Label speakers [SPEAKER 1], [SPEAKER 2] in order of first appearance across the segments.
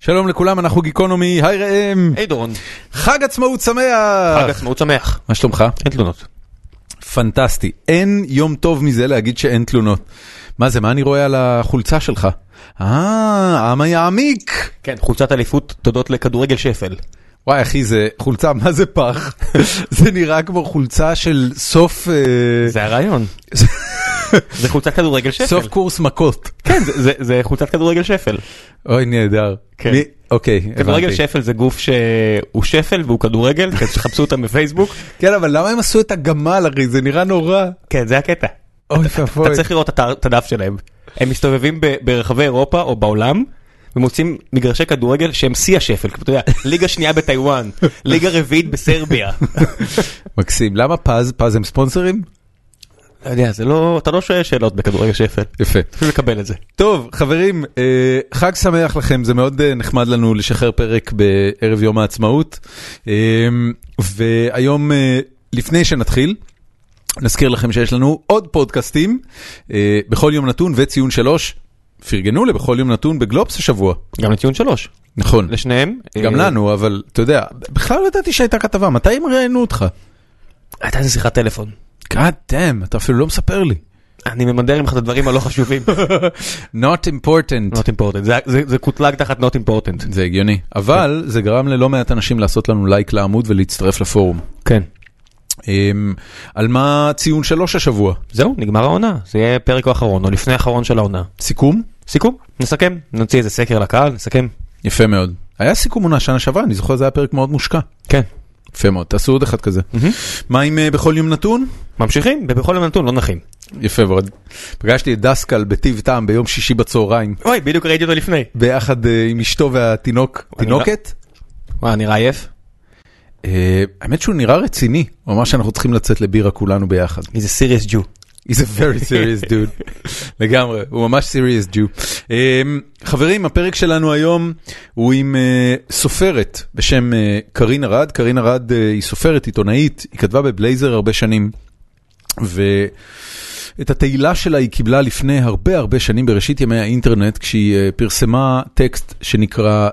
[SPEAKER 1] שלום לכולם, אנחנו גיקונומי, היי ראם.
[SPEAKER 2] היי דורון,
[SPEAKER 1] חג עצמאות
[SPEAKER 2] חג
[SPEAKER 1] שמח!
[SPEAKER 2] עצמאות שמח.
[SPEAKER 1] מה שלומך?
[SPEAKER 2] אה. אין תלונות.
[SPEAKER 1] פנטסטי. אין יום טוב מזה להגיד שאין תלונות. מה זה, מה אני רואה על החולצה שלך? אה, העם יעמיק!
[SPEAKER 2] כן, חולצת אליפות תודות לכדורגל שפל.
[SPEAKER 1] וואי אחי, זה חולצה, מה זה פח? זה נראה כמו חולצה של סוף... אה,
[SPEAKER 2] זה הרעיון. זה חולצת כדורגל שפל.
[SPEAKER 1] סוף קורס מכות.
[SPEAKER 2] כן, זה- זה- זה חולצת כדורגל שפל.
[SPEAKER 1] אוי, נהדר.
[SPEAKER 2] כן.
[SPEAKER 1] מי- אוקיי,
[SPEAKER 2] כדורגל
[SPEAKER 1] הבנתי.
[SPEAKER 2] שפל זה גוף שהוא שפל והוא כדורגל, אז תחפשו אותם בפייסבוק.
[SPEAKER 1] כן, אבל למה הם עשו את הגמל, אחי? זה נראה נורא.
[SPEAKER 2] כן, זה הקטע.
[SPEAKER 1] אוי
[SPEAKER 2] אתה
[SPEAKER 1] ואבוי.
[SPEAKER 2] צריך לראות את ה- את הדף שלהם. הם מסתובבים ב- ברחבי אירופה או בעולם. ומוצאים מגרשי כדורגל שהם שיא השפל, כמו, אתה יודע, ליגה שנייה בטיוואן, ליגה רביעית בסרביה.
[SPEAKER 1] מקסים. למה פז? פז הם ספונסרים?
[SPEAKER 2] לא יודע, זה לא, אתה לא שואל שאלות בכדורגל שפל,
[SPEAKER 1] יפה.
[SPEAKER 2] אפילו לקבל את זה.
[SPEAKER 1] טוב, חברים, אה, חג שמח לכם, זה מאוד אה, נחמד לנו לשחרר פרק בערב יום העצמאות. אה, והיום, אה, לפני שנתחיל, נזכיר לכם שיש לנו עוד פודקאסטים, אה, בכל יום נתון וציון שלוש. פרגנו לבכל יום נתון בגלובס השבוע.
[SPEAKER 2] גם לציון שלוש.
[SPEAKER 1] נכון,
[SPEAKER 2] לשניהם.
[SPEAKER 1] גם
[SPEAKER 2] אה,
[SPEAKER 1] לנו, אבל אתה יודע, בכלל לא ידעתי שהייתה כתבה, מתי הם ראיינו אותך?
[SPEAKER 2] הייתה איזה שיחת טלפון.
[SPEAKER 1] God damn, אתה אפילו לא מספר לי.
[SPEAKER 2] אני ממדר ממך את הדברים הלא חשובים.
[SPEAKER 1] Not important.
[SPEAKER 2] Not important. זה- זה- זה קוטלג תחת not important.
[SPEAKER 1] זה הגיוני, אבל זה גרם ללא מעט אנשים לעשות לנו לייק לעמוד ולהצטרף לפורום.
[SPEAKER 2] כן.
[SPEAKER 1] אמ, על מה ציון שלוש השבוע?
[SPEAKER 2] זהו, נגמר העונה. זה יהיה הפרק האחרון, או לפני האחרון של העונה.
[SPEAKER 1] סיכום?
[SPEAKER 2] סיכום, נסכם. נוציא איזה סקר לקהל, נסכם.
[SPEAKER 1] יפה מאוד. היה סיכום עונה שנה שעברה, אני זוכר זה היה פרק מאוד מושקע.
[SPEAKER 2] כן.
[SPEAKER 1] יפה מאוד, תעשו עוד אחד כזה. מה עם אה, בכל יום נתון?
[SPEAKER 2] ממשיכים, ובכל יום נתון לא נחים.
[SPEAKER 1] יפה מאוד. פגשתי את דסקל בטיב טעם ביום שישי בצהריים,
[SPEAKER 2] אוי, בדיוק ראיתי אותו לפני.
[SPEAKER 1] ביחד אה, עם אשתו והתינוק,
[SPEAKER 2] אני
[SPEAKER 1] תינוקת.
[SPEAKER 2] מה, נראה עייף?
[SPEAKER 1] אה, האמת שהוא נראה רציני, הוא אמר שאנחנו צריכים לצאת לבירה כולנו ביחד.
[SPEAKER 2] איזה סיריוס ג'ו.
[SPEAKER 1] He's a very serious dude, לגמרי, הוא ממש serious Jew. Um, חברים, הפרק שלנו היום הוא עם uh, סופרת בשם אה, קרין ארד. קרין ארד uh, היא סופרת, עיתונאית, היא כתבה בבלייזר הרבה שנים. ואת התהילה שלה היא קיבלה לפני הרבה הרבה שנים בראשית ימי האינטרנט, כשהיא אה, פרסמה טקסט שנקרא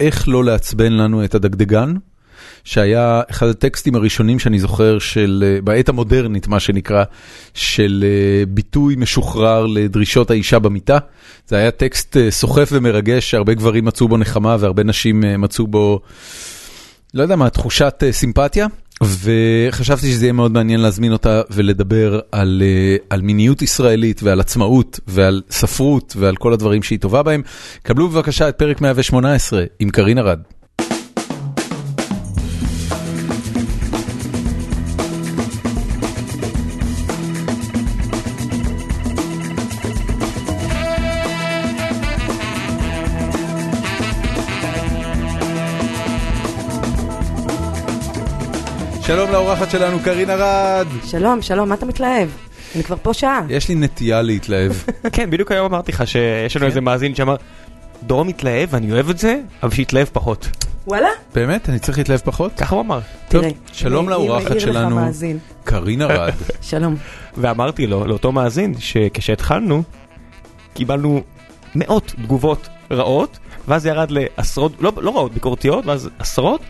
[SPEAKER 1] "איך לא לעצבן לנו את הדגדגן", שהיה אחד הטקסטים הראשונים שאני זוכר של, אה, בעת המודרנית מה שנקרא, של אה, ביטוי משוחרר לדרישות האישה במיטה. זה היה טקסט אה, סוחף ומרגש שהרבה גברים מצאו בו נחמה והרבה נשים אה, מצאו בו, לא יודע מה, תחושת אה, סימפתיה. וחשבתי שזה יהיה מאוד מעניין להזמין אותה ולדבר על, אה, על מיניות ישראלית ועל עצמאות ועל ספרות ועל כל הדברים שהיא טובה בהם. קבלו בבקשה את פרק 118 עם קרין ארד. שלום לאורחת שלנו קרין ארד.
[SPEAKER 3] שלום, שלום, מה אתה מתלהב? אני כבר פה שעה.
[SPEAKER 1] יש לי נטייה להתלהב.
[SPEAKER 2] כן, בדיוק היום אמרתי לך שיש לנו איזה מאזין שאמר, דרום התלהב, אני אוהב את זה, אבל שיתלהב פחות.
[SPEAKER 3] וואלה?
[SPEAKER 1] באמת? אני צריך להתלהב פחות?
[SPEAKER 3] כן.
[SPEAKER 2] ככה הוא אמר.
[SPEAKER 1] טוב,
[SPEAKER 3] תראה.
[SPEAKER 1] שלום
[SPEAKER 3] אני- אני
[SPEAKER 1] לאורחת
[SPEAKER 3] מעיר לך
[SPEAKER 1] שלנו
[SPEAKER 3] מאזין.
[SPEAKER 1] קרין ארד.
[SPEAKER 3] שלום.
[SPEAKER 2] ואמרתי לו, לאותו מאזין, שכשהתחלנו, קיבלנו מאות תגובות רעות, ואז זה ירד לעשרות, לא, לא רעות, ביקורתיות, ואז עשרות,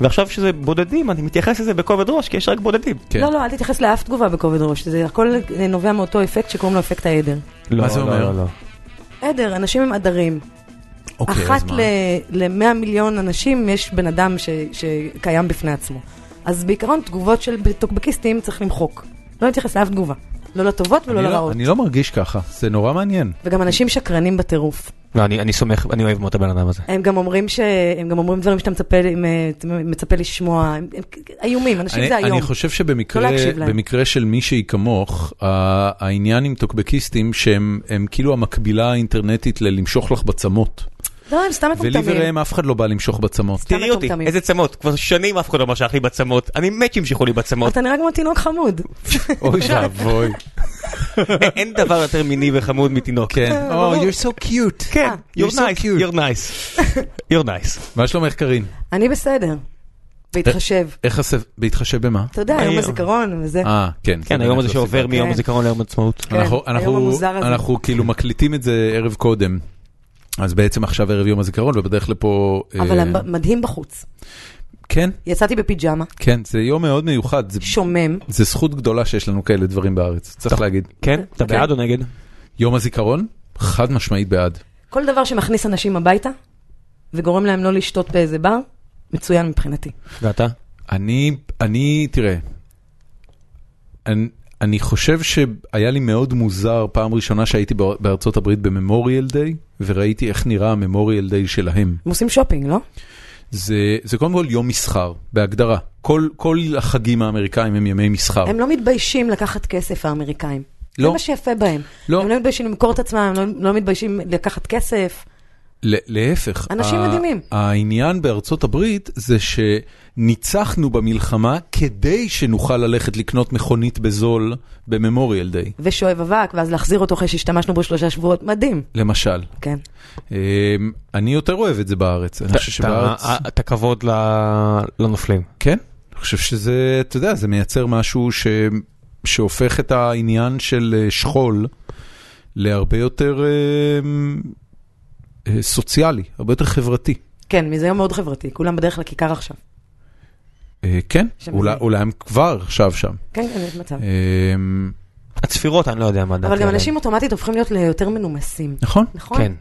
[SPEAKER 2] ועכשיו שזה בודדים, אני מתייחס לזה בכובד ראש, כי יש רק בודדים.
[SPEAKER 1] כן.
[SPEAKER 3] לא, לא, אל תתייחס לאף תגובה בכובד ראש, זה הכל נובע מאותו אפקט שקוראים לו אפקט העדר.
[SPEAKER 2] לא,
[SPEAKER 1] מה זה
[SPEAKER 2] לא,
[SPEAKER 1] אומר?
[SPEAKER 2] לא, לא.
[SPEAKER 3] עדר, אנשים הם עדרים.
[SPEAKER 1] אוקיי, אז
[SPEAKER 3] אחת
[SPEAKER 1] מה?
[SPEAKER 3] ל-100 מיליון אנשים יש בן אדם ש- שקיים בפני עצמו. אז בעיקרון תגובות של טוקבקיסטים צריך למחוק. לא להתייחס לאף תגובה. לא לטובות ולא
[SPEAKER 1] אני לא-
[SPEAKER 3] לרעות.
[SPEAKER 1] אני לא מרגיש ככה, זה נורא מעניין.
[SPEAKER 3] וגם אנשים שקרנים בטירוף.
[SPEAKER 2] לא, אני, אני סומך, אני אוהב מאוד את הבן אדם הזה.
[SPEAKER 3] הם גם אומרים ש- הם גם אומרים דברים שאתה מצפה ל- מצפה לשמוע. הם- הם איומים, אנשים
[SPEAKER 1] אני-
[SPEAKER 3] זה איום.
[SPEAKER 1] אני חושב
[SPEAKER 3] לא
[SPEAKER 1] שבמקרה
[SPEAKER 3] להקשיב להם.
[SPEAKER 1] במקרה של מישהי כמוך, ה- העניין עם טוקבקיסטים שהם הם כאילו המקבילה האינטרנטית ללמשוך לך בצמות.
[SPEAKER 3] לא, הם סתם
[SPEAKER 1] ולי
[SPEAKER 3] מטומטמים.
[SPEAKER 1] וראם אף אחד לא בא למשוך בצמות.
[SPEAKER 3] סתם
[SPEAKER 2] תראי אותי,
[SPEAKER 3] מטומטמים.
[SPEAKER 2] איזה צמות, כבר שנים אף אחד לא משך לי בצמות, אני מת שימשכו לי בצמות,
[SPEAKER 3] אתה נראה כמו תינוק חמוד.
[SPEAKER 1] אוי ואבוי.
[SPEAKER 2] אין דבר יותר מיני וחמוד מתינוק.
[SPEAKER 1] כן.
[SPEAKER 3] ברור.
[SPEAKER 1] so cute.
[SPEAKER 2] כן,
[SPEAKER 1] You're
[SPEAKER 2] you're
[SPEAKER 1] so
[SPEAKER 2] nice,
[SPEAKER 1] cute. כן,
[SPEAKER 2] you're nice, you're nice.
[SPEAKER 1] מה שלומך קרין?
[SPEAKER 3] אני בסדר. בהתחשב.
[SPEAKER 1] איך הספ... בהתחשב במה?
[SPEAKER 3] אתה יודע,
[SPEAKER 2] מהיר.
[SPEAKER 3] יום הזיכרון וזה.
[SPEAKER 1] אה, כן.
[SPEAKER 2] כן,
[SPEAKER 1] זה
[SPEAKER 2] היום
[SPEAKER 1] באמת
[SPEAKER 2] הזה
[SPEAKER 1] לא
[SPEAKER 2] שעובר
[SPEAKER 1] סיבה.
[SPEAKER 2] מיום
[SPEAKER 3] כן.
[SPEAKER 2] הזיכרון ליום העצמאות.
[SPEAKER 3] כן,
[SPEAKER 1] אנחנו,
[SPEAKER 3] היום
[SPEAKER 1] אנחנו,
[SPEAKER 3] המוזר הזה.
[SPEAKER 1] אנחנו כאילו מקליטים את זה ערב קודם. אז בעצם עכשיו ערב יום הזיכרון, ובדרך לפה... אה,
[SPEAKER 3] אבל המ- מדהים בחוץ.
[SPEAKER 1] כן,
[SPEAKER 3] יצאתי בפיג'מה,
[SPEAKER 1] כן, זה יום מאוד מיוחד. זה-
[SPEAKER 3] שומם,
[SPEAKER 1] זה זכות גדולה שיש לנו כאלה דברים בארץ, צריך להגיד.
[SPEAKER 2] כן? אתה
[SPEAKER 3] כן.
[SPEAKER 2] בעד או נגד?
[SPEAKER 1] יום הזיכרון, חד משמעית בעד.
[SPEAKER 3] כל דבר שמכניס אנשים הביתה וגורם להם לא לשתות באיזה בר, מצוין מבחינתי.
[SPEAKER 2] ואתה?
[SPEAKER 1] אני, אני, תראה, אני, אני חושב שהיה לי מאוד מוזר פעם ראשונה שהייתי באר- בארצות הברית בממוריאל דיי, וראיתי איך נראה הממוריאל דיי שלהם.
[SPEAKER 3] הם עושים שופינג, לא?
[SPEAKER 1] אה. זה, זה קודם כל יום מסחר, בהגדרה. כל, כל החגים האמריקאים הם ימי מסחר.
[SPEAKER 3] הם לא מתביישים לקחת כסף, האמריקאים.
[SPEAKER 1] לא.
[SPEAKER 3] זה מה שיפה בהם.
[SPEAKER 1] לא.
[SPEAKER 3] הם לא מתביישים למכור את עצמם, הם לא, לא מתביישים לקחת כסף.
[SPEAKER 1] ל- להפך.
[SPEAKER 3] אנשים
[SPEAKER 1] ה-
[SPEAKER 3] מדהימים.
[SPEAKER 1] העניין בארצות הברית זה שניצחנו במלחמה כדי שנוכל ללכת לקנות מכונית בזול בממוריאל דיי,
[SPEAKER 3] ושואב אבק, ואז להחזיר אותו אחרי שהשתמשנו בו שלושה שבועות, מדהים.
[SPEAKER 1] למשל.
[SPEAKER 3] כן.
[SPEAKER 1] אמ, אני יותר אוהב את זה בארץ, אני חושב שבארץ...
[SPEAKER 2] אתה- אה, אתה כבוד ל- לנופלים.
[SPEAKER 1] כן, אני חושב שזה, אתה יודע, זה מייצר משהו ש... שהופך את העניין של אה, שכול להרבה יותר אמ, אה, סוציאלי, הרבה יותר חברתי.
[SPEAKER 3] כן, מזה יום מאוד חברתי, כולם בדרך לכיכר עכשיו.
[SPEAKER 1] אה, כן,
[SPEAKER 3] שמזה.
[SPEAKER 1] אולי, אולי הם כבר עכשיו שם.
[SPEAKER 3] כן, כן, יש
[SPEAKER 2] אה,
[SPEAKER 3] מצב.
[SPEAKER 1] אמ,
[SPEAKER 2] הצפירות, אני לא יודע מה דעתי.
[SPEAKER 3] אבל גם
[SPEAKER 2] עליהן.
[SPEAKER 3] אנשים אוטומטית הופכים להיות ליותר מנומסים,
[SPEAKER 1] נכון.
[SPEAKER 3] נכון?
[SPEAKER 2] כן.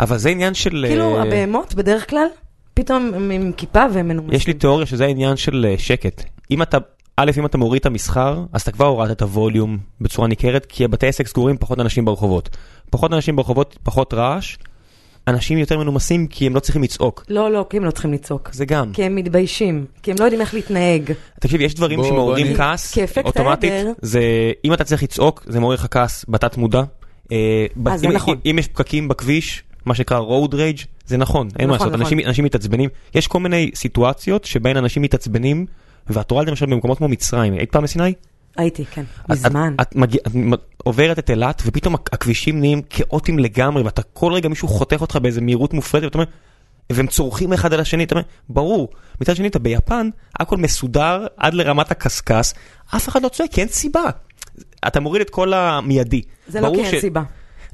[SPEAKER 2] אבל זה עניין של...
[SPEAKER 3] כאילו,
[SPEAKER 2] אה,
[SPEAKER 3] הבהמות בדרך כלל, פתאום הם עם כיפה והם מנומסים.
[SPEAKER 2] יש לי תיאוריה שזה העניין של אה, שקט. אם אתה, א', אם אתה מוריד את המסחר, אז אתה כבר הורדת את הווליום בצורה ניכרת, כי הבתי עסק סגורים, פחות אנשים ברחובות. פחות אנשים ברחובות, פחות רעש. אנשים יותר מנומסים כי הם לא צריכים לצעוק.
[SPEAKER 3] לא, לא, כי הם לא צריכים לצעוק.
[SPEAKER 2] זה גם.
[SPEAKER 3] כי הם מתביישים, כי הם לא יודעים איך להתנהג.
[SPEAKER 2] תקשיב, יש דברים
[SPEAKER 1] בוא- בוא
[SPEAKER 2] שמעוררים
[SPEAKER 1] אני-
[SPEAKER 2] כעס,
[SPEAKER 3] כאפקט
[SPEAKER 2] אוטומטית,
[SPEAKER 3] העדר.
[SPEAKER 2] זה, אם אתה צריך לצעוק, זה מעורר לך כעס בתת מודע. אה, ב-
[SPEAKER 3] אה, זה
[SPEAKER 2] אם-
[SPEAKER 3] נכון.
[SPEAKER 2] אם- אם יש פקקים בכביש, מה שנקרא road rage, זה נכון, אין מה
[SPEAKER 3] נכון,
[SPEAKER 2] לעשות,
[SPEAKER 3] נכון.
[SPEAKER 2] אנשים- אנשים מתעצבנים. יש כל מיני סיטואציות שבהן אנשים מתעצבנים, ואת רואה למשל במקומות כמו מצרים, היית פעם בסיני?
[SPEAKER 3] הייתי, כן,
[SPEAKER 2] את-
[SPEAKER 3] מזמן.
[SPEAKER 2] את, את, מגיע, את מ- עוברת את אילת, ופתאום הכ- הכבישים נהיים כאוטיים לגמרי, ואתה כל רגע מישהו חותך אותך באיזה מהירות מופרטת, ואתה אומר, והם צורכים אחד על השני, אתה אומר, ברור. מצד שני, אתה ביפן, הכל מסודר עד לרמת הקשקש, אף אחד לא צועק, כי אין סיבה. אתה מוריד את כל המיידי.
[SPEAKER 3] זה לא
[SPEAKER 2] ברור
[SPEAKER 3] כי אין סיבה.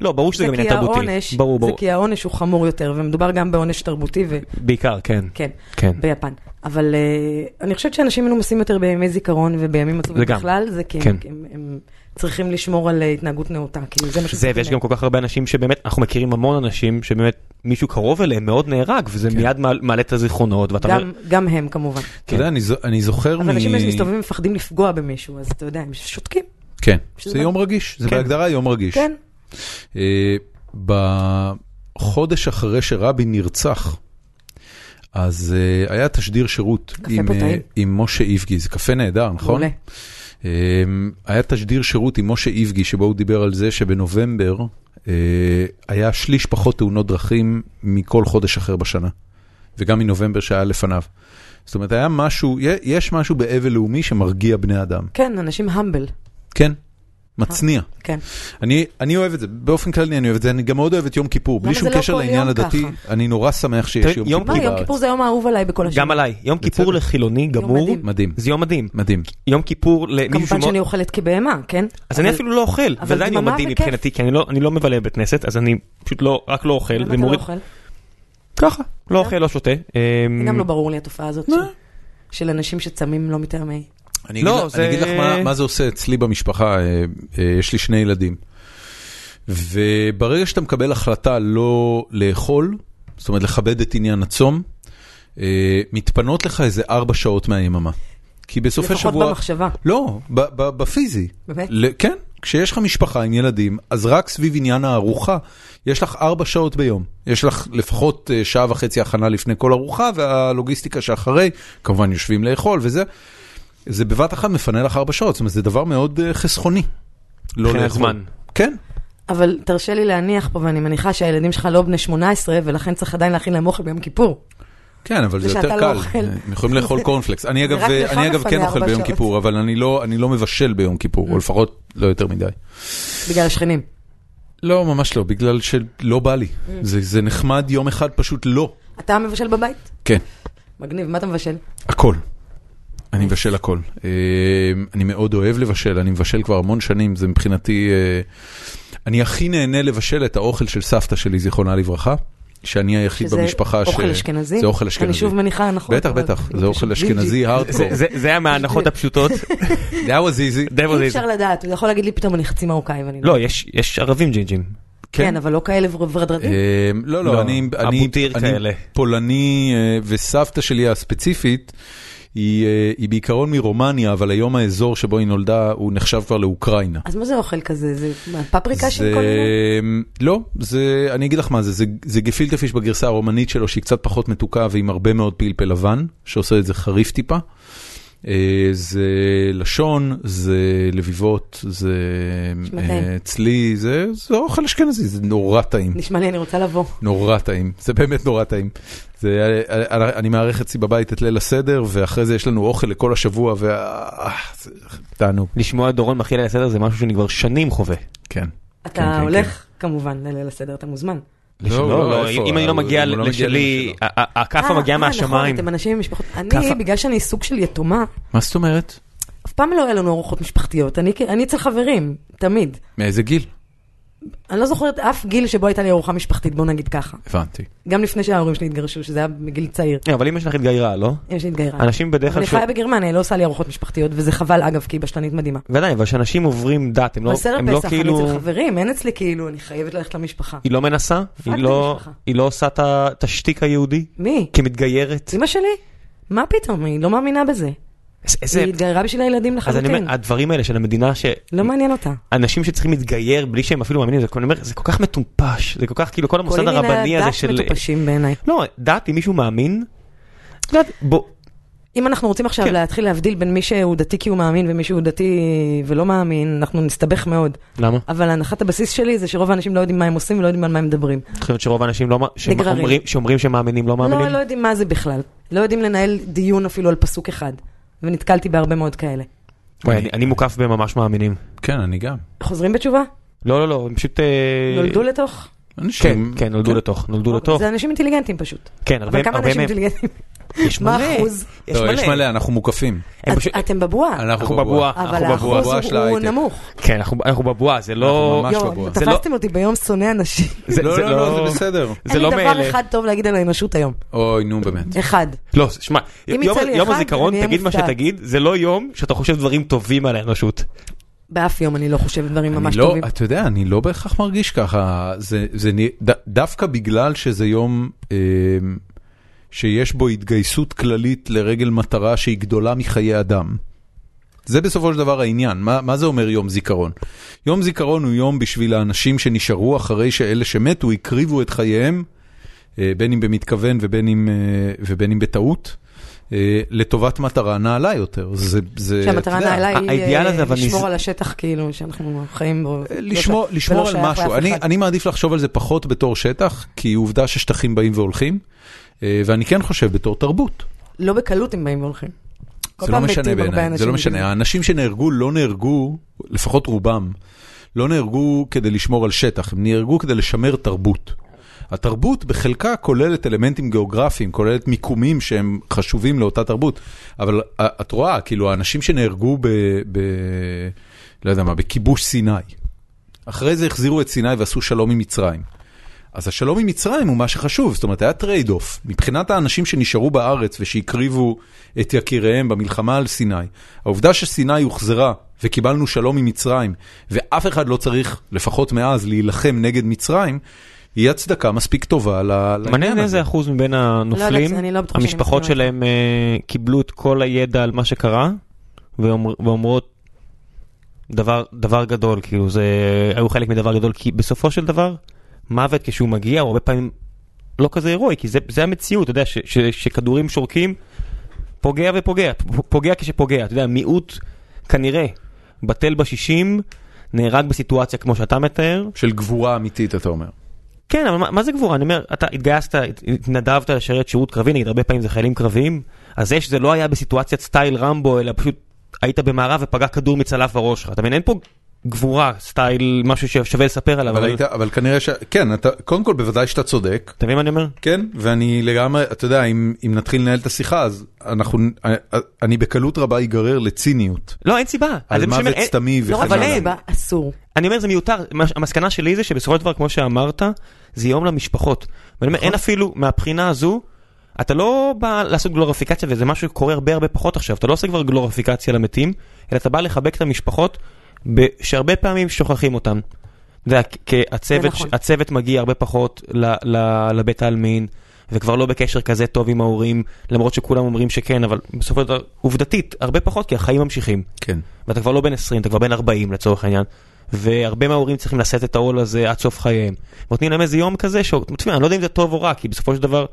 [SPEAKER 2] לא, ברור שזה
[SPEAKER 3] זה
[SPEAKER 2] גם
[SPEAKER 3] כי
[SPEAKER 2] עניין תרבותי.
[SPEAKER 3] העונש,
[SPEAKER 2] ברור,
[SPEAKER 3] זה
[SPEAKER 2] ברור.
[SPEAKER 3] כי העונש הוא חמור יותר, ומדובר גם בעונש תרבותי,
[SPEAKER 2] בעיקר, כן.
[SPEAKER 3] וכן,
[SPEAKER 2] כן.
[SPEAKER 3] ביפן. אבל אה, אני חושבת שאנשים מנומסים יותר בימי זיכרון ובימים עצובים
[SPEAKER 2] זה גם.
[SPEAKER 3] בכלל, זה כי הם-
[SPEAKER 2] כן.
[SPEAKER 3] כי הם הם צריכים לשמור על אה, התנהגות נאותה, כאילו זה מה
[SPEAKER 2] זה, ויש גם כל כך הרבה אנשים שבאמת, אנחנו מכירים המון אנשים שבאמת מישהו קרוב אליהם מאוד נהרג, וזה מיד מעל- מעלה את הזיכרונות, ואתה אומר,
[SPEAKER 3] כן. גם, גם הם כמובן.
[SPEAKER 1] אתה יודע, אני, זו- אני זוכר
[SPEAKER 3] אבל אנשים
[SPEAKER 1] מ...
[SPEAKER 3] מסתובבים ומפחדים לפגוע במישהו, אז אתה יודע, הם שותקים,
[SPEAKER 1] כן,
[SPEAKER 3] שזה
[SPEAKER 1] זה
[SPEAKER 3] מה-
[SPEAKER 1] יום רגיש, זה
[SPEAKER 2] כן.
[SPEAKER 1] בהגדרה יום רגיש.
[SPEAKER 3] כן.
[SPEAKER 1] אה, בחודש אחרי שרבין נרצח, אז אה, היה תשדיר שירות
[SPEAKER 3] קפה
[SPEAKER 1] עם,
[SPEAKER 3] פה
[SPEAKER 1] אה,
[SPEAKER 3] טעים.
[SPEAKER 1] עם משה איבגי, זה קפה נהדר, נכון?
[SPEAKER 3] מעולה.
[SPEAKER 1] אה, היה תשדיר שירות עם משה איבגי, שבו הוא דיבר על זה שבנובמבר אה, היה שליש פחות תאונות דרכים מכל חודש אחר בשנה, וגם מנובמבר שהיה לפניו. זאת אומרת, היה משהו, יה- יש משהו באבל לאומי שמרגיע בני אדם.
[SPEAKER 3] כן, אנשים המבל,
[SPEAKER 1] כן, מצניע.
[SPEAKER 3] כן.
[SPEAKER 1] אני, אני אוהב את זה, באופן כללי אני אוהב את זה, אני גם מאוד אוהב את יום כיפור, בלי
[SPEAKER 3] למה
[SPEAKER 1] שום
[SPEAKER 3] זה לא
[SPEAKER 1] קשר
[SPEAKER 3] כל
[SPEAKER 1] לעניין
[SPEAKER 3] יום
[SPEAKER 1] הדתי,
[SPEAKER 3] ככה?
[SPEAKER 1] אני נורא שמח שיש
[SPEAKER 2] תראי,
[SPEAKER 1] יום
[SPEAKER 2] יום
[SPEAKER 1] כיפור
[SPEAKER 3] מה,
[SPEAKER 1] בארץ.
[SPEAKER 3] יום כיפור זה היום האהוב עליי בכל השנה.
[SPEAKER 2] גם עליי, יום כיפור לחילוני גמור,
[SPEAKER 3] מדהים.
[SPEAKER 1] מדהים,
[SPEAKER 2] זה יום מדהים.
[SPEAKER 1] מדהים.
[SPEAKER 2] יום כיפור למישהו
[SPEAKER 3] כמובן
[SPEAKER 2] שמאוד...
[SPEAKER 3] שאני אוכלת כבהמה, כן?
[SPEAKER 2] אז אני
[SPEAKER 3] אבל-
[SPEAKER 2] אפילו לא אוכל,
[SPEAKER 3] אבל
[SPEAKER 2] וזה עדיין יום
[SPEAKER 3] דממה
[SPEAKER 2] מדהים
[SPEAKER 3] וכיף.
[SPEAKER 2] מבחינתי, כי אני לא- אני לא מבלה בבית כנסת, אז אני פשוט לא, רק לא אוכל,
[SPEAKER 3] למה
[SPEAKER 2] זה
[SPEAKER 3] אתה לא
[SPEAKER 2] מוריד...
[SPEAKER 3] אוכל?
[SPEAKER 2] ככה, לא אוכל, לא שותה. אמ,
[SPEAKER 3] זה גם לא ברור לי התופעה הזאת של- של אנשים שצמים לא מטעמי.
[SPEAKER 1] אני,
[SPEAKER 2] לא,
[SPEAKER 1] אגיד, לך-
[SPEAKER 2] זה-
[SPEAKER 1] אני אגיד לך מה, מה זה עושה אצלי במשפחה, אה, אה, יש לי שני ילדים. וברגע שאתה מקבל החלטה לא לאכול, זאת אומרת לכבד את עניין הצום, אה, מתפנות לך איזה ארבע שעות מהיממה. כי בסופי
[SPEAKER 3] לפחות
[SPEAKER 1] שבוע...
[SPEAKER 3] במחשבה.
[SPEAKER 1] לא, ב- ב- בפיזי.
[SPEAKER 3] באמת?
[SPEAKER 1] ל- כן, כשיש לך משפחה עם ילדים, אז רק סביב עניין הארוחה, יש לך ארבע שעות ביום. יש לך לפחות אה, שעה וחצי הכנה לפני כל ארוחה, והלוגיסטיקה שאחרי, כמובן יושבים לאכול וזה. זה בבת אחת מפנה לך ארבע שעות, זאת אומרת, זה דבר מאוד אה, חסכוני. לא
[SPEAKER 2] מבחינת
[SPEAKER 1] לאכול.
[SPEAKER 2] זמן.
[SPEAKER 1] כן,
[SPEAKER 3] אבל תרשה לי להניח פה, ואני מניחה שהילדים שלך לא בני 18, ולכן צריך עדיין להכין להם אוכל ביום כיפור.
[SPEAKER 1] כן, אבל זה
[SPEAKER 3] ושאתה
[SPEAKER 1] יותר
[SPEAKER 3] לא
[SPEAKER 1] קל. אה,
[SPEAKER 3] אוכל.
[SPEAKER 1] הם יכולים לאכול קורנפלקס. אני אגב,
[SPEAKER 3] רק לך
[SPEAKER 1] אני אגב
[SPEAKER 3] מפנה
[SPEAKER 1] כן אוכל
[SPEAKER 3] ארבע
[SPEAKER 1] ביום
[SPEAKER 3] שעות. אה.
[SPEAKER 1] כיפור, אבל אני לא, אני לא מבשל ביום כיפור, או לפחות לא יותר מדי.
[SPEAKER 3] בגלל השכנים.
[SPEAKER 1] לא, ממש לא, בגלל שלא בא לי.
[SPEAKER 3] Mm.
[SPEAKER 1] זה, זה נחמד יום אחד, פשוט לא.
[SPEAKER 3] אתה מבשל בבית?
[SPEAKER 1] כן,
[SPEAKER 3] מגניב, מה אתה מבשל?
[SPEAKER 1] הכל. אני מבשל הכל. אה, אני מאוד אוהב לבשל, אני מבשל כבר המון שנים, זה מבחינתי... אה, אני הכי נהנה לבשל את האוכל של סבתא שלי, זיכרונה לברכה. שאני היחיד
[SPEAKER 3] שזה
[SPEAKER 1] במשפחה ש...
[SPEAKER 3] אוכל אשכנזי?
[SPEAKER 1] זה אוכל אשכנזי.
[SPEAKER 3] אני שוב מניחה, נכון.
[SPEAKER 1] בטח,
[SPEAKER 3] אבל-
[SPEAKER 1] בטח,
[SPEAKER 3] אם
[SPEAKER 1] זה אוכל
[SPEAKER 3] פשוט בלתי-
[SPEAKER 1] אשכנזי
[SPEAKER 2] זה-
[SPEAKER 3] לא.
[SPEAKER 1] הארדקור.
[SPEAKER 2] זה- זה היה מההנחות הפשוטות.
[SPEAKER 1] זה היה וזיזי.
[SPEAKER 2] דבו
[SPEAKER 3] אי
[SPEAKER 2] זה-
[SPEAKER 3] אפשר לדעת, הוא יכול להגיד לי פתאום אני חצי מרוקאי ואני לא.
[SPEAKER 2] לא, יש- יש ערבים ג'ינג'ים.
[SPEAKER 3] כן, אבל לא כאלה ורדרדים.
[SPEAKER 1] אמ, לא,
[SPEAKER 2] לא,
[SPEAKER 1] לא, אני, אני,
[SPEAKER 2] אבוטיר כאלה.
[SPEAKER 1] אני פולני, אה, וסבתא שלי הספציפית, היא, אה, היא בעיקרון מרומניה, אבל היום האזור שבו היא נולדה, הוא נחשב כבר לאוקראינה.
[SPEAKER 3] אז מה זה אוכל כזה? זה מה, פפריקה של
[SPEAKER 1] זה-
[SPEAKER 3] כל מיני?
[SPEAKER 1] לא, זה, אני אגיד לך מה זה, זה, זה גפילטה פיש בגרסה הרומנית שלו, שהיא קצת פחות מתוקה ועם הרבה מאוד פלפל לבן, שעושה את זה חריף טיפה. אה, זה לשון, זה לביבות, זה
[SPEAKER 3] שמתאים.
[SPEAKER 1] אה, צלי, זה, זה אוכל אשכנזי, זה נורא טעים.
[SPEAKER 3] נשמע לי, אני רוצה לבוא.
[SPEAKER 1] נורא טעים, זה באמת נורא טעים. זה, אה, אני מארח אצלי בבית את ליל הסדר, ואחרי זה יש לנו אוכל לכל השבוע, וה... אה, זה תענוג,
[SPEAKER 2] לשמוע את דורון מכיל על הסדר זה משהו שאני כבר שנים חווה.
[SPEAKER 1] כן. כן,
[SPEAKER 3] אתה
[SPEAKER 1] כן.
[SPEAKER 3] הולך, כמובן, לליל הסדר, אתה מוזמן.
[SPEAKER 2] לא, לא,
[SPEAKER 1] איפה?
[SPEAKER 2] אם אני לא
[SPEAKER 1] הוא-
[SPEAKER 2] מגיע
[SPEAKER 1] הוא לא מגיע
[SPEAKER 2] לשלי,
[SPEAKER 1] לשלו.
[SPEAKER 2] ה- ה- הכאפה
[SPEAKER 3] אה,
[SPEAKER 2] מגיעה
[SPEAKER 3] אה, נכון,
[SPEAKER 2] מהשמיים.
[SPEAKER 3] אתם אנשים עם משפחות... אני,
[SPEAKER 2] כאפה.
[SPEAKER 3] בגלל שאני סוג של יתומה,
[SPEAKER 1] מה זאת אומרת?
[SPEAKER 3] אף פעם לא היה לנו ארוחות משפחתיות. אני כ- אני אצל חברים, תמיד.
[SPEAKER 1] מאיזה גיל?
[SPEAKER 3] אני לא זוכרת אף גיל שבו הייתה לי ארוחה משפחתית, בוא נגיד ככה.
[SPEAKER 1] הבנתי.
[SPEAKER 3] גם לפני שההורים שלי התגרשו, שזה היה מגיל צעיר.
[SPEAKER 2] אה, אבל אמא שלך התגיירה, לא?
[SPEAKER 3] אמא שלי התגיירה.
[SPEAKER 2] אנשים בדרך כלל...
[SPEAKER 3] אה. אני
[SPEAKER 2] ש-
[SPEAKER 3] חיה בגרמניה, היא לא עושה לי ארוחות משפחתיות, וזה חבל אגב, כי היא בשלנית מדהימה.
[SPEAKER 2] ודאי, אבל שאנשים עוברים דת, הם לא,
[SPEAKER 3] בסדר
[SPEAKER 2] הם לא
[SPEAKER 3] פסח, אני
[SPEAKER 2] כאילו...
[SPEAKER 3] אצל חברים, אין אצלי כאילו, אני חייבת ללכת למשפחה.
[SPEAKER 2] היא לא מנסה? היא
[SPEAKER 3] את
[SPEAKER 2] לא,
[SPEAKER 3] המשפחה.
[SPEAKER 2] היא לא עושה את ה- את השטיק היהודי?
[SPEAKER 3] מי?
[SPEAKER 2] כמתגיירת?
[SPEAKER 3] אמא שלי? מה פתאום, היא לא מאמינה בזה.
[SPEAKER 2] איזה- איזה...
[SPEAKER 3] היא התגיירה בשביל הילדים
[SPEAKER 2] אז אני
[SPEAKER 3] לחלוטין.
[SPEAKER 2] אומר, הדברים האלה של המדינה, ש-
[SPEAKER 3] לא מעניין אותה.
[SPEAKER 2] אנשים שצריכים להתגייר בלי שהם אפילו מאמינים, זה כל- אני אומר, זה כל כך מטומפש, זה כל כך כאילו כל
[SPEAKER 3] כל
[SPEAKER 2] המוסד הרבני
[SPEAKER 3] ענייני
[SPEAKER 2] הזה
[SPEAKER 3] הדת
[SPEAKER 2] של...
[SPEAKER 3] מטופשים בעיניי.
[SPEAKER 2] לא, דת, אם מישהו מאמין, את יודעת, בוא,
[SPEAKER 3] אם אנחנו רוצים עכשיו
[SPEAKER 2] כן.
[SPEAKER 3] להתחיל להבדיל בין מי שהוא דתי כי הוא מאמין ומי שהוא דתי ולא מאמין, אנחנו נסתבך מאוד.
[SPEAKER 2] למה?
[SPEAKER 3] אבל הנחת הבסיס שלי זה שרוב האנשים לא יודעים מה הם עושים ולא יודעים על מה הם מדברים.
[SPEAKER 2] את חושבת שרוב האנשים לא, מא-
[SPEAKER 3] נגררים.
[SPEAKER 2] שאומרים, שאומרים שהם מאמינים לא מאמינים?
[SPEAKER 3] לא, לא יודעים מה זה בכלל. לא יודעים לנהל דיון אפילו על פסוק אחד. ונתקלתי בהרבה מאוד כאלה.
[SPEAKER 2] וואי, אני, אני מוקף בממש מאמינים.
[SPEAKER 1] כן, אני גם.
[SPEAKER 3] חוזרים בתשובה?
[SPEAKER 2] לא, לא, לא, הם פשוט... אה,
[SPEAKER 3] נולדו לתוך?
[SPEAKER 2] כן,
[SPEAKER 1] אנשים...
[SPEAKER 2] כן, נולדו לתוך, נולדו לתוך.
[SPEAKER 3] זה אנשים אינטליגנטים פשוט.
[SPEAKER 2] כן, הרבה
[SPEAKER 3] אבל כמה
[SPEAKER 2] הרבה
[SPEAKER 3] אנשים
[SPEAKER 2] מהם.
[SPEAKER 3] אינטליגנטים?
[SPEAKER 2] יש
[SPEAKER 3] מה
[SPEAKER 2] מלא.
[SPEAKER 3] האחוז?
[SPEAKER 2] יש
[SPEAKER 1] לא, יש
[SPEAKER 2] מלא.
[SPEAKER 1] מלא, אנחנו מוקפים.
[SPEAKER 2] הם פשוט-
[SPEAKER 3] את- אתם בבועה.
[SPEAKER 2] אנחנו בבועה.
[SPEAKER 3] אבל
[SPEAKER 2] אנחנו בבועה,
[SPEAKER 3] האחוז
[SPEAKER 1] בבועה של
[SPEAKER 3] הוא- הוא
[SPEAKER 1] ההייטק.
[SPEAKER 3] נמוך.
[SPEAKER 2] כן, אנחנו אנחנו בבועה, זה לא...
[SPEAKER 1] אנחנו ממש
[SPEAKER 3] יואו,
[SPEAKER 1] בבועה.
[SPEAKER 2] זה לא-
[SPEAKER 3] תפסתם אותי ביום שונא אנשים.
[SPEAKER 2] זה-
[SPEAKER 1] לא,
[SPEAKER 2] זה
[SPEAKER 1] לא, לא, זה בסדר.
[SPEAKER 2] זה
[SPEAKER 3] אין
[SPEAKER 2] לא
[SPEAKER 3] לי דבר
[SPEAKER 2] מאלה.
[SPEAKER 3] אחד טוב להגיד על האנושות היום.
[SPEAKER 1] אוי, נו באמת.
[SPEAKER 3] אחד.
[SPEAKER 2] לא, שמע,
[SPEAKER 3] אם
[SPEAKER 2] יום-
[SPEAKER 3] יצא לי
[SPEAKER 2] יום
[SPEAKER 3] אחד,
[SPEAKER 2] הזיכרון,
[SPEAKER 3] אני אהיה
[SPEAKER 2] תגיד מה
[SPEAKER 3] מופתעת.
[SPEAKER 2] שתגיד, זה לא יום שאתה חושב דברים טובים על האנושות.
[SPEAKER 3] באף יום אני לא חושבת דברים
[SPEAKER 1] אני
[SPEAKER 3] ממש
[SPEAKER 1] לא,
[SPEAKER 3] טובים.
[SPEAKER 1] אתה יודע, אני לא בהכרח מרגיש ככה. זה, זה, נ- ד, דווקא בגלל שזה יום אה, שיש בו התגייסות כללית לרגל מטרה שהיא גדולה מחיי אדם. זה בסופו של דבר העניין, מה, מה זה אומר יום זיכרון? יום זיכרון הוא יום בשביל האנשים שנשארו אחרי שאלה שמתו הקריבו את חייהם, אה, בין אם במתכוון ובין אם, אה, ובין אם בטעות, אה, לטובת מטרה נעלה יותר. זה, זה,
[SPEAKER 3] שהמטרה
[SPEAKER 1] אה, אתה יודע,
[SPEAKER 3] נעלה היא
[SPEAKER 2] האידיאל
[SPEAKER 3] אה,
[SPEAKER 2] הזה, אבל נז-
[SPEAKER 3] לשמור על השטח כאילו שאנחנו חיים בו.
[SPEAKER 1] אה, לשמור,
[SPEAKER 3] לא ש-
[SPEAKER 1] לשמור
[SPEAKER 3] ולא
[SPEAKER 1] על
[SPEAKER 3] שייך
[SPEAKER 1] משהו.
[SPEAKER 3] לאף
[SPEAKER 1] אני,
[SPEAKER 3] אחד.
[SPEAKER 1] אני מעדיף לחשוב על זה פחות בתור שטח, כי עובדה ששטחים באים והולכים, אה, ואני כן חושב בתור תרבות.
[SPEAKER 3] לא בקלות הם באים והולכים. כל
[SPEAKER 1] זה לא
[SPEAKER 3] פעם מתים
[SPEAKER 1] משנה
[SPEAKER 3] הרבה
[SPEAKER 1] בעיניי, זה
[SPEAKER 3] אנשים
[SPEAKER 1] לא משנה. האנשים שנהרגו לא נהרגו, לפחות רובם, לא נהרגו כדי לשמור על שטח, הם נהרגו כדי לשמר תרבות. התרבות בחלקה כוללת אלמנטים גיאוגרפיים, כוללת מיקומים שהם חשובים לאותה תרבות, אבל אה, את רואה, כאילו, האנשים שנהרגו ב... ב לא יודע מה, בכיבוש סיני. אחרי זה החזירו את סיני ועשו שלום עם מצרים. אז השלום עם מצרים הוא מה שחשוב, זאת אומרת היה טרייד אוף. מבחינת האנשים שנשארו בארץ ושהקריבו את יקיריהם במלחמה על סיני, העובדה שסיני הוחזרה וקיבלנו שלום עם מצרים, ואף אחד לא צריך, לפחות מאז, להילחם נגד מצרים, היא הצדקה מספיק טובה ל- לעניין
[SPEAKER 2] מעניין איזה
[SPEAKER 1] הזה.
[SPEAKER 2] אחוז מבין הנופלים,
[SPEAKER 3] לא יודעת, אני לא בטוחה שאני
[SPEAKER 2] המשפחות
[SPEAKER 3] מסכימה
[SPEAKER 2] שלהם אה, קיבלו את כל הידע על מה שקרה, ואומר- ואומרות דבר דבר גדול, כאילו זה, היו חלק מדבר גדול, כי בסופו של דבר, מוות כשהוא מגיע הוא הרבה פעמים לא כזה הירואי, כי זה- זה המציאות, אתה יודע, ש- ש- שכדורים שורקים, פוגע ופוגע, פ- פוגע כשפוגע, אתה יודע, מיעוט כנראה, בטל בשישים, נהרג בסיטואציה כמו שאתה מתאר,
[SPEAKER 1] של גבורה אמיתית, אתה אומר.
[SPEAKER 2] כן, אבל מה, מה זה גבורה? אני אומר, אתה התגייסת, הת- התנדבת לשרת שירות קרבי, נגיד הרבה פעמים זה חיילים קרביים, אז זה שזה לא היה בסיטואציית סטייל רמבו, אלא פשוט היית במערב ופגע כדור מצלף בראש שלך. אתה מבין, אין פה גבורה, סטייל, משהו ששווה לספר עליו.
[SPEAKER 1] אבל היית, אבל כנראה ש... כן, אתה, קודם כל בוודאי שאתה צודק,
[SPEAKER 2] אתה מבין מה אני אומר?
[SPEAKER 1] כן, ואני לגמרי, אתה יודע, אם, אם נתחיל לנהל את השיחה, אז אנחנו, אה, אני בקלות רבה ייגרר לציניות.
[SPEAKER 2] לא, אין סיבה. אז
[SPEAKER 1] על
[SPEAKER 2] זה מה שאני אומר,
[SPEAKER 1] מוות
[SPEAKER 2] אין-
[SPEAKER 1] סתמי
[SPEAKER 3] לא,
[SPEAKER 1] וכן
[SPEAKER 3] אבל אין
[SPEAKER 1] הלאה.
[SPEAKER 3] סיבה, אסור.
[SPEAKER 2] אני אומר זה מיותר, מה- המסקנה שלי זה שבסופו של דבר כמו שאמרת, זה יום למשפחות. ואני אומר אין
[SPEAKER 3] נכון.
[SPEAKER 2] אפילו מהבחינה הזו, אתה לא בא לעשות גלוריפיקציה וזה משהו שקורה הרבה הרבה פחות עכשיו, אתה לא עושה כבר גלוריפיקציה למתים, אלא אתה בא לחבק את המשפחות ב- שהרבה פעמים שוכחים אותם. אתה יודע, כ- כי
[SPEAKER 3] זה
[SPEAKER 2] הצוות,
[SPEAKER 3] נכון.
[SPEAKER 2] הצוות מגיע הרבה פחות ל, ל, לבית העלמין, וכבר לא בקשר כזה טוב עם ההורים, למרות שכולם אומרים שכן, אבל בסופו של דבר, עובדתית, הרבה פחות, כי החיים ממשיכים.
[SPEAKER 1] כן.
[SPEAKER 2] ואתה כבר לא בן 20, אתה כבר בן 40 לצורך העניין. והרבה מההורים צריכים לשאת את העול הזה עד סוף חייהם. נותנים להם איזה יום כזה, ש... תשמע, אני לא יודע אם זה טוב או רע, כי בסופו של דבר,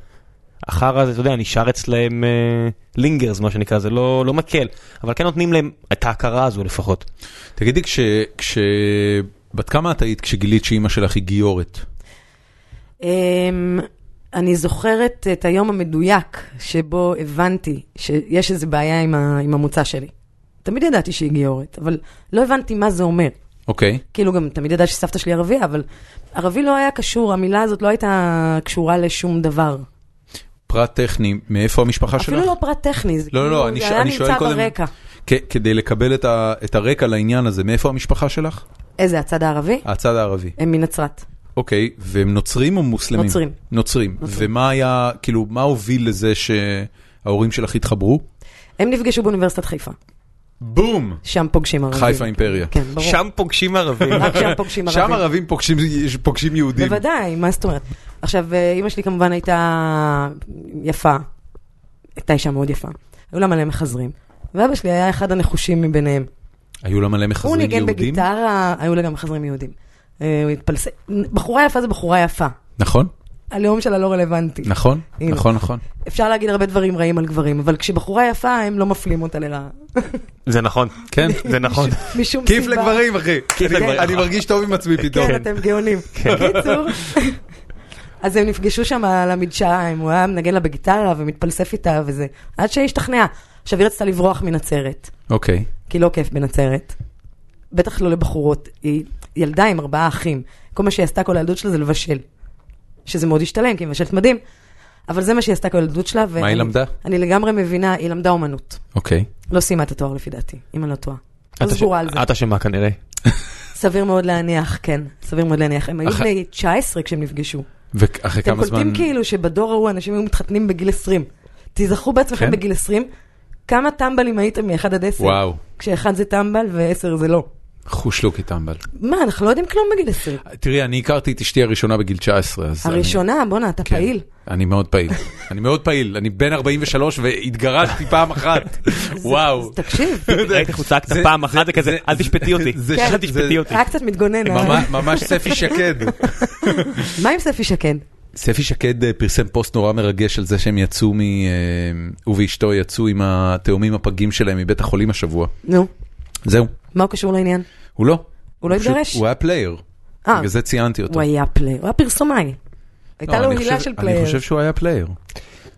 [SPEAKER 2] אחר הזה, אתה יודע, נשאר אצלהם אה, לינגרס, מה שנקרא, זה לא, לא מקל. אבל כן נותנים להם את ההכרה הזו לפחות.
[SPEAKER 1] תגידי, כש... כש... בת כמה את היית כשגילית שאימא שלך היא גיורת?
[SPEAKER 3] אמ, אני זוכרת את היום המדויק שבו הבנתי שיש איזו בעיה עם, ה, עם המוצא שלי. תמיד ידעתי שהיא גיורת, אבל לא הבנתי מה זה אומר.
[SPEAKER 1] אוקיי.
[SPEAKER 3] כאילו גם תמיד ידעתי שסבתא שלי ערבייה, אבל ערבי לא היה קשור, המילה הזאת לא הייתה קשורה לשום דבר.
[SPEAKER 1] פרט טכני, מאיפה המשפחה שלך?
[SPEAKER 3] אפילו לא פרט טכני, זה
[SPEAKER 1] לא, לא,
[SPEAKER 3] כאילו,
[SPEAKER 1] אני ש-
[SPEAKER 3] זה היה
[SPEAKER 1] אני שואל
[SPEAKER 3] נמצא
[SPEAKER 1] קודם-
[SPEAKER 3] ברקע.
[SPEAKER 1] כ- כדי לקבל את, ה... את הרקע לעניין הזה, מאיפה המשפחה שלך?
[SPEAKER 3] איזה, הצד הערבי?
[SPEAKER 1] הצד הערבי.
[SPEAKER 3] הם מנצרת.
[SPEAKER 1] אוקיי, והם נוצרים או מוסלמים?
[SPEAKER 3] נוצרים.
[SPEAKER 1] נוצרים.
[SPEAKER 3] נוצרים.
[SPEAKER 1] ומה היה, כאילו, מה הוביל לזה שההורים שלך התחברו?
[SPEAKER 3] הם נפגשו באוניברסיטת חיפה,
[SPEAKER 1] בום!
[SPEAKER 3] שם פוגשים ערבים.
[SPEAKER 1] חיפה אימפריה.
[SPEAKER 3] כן, ברור.
[SPEAKER 2] פוגשים ערבים.
[SPEAKER 3] רק שם פוגשים
[SPEAKER 1] שם
[SPEAKER 3] ערבים.
[SPEAKER 1] ערבים פוגשים, פוגשים יהודים.
[SPEAKER 3] בוודאי, מה זאת אומרת? עכשיו, אה, אימא שלי כמובן הייתה יפה, הייתה אישה מאוד יפה. היו לה מלא מחזרים. ואבא שלי היה אחד הנחושים מביניהם.
[SPEAKER 1] היו לה מלא
[SPEAKER 3] הוא
[SPEAKER 1] מחזרים יהודים.
[SPEAKER 3] ניגן בגיטרה, היו לה גם מחזרים יהודים. אה, הוא התפלסף. בחורה יפה זה בחורה יפה.
[SPEAKER 1] נכון,
[SPEAKER 3] הלאום שלה לא רלוונטי.
[SPEAKER 1] נכון,
[SPEAKER 3] הנה.
[SPEAKER 1] נכון, נכון.
[SPEAKER 3] אפשר להגיד הרבה דברים רעים על גברים, אבל כשבחורה יפה, הם לא מפלים אותה לרעה.
[SPEAKER 2] זה נכון,
[SPEAKER 1] כן.
[SPEAKER 2] זה נכון.
[SPEAKER 3] משום סיבה.
[SPEAKER 1] כיף לגברים, אחי. אני-
[SPEAKER 2] לגברים.
[SPEAKER 1] אני מרגיש טוב עם עצמי פתאום.
[SPEAKER 3] כן, אתם גאונים. בקיצור, אז הם נפגשו שם על המדשאה, הם- הוא היה מנגן לה בגיטרה ומתפלסף איתה וזה, עד שהיא השתכנעה. עכשיו, היא רצתה לברוח מנצרת,
[SPEAKER 1] אוקיי.
[SPEAKER 3] כי לא כיף בנצרת. בטח לא לבחורות. היא ילדה עם ארבעה אחים. כל מה שהיא עשתה כל הילדות שלה זה לבשל. שזה מאוד השתלם, כי היא מבשלת מדהים. אבל זה מה שהיא עשתה כל הילדות שלה.
[SPEAKER 1] מה היא למדה?
[SPEAKER 3] אני לגמרי מבינה, היא למדה אומנות.
[SPEAKER 1] אוקיי. לא
[SPEAKER 3] לא סיימה את התואר לפי דעתי, אם אני לא טועה. לא סגורה על זה.
[SPEAKER 2] את אשמה כנראה.
[SPEAKER 3] סביר מאוד להניח, כן. סביר מאוד להניח. הם היו
[SPEAKER 1] אח-
[SPEAKER 3] בני 19 כשהם נפגשו.
[SPEAKER 1] ואחרי
[SPEAKER 3] אתם
[SPEAKER 1] כמה זמן...
[SPEAKER 3] קולטים כאילו שבדור ההוא אנשים היו מתחתנים בגיל 20. תיזכרו בעצמכם
[SPEAKER 1] כן.
[SPEAKER 3] בגיל 20, כמה טמבלים הייתם מ-1 עד 10.
[SPEAKER 1] וואו,
[SPEAKER 3] כשאחד זה טמבל ועשר זה לא.
[SPEAKER 1] חושלוקי טמבל.
[SPEAKER 3] מה, אנחנו לא יודעים כלום בגיל 20.
[SPEAKER 1] תראי, אני הכרתי את אשתי הראשונה בגיל 19, אז... אני-
[SPEAKER 3] הראשונה, בואנה, אתה
[SPEAKER 1] כן.
[SPEAKER 3] פעיל.
[SPEAKER 1] אני מאוד פעיל. אני מאוד פעיל, אני בן 43 והתגרשתי פעם אחת.
[SPEAKER 3] זה-
[SPEAKER 1] וואו.
[SPEAKER 3] אז תקשיב,
[SPEAKER 2] ראיתי איך הוא צעק
[SPEAKER 1] זה-
[SPEAKER 2] פעם אחת, זה כזה,
[SPEAKER 1] זה-
[SPEAKER 2] אל תשפטי אותי.
[SPEAKER 1] זה-
[SPEAKER 2] אל
[SPEAKER 1] זה-
[SPEAKER 2] תשפטי אותי.
[SPEAKER 3] היה קצת מתגונן. אה?
[SPEAKER 1] ממש- ממש ספי שקד.
[SPEAKER 3] מה עם ספי שקד?
[SPEAKER 1] ספי שקד אה, פרסם פוסט נורא מרגש על זה שהם יצאו מ... אה, הוא ואשתו יצאו עם התאומים הפגים שלהם מבית החולים השבוע.
[SPEAKER 3] נו,
[SPEAKER 1] זהו,
[SPEAKER 3] מה הוא קשור לעניין?
[SPEAKER 1] הוא לא.
[SPEAKER 3] הוא לא
[SPEAKER 1] פשוט-
[SPEAKER 3] התגרש?
[SPEAKER 1] הוא היה פלייר.
[SPEAKER 3] אה,
[SPEAKER 1] בגלל זה ציינתי אותו.
[SPEAKER 3] הוא היה פלייר, הוא היה פרסומאי. הייתה
[SPEAKER 1] לא,
[SPEAKER 3] לו
[SPEAKER 1] אני
[SPEAKER 3] הילה
[SPEAKER 1] חושב-
[SPEAKER 3] של
[SPEAKER 1] אני
[SPEAKER 3] פלייר.
[SPEAKER 1] חושב שהוא היה פלייר.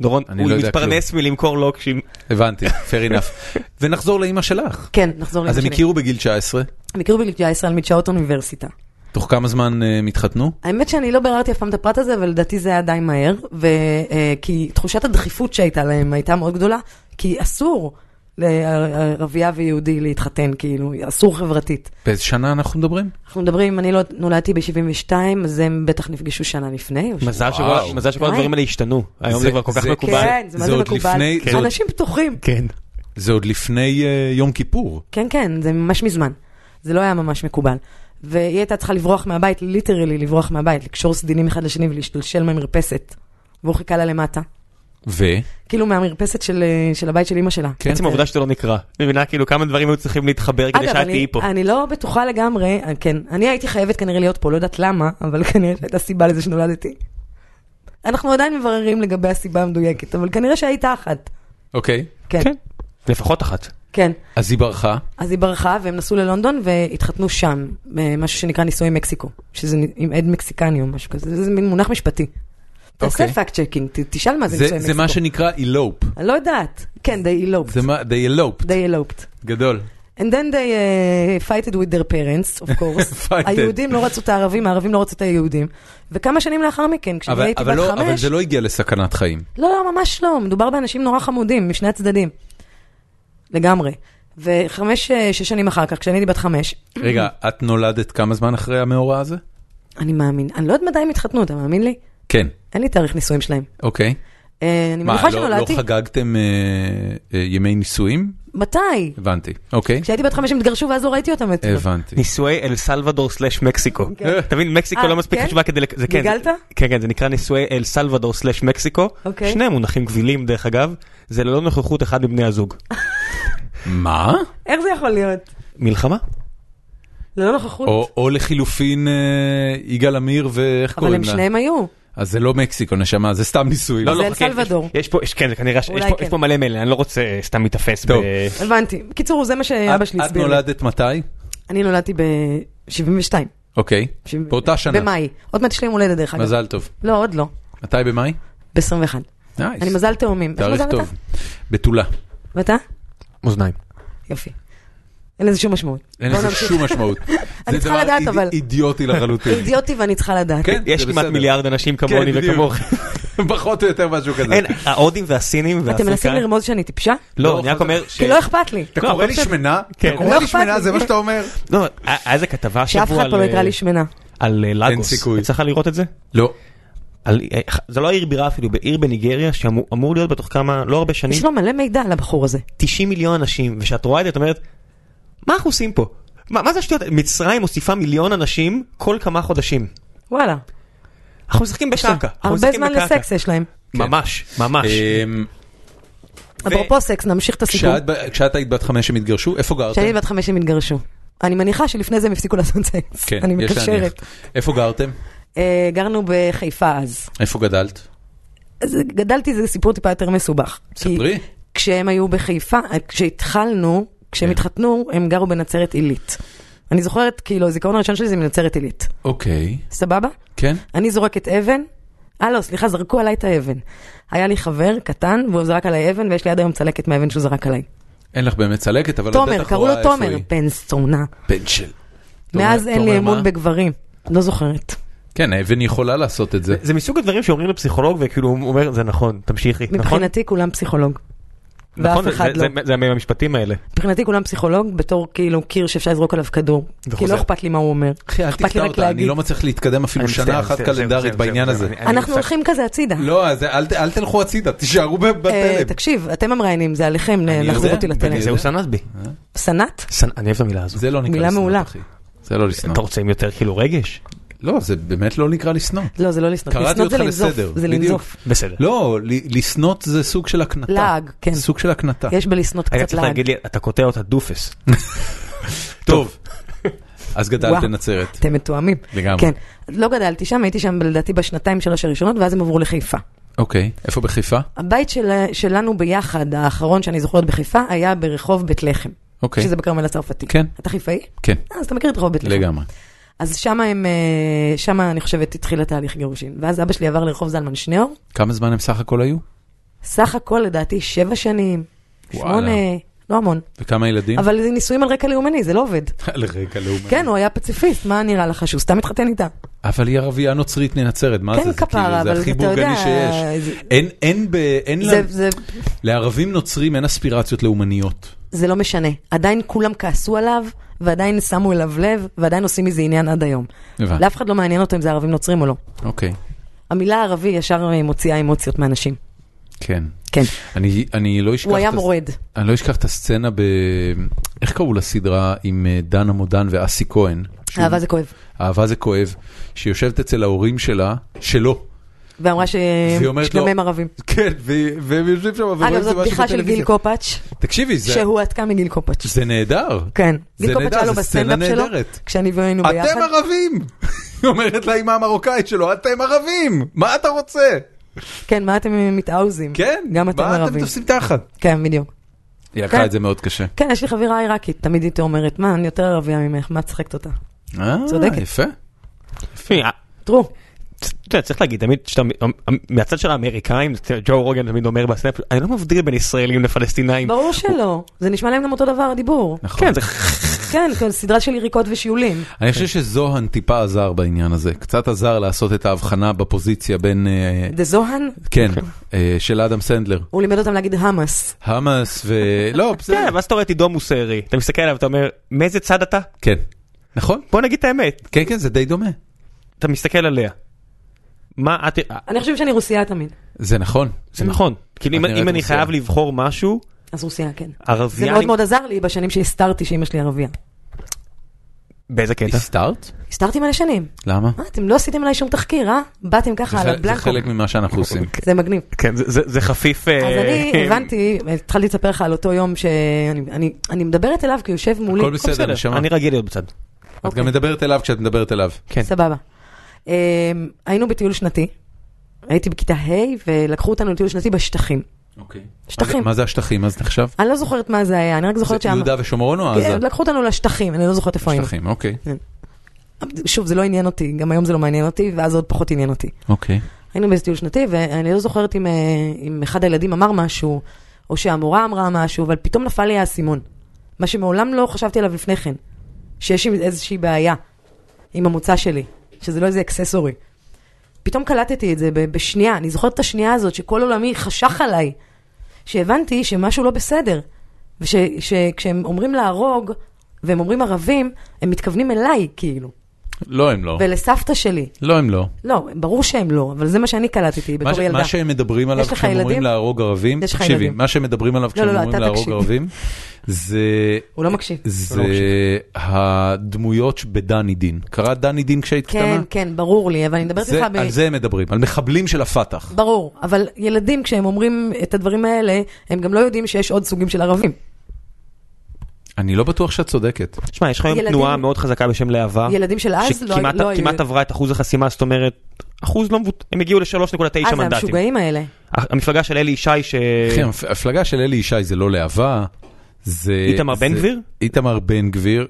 [SPEAKER 2] דורון,
[SPEAKER 1] אני
[SPEAKER 2] הוא
[SPEAKER 1] לא יודע
[SPEAKER 2] מתפרנס מלמכור לוקשים.
[SPEAKER 1] הבנתי, fair enough. ונחזור לאימא שלך.
[SPEAKER 3] כן, נחזור
[SPEAKER 1] אז הם
[SPEAKER 3] לשני.
[SPEAKER 1] הכירו בגיל 19,
[SPEAKER 3] הם הכירו בגיל 19 על מדשאות אוניברסיטה.
[SPEAKER 1] תוך כמה זמן אה, הם התחתנו?
[SPEAKER 3] האמת שאני לא ביררתי אף פעם את הפרט הזה, אבל לדעתי זה היה די מהר, ו... אה, כי תחושת הדחיפות שהייתה להם הייתה מאוד גדולה, כי אסור לערבייה ויהודי להתחתן, כאילו, אסור חברתית.
[SPEAKER 1] באיזה שנה אנחנו מדברים?
[SPEAKER 3] אנחנו מדברים, אם אני לא נולדתי ב-72, אז הם בטח נפגשו שנה לפני. או ש-
[SPEAKER 2] מזל שכל-
[SPEAKER 1] וואו.
[SPEAKER 2] מזל שכל
[SPEAKER 3] די.
[SPEAKER 2] הדברים האלה השתנו. היום זה כבר כל כך
[SPEAKER 1] זה-
[SPEAKER 2] מקובל.
[SPEAKER 3] כן, זה מה
[SPEAKER 1] זה
[SPEAKER 3] זה
[SPEAKER 1] עוד
[SPEAKER 3] מקובל.
[SPEAKER 1] לפני-
[SPEAKER 2] כן.
[SPEAKER 1] זה עוד-
[SPEAKER 3] אנשים פתוחים.
[SPEAKER 2] כן.
[SPEAKER 1] זה עוד לפני אה, יום כיפור.
[SPEAKER 3] כן, כן, זה ממש מזמן. זה לא היה ממש מקובל. והיא הייתה צריכה לברוח מהבית, ליטרלי לברוח מהבית, לקשור סדינים אחד לשני ולהשתלשל מהמרפסת. והוא חיכה לה למטה.
[SPEAKER 1] ו?
[SPEAKER 3] כאילו מהמרפסת של, אה, של הבית של אימא שלה.
[SPEAKER 1] כן.
[SPEAKER 2] עצם העובדה שאתה לא נקרא. מבינה כאילו כמה דברים היו צריכים להתחבר כדי
[SPEAKER 3] אגב,
[SPEAKER 2] שאת
[SPEAKER 3] אני,
[SPEAKER 2] תהיי פה.
[SPEAKER 3] אני לא בטוחה לגמרי, אה, כן, אני הייתי חייבת כנראה להיות פה, לא יודעת למה, אבל כנראה שהייתה סיבה לזה שנולדתי. אנחנו עדיין מבררים לגבי הסיבה המדויקת, אבל כנראה שהייתה אחת.
[SPEAKER 1] אוקיי.
[SPEAKER 3] כן,
[SPEAKER 2] כן. לפחות אחת.
[SPEAKER 3] כן.
[SPEAKER 1] אז היא ברחה.
[SPEAKER 3] אז היא ברחה, והם נסעו ללונדון והתחתנו שם, אה, משהו שנקרא נישואי מקסיקו, שזה נ- עם עד מקסיקני או משהו כזה, זה- זה מין מונח משפטי. תעשה
[SPEAKER 1] אוקיי.
[SPEAKER 3] פאק צ'קינג, ת- תשאל מה זה
[SPEAKER 1] זה-
[SPEAKER 3] נישואי מקסיקו.
[SPEAKER 1] זה מה שנקרא אילופ.
[SPEAKER 3] אני לא יודעת. כן, they eloped.
[SPEAKER 1] זה מה, they eloped.
[SPEAKER 3] they eloped.
[SPEAKER 1] גדול.
[SPEAKER 3] And then they uh, fighted with their parents, of course.
[SPEAKER 1] Fighted.
[SPEAKER 3] היהודים לא רצו את הערבים, הערבים לא רצו את היהודים. וכמה שנים לאחר מכן, כשאני
[SPEAKER 1] אבל,
[SPEAKER 3] הייתי
[SPEAKER 1] אבל,
[SPEAKER 3] בת
[SPEAKER 1] לא, אבל
[SPEAKER 3] חמש...
[SPEAKER 1] זה לא הגיע לסכנת חיים.
[SPEAKER 3] לא, לא, ממש לא. מדובר באנשים נורא חמודים, משני הצדדים. לגמרי. וחמש, אה, שש שנים אחר כך, כשאני הייתי בת חמש,
[SPEAKER 1] רגע, את נולדת כמה זמן אחרי המאורע הזה?
[SPEAKER 3] אני מאמין. אני לא יודעת מתי הם התחתנו, אתה מאמין לי?
[SPEAKER 1] כן,
[SPEAKER 3] אין לי תאריך נישואים שלהם.
[SPEAKER 1] אוקיי.
[SPEAKER 3] אה, אני
[SPEAKER 1] מה,
[SPEAKER 3] מניחה
[SPEAKER 1] לא, לא
[SPEAKER 3] שנולדתי...
[SPEAKER 1] חגגתם אה, אה, ימי נישואים?
[SPEAKER 3] מתי?
[SPEAKER 1] הבנתי, אוקיי,
[SPEAKER 3] כשהייתי בת חמש הם התגרשו ואז לא ראיתי אותם. את-
[SPEAKER 1] הבנתי.
[SPEAKER 2] נישואי אל סלבדור סלאש מקסיקו.
[SPEAKER 3] כן.
[SPEAKER 2] אתה מבין, מקסיקו
[SPEAKER 3] אה,
[SPEAKER 2] לא מספיק
[SPEAKER 3] כן?
[SPEAKER 2] חשובה כדי... לק- זה כן, זה-
[SPEAKER 3] גיגלת?
[SPEAKER 2] כן, כן, זה נקרא נישואי אל סלבדור סלאש מקסיקו.
[SPEAKER 3] אוקיי.
[SPEAKER 2] שני מונחים גבילים דרך אגב, זה ללא נוכחות אחד מבני הזוג.
[SPEAKER 1] מה?
[SPEAKER 3] איך זה יכול להיות?
[SPEAKER 2] מלחמה?
[SPEAKER 3] ללא נוכחות.
[SPEAKER 1] או, או לחילופין אה, יגאל עמיר ואיך
[SPEAKER 3] אבל
[SPEAKER 1] קוראים
[SPEAKER 3] הם
[SPEAKER 1] לה?
[SPEAKER 3] שניהם היו.
[SPEAKER 1] אז זה לא מקסיקו נשמה, זה סתם נישואים.
[SPEAKER 3] לא, זה אל
[SPEAKER 2] חכה, יש-
[SPEAKER 3] סלבדור.
[SPEAKER 2] יש פה, יש- כן, זה כנראה, ש-
[SPEAKER 3] אולי
[SPEAKER 2] יש פה-
[SPEAKER 3] כן.
[SPEAKER 2] יש פה מלא מלל, אני לא רוצה אה, סתם להתאפס.
[SPEAKER 1] טוב.
[SPEAKER 2] ב-
[SPEAKER 3] הבנתי. בקיצור, זה מה שאבא
[SPEAKER 1] את,
[SPEAKER 3] שלי
[SPEAKER 1] את
[SPEAKER 3] הסביר. לי.
[SPEAKER 1] נולדת מתי?
[SPEAKER 3] אני נולדתי ב-72.
[SPEAKER 1] אוקיי, באותה שנה.
[SPEAKER 3] במאי. עוד מעט יש לי יום הולדת דרך אגב.
[SPEAKER 1] מזל טוב.
[SPEAKER 3] לא, עוד לא.
[SPEAKER 1] מתי במאי?
[SPEAKER 3] ב-21.
[SPEAKER 1] נייס.
[SPEAKER 3] אני מזל תאומים. איך
[SPEAKER 1] תאריך
[SPEAKER 3] מזל
[SPEAKER 1] טוב.
[SPEAKER 3] אתה?
[SPEAKER 1] בתולה.
[SPEAKER 3] ואתה?
[SPEAKER 2] מאזניים.
[SPEAKER 3] יופי. אין לזה שום משמעות.
[SPEAKER 1] אין
[SPEAKER 3] בוא
[SPEAKER 1] לזה
[SPEAKER 3] נמשיך.
[SPEAKER 1] שום משמעות.
[SPEAKER 3] אני
[SPEAKER 1] זה
[SPEAKER 3] צריכה
[SPEAKER 1] דבר
[SPEAKER 3] לדעת,
[SPEAKER 1] איד-
[SPEAKER 3] אבל.
[SPEAKER 1] אידיוטי לחלוטין.
[SPEAKER 3] אידיוטי ואני צריכה לדעת.
[SPEAKER 1] כן,
[SPEAKER 2] יש
[SPEAKER 1] זה
[SPEAKER 2] כמעט
[SPEAKER 1] בסדר. כן,
[SPEAKER 2] מיליארד אנשים כמוני
[SPEAKER 1] בדיוק.
[SPEAKER 2] וכמוך.
[SPEAKER 1] פחות או יותר משהו כזה.
[SPEAKER 2] אין, ההודים והסינים
[SPEAKER 3] אתם מנסים
[SPEAKER 2] והאפריקאים.
[SPEAKER 3] לרמוז שאני טיפשה?
[SPEAKER 2] לא,
[SPEAKER 1] לא,
[SPEAKER 2] אני רק
[SPEAKER 1] חזר.
[SPEAKER 2] אומר ש...
[SPEAKER 3] כי לא אכפת לי.
[SPEAKER 1] אתה
[SPEAKER 2] לא,
[SPEAKER 1] קורא
[SPEAKER 2] אבל
[SPEAKER 1] לי
[SPEAKER 2] בסדר.
[SPEAKER 1] שמנה?
[SPEAKER 2] כן.
[SPEAKER 1] אתה קורא
[SPEAKER 3] לא
[SPEAKER 1] לי
[SPEAKER 3] אכפת
[SPEAKER 1] שמנה?
[SPEAKER 3] לי.
[SPEAKER 1] זה מה שאתה אומר?
[SPEAKER 2] לא, היה איזה כתבה השבוע
[SPEAKER 3] שאף אחד
[SPEAKER 2] על,
[SPEAKER 3] פה לא
[SPEAKER 2] אה,
[SPEAKER 3] יקרא לי שמנה.
[SPEAKER 2] על אה, לגוס.
[SPEAKER 1] אין סיכוי.
[SPEAKER 2] יצא לך לראות את זה?
[SPEAKER 1] לא.
[SPEAKER 2] על, אה, זה לא העיר בירה אפילו, בעיר בניגריה שאמור אמור להיות בתוך כמה, לא הרבה שנים,
[SPEAKER 3] יש לו מלא מידע על הבחור הזה.
[SPEAKER 2] 90 מיליון אנשים, וכשאת רואה את זה את אומרת, מה אנחנו עושים פה? מה, מה זה השטויות? מצרים מוסיפה מיליון אנשים כל כמה חודשים.
[SPEAKER 3] וואלה.
[SPEAKER 2] אנחנו משחקים בקרקע. אנחנו
[SPEAKER 3] הרבה
[SPEAKER 2] משחקים
[SPEAKER 3] זמן
[SPEAKER 2] בקרקע.
[SPEAKER 3] לסקס יש להם.
[SPEAKER 2] ממש, ממש.
[SPEAKER 1] אמ,
[SPEAKER 3] אפרופו סקס, נמשיך את הסיפור.
[SPEAKER 1] כשאת ב- כשאת היית בת חמש הם התגרשו? איפה גרתם?
[SPEAKER 3] כשאני הייתי בת חמש הם התגרשו. אני מניחה שלפני זה הם הפסיקו לעשות סקס.
[SPEAKER 1] כן,
[SPEAKER 3] אני
[SPEAKER 1] יש להניח.
[SPEAKER 3] מקשרת.
[SPEAKER 1] איפה גרתם?
[SPEAKER 3] אה, גרנו בחיפה אז.
[SPEAKER 1] איפה גדלת?
[SPEAKER 3] אז גדלתי, זה סיפור טיפה יותר מסובך.
[SPEAKER 1] ספרי.
[SPEAKER 3] כי כשהם היו בחיפה, אה, כשהתחלנו, כשהם
[SPEAKER 1] כן.
[SPEAKER 3] התחתנו, הם גרו בנצרת עילית. אני זוכרת, כאילו, הזיכרון הראשון שלי זה מנצרת עילית.
[SPEAKER 1] אוקיי.
[SPEAKER 3] סבבה?
[SPEAKER 1] כן?
[SPEAKER 3] אני זורקת אבן. אה, לא, סליחה, זרקו עליי את האבן. היה לי חבר קטן, והוא זרק עליי אבן, ויש לי עד היום צלקת מהאבן שהוא זרק עליי.
[SPEAKER 1] אין לך באמת צלקת, אבל
[SPEAKER 3] תומר,
[SPEAKER 1] הודית
[SPEAKER 3] קראו
[SPEAKER 1] אחורה
[SPEAKER 3] לו
[SPEAKER 1] איפה
[SPEAKER 3] תומר,
[SPEAKER 1] היא.
[SPEAKER 3] בן זונה.
[SPEAKER 1] בן של.
[SPEAKER 3] מאז
[SPEAKER 1] תומר-
[SPEAKER 3] אין לי
[SPEAKER 1] תומר
[SPEAKER 3] אמון
[SPEAKER 1] מה?
[SPEAKER 3] בגברים. לא זוכרת.
[SPEAKER 1] כן, האבן יכולה לעשות את זה.
[SPEAKER 2] זה מסוג הדברים שאומרים לפסיכולוג וכאילו הוא אומר זה נכון תמשיכי נכון
[SPEAKER 3] מבחינתי כולם פסיכולוג.
[SPEAKER 2] נכון
[SPEAKER 3] ואף אחד
[SPEAKER 2] זה-
[SPEAKER 3] לא.
[SPEAKER 2] זה- זה מהמשפטים האלה
[SPEAKER 3] מבחינתי כולם פסיכולוג בתור כאילו קיר שאפשר לזרוק עליו כדור. כי
[SPEAKER 2] וחוזר.
[SPEAKER 3] לא אכפת לי מה הוא אומר.
[SPEAKER 1] אחי, אל
[SPEAKER 3] אכפת לי
[SPEAKER 1] תקטע
[SPEAKER 3] רק
[SPEAKER 1] אותה, אני
[SPEAKER 3] להגיד.
[SPEAKER 1] לא מצליח להתקדם אפילו
[SPEAKER 2] אני
[SPEAKER 1] שנה
[SPEAKER 2] מצטער,
[SPEAKER 1] אחת
[SPEAKER 2] זהו, זהו,
[SPEAKER 1] קלנדרית
[SPEAKER 2] זהו,
[SPEAKER 1] בעניין
[SPEAKER 2] זהו,
[SPEAKER 1] הזה.
[SPEAKER 2] אני- אני
[SPEAKER 3] אנחנו
[SPEAKER 2] מופסק.
[SPEAKER 3] הולכים כזה הצידה.
[SPEAKER 1] לא, אז אל ת- אל תלכו הצידה, תישארו ב-
[SPEAKER 3] אה,
[SPEAKER 1] בתלם.
[SPEAKER 3] תקשיב, אתם המראיינים, זה עליכם ל-
[SPEAKER 1] אני
[SPEAKER 3] להחזיר
[SPEAKER 1] יודע,
[SPEAKER 3] אותי
[SPEAKER 1] אני
[SPEAKER 3] לתלם.
[SPEAKER 1] יודע.
[SPEAKER 2] זהו סנאט בי
[SPEAKER 3] סנאט?
[SPEAKER 2] סנ- אני אוהב את המילה הזו
[SPEAKER 1] זה לא נקרא
[SPEAKER 3] מילה
[SPEAKER 1] לשנוא,
[SPEAKER 3] מעולה.
[SPEAKER 1] אחי. זה לא לשנוא.
[SPEAKER 2] אתה רוצה עם יותר כאילו רגש
[SPEAKER 1] לא, זה באמת לא נקרא לשנוא.
[SPEAKER 3] לא, זה לא לשנוא.
[SPEAKER 1] קראתי
[SPEAKER 3] לשנוא זה
[SPEAKER 1] אותך
[SPEAKER 3] לנזוף.
[SPEAKER 1] לסדר,
[SPEAKER 3] זה
[SPEAKER 1] בדיוק.
[SPEAKER 3] לנזוף.
[SPEAKER 2] בסדר.
[SPEAKER 1] לא, ל- לשנות זה סוג של הקנטה.
[SPEAKER 3] לעג, כן.
[SPEAKER 1] סוג של הקנטה.
[SPEAKER 3] יש בלשנות
[SPEAKER 2] היית
[SPEAKER 3] קצת
[SPEAKER 2] צריך
[SPEAKER 3] לעג.
[SPEAKER 2] להגיד לי אתה קוטע אותה דופס.
[SPEAKER 1] טוב. אז גדלת
[SPEAKER 3] וואו.
[SPEAKER 1] בנצרת.
[SPEAKER 3] אתם מתואמים.
[SPEAKER 1] לגמרי.
[SPEAKER 3] כן. לא גדלתי שם, הייתי שם לדעתי בשנתיים שלוש הראשונות, ואז הם עברו לחיפה.
[SPEAKER 1] אוקיי, איפה בחיפה?
[SPEAKER 3] הבית של, שלנו ביחד, האחרון שאני זוכרת בחיפה, היה ברחוב בית לחם.
[SPEAKER 1] אוקיי.
[SPEAKER 3] שזה בכרמל הצרפתי.
[SPEAKER 1] כן.
[SPEAKER 3] אתה חיפאי?
[SPEAKER 1] כן,
[SPEAKER 3] אה, אז אתה מכיר את רחוב בית לחם.
[SPEAKER 1] לגמרי.
[SPEAKER 3] אז שם הם, אה, שם אני חושבת התחיל התהליך גירושין. ואז אבא שלי עבר לרחוב זלמן שניאור,
[SPEAKER 1] כמה זמן הם סך הכל היו?
[SPEAKER 3] סך הכל לדעתי שבע שנים,
[SPEAKER 1] וואלה. כן.
[SPEAKER 3] שמונה, לא המון.
[SPEAKER 1] וכמה ילדים?
[SPEAKER 3] אבל זה נישואים על רקע לאומני, זה לא עובד.
[SPEAKER 1] על רקע לאומני.
[SPEAKER 3] כן, הוא היה פציפיסט, מה נראה לך שהוא סתם התחתן איתה?
[SPEAKER 1] אבל היא ערבייה נוצרית מנצרת, מה
[SPEAKER 3] כן,
[SPEAKER 1] זה? זה
[SPEAKER 3] כפרה,
[SPEAKER 1] כאילו,
[SPEAKER 3] אבל
[SPEAKER 1] זה הכי
[SPEAKER 3] אתה יודע,
[SPEAKER 1] בורגני שיש.
[SPEAKER 3] זה-
[SPEAKER 1] אין, אין, ב, אין
[SPEAKER 3] זה-
[SPEAKER 1] לה,
[SPEAKER 3] זה-
[SPEAKER 1] לערבים נוצרים אין אספירציות לאומניות.
[SPEAKER 3] זה לא משנה. עדיין כולם כעסו עליו, ועדיין שמו אליו לב, ועדיין עושים מזה עניין עד היום.
[SPEAKER 1] הבנתי.
[SPEAKER 3] לאף אחד לא מעניין אותו אם זה ערבים נוצרים או לא.
[SPEAKER 1] אוקיי,
[SPEAKER 3] המילה ערבי ישר אה, מוציאה אמוציות מאנשים.
[SPEAKER 1] כן.
[SPEAKER 3] כן.
[SPEAKER 1] אני, אני לא אשכח...
[SPEAKER 3] הוא היה
[SPEAKER 1] את הס-
[SPEAKER 3] מורד.
[SPEAKER 1] אני לא אשכח את הסצנה ב... איך קראו לסדרה עם אה, דנה מודן ואסי כהן? שהוא-
[SPEAKER 3] אהבה זה כואב.
[SPEAKER 1] אהבה זה כואב. שהיא יושבת אצל ההורים שלה, שלו.
[SPEAKER 3] ואמרה ש-
[SPEAKER 1] והיא אומרת לו-
[SPEAKER 3] שגם הם ערבים.
[SPEAKER 1] כן, ו- והם יושבים שם ורואים
[SPEAKER 3] אגב,
[SPEAKER 1] את זה
[SPEAKER 3] זאת
[SPEAKER 1] משהו
[SPEAKER 3] בדיחה של גיל
[SPEAKER 1] בטלוויזיה.
[SPEAKER 3] קופאץ',
[SPEAKER 1] תקשיבי, זה,
[SPEAKER 3] שהועתקה מגיל קופאץ'.
[SPEAKER 1] זה נהדר.
[SPEAKER 3] כן.
[SPEAKER 1] זה
[SPEAKER 3] גיל קופאץ'
[SPEAKER 1] נהדר,
[SPEAKER 3] היה לו
[SPEAKER 1] זה סצנה
[SPEAKER 3] בסטנדאפ שלו,
[SPEAKER 1] נהדרת.
[SPEAKER 3] כשאני והיינו ביחד.
[SPEAKER 1] אתם ערבים! היא אומרת לאמא המרוקאית שלו, אתם ערבים! מה אתה רוצה?
[SPEAKER 3] כן, מה אתם מתאוזים?
[SPEAKER 1] כן,
[SPEAKER 3] גם אתם
[SPEAKER 1] מה אתם
[SPEAKER 3] ערבים.
[SPEAKER 1] תופסים תחת?
[SPEAKER 3] כן, בדיוק.
[SPEAKER 1] היא
[SPEAKER 3] כן.
[SPEAKER 1] לקחה את זה מאוד קשה.
[SPEAKER 3] כן, יש לי חברה עיראקית, תמיד היא אומרת, מה, אני יותר ערבייה ממך, מה את צחקת אותה?
[SPEAKER 1] אה,
[SPEAKER 3] צודקת.
[SPEAKER 1] יפה.
[SPEAKER 2] אה,
[SPEAKER 3] טרו.
[SPEAKER 2] אתה יודע, צריך להגיד, תמיד, שאתה, מהצד של האמריקאים, אתה יודע, ג'ו רוגן תמיד אומר בסנאפ, אני לא מבדיל בין ישראלים לפלסטינאים.
[SPEAKER 3] ברור שלא, זה נשמע להם גם אותו דבר הדיבור.
[SPEAKER 1] נכון.
[SPEAKER 2] כן, זה
[SPEAKER 3] כן, כל סדרה של יריקות ושיולים.
[SPEAKER 1] אני חושב שזוהן טיפה עזר בעניין הזה, קצת עזר לעשות את ההבחנה בפוזיציה בין, אה,
[SPEAKER 3] דה זוהן,
[SPEAKER 1] כן, אה, של אדם סנדלר.
[SPEAKER 3] הוא לימד אותם להגיד המאס.
[SPEAKER 1] חמאס ו... לא,
[SPEAKER 2] כן,
[SPEAKER 1] בסדר.
[SPEAKER 2] ואז אתה רואה את עידו מוסרי, אתה מסתכל עליו, אתה אומר, מאיזה צד אתה?
[SPEAKER 1] כן. נכון?
[SPEAKER 2] בוא נגיד את האמת,
[SPEAKER 1] כן, כן, זה די דומה.
[SPEAKER 2] אתה מסתכל עליה. מה את... אה,
[SPEAKER 3] אני חושבת שאני רוסייה תמיד,
[SPEAKER 1] זה נכון.
[SPEAKER 2] זה נכון, כאילו אם-
[SPEAKER 1] נראית
[SPEAKER 2] אם אני
[SPEAKER 1] רוסייה.
[SPEAKER 2] חייב לבחור משהו,
[SPEAKER 3] אז רוסייה, כן. זה
[SPEAKER 2] ערבייה...
[SPEAKER 3] מאוד
[SPEAKER 2] אני-
[SPEAKER 3] מאוד עזר לי בשנים שהסתרתי שאימא שלי ערבייה.
[SPEAKER 2] באיזה קטע?
[SPEAKER 1] הסתרת?
[SPEAKER 3] הסתרתי מלא שנים.
[SPEAKER 1] למה?
[SPEAKER 3] מה, אתם לא עשיתם עליי שום תחקיר, אה? באתם ככה על
[SPEAKER 1] זה חלק- זה
[SPEAKER 3] הבלנקו.
[SPEAKER 1] חלק אה, ממה שאנחנו עושים.
[SPEAKER 3] זה מגניב.
[SPEAKER 2] כן, זה- זה זה חפיף... אה, כן.
[SPEAKER 3] אז
[SPEAKER 1] כן.
[SPEAKER 3] אני הבנתי, התחלתי לספר לך על אותו יום שאני אני- אני מדברת אליו כי הוא יושב מולי.
[SPEAKER 1] הכל בסדר, נשמה.
[SPEAKER 2] אני רגיל להיות בצד.
[SPEAKER 3] אוקיי.
[SPEAKER 1] את גם מדברת אליו כשאת מדברת אליו.
[SPEAKER 2] כן.
[SPEAKER 3] סבבה. אמ, היינו בטיול שנתי, הייתי בכיתה ה' ולקחו אותנו לטיול שנתי בשטחים.
[SPEAKER 1] אוקיי.
[SPEAKER 3] שטחים.
[SPEAKER 1] מה זה השטחים אז נחשב?
[SPEAKER 3] אני לא זוכרת מה זה היה, אני רק זוכרת
[SPEAKER 1] זה
[SPEAKER 3] שהם...
[SPEAKER 1] יהודה ושומרון או עזה?
[SPEAKER 3] לקחו אותנו לשטחים, אני לא זוכרת איפה היינו.
[SPEAKER 1] שטחים, אוקיי.
[SPEAKER 3] שוב, זה לא עניין אותי, גם היום זה לא מעניין אותי, ואז עוד פחות עניין אותי.
[SPEAKER 1] אוקיי.
[SPEAKER 3] היינו באיזה טיול שנתי, ואני לא זוכרת אם, אה, אם אחד הילדים אמר משהו, או שהמורה אמרה משהו, אבל פתאום נפל לי האסימון. מה שמעולם לא חשבתי עליו לפני כן. שיש עם איזושהי בעיה עם המוצא שלי, שזה לא איזה אקססורי. פתאום קלטתי את זה ב- בשנייה, אני זוכרת את השנייה הזאת שכל עולמי חשך עליי, שהבנתי שמשהו לא בסדר, ושכשהם אומרים להרוג, והם אומרים ערבים, הם מתכוונים אליי, כאילו,
[SPEAKER 1] לא, הם לא.
[SPEAKER 3] ולסבתא שלי.
[SPEAKER 1] לא, הם לא.
[SPEAKER 3] לא, ברור שהם לא, אבל זה מה שאני קלטתי
[SPEAKER 1] מה
[SPEAKER 3] בתור
[SPEAKER 1] ש-
[SPEAKER 3] ילדה.
[SPEAKER 1] מה שהם מדברים עליו
[SPEAKER 3] יש לך
[SPEAKER 1] כשהם אומרים
[SPEAKER 3] ילדים?
[SPEAKER 1] להרוג ערבים,
[SPEAKER 3] יש לך
[SPEAKER 1] תקשיבי,
[SPEAKER 3] ילדים.
[SPEAKER 1] מה שהם מדברים עליו כשהם
[SPEAKER 3] לא, לא,
[SPEAKER 1] אומרים
[SPEAKER 3] אתה
[SPEAKER 1] להרוג
[SPEAKER 3] תקשיב.
[SPEAKER 1] ערבים, זה...
[SPEAKER 3] הוא לא מקשיב.
[SPEAKER 1] זה הדמויות בדני דין. קראת דני דין כשהיית
[SPEAKER 3] כן,
[SPEAKER 1] קטנה?
[SPEAKER 3] כן, ברור לי, אבל אני מדברת
[SPEAKER 1] זה-
[SPEAKER 3] איתך ב...
[SPEAKER 1] על זה הם מדברים, על מחבלים של הפתח.
[SPEAKER 3] ברור, אבל ילדים כשהם אומרים את הדברים האלה, הם גם לא יודעים שיש עוד סוגים של ערבים.
[SPEAKER 1] אני לא בטוח שאת צודקת.
[SPEAKER 2] תשמע, יש לך היום
[SPEAKER 3] ילדים-
[SPEAKER 2] תנועה מאוד חזקה בשם
[SPEAKER 1] אה?
[SPEAKER 2] להבה.
[SPEAKER 3] ילדים של אז לא
[SPEAKER 2] שכמעט
[SPEAKER 3] לא היו...
[SPEAKER 2] כמעט עברה את אחוז החסימה, זאת אומרת, אחוז לא מבוט... הם הגיעו ל-3.9
[SPEAKER 3] אז
[SPEAKER 2] מנדטים.
[SPEAKER 3] אה, המשוגעים האלה.
[SPEAKER 1] אה?
[SPEAKER 2] המפלגה של אלי ישי, ש...
[SPEAKER 1] אחי, המפ- המפלגה של אלי ישי זה לא להבה, זה...
[SPEAKER 2] איתמר בן
[SPEAKER 1] זה-
[SPEAKER 2] גביר?
[SPEAKER 1] איתמר בן גביר.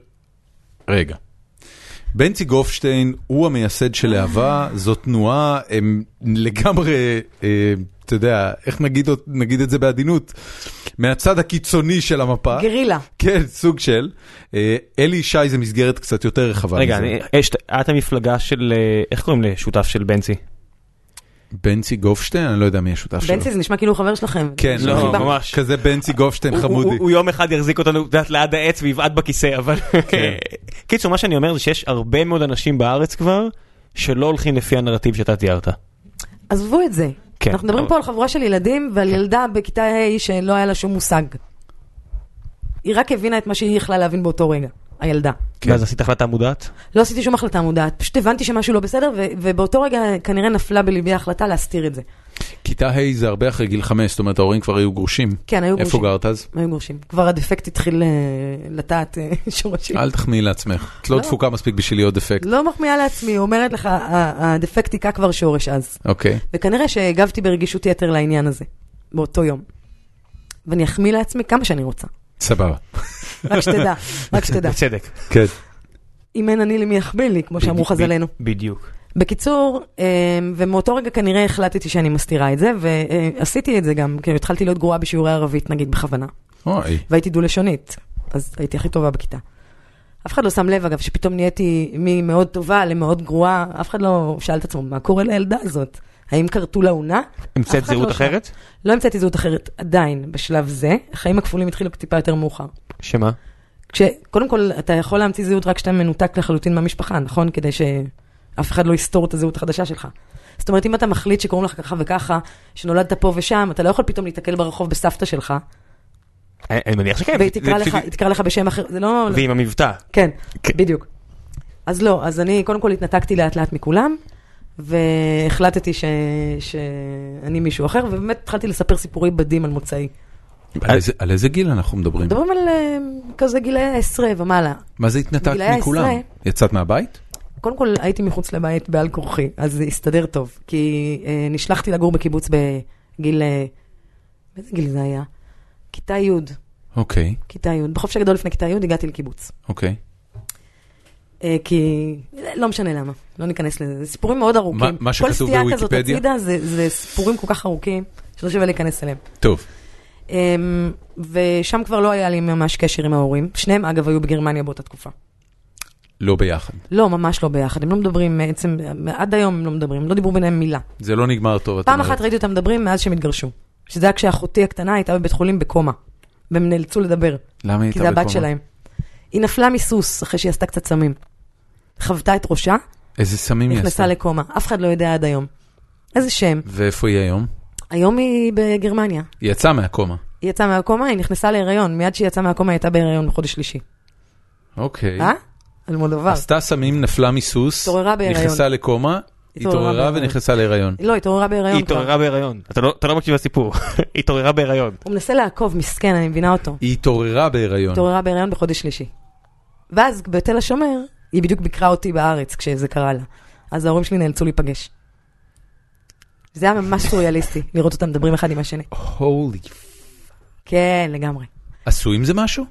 [SPEAKER 1] רגע. בנצי גופשטיין הוא המייסד של להבה, זו תנועה, הם לגמרי, אה, אתה יודע, איך נגיד, אות- נגיד את זה בעדינות? מהצד הקיצוני של המפה.
[SPEAKER 3] גרילה.
[SPEAKER 1] כן, סוג של. אה, אלי ישי זה מסגרת קצת יותר רחבה.
[SPEAKER 2] רגע,
[SPEAKER 1] מזה.
[SPEAKER 2] אני- יש- את המפלגה של... אה, איך קוראים לשותף של בנצי?
[SPEAKER 1] בנצי גופשטיין, אני לא יודע מי השותף שלו.
[SPEAKER 3] בנצי זה נשמע כאילו הוא חבר שלכם.
[SPEAKER 1] כן,
[SPEAKER 3] זה
[SPEAKER 2] לא,
[SPEAKER 3] חיבה.
[SPEAKER 2] ממש.
[SPEAKER 1] כזה בנצי גופשטיין
[SPEAKER 2] הוא- הוא-
[SPEAKER 1] חמודי.
[SPEAKER 2] הוא יום אחד יחזיק אותנו את יודעת, ליד העץ ויבעט בכיסא, אבל...
[SPEAKER 1] כן.
[SPEAKER 2] קיצור, מה שאני אומר זה שיש הרבה מאוד אנשים בארץ כבר שלא הולכים לפי הנרטיב שאתה תיארת.
[SPEAKER 3] עזבו את זה.
[SPEAKER 2] כן.
[SPEAKER 3] אנחנו מדברים פה על חבורה של ילדים
[SPEAKER 1] כן.
[SPEAKER 3] ועל ילדה בכיתה ה' שלא היה לה שום מושג. היא רק הבינה את מה שהיא יכלה להבין באותו רגע, הילדה.
[SPEAKER 1] כן.
[SPEAKER 2] ואז עשית החלטה מודעת?
[SPEAKER 3] לא עשיתי שום החלטה מודעת, פשוט הבנתי שמשהו לא בסדר, ו- ובאותו רגע כנראה נפלה בליבי ההחלטה להסתיר את זה.
[SPEAKER 1] כיתה ה' זה הרבה אחרי גיל חמש, זאת אומרת ההורים כבר היו גרושים.
[SPEAKER 3] כן, היו
[SPEAKER 1] איפה
[SPEAKER 3] גרושים.
[SPEAKER 1] גרת אז?
[SPEAKER 3] היו גרושים. כבר הדפקט התחיל אה, לטעת אה, שורשים.
[SPEAKER 1] אל תחמיאי לעצמך, את לא
[SPEAKER 3] לא.
[SPEAKER 1] דפוקה מספיק בשביל להיות דפקט.
[SPEAKER 3] לא מחמיאה לעצמי, אומרת לך, ה- הדפקט היכה כבר שורש אז.
[SPEAKER 1] אוקיי.
[SPEAKER 3] וכנראה שהגבתי ברגישות יתר לעניין הזה, באותו יום. ואני אחמיא לעצמי כמה שאני רוצה,
[SPEAKER 1] סבבה.
[SPEAKER 3] רק שתדע, רק שתדע.
[SPEAKER 2] בצדק.
[SPEAKER 1] כן.
[SPEAKER 3] אם אין אני למי יחמיא לי, כמו שאמרו
[SPEAKER 2] בדיוק,
[SPEAKER 3] חז"לינו.
[SPEAKER 2] בדיוק.
[SPEAKER 3] בקיצור, אה, ומאותו רגע כנראה החלטתי שאני מסתירה את זה, ועשיתי את זה גם, כאילו התחלתי להיות גרועה בשיעורי ערבית, נגיד, בכוונה.
[SPEAKER 1] אוי.
[SPEAKER 3] והייתי דו-לשונית, אז הייתי הכי טובה בכיתה. אף אחד לא שם לב, אגב, שפתאום נהייתי ממאוד טובה למאוד גרועה, אף אחד לא שאל את עצמו, מה קורה לילדה הזאת? האם כרתו לה עונה?
[SPEAKER 2] המצאת
[SPEAKER 3] אף אחד
[SPEAKER 2] זהות
[SPEAKER 3] לא
[SPEAKER 2] אחרת?
[SPEAKER 3] לא המצאתי זהות אחרת עדיין, בשלב זה. החיים הכפולים התחילו טיפה יותר מאוחר.
[SPEAKER 2] שמה?
[SPEAKER 3] כשקודם כל, אתה יכול להמציא זהות רק כשאתה מנותק לחלוטין מהמשפחה, נכון? כדי שאף אחד לא יסתור את הזהות החדשה שלך. זאת אומרת, אם אתה מחליט שקוראים לך ככה וככה, שנולדת פה ושם, אתה לא יכול פתאום להתקל ברחוב בסבתא שלך,
[SPEAKER 2] אני אה, אני מניח שכן.
[SPEAKER 3] והיא
[SPEAKER 2] כן, זה
[SPEAKER 3] תקרא
[SPEAKER 2] פשוט-
[SPEAKER 3] לך- היא תקרא לך בשם אחר, זה לא...
[SPEAKER 2] ועם המבטא.
[SPEAKER 3] כן,
[SPEAKER 2] כן.
[SPEAKER 3] בדיוק. אז לא, אז אני קודם כל התנתקתי לאט לאט מכולם, והחלטתי ש... שאני מישהו אחר, ובאמת התחלתי לספר סיפורי בדים על מוצאי.
[SPEAKER 1] על איזה- על איזה גיל אנחנו מדברים?
[SPEAKER 3] מדברים על אה, כזה גילאי העשרה ומעלה.
[SPEAKER 1] מה זה התנתקת
[SPEAKER 3] גילאי
[SPEAKER 1] מכולם?
[SPEAKER 3] העשרה.
[SPEAKER 1] יצאת מהבית?
[SPEAKER 3] קודם כל הייתי מחוץ לבית בעל כורחי, אז זה הסתדר טוב, כי אה, נשלחתי לגור בקיבוץ בגיל... אה, באיזה גיל זה היה? כיתה י',
[SPEAKER 1] אוקיי,
[SPEAKER 3] כיתה י'. בחופש הגדול לפני כיתה י' הגעתי לקיבוץ.
[SPEAKER 1] אוקיי.
[SPEAKER 3] אה, כי לא משנה למה, לא ניכנס לזה. זה סיפורים מאוד ארוכים.
[SPEAKER 1] מה- מה שכתוב
[SPEAKER 3] כל סטייה כזאת
[SPEAKER 1] בוויקיפדיה?
[SPEAKER 3] הצידה זה, זה סיפורים כל כך ארוכים, שלא שווה להיכנס אליהם.
[SPEAKER 1] טוב,
[SPEAKER 3] אמ, ושם כבר לא היה לי ממש קשר עם ההורים. שניהם, אגב, היו בגרמניה באותה תקופה.
[SPEAKER 1] לא ביחד.
[SPEAKER 3] לא, ממש לא ביחד. הם לא מדברים, בעצם, עד היום הם לא מדברים, הם לא דיברו ביניהם מילה.
[SPEAKER 1] זה לא נגמר טוב. את
[SPEAKER 3] פעם
[SPEAKER 1] אומרת.
[SPEAKER 3] אחת ראיתי אותם מדברים מאז שהם התגרשו. שזה היה כשאחותי הקטנה הייתה בבית חולים בקומה. והם נאלצו לדבר,
[SPEAKER 1] למה היא הייתה
[SPEAKER 3] כי זה הבת
[SPEAKER 1] בקומה?
[SPEAKER 3] שלהם. היא נפלה מסוס אחרי שהיא עשתה קצת סמים. חוותה את ראשה,
[SPEAKER 1] איזה סמים היא עשתה?
[SPEAKER 3] נכנסה לקומה. אף אחד לא יודע עד היום. איזה שם.
[SPEAKER 1] ואיפה היא היום?
[SPEAKER 3] היום היא בגרמניה.
[SPEAKER 1] היא יצאה מהקומה.
[SPEAKER 3] היא יצאה מהקומה, היא נכנסה להיריון. מיד שהיא יצאה מהקומה היא הייתה בהיריון בחודש שלישי.
[SPEAKER 1] אוקיי.
[SPEAKER 3] אה? אלמודובר.
[SPEAKER 1] עשתה סמים, נפלה מסוס,
[SPEAKER 3] התעוררה בהיריון.
[SPEAKER 1] נכנסה לקומה, התעוררה
[SPEAKER 3] בהיריון.
[SPEAKER 1] ונכנסה להיריון.
[SPEAKER 3] לא, התעוררה בהיריון
[SPEAKER 2] היא
[SPEAKER 3] כבר.
[SPEAKER 2] התעוררה בהיריון. אתה לא- אתה לא מקשיב לסיפור. היא התעוררה בהיריון.
[SPEAKER 3] הוא מנסה לעקוב, מסכן, אני מבינה אותו.
[SPEAKER 1] היא התעוררה בהיריון.
[SPEAKER 3] התעוררה בהיריון בחודש שלישי. ואז בתל השומר, היא בדיוק ביקרה אותי בארץ כשזה קרה לה. אז ההורים שלי נאלצו להיפגש. זה היה ממש סוריאליסטי, לראות אותם מדברים אחד עם השני.
[SPEAKER 1] הולי.
[SPEAKER 3] כן, לגמרי.
[SPEAKER 1] עשו עם זה משהו?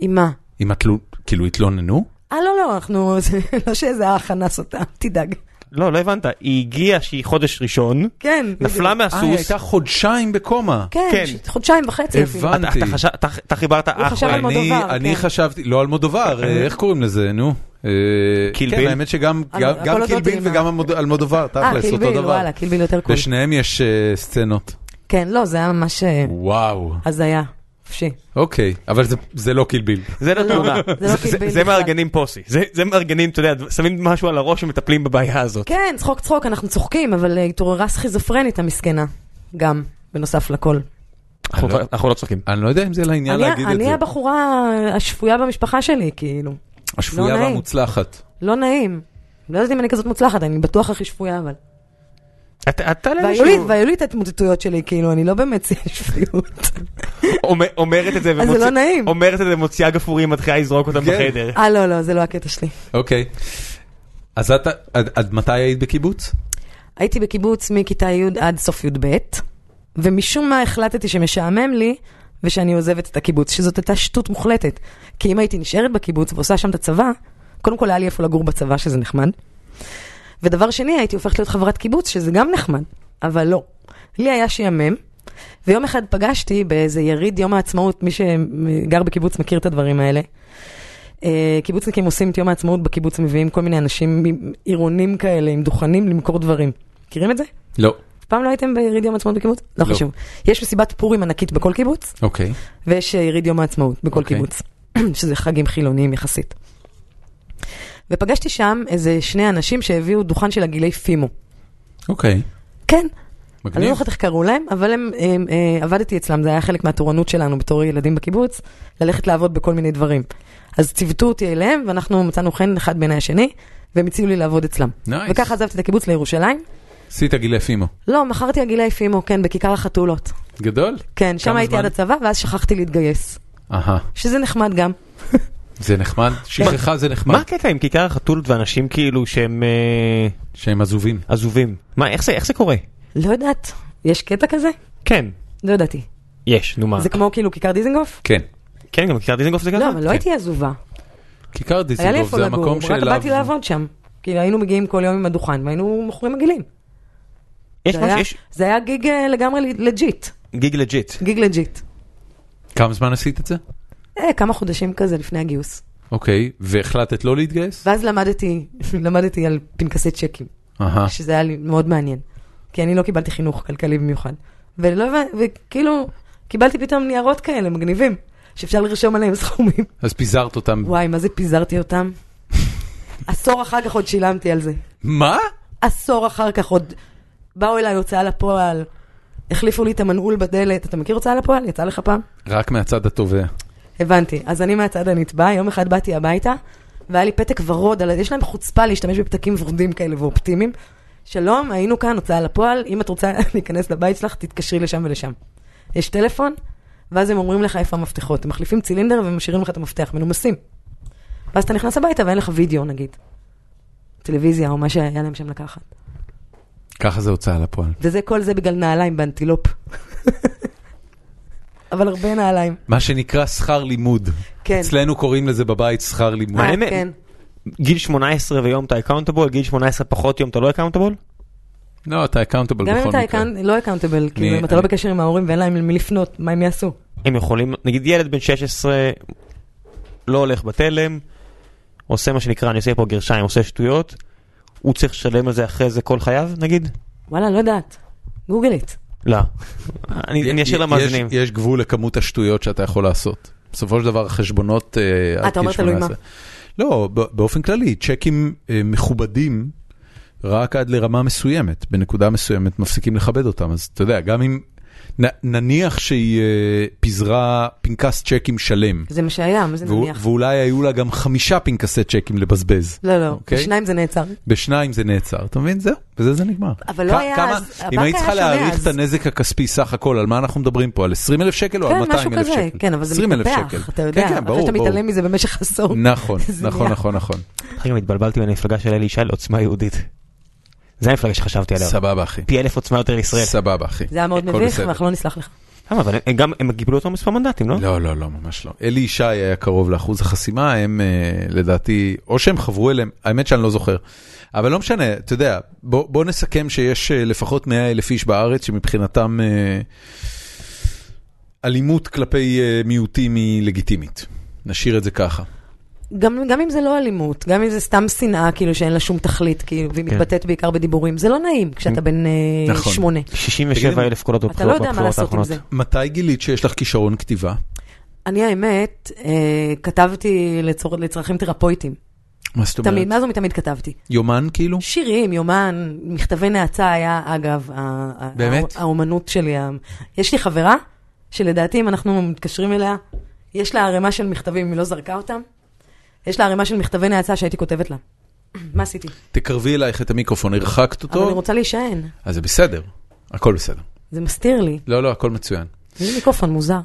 [SPEAKER 3] עם מה?
[SPEAKER 1] עם התלו... כאילו התלוננו?
[SPEAKER 3] אה, לא, לא, אנחנו... זה לא שאיזה אח אנס אותה, אל תדאג.
[SPEAKER 2] לא, לא הבנת. היא הגיעה שהיא חודש ראשון,
[SPEAKER 3] כן.
[SPEAKER 2] נפלה
[SPEAKER 3] בדיוק.
[SPEAKER 1] אה, היא
[SPEAKER 2] מהסוס.
[SPEAKER 1] הייתה חודשיים בקומה.
[SPEAKER 3] כן,
[SPEAKER 2] כן.
[SPEAKER 3] ש- חודשיים וחצי אפילו.
[SPEAKER 1] הבנתי.
[SPEAKER 2] אתה- אתה חשב- אתה- אתה חיברת אה, אח
[SPEAKER 3] חשב על
[SPEAKER 2] אולי.
[SPEAKER 3] מודל.
[SPEAKER 1] אני,
[SPEAKER 3] מודובר,
[SPEAKER 1] אני
[SPEAKER 3] כן.
[SPEAKER 1] חשבתי, לא על מודובר, אה, איך קוראים לזה, נו? אה,
[SPEAKER 2] קיל
[SPEAKER 1] כן,
[SPEAKER 2] ביל?
[SPEAKER 1] האמת שגם
[SPEAKER 3] אה,
[SPEAKER 1] גם-
[SPEAKER 3] הכל
[SPEAKER 1] גם
[SPEAKER 3] אותו
[SPEAKER 1] קילביל
[SPEAKER 3] דין,
[SPEAKER 1] וגם
[SPEAKER 3] אה.
[SPEAKER 1] המוד- על מודובר,
[SPEAKER 3] אה,
[SPEAKER 1] תכלס, אותו
[SPEAKER 3] קילביל,
[SPEAKER 1] דבר.
[SPEAKER 3] וואלה, קילביל יותר קול.
[SPEAKER 1] לשניהם יש אה, סצנות.
[SPEAKER 3] כן, לא, זה היה ממש אה,
[SPEAKER 1] וואו.
[SPEAKER 3] הזיה. חופשי.
[SPEAKER 1] אוקיי, אבל זה- זה לא קילביל.
[SPEAKER 2] זה לא
[SPEAKER 3] לא,
[SPEAKER 2] תאונה.
[SPEAKER 3] זה לא
[SPEAKER 2] זה-
[SPEAKER 3] קיל
[SPEAKER 2] זה-
[SPEAKER 3] ביל
[SPEAKER 2] זה
[SPEAKER 3] בכלל.
[SPEAKER 2] מארגנים פוסי. זה- זה מארגנים, אתה יודע, שמים משהו על הראש ומטפלים בבעיה הזאת.
[SPEAKER 3] כן, צחוק צחוק, אנחנו צוחקים, אבל אה, התעוררה סכיזופרנית המסכנה, גם, בנוסף לכל.
[SPEAKER 2] אנחנו
[SPEAKER 1] לא-
[SPEAKER 2] אנחנו לא צוחקים.
[SPEAKER 1] אני לא יודע אם זה לעניין
[SPEAKER 3] אני,
[SPEAKER 1] להגיד את
[SPEAKER 3] אני
[SPEAKER 1] זה.
[SPEAKER 3] הבחורה השפויה במשפחה שלי, כאילו.
[SPEAKER 1] השפויה
[SPEAKER 3] לא נעים.
[SPEAKER 1] והמוצלחת.
[SPEAKER 3] לא נעים. לא יודעת אם אני כזאת מוצלחת, אני בטוח הכי שפויה, אבל.
[SPEAKER 2] אתה אתה לא
[SPEAKER 3] והיו לי-
[SPEAKER 2] לאיזשהו-
[SPEAKER 3] והיו לי את ההתמוטטויות שלי, כאילו, אני לא באמת שיא שפיות.
[SPEAKER 2] אומר- אומרת את זה
[SPEAKER 3] אז זה
[SPEAKER 2] ומוציא-
[SPEAKER 3] לא נעים.
[SPEAKER 2] אומרת את זה ומוציאה גפורים, מתחילה לזרוק אותם
[SPEAKER 1] כן.
[SPEAKER 2] בחדר.
[SPEAKER 3] אה, לא, לא, זה לא הקטע שלי.
[SPEAKER 1] אוקיי. אז את, עד, עד מתי היית בקיבוץ?
[SPEAKER 3] הייתי בקיבוץ מכיתה י' עד סוף י"ב, ומשום מה החלטתי שמשעמם לי ושאני עוזבת את הקיבוץ, שזאת הייתה שטות מוחלטת. כי אם הייתי נשארת בקיבוץ ועושה שם את הצבא, קודם כל היה לי איפה לגור בצבא, שזה נחמד. ודבר שני, הייתי הופכת להיות חברת קיבוץ, שזה גם נחמד, אבל לא. לי היה שיאמם, ויום אחד פגשתי באיזה יריד יום העצמאות, מי שגר בקיבוץ מכיר את הדברים האלה. אה, קיבוצניקים עושים את יום העצמאות בקיבוץ, מביאים כל מיני אנשים עם- עירונים כאלה, עם דוכנים, למכור דברים. מכירים את זה?
[SPEAKER 1] לא.
[SPEAKER 3] אף פעם לא הייתם ביריד יום העצמאות בקיבוץ? לא,
[SPEAKER 1] לא.
[SPEAKER 3] חשוב. יש מסיבת פורים ענקית בכל קיבוץ,
[SPEAKER 1] אוקיי.
[SPEAKER 3] ויש אה, יריד יום העצמאות בכל
[SPEAKER 1] אוקיי.
[SPEAKER 3] קיבוץ, שזה חגים חילוניים יחסית. ופגשתי שם איזה שני אנשים שהביאו דוכן של עגילי פימו.
[SPEAKER 1] אוקיי.
[SPEAKER 3] כן, אני לא
[SPEAKER 1] מגניב.
[SPEAKER 3] זוכרת איך קראו להם, אבל הם, הם, אה, עבדתי אצלם, זה היה חלק מהתורנות שלנו בתור ילדים בקיבוץ, ללכת לעבוד בכל מיני דברים. אז ציוותו אותי אליהם, ואנחנו מצאנו חן אחד בעיני השני, והם הציעו לי לעבוד אצלם.
[SPEAKER 1] נייס.
[SPEAKER 3] וככה עזבתי את הקיבוץ לירושלים.
[SPEAKER 1] עשית גילי פימו.
[SPEAKER 3] לא, מכרתי עגילי פימו, כן, בכיכר החתולות.
[SPEAKER 1] גדול.
[SPEAKER 3] כן, שם
[SPEAKER 1] כמה
[SPEAKER 3] הייתי
[SPEAKER 1] זמן?
[SPEAKER 3] עד הצבא, ואז שכחתי להתגייס.
[SPEAKER 1] אהה.
[SPEAKER 3] שזה נחמד גם.
[SPEAKER 1] זה נחמד. שכחה זה
[SPEAKER 2] מה
[SPEAKER 1] נחמד.
[SPEAKER 2] הקטע עם כיכר החתולות ואנשים כאילו שהם אה,
[SPEAKER 1] שהם עזובים.
[SPEAKER 2] עזובים? מה, איך זה איך זה קורה?
[SPEAKER 3] לא יודעת, יש קטע כזה?
[SPEAKER 2] כן,
[SPEAKER 3] לא ידעתי.
[SPEAKER 2] יש, נו מה.
[SPEAKER 3] זה כמו כאילו כיכר דיזנגוף?
[SPEAKER 1] כן.
[SPEAKER 2] כן, גם כיכר דיזנגוף זה ככה?
[SPEAKER 3] לא, אבל לא
[SPEAKER 1] כן.
[SPEAKER 3] הייתי עזובה.
[SPEAKER 1] כיכר
[SPEAKER 3] היה לי
[SPEAKER 1] דיזנגוף
[SPEAKER 3] איפה
[SPEAKER 1] זה
[SPEAKER 3] לגור,
[SPEAKER 1] המקום
[SPEAKER 3] רק
[SPEAKER 1] שאליו...
[SPEAKER 3] באתי לעבוד שם. כאילו היינו מגיעים כל יום עם הדוכן, והיינו מוכרים עגילים.
[SPEAKER 2] יש
[SPEAKER 3] זה היה-
[SPEAKER 2] משהו, יש
[SPEAKER 3] זה היה גיג אה, לגמרי לג'יט.
[SPEAKER 2] גיג לג'יט.
[SPEAKER 3] גיג לג'יט.
[SPEAKER 1] כמה זמן עשית את זה?
[SPEAKER 3] אה, כמה חודשים כזה לפני הגיוס.
[SPEAKER 1] אוקיי. והחלטת לא להתגייס?
[SPEAKER 3] ואז למדתי, למדתי על פנקסי צ'קים,
[SPEAKER 2] אה.
[SPEAKER 1] אהה.
[SPEAKER 3] שזה היה לי מאוד מעניין. כי אני לא קיבלתי חינוך כלכלי במיוחד. ולא, הבנ- וכאילו, קיבלתי פתאום ניירות כאלה מגניבים, שאפשר לרשום עליהם סכומים.
[SPEAKER 1] אז פיזרת אותם.
[SPEAKER 3] וואי, מה זה פיזרתי אותם? עשור אחר כך עוד שילמתי על זה.
[SPEAKER 1] מה?
[SPEAKER 3] עשור אחר כך עוד באו אליי הוצאה לפועל, החליפו לי את המנעול בדלת. אתה מכיר הוצאה לפועל? יצא לך פעם?
[SPEAKER 1] רק מהצד התובע.
[SPEAKER 3] הבנתי. אז אני מהצד הנתבע, יום אחד באתי הביתה, והיה לי פתק ורוד, על... יש להם חוצפה להשתמש בפתקים ורודים כאלה ואופטימיים. שלום, היינו כאן, הוצאה לפועל, אם את רוצה להיכנס לבית שלך, תתקשרי לשם ולשם. יש טלפון, ואז הם אומרים לך איפה המפתחות. הם מחליפים צילינדר ומשאירים לך את המפתח, מנומסים. ואז אתה נכנס הביתה ואין לך וידאו נגיד. טלוויזיה או מה שהיה להם שם לקחת.
[SPEAKER 1] ככה זה הוצאה לפועל.
[SPEAKER 3] וזה, כל זה בגלל נעליים באנטילופ. אבל הרבה נעליים,
[SPEAKER 1] מה שנקרא שכר לימוד.
[SPEAKER 3] כן.
[SPEAKER 1] אצלנו קוראים לזה בבית שכר לימוד.
[SPEAKER 3] אה,
[SPEAKER 2] האמת-
[SPEAKER 3] כן.
[SPEAKER 2] גיל 18 ויום אתה אקאונטבול, גיל 18 פחות יום אתה לא אקאונטבול?
[SPEAKER 1] לא, אתה אקאונטבל
[SPEAKER 3] גם אם
[SPEAKER 1] בכל
[SPEAKER 3] אתה
[SPEAKER 1] מקרה.
[SPEAKER 3] account- לא אקאונטבל, כאילו אם אתה לא
[SPEAKER 1] אני-
[SPEAKER 3] בקשר עם ההורים ואין להם למי לפנות, מה הם יעשו?
[SPEAKER 2] הם יכולים, נגיד ילד בן 16 לא הולך בתלם, עושה מה שנקרא, אני עושה פה גרשיים, עושה שטויות, הוא צריך לשלם על זה אחרי זה כל חייו נגיד?
[SPEAKER 3] וואלה, לא יודעת. גוגלית.
[SPEAKER 2] לא. אני אני אשאיר
[SPEAKER 1] יש-
[SPEAKER 2] למאזינים.
[SPEAKER 1] יש גבול לכמות השטויות שאתה יכול לעשות. בסופו של דבר חשבונות אה, עד
[SPEAKER 3] אתה
[SPEAKER 1] גיל
[SPEAKER 3] אומר תלוי
[SPEAKER 1] 18. לא, ב- באופן כללי, צ'קים אה, מכובדים רק עד לרמה מסוימת. בנקודה מסוימת מפסיקים לכבד אותם, אז אתה יודע, גם אם... נ- נניח שהיא אה, פיזרה פנקס צ'קים שלם,
[SPEAKER 3] זה מה שהיה, מה זה
[SPEAKER 1] והוא-
[SPEAKER 3] נניח?
[SPEAKER 1] ואולי היו לה גם חמישה פנקסי צ'קים לבזבז.
[SPEAKER 3] לא, לא,
[SPEAKER 1] אוקיי.
[SPEAKER 3] בשניים זה נעצר.
[SPEAKER 1] בשניים זה נעצר, אתה מבין? זהו, בזה זה נגמר.
[SPEAKER 3] אבל לא
[SPEAKER 1] כ-
[SPEAKER 3] היה
[SPEAKER 1] כמה-
[SPEAKER 3] אז- הבנק
[SPEAKER 1] אם היית
[SPEAKER 3] היה
[SPEAKER 1] צריכה
[SPEAKER 3] שונה
[SPEAKER 1] להעריך
[SPEAKER 3] אז.
[SPEAKER 1] את הנזק הכספי סך הכל, על מה אנחנו מדברים פה? על 20 אלף שקל או על
[SPEAKER 3] כן,
[SPEAKER 1] 200 לא, אלף
[SPEAKER 3] משהו
[SPEAKER 1] שקל?
[SPEAKER 3] כזה, כן, אבל זה
[SPEAKER 1] 20,000
[SPEAKER 3] מתהפך,
[SPEAKER 1] שקל.
[SPEAKER 3] אתה יודע.
[SPEAKER 1] כן, כן,
[SPEAKER 3] אחרי
[SPEAKER 1] ברור,
[SPEAKER 3] שאתה
[SPEAKER 1] ברור.
[SPEAKER 3] מתעלם מזה במשך עשור.
[SPEAKER 1] נכון,
[SPEAKER 3] זה
[SPEAKER 1] נכון,
[SPEAKER 3] נהיה.
[SPEAKER 1] נכון, נכון.
[SPEAKER 2] אחרי גם התבלבלתי בין המפלגה של אלי ישי לעוצמה יהודית. זה המפלגה שחשבתי עליה.
[SPEAKER 1] סבבה, אחי.
[SPEAKER 2] פי אלף עוצמה יותר לישראל.
[SPEAKER 1] סבבה, אחי.
[SPEAKER 3] זה היה מאוד
[SPEAKER 1] הכל
[SPEAKER 3] מביך,
[SPEAKER 1] בסדר.
[SPEAKER 3] ואנחנו לא נסלח לך.
[SPEAKER 2] למה? אבל הם גם, הם קיבלו אותו מספר מנדטים, לא?
[SPEAKER 1] לא, לא, לא, ממש לא. אלי ישי היה קרוב לאחוז החסימה, הם אה, לדעתי, או שהם חברו אליהם, האמת שאני לא זוכר. אבל לא משנה, אתה יודע, בוא, בוא נסכם שיש אה, לפחות 100 אלף איש בארץ שמבחינתם אה, אלימות כלפי אה, מיעוטים היא לגיטימית. נשאיר את זה ככה.
[SPEAKER 3] גם, גם אם זה לא אלימות, גם אם זה סתם שנאה, כאילו שאין לה שום תכלית, כאילו, והיא
[SPEAKER 2] כן.
[SPEAKER 3] מתבטאת בעיקר בדיבורים, זה לא נעים כשאתה בן אה,
[SPEAKER 1] נכון.
[SPEAKER 3] שמונה.
[SPEAKER 2] 67 אלף קולות
[SPEAKER 3] אתה לא
[SPEAKER 2] בבחירות
[SPEAKER 3] יודע מה
[SPEAKER 2] בבחירות
[SPEAKER 3] לעשות עם
[SPEAKER 2] האחרונות.
[SPEAKER 3] זה.
[SPEAKER 1] מתי גילית שיש לך כישרון כתיבה?
[SPEAKER 3] אני האמת, אה, כתבתי לצור, לצרכים תרפויטיים.
[SPEAKER 1] מה זאת אומרת?
[SPEAKER 3] תמיד, מאז ומתמיד כתבתי.
[SPEAKER 1] יומן כאילו?
[SPEAKER 3] שירים, יומן, מכתבי נאצה היה, אגב, ה- ה-
[SPEAKER 1] באמת?
[SPEAKER 3] הא- האומנות שלי. ה- יש לי חברה, שלדעתי אם אנחנו מתקשרים אליה, יש לה ערימה של מכתבים, אם היא לא זרקה אותם, יש לה ערימה של מכתבי נאצה שהייתי כותבת לה. מה עשיתי?
[SPEAKER 1] תקרבי אלייך את המיקרופון, הרחקת
[SPEAKER 3] אבל אני
[SPEAKER 1] אותו,
[SPEAKER 3] רוצה להישען,
[SPEAKER 1] אז זה בסדר, הכל בסדר.
[SPEAKER 3] זה מסתיר לי.
[SPEAKER 1] לא, לא, הכל מצוין.
[SPEAKER 3] זה מיקרופון מוזר.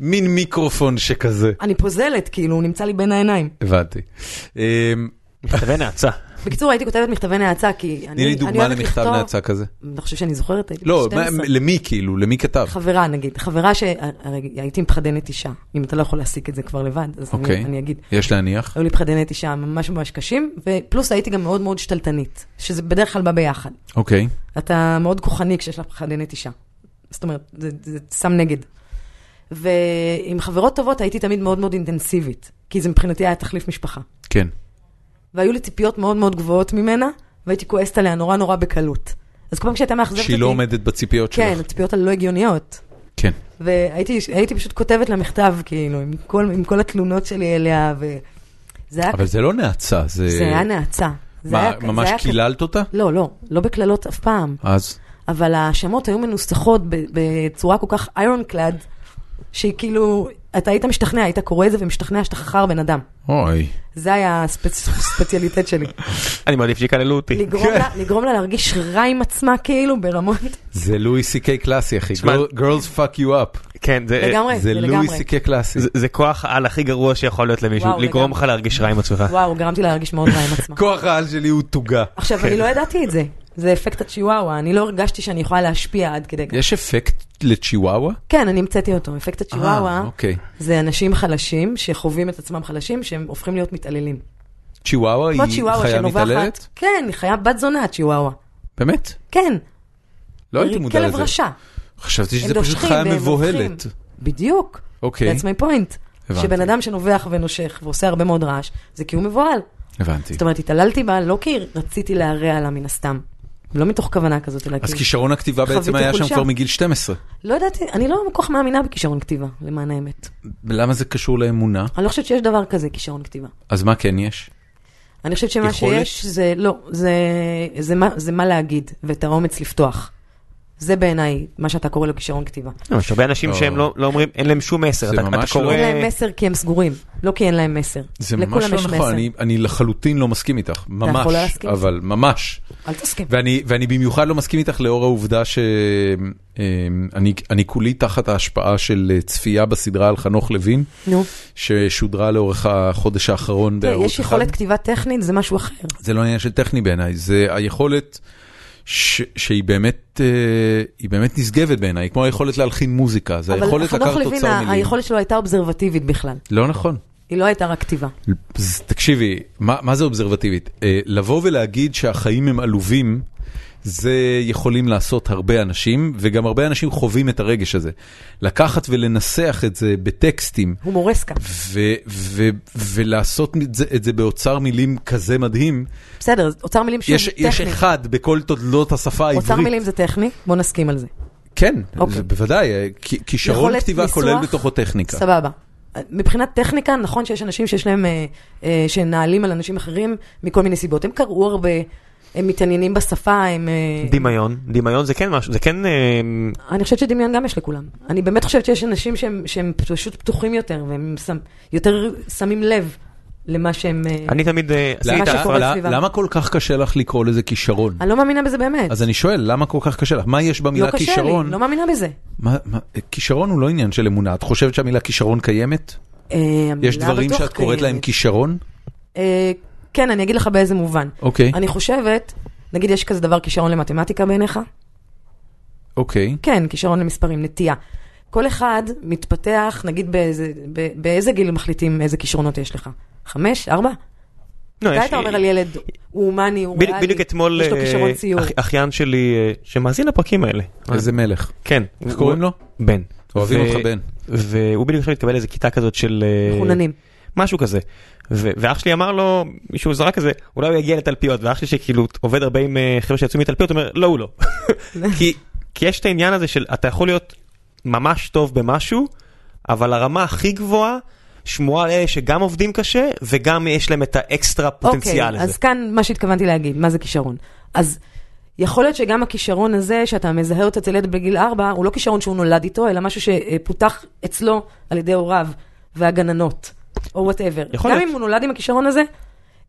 [SPEAKER 1] מין מיקרופון שכזה.
[SPEAKER 3] אני פוזלת, כאילו, הוא נמצא לי בין העיניים.
[SPEAKER 1] הבנתי. אמ,
[SPEAKER 2] מכתבי נאצה.
[SPEAKER 3] בקיצור, הייתי כותבת מכתבי נאצה, כי אני
[SPEAKER 1] תני לי
[SPEAKER 3] אני
[SPEAKER 1] דוגמה
[SPEAKER 3] אוהבת
[SPEAKER 1] למכתב
[SPEAKER 3] לכתוב-
[SPEAKER 1] נאצה כזה.
[SPEAKER 3] אתה חושב שאני זוכרת? הייתי
[SPEAKER 1] לא,
[SPEAKER 3] בת
[SPEAKER 1] מה-
[SPEAKER 3] 12.
[SPEAKER 1] למי כאילו? למי כתב?
[SPEAKER 3] חברה נגיד, חברה שהייתי מחדנת אישה, אם אתה לא יכול להסיק את זה כבר לבד, אז אני-
[SPEAKER 1] אוקיי.
[SPEAKER 3] אני אגיד.
[SPEAKER 1] יש להניח.
[SPEAKER 3] היו לי מחדנת אישה ממש ממש קשים, ופלוס הייתי גם מאוד מאוד שתלטנית, שזה בדרך כלל בא ביחד.
[SPEAKER 1] אוקיי.
[SPEAKER 3] אתה מאוד כוחני כשיש לך מחדנת אישה. זאת אומרת, זה, זה סם נגד. ועם חברות טובות הייתי תמיד מאוד מאוד אינטנסיבית, כי זה מבחינתי היה תחליף משפחה.
[SPEAKER 1] כן.
[SPEAKER 3] והיו לי ציפיות מאוד מאוד גבוהות ממנה, והייתי כועסת עליה נורא נורא בקלות. אז כל פעם כשהייתה מאכזבת אותי...
[SPEAKER 1] שהיא לא עומדת בציפיות
[SPEAKER 3] כן,
[SPEAKER 1] שלך.
[SPEAKER 3] הציפיות האלה לא הגיוניות.
[SPEAKER 1] כן.
[SPEAKER 3] והייתי הייתי פשוט כותבת לה מכתב, כאילו, עם כל, עם כל התלונות שלי אליה, וזה היה,
[SPEAKER 1] אבל זה לא נאצה, זה...
[SPEAKER 3] זה היה נאצה. זה
[SPEAKER 1] מה,
[SPEAKER 3] היה- זה
[SPEAKER 1] ממש
[SPEAKER 3] היה-
[SPEAKER 1] קיללת אותה?
[SPEAKER 3] לא, לא, לא בקללות אף פעם,
[SPEAKER 1] אז.
[SPEAKER 3] אבל ההאשמות היו מנוסחות ב- בצורה כל כך איירון קלאד, שהיא כאילו, אתה היית משתכנע, היית קורא את זה ומשתכנע שאתה חכר בן אדם.
[SPEAKER 1] אוי.
[SPEAKER 3] זה היה הספציאליטט שלי.
[SPEAKER 1] כן.
[SPEAKER 2] אני מעדיף שיקללו אותי.
[SPEAKER 3] לגרום לה- לגרום לה להרגיש רע עם עצמה, כאילו, ברמות...
[SPEAKER 1] זה לואי סי קיי קלאסי, אחי.
[SPEAKER 2] תשמע-
[SPEAKER 1] Girl- Girls fuck you up.
[SPEAKER 2] כן, זה...
[SPEAKER 3] לגמרי,
[SPEAKER 1] זה
[SPEAKER 3] זה
[SPEAKER 1] לואי
[SPEAKER 3] לגמרי.
[SPEAKER 1] סי קיי קלאסי.
[SPEAKER 2] זה- זה כוח העל הכי גרוע שיכול להיות למישהו,
[SPEAKER 3] וואו,
[SPEAKER 2] לגרום לך
[SPEAKER 3] לגמרי.
[SPEAKER 2] להרגיש רע עם עצמך.
[SPEAKER 3] וואו, גרמתי לה להרגיש מאוד רע עם עצמה.
[SPEAKER 1] כוח העל שלי הוא תוגה.
[SPEAKER 3] עכשיו, אני לא ידעתי את זה. זה אפקט הצ'יוואווה, אני לא הרגשתי שאני יכולה להשפיע עד כדי כך.
[SPEAKER 1] יש אפקט לצ'יוואווה?
[SPEAKER 3] כן, אני המצאתי אותו. אפקט
[SPEAKER 1] אה,
[SPEAKER 3] הצ'יוואווה
[SPEAKER 1] אוקיי.
[SPEAKER 3] זה אנשים חלשים שחווים את עצמם חלשים, שהם הופכים להיות מתעללים.
[SPEAKER 1] צ'יוואווה
[SPEAKER 3] כמו
[SPEAKER 1] היא
[SPEAKER 3] צ'יוואווה
[SPEAKER 1] חיה
[SPEAKER 3] שנובחת.
[SPEAKER 1] מתעללת?
[SPEAKER 3] כן, היא חיה בת זונה, צ'יוואווה.
[SPEAKER 1] באמת?
[SPEAKER 3] כן.
[SPEAKER 1] לא הייתי מודע
[SPEAKER 3] כלב
[SPEAKER 1] לזה.
[SPEAKER 3] רשע.
[SPEAKER 1] חשבתי
[SPEAKER 3] הם
[SPEAKER 1] שזה פשוט
[SPEAKER 3] נושכים
[SPEAKER 1] חיה
[SPEAKER 3] והם
[SPEAKER 1] מבוהלת.
[SPEAKER 3] נובחים. בדיוק.
[SPEAKER 1] אוקיי,
[SPEAKER 3] That's my point.
[SPEAKER 1] הבנתי.
[SPEAKER 3] שבן אדם שנובח ונושך ועושה הרבה מאוד רעש, זה כי הוא מבוהל.
[SPEAKER 1] הבנתי.
[SPEAKER 3] זאת אומרת, התעללתי בה לא כי רציתי להרע לה מן הסתם. לא מתוך כוונה כזאת, אלא
[SPEAKER 1] אז
[SPEAKER 3] כי...
[SPEAKER 1] כישרון הכתיבה בעצם
[SPEAKER 3] חוויתי
[SPEAKER 1] היה שם
[SPEAKER 3] חולשה.
[SPEAKER 1] כבר מגיל 12.
[SPEAKER 3] לא ידעתי, אני לא כל כך מאמינה בכישרון כתיבה, למען האמת.
[SPEAKER 1] למה זה קשור לאמונה?
[SPEAKER 3] אני לא חושבת שיש דבר כזה כישרון כתיבה.
[SPEAKER 1] אז מה כן יש?
[SPEAKER 3] אני חושבת שמה
[SPEAKER 1] יכולת?
[SPEAKER 3] שיש זה לא, זה, זה, מה, זה מה להגיד ואת האומץ לפתוח. זה בעיניי מה שאתה קורא לו כישרון כתיבה.
[SPEAKER 2] לא, יש הרבה אנשים
[SPEAKER 1] לא.
[SPEAKER 2] שהם לא לא אומרים, אין להם שום מסר.
[SPEAKER 1] זה
[SPEAKER 2] אתה- אתה
[SPEAKER 1] ממש לא.
[SPEAKER 2] קורא-
[SPEAKER 3] אין להם מסר כי הם סגורים, לא כי אין להם מסר.
[SPEAKER 1] זה
[SPEAKER 3] לכולם
[SPEAKER 1] ממש לא
[SPEAKER 3] יש
[SPEAKER 1] נכון,
[SPEAKER 3] מסר.
[SPEAKER 1] אני- אני לחלוטין לא מסכים איתך,
[SPEAKER 3] יכול
[SPEAKER 1] ממש,
[SPEAKER 3] לא להסכים?
[SPEAKER 1] אבל ממש.
[SPEAKER 3] אל תסכים.
[SPEAKER 1] ואני ואני במיוחד לא מסכים איתך לאור העובדה שאני כולי תחת ההשפעה של אה, צפייה בסדרה על חנוך לוין,
[SPEAKER 3] נו,
[SPEAKER 1] ששודרה לאורך החודש האחרון
[SPEAKER 3] תראה,
[SPEAKER 1] בערוץ
[SPEAKER 3] יש
[SPEAKER 1] אחד.
[SPEAKER 3] יכולת כתיבה טכנית, זה משהו אחר.
[SPEAKER 1] זה לא עניין של טכני בעיניי, זה היכולת ש, שהיא באמת, אה, היא באמת נשגבת בעיניי, כמו היכולת להלחין מוזיקה, זה
[SPEAKER 3] אבל
[SPEAKER 1] היכולת
[SPEAKER 3] חנוך
[SPEAKER 1] לקחת
[SPEAKER 3] לוין,
[SPEAKER 1] תוצר מילים.
[SPEAKER 3] היכולת שלו הייתה אובזרבטיבית בכלל.
[SPEAKER 1] לא נכון,
[SPEAKER 3] היא לא הייתה רק כתיבה.
[SPEAKER 1] אז תקשיבי, מה, מה זה אובזרבטיבית? אה, לבוא ולהגיד שהחיים הם עלובים, זה יכולים לעשות הרבה אנשים, וגם הרבה אנשים חווים את הרגש הזה. לקחת ולנסח את זה בטקסטים,
[SPEAKER 3] הומורסקה.
[SPEAKER 1] ו- ו- ולעשות את זה, את זה באוצר מילים כזה מדהים,
[SPEAKER 3] בסדר, אז אוצר מילים שוב,
[SPEAKER 1] יש,
[SPEAKER 3] טכני.
[SPEAKER 1] יש אחד בכל תולדות השפה העברית.
[SPEAKER 3] אוצר כן, מילים זה טכני, בוא נסכים על זה.
[SPEAKER 1] כן,
[SPEAKER 3] אוקיי.
[SPEAKER 1] זה בוודאי, אה, כי- כישרון
[SPEAKER 3] יכולת
[SPEAKER 1] כתיבה
[SPEAKER 3] ניסוח,
[SPEAKER 1] כולל בתוכו טכניקה.
[SPEAKER 3] סבבה. מבחינת טכניקה, נכון שיש אנשים שיש להם, אה, אה, שנעלים על אנשים אחרים מכל מיני סיבות. הם קראו הרבה, הם מתעניינים בשפה, הם... אה,
[SPEAKER 2] דמיון, דמיון זה כן משהו, זה כן... אה,
[SPEAKER 3] אני חושבת שדמיון גם יש לכולם. אני באמת חושבת שיש אנשים שהם, שהם פשוט פתוחים יותר, והם שם, יותר שמים לב למה שהם... אה,
[SPEAKER 2] אני תמיד... אה,
[SPEAKER 1] למה-
[SPEAKER 2] עשיתי את
[SPEAKER 3] שקורה
[SPEAKER 2] ההפרדה.
[SPEAKER 1] למה-
[SPEAKER 3] סביבם.
[SPEAKER 1] למה כל כך קשה לך לקרוא לזה כישרון?
[SPEAKER 3] אני לא מאמינה בזה באמת.
[SPEAKER 1] אז אני שואל, למה כל כך קשה לך? מה יש
[SPEAKER 3] לא
[SPEAKER 1] במילה
[SPEAKER 3] קשה
[SPEAKER 1] כישרון?
[SPEAKER 3] לי, לא מאמינה בזה.
[SPEAKER 1] מה, מה, כישרון הוא לא עניין של אמונה, את חושבת שהמילה כישרון קיימת?
[SPEAKER 3] אה,
[SPEAKER 1] יש
[SPEAKER 3] המילה
[SPEAKER 1] דברים
[SPEAKER 3] בטוח
[SPEAKER 1] שאת קוראת להם
[SPEAKER 3] קיימת.
[SPEAKER 1] כישרון?
[SPEAKER 3] אה, כן, אני אגיד לך באיזה מובן.
[SPEAKER 1] אוקיי,
[SPEAKER 3] אני חושבת, נגיד יש כזה דבר כישרון למתמטיקה בעיניך?
[SPEAKER 1] אוקיי.
[SPEAKER 3] כן, כישרון למספרים, נטייה. כל אחד מתפתח, נגיד באיזה, ב- באיזה גיל מחליטים איזה כישרונות יש לך? חמש? ארבע?
[SPEAKER 2] לא,
[SPEAKER 3] מתי
[SPEAKER 2] יש-
[SPEAKER 3] אתה אומר על ילד, הוא הומני, הוא
[SPEAKER 2] בדיוק-
[SPEAKER 3] ריאלי,
[SPEAKER 2] בדיוק אתמול
[SPEAKER 3] יש לו
[SPEAKER 2] אה,
[SPEAKER 3] כישרון ציור.
[SPEAKER 2] אח- אחיין שלי אה, שמאזין לפרקים האלה.
[SPEAKER 1] איזה מלך.
[SPEAKER 2] כן.
[SPEAKER 1] איך
[SPEAKER 2] הוא-
[SPEAKER 1] קוראים לו?
[SPEAKER 2] בן.
[SPEAKER 1] אוהבים
[SPEAKER 2] ו-
[SPEAKER 1] אותך בן.
[SPEAKER 2] והוא בדיוק עכשיו התקבל איזה כיתה כזאת של... אה,
[SPEAKER 3] מחוננים.
[SPEAKER 2] משהו כזה. ו- ואח שלי אמר לו, מישהו זרק כזה, אולי הוא יגיע לתלפיות, ואח שלי שכאילו עובד הרבה עם אה, חבר'ה שיצאו מתלפיות, אומר, לא, הוא לא. כי, כי יש את העניין הזה של אתה יכול להיות ממש טוב במשהו, אבל הרמה הכי גבוהה, שמועה על אלה שגם עובדים קשה, וגם יש להם את האקסטרה פוטנציאל
[SPEAKER 3] אוקיי,
[SPEAKER 2] הזה.
[SPEAKER 3] אז כאן מה שהתכוונתי להגיד, מה זה כישרון. אז יכול להיות שגם הכישרון הזה, שאתה מזהה אותו אצל ילד בגיל ארבע, הוא לא כישרון שהוא נולד איתו, אלא משהו שפותח אצלו על ידי הוריו והגננות, או וואטאבר.
[SPEAKER 2] יכול
[SPEAKER 3] גם
[SPEAKER 2] להיות.
[SPEAKER 3] אם הוא נולד עם הכישרון הזה,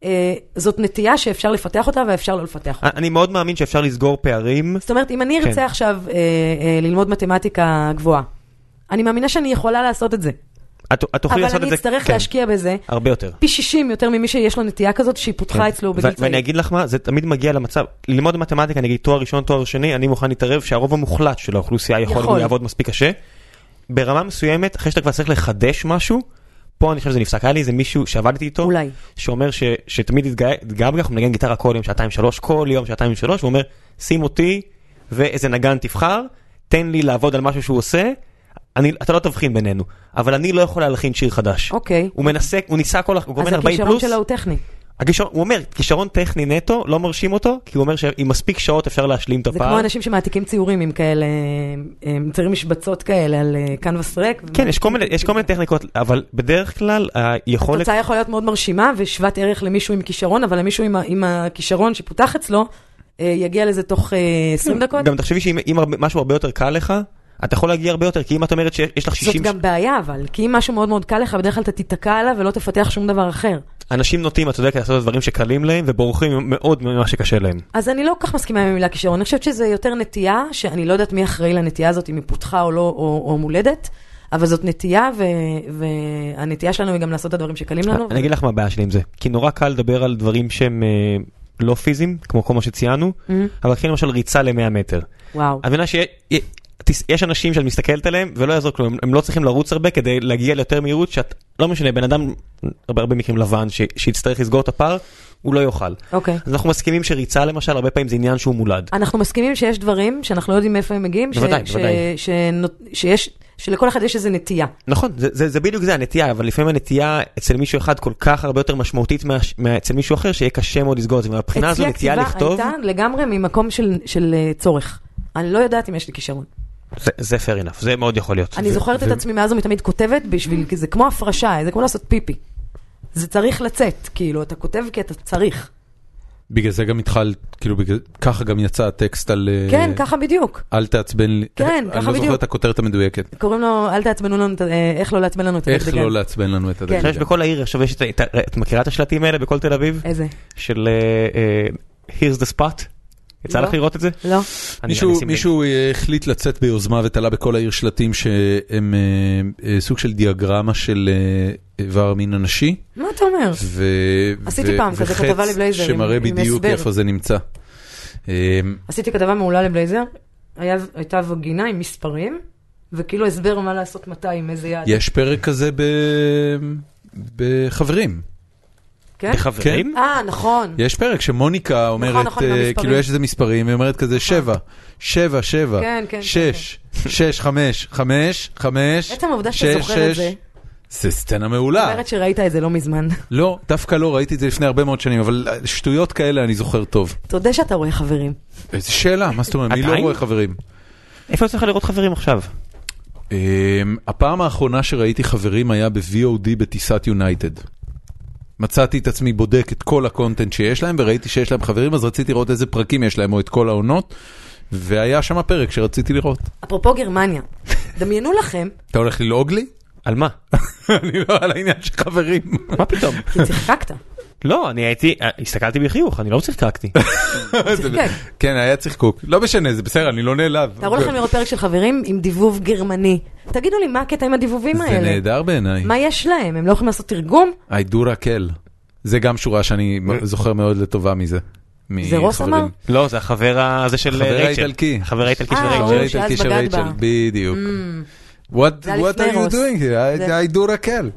[SPEAKER 3] אה, זאת נטייה שאפשר לפתח אותה ואפשר לא לפתח אותה.
[SPEAKER 2] אני מאוד מאמין שאפשר לסגור פערים.
[SPEAKER 3] זאת אומרת, אם אני
[SPEAKER 2] אה. כן.
[SPEAKER 3] ארצה עכשיו אה, אה, ללמוד מתמטיקה גבוהה, אני מאמינה שאני יכולה לעשות את זה.
[SPEAKER 2] את, את תוכלי
[SPEAKER 3] אבל
[SPEAKER 2] לעשות את
[SPEAKER 3] אני
[SPEAKER 2] זה,
[SPEAKER 3] אצטרך
[SPEAKER 2] כן,
[SPEAKER 3] להשקיע בזה
[SPEAKER 2] הרבה יותר.
[SPEAKER 3] פי 60 יותר ממי שיש לו נטייה כזאת שהיא פותחה אצלו
[SPEAKER 2] כן. ו-
[SPEAKER 3] בגיל צעיר.
[SPEAKER 2] ואני אגיד לך מה, זה תמיד מגיע למצב, ללמוד מתמטיקה, נגיד תואר ראשון, תואר שני, אני מוכן להתערב שהרוב המוחלט של האוכלוסייה יכול,
[SPEAKER 3] יכול.
[SPEAKER 2] יכול. לעבוד מספיק קשה. ברמה מסוימת, אחרי שאתה כבר צריך לחדש משהו, פה אני חושב שזה נפסק. היה לי איזה מישהו שעבדתי איתו,
[SPEAKER 3] אולי.
[SPEAKER 2] שאומר ש, שתמיד התגאה התגאה בכך, הוא מנגן גיטרה כל יום שעתיים שלוש, כל יום שעתיים שלוש, והוא אומר, שים אותי ואיזה נגן תבחר, תן לי לעבוד על משהו שהוא עושה, אני, אתה לא תבחין בינינו, אבל אני לא יכול להלחין שיר חדש.
[SPEAKER 3] אוקיי.
[SPEAKER 2] הוא מנסה, הוא ניסה כל, הח- הוא
[SPEAKER 3] אז
[SPEAKER 2] גומר 40 פלוס.
[SPEAKER 3] הכישרון שלו הוא טכני.
[SPEAKER 2] הכישרון, הוא אומר, כישרון טכני נטו, לא מרשים אותו, כי הוא אומר שעם מספיק שעות אפשר להשלים את
[SPEAKER 3] זה
[SPEAKER 2] הפער.
[SPEAKER 3] כמו אנשים שמעתיקים ציורים עם כאלה, הם מציירים משבצות כאלה על אה, קנבס ריק.
[SPEAKER 2] כן, יש כל, מיני, יש כל מיני טכניקות, אבל בדרך כלל היכולת...
[SPEAKER 3] התוצאה יכולה להיות מאוד מרשימה ושוות ערך למישהו עם כישרון, אבל למישהו עם ה- עם הכישרון שפותח אצלו, אה, יגיע לזה תוך אה, 20 דקות.
[SPEAKER 2] כן, גם תחשבי שאם אם הרבה- משהו הרבה יותר קל לך, אתה יכול להגיע הרבה יותר, כי אם את אומרת שיש יש לך 60...
[SPEAKER 3] זאת גם בעיה אבל, כי אם משהו מאוד מאוד קל לך, בדרך כלל אתה תיתקע עליו ולא תפתח שום דבר אחר.
[SPEAKER 2] אנשים נוטים, אתה יודע, לעשות דברים שקלים להם, ובורחים מאוד ממה שקשה להם.
[SPEAKER 3] אז אני לא כל כך מסכימה עם המילה כישרון, אני חושבת שזה יותר נטייה, שאני לא יודעת מי אחראי לנטייה הזאת, אם היא פותחה או לא, או, או מולדת, אבל זאת נטייה, ו, והנטייה שלנו היא גם לעשות את הדברים שקלים לנו.
[SPEAKER 2] אני אגיד לך מה הבעיה שלי עם זה, כי נורא קל לדבר על דברים שהם אה, לא פיזיים, כמו כל מה שציינו,
[SPEAKER 3] מהמם.
[SPEAKER 2] אבל כן למשל ריצה ל-100 מטר.
[SPEAKER 3] Mm-hmm. וואו.
[SPEAKER 2] את מבינה שיש אנשים שאת מסתכלת עליהם ולא יעזור כלום, הם לא צריכים לרוץ הרבה כדי להגיע ליותר מהירות שאת, לא משנה, בן אדם, הרבה הרבה מקרים לבן, ש- שיצטרך לסגור את הפער, הוא לא יאכל.
[SPEAKER 3] אוקיי.
[SPEAKER 2] אז אנחנו מסכימים שריצה למשל, הרבה פעמים זה עניין שהוא מולד.
[SPEAKER 3] אנחנו מסכימים שיש דברים שאנחנו לא יודעים מאיפה הם מגיעים,
[SPEAKER 2] בוודאי, בוודאי.
[SPEAKER 3] ש, שנות- שיש, שלכל אחד יש איזו נטייה.
[SPEAKER 2] נכון, זה, זה, זה בדיוק זה הנטייה, אבל לפעמים הנטייה אצל מישהו אחד כל כך הרבה יותר משמעותית מה, מה, אצל מישהו אחר, שיהיה קשה מאוד לסגור את זה. מהבחינה הזו נטייה לכתוב,
[SPEAKER 3] אצלי הכתיבה הייתה לגמרי ממקום של, של אה, צורך. אני לא יודעת אם יש לי כישרון.
[SPEAKER 2] זה, זה fair enough, זה מאוד יכול להיות.
[SPEAKER 3] אני
[SPEAKER 2] זה-
[SPEAKER 3] זוכרת את
[SPEAKER 2] זה-
[SPEAKER 3] עצמי מאז ומתמיד כותבת בשביל,
[SPEAKER 1] Mm.
[SPEAKER 3] כי זה כמו הפרשה, זה כמו לעשות פיפי. זה צריך לצאת, כאילו, אתה כותב כי אתה צריך.
[SPEAKER 1] בגלל זה גם התחלת, כאילו, בגלל- ככה גם יצא הטקסט על... אה,
[SPEAKER 3] כן, ככה בדיוק.
[SPEAKER 1] אל תעצבן לי.
[SPEAKER 3] כן,
[SPEAKER 1] אני
[SPEAKER 3] ככה
[SPEAKER 1] לא זוכר
[SPEAKER 3] בדיוק.
[SPEAKER 1] את הכותרת המדויקת.
[SPEAKER 3] קוראים לו, אל תעצבנו לנו, את ה- אה, איך לא לעצבן לנו את
[SPEAKER 1] איך
[SPEAKER 3] הדגדגן.
[SPEAKER 1] לא לעצבן לנו את
[SPEAKER 2] אני חושב
[SPEAKER 1] הדגדגן.
[SPEAKER 2] שבכל העיר עכשיו יש את, ה- את, ה- את מכירה את השלטים האלה בכל תל אביב?
[SPEAKER 3] איזה?
[SPEAKER 2] של אה, אה, Here's the spot? יצא
[SPEAKER 3] לא.
[SPEAKER 2] לך לראות את זה?
[SPEAKER 3] לא.
[SPEAKER 2] אני-
[SPEAKER 1] מישהו,
[SPEAKER 2] אני אשים
[SPEAKER 1] מישהו אה, החליט לצאת ביוזמה ותלה בכל העיר שלטים שהם אה, אה, סוג של דיאגרמה של אה, איבר המין הנשי.
[SPEAKER 3] מה אתה אומר?
[SPEAKER 1] ו...
[SPEAKER 3] עשיתי פעם כזה כתבה לבלייזר עם-
[SPEAKER 1] שמראה
[SPEAKER 3] עם
[SPEAKER 1] בדיוק
[SPEAKER 3] הסבר.
[SPEAKER 1] איפה זה נמצא. אה,
[SPEAKER 3] עשיתי כתבה מעולה לבלייזר, היה- הייתה וגינה עם מספרים, וכאילו הסבר מה לעשות מתי, עם איזה יעד.
[SPEAKER 1] יש פרק כזה ב... בחברים.
[SPEAKER 3] כן?
[SPEAKER 2] בחברים?
[SPEAKER 3] אה, נכון.
[SPEAKER 1] יש פרק שמוניקה אומרת,
[SPEAKER 3] נכון, עם
[SPEAKER 1] אה,
[SPEAKER 3] המספרים.
[SPEAKER 1] כאילו יש איזה מספרים, היא אומרת כזה שבע, שבע, שבע,
[SPEAKER 3] כן, כן,
[SPEAKER 1] שש, שש, חמש, חמש, חמש,
[SPEAKER 3] עצם העובדה
[SPEAKER 1] שש,
[SPEAKER 3] שאתה זוכר את
[SPEAKER 1] שש.
[SPEAKER 3] זה,
[SPEAKER 1] זה סצנה מעולה.
[SPEAKER 3] אומרת שראית את זה לא מזמן.
[SPEAKER 1] לא, דווקא לא, ראיתי את זה לפני הרבה מאוד שנים, אבל אה, שטויות כאלה אני זוכר טוב.
[SPEAKER 3] תודה שאתה רואה חברים.
[SPEAKER 1] איזה שאלה, מה זאת אומרת? אני לא
[SPEAKER 2] עדיין?
[SPEAKER 1] רואה חברים.
[SPEAKER 2] איפה יוצא לך לראות חברים עכשיו?
[SPEAKER 1] אמ, הפעם האחרונה שראיתי חברים היה ב-VOD בטיסת יונייטד. מצאתי את עצמי בודק את כל הקונטנט שיש להם, וראיתי שיש להם חברים, אז רציתי לראות איזה פרקים יש להם, או את כל העונות, והיה שם פרק שרציתי לראות.
[SPEAKER 3] אפרופו גרמניה, דמיינו לכם,
[SPEAKER 1] אתה הולך ללעוג לי?
[SPEAKER 2] על מה?
[SPEAKER 1] אני לא על העניין של חברים.
[SPEAKER 2] מה פתאום?
[SPEAKER 3] כי צחקקת.
[SPEAKER 2] לא, אני הייתי, הסתכלתי בחיוך, אני לא צחקקתי.
[SPEAKER 3] צחקק.
[SPEAKER 1] כן, היה צחקוק. לא משנה, זה בסדר, אני לא נעלב.
[SPEAKER 3] תארו
[SPEAKER 2] אוקיי.
[SPEAKER 3] לכם לראות פרק של חברים עם דיבוב גרמני. תגידו לי, מה הקטע עם הדיבובים
[SPEAKER 1] זה
[SPEAKER 3] האלה?
[SPEAKER 1] נהדר בעיניי.
[SPEAKER 3] מה יש להם? הם לא יכולים לעשות תרגום?
[SPEAKER 1] I do רקל. זה גם שורה שאני זוכר מאוד לטובה מזה.
[SPEAKER 2] אה,
[SPEAKER 3] זה רוס
[SPEAKER 1] מחברים.
[SPEAKER 3] אמר?
[SPEAKER 2] לא, זה החבר הזה של אה,
[SPEAKER 1] החבר
[SPEAKER 2] רייצ'ל.
[SPEAKER 1] האיטלקי.
[SPEAKER 2] החבר האיטלקי של
[SPEAKER 3] אה,
[SPEAKER 1] חבר
[SPEAKER 3] ברור,
[SPEAKER 2] רייצ'ל.
[SPEAKER 1] האיטלקי
[SPEAKER 3] שאז
[SPEAKER 1] של
[SPEAKER 3] בגד
[SPEAKER 1] רייצ'ל,
[SPEAKER 3] בה. Mm.
[SPEAKER 1] בדיוק. What,
[SPEAKER 3] זה היה
[SPEAKER 1] what are
[SPEAKER 3] לפני
[SPEAKER 1] you
[SPEAKER 3] רוס.
[SPEAKER 1] doing here? I,
[SPEAKER 3] זה-
[SPEAKER 1] I do רקל.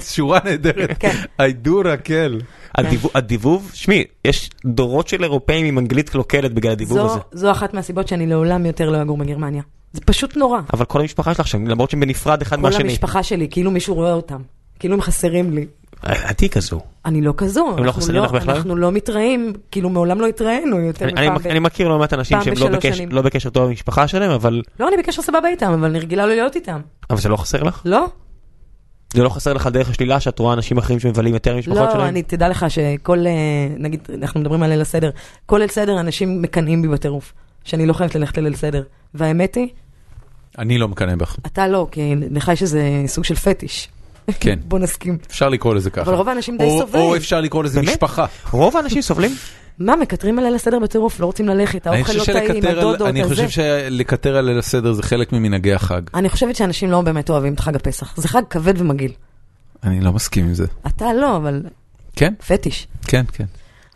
[SPEAKER 1] שורה נהדרת.
[SPEAKER 3] כן.
[SPEAKER 1] I do רקל.
[SPEAKER 2] הדיבוב- הדיבוב, שמי, יש דורות של אירופאים עם אנגלית קלוקלת בגלל הדיבוב
[SPEAKER 3] זו-
[SPEAKER 2] הזה.
[SPEAKER 3] זו אחת מהסיבות שאני לעולם יותר לא אגור בגרמניה. זה פשוט נורא.
[SPEAKER 2] אבל כל המשפחה שלך שם, למרות שהם בנפרד אחד
[SPEAKER 3] כל
[SPEAKER 2] מהשני.
[SPEAKER 3] המשפחה שלי, כאילו מישהו רואה אותם. כאילו הם חסרים לי.
[SPEAKER 2] עדי אה, כזו.
[SPEAKER 3] אני לא כזו. אנחנו
[SPEAKER 2] חסרים לך בכלל?
[SPEAKER 3] אנחנו לא מתראים, כאילו מעולם לא התראינו יותר
[SPEAKER 2] אני- אני
[SPEAKER 3] מפעם.
[SPEAKER 2] מכ-
[SPEAKER 3] ב-
[SPEAKER 2] אני מכיר לא מעט אנשים
[SPEAKER 3] פעם
[SPEAKER 2] שהם לא
[SPEAKER 3] בשלוש
[SPEAKER 2] בקשר-
[SPEAKER 3] שנים.
[SPEAKER 2] לא בקשר טוב עם המשפחה שלהם, אבל
[SPEAKER 3] לא, אני בקשר סבבה איתם, אבל אני רגילה לא להיות איתם.
[SPEAKER 2] אבל זה לא חסר לך?
[SPEAKER 3] לא?
[SPEAKER 2] זה לא חסר לך דרך השלילה שאת רואה אנשים אחרים שמבלים יותר משפחות
[SPEAKER 3] לא,
[SPEAKER 2] שלהם?
[SPEAKER 3] אני, תדע לך שכל, אה, נגיד, אנחנו מדברים על ליל הסדר, כל ליל סדר אנשים מקנאים בי בטירוף, שאני לא חייבת ללכת לליל סדר. והאמת היא,
[SPEAKER 1] אני לא מקנא בך.
[SPEAKER 3] אתה לא, כי לך יש איזה סוג של פטיש.
[SPEAKER 1] כן.
[SPEAKER 3] בוא נסכים.
[SPEAKER 1] אפשר לקרוא לזה ככה.
[SPEAKER 3] אבל רוב האנשים די
[SPEAKER 1] או-
[SPEAKER 3] סובלים.
[SPEAKER 1] או אפשר לקרוא לזה
[SPEAKER 2] באמת?
[SPEAKER 1] משפחה.
[SPEAKER 2] רוב האנשים סובלים?
[SPEAKER 3] מה, מקטרים על ליל הסדר בטירוף, לא רוצים ללכת,
[SPEAKER 1] אני
[SPEAKER 3] האוכל
[SPEAKER 1] חושב
[SPEAKER 3] לא טעים,
[SPEAKER 1] שלקטר על-
[SPEAKER 3] הדודות,
[SPEAKER 1] אני
[SPEAKER 3] הזה.
[SPEAKER 1] חושב שלקטר על ליל הסדר זה חלק ממנהגי החג.
[SPEAKER 3] אני חושבת שאנשים לא באמת אוהבים את חג הפסח. זה חג כבד ומגעיל.
[SPEAKER 1] אני לא מסכים עם זה.
[SPEAKER 3] אתה לא, אבל
[SPEAKER 1] כן,
[SPEAKER 3] פטיש.
[SPEAKER 1] כן, כן.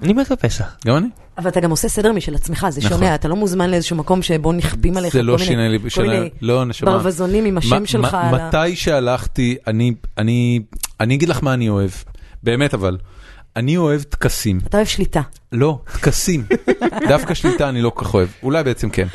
[SPEAKER 2] אני מת בפסח.
[SPEAKER 1] גם אני.
[SPEAKER 3] אבל אתה גם עושה סדר משל עצמך, זה
[SPEAKER 1] נכון.
[SPEAKER 3] שונה, אתה לא מוזמן לאיזשהו מקום שבו נכפים עליך
[SPEAKER 1] זה
[SPEAKER 3] כל
[SPEAKER 1] לא
[SPEAKER 3] מיני-
[SPEAKER 1] שינה לי,
[SPEAKER 3] כל
[SPEAKER 1] שינה-
[SPEAKER 3] מיני
[SPEAKER 1] לא, נשמה.
[SPEAKER 3] ברווזונים עם
[SPEAKER 1] מה-
[SPEAKER 3] השם שלך
[SPEAKER 1] מה-
[SPEAKER 3] על ה...
[SPEAKER 1] מתי שהלכתי, אני, אני, אני אגיד לך מה אני אוהב, באמת אבל, אני אוהב טקסים,
[SPEAKER 3] אתה אוהב שליטה.
[SPEAKER 1] לא, טקסים, דווקא שליטה אני לא כל כך אוהב, אולי בעצם כן.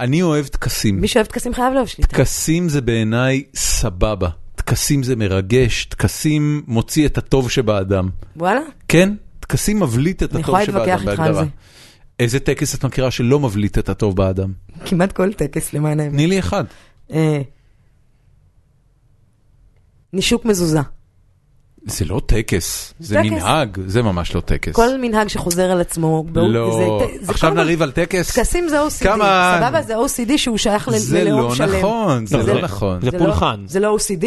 [SPEAKER 1] אני אוהב טקסים,
[SPEAKER 3] מי שאוהב טקסים חייב לאהוב שליטה.
[SPEAKER 1] טקסים זה בעיניי סבבה, טקסים זה מרגש, טקסים מוציא את הטוב שבאדם,
[SPEAKER 3] וואלה?
[SPEAKER 1] כן? טקסים מבליט את
[SPEAKER 3] אני
[SPEAKER 1] הטוב
[SPEAKER 3] יכולה להתווכח
[SPEAKER 1] שבאדם
[SPEAKER 3] איתך על
[SPEAKER 1] בהגדרה.
[SPEAKER 3] זה.
[SPEAKER 1] איזה טקס את מכירה שלא מבליט את הטוב באדם?
[SPEAKER 3] כמעט כל טקס למען האמת.
[SPEAKER 1] תני לי אחד.
[SPEAKER 3] אה, נישוק מזוזה.
[SPEAKER 1] זה לא טקס, זה
[SPEAKER 3] טקס.
[SPEAKER 1] מנהג, זה ממש לא טקס.
[SPEAKER 3] כל מנהג שחוזר על עצמו. בא-
[SPEAKER 1] לא,
[SPEAKER 3] זה- זה
[SPEAKER 1] עכשיו
[SPEAKER 3] כל הזמן-
[SPEAKER 1] נריב על טקס?
[SPEAKER 3] טקסים זה OCD,
[SPEAKER 1] כמה-
[SPEAKER 3] סבבה? זה OCD שהוא שייך ל-
[SPEAKER 1] זה
[SPEAKER 3] ללאום
[SPEAKER 1] לא
[SPEAKER 3] שלם.
[SPEAKER 1] נכון, זה
[SPEAKER 2] לא,
[SPEAKER 1] לא
[SPEAKER 2] זה-
[SPEAKER 1] נכון.
[SPEAKER 2] זה פולחן.
[SPEAKER 3] זה לא OCD?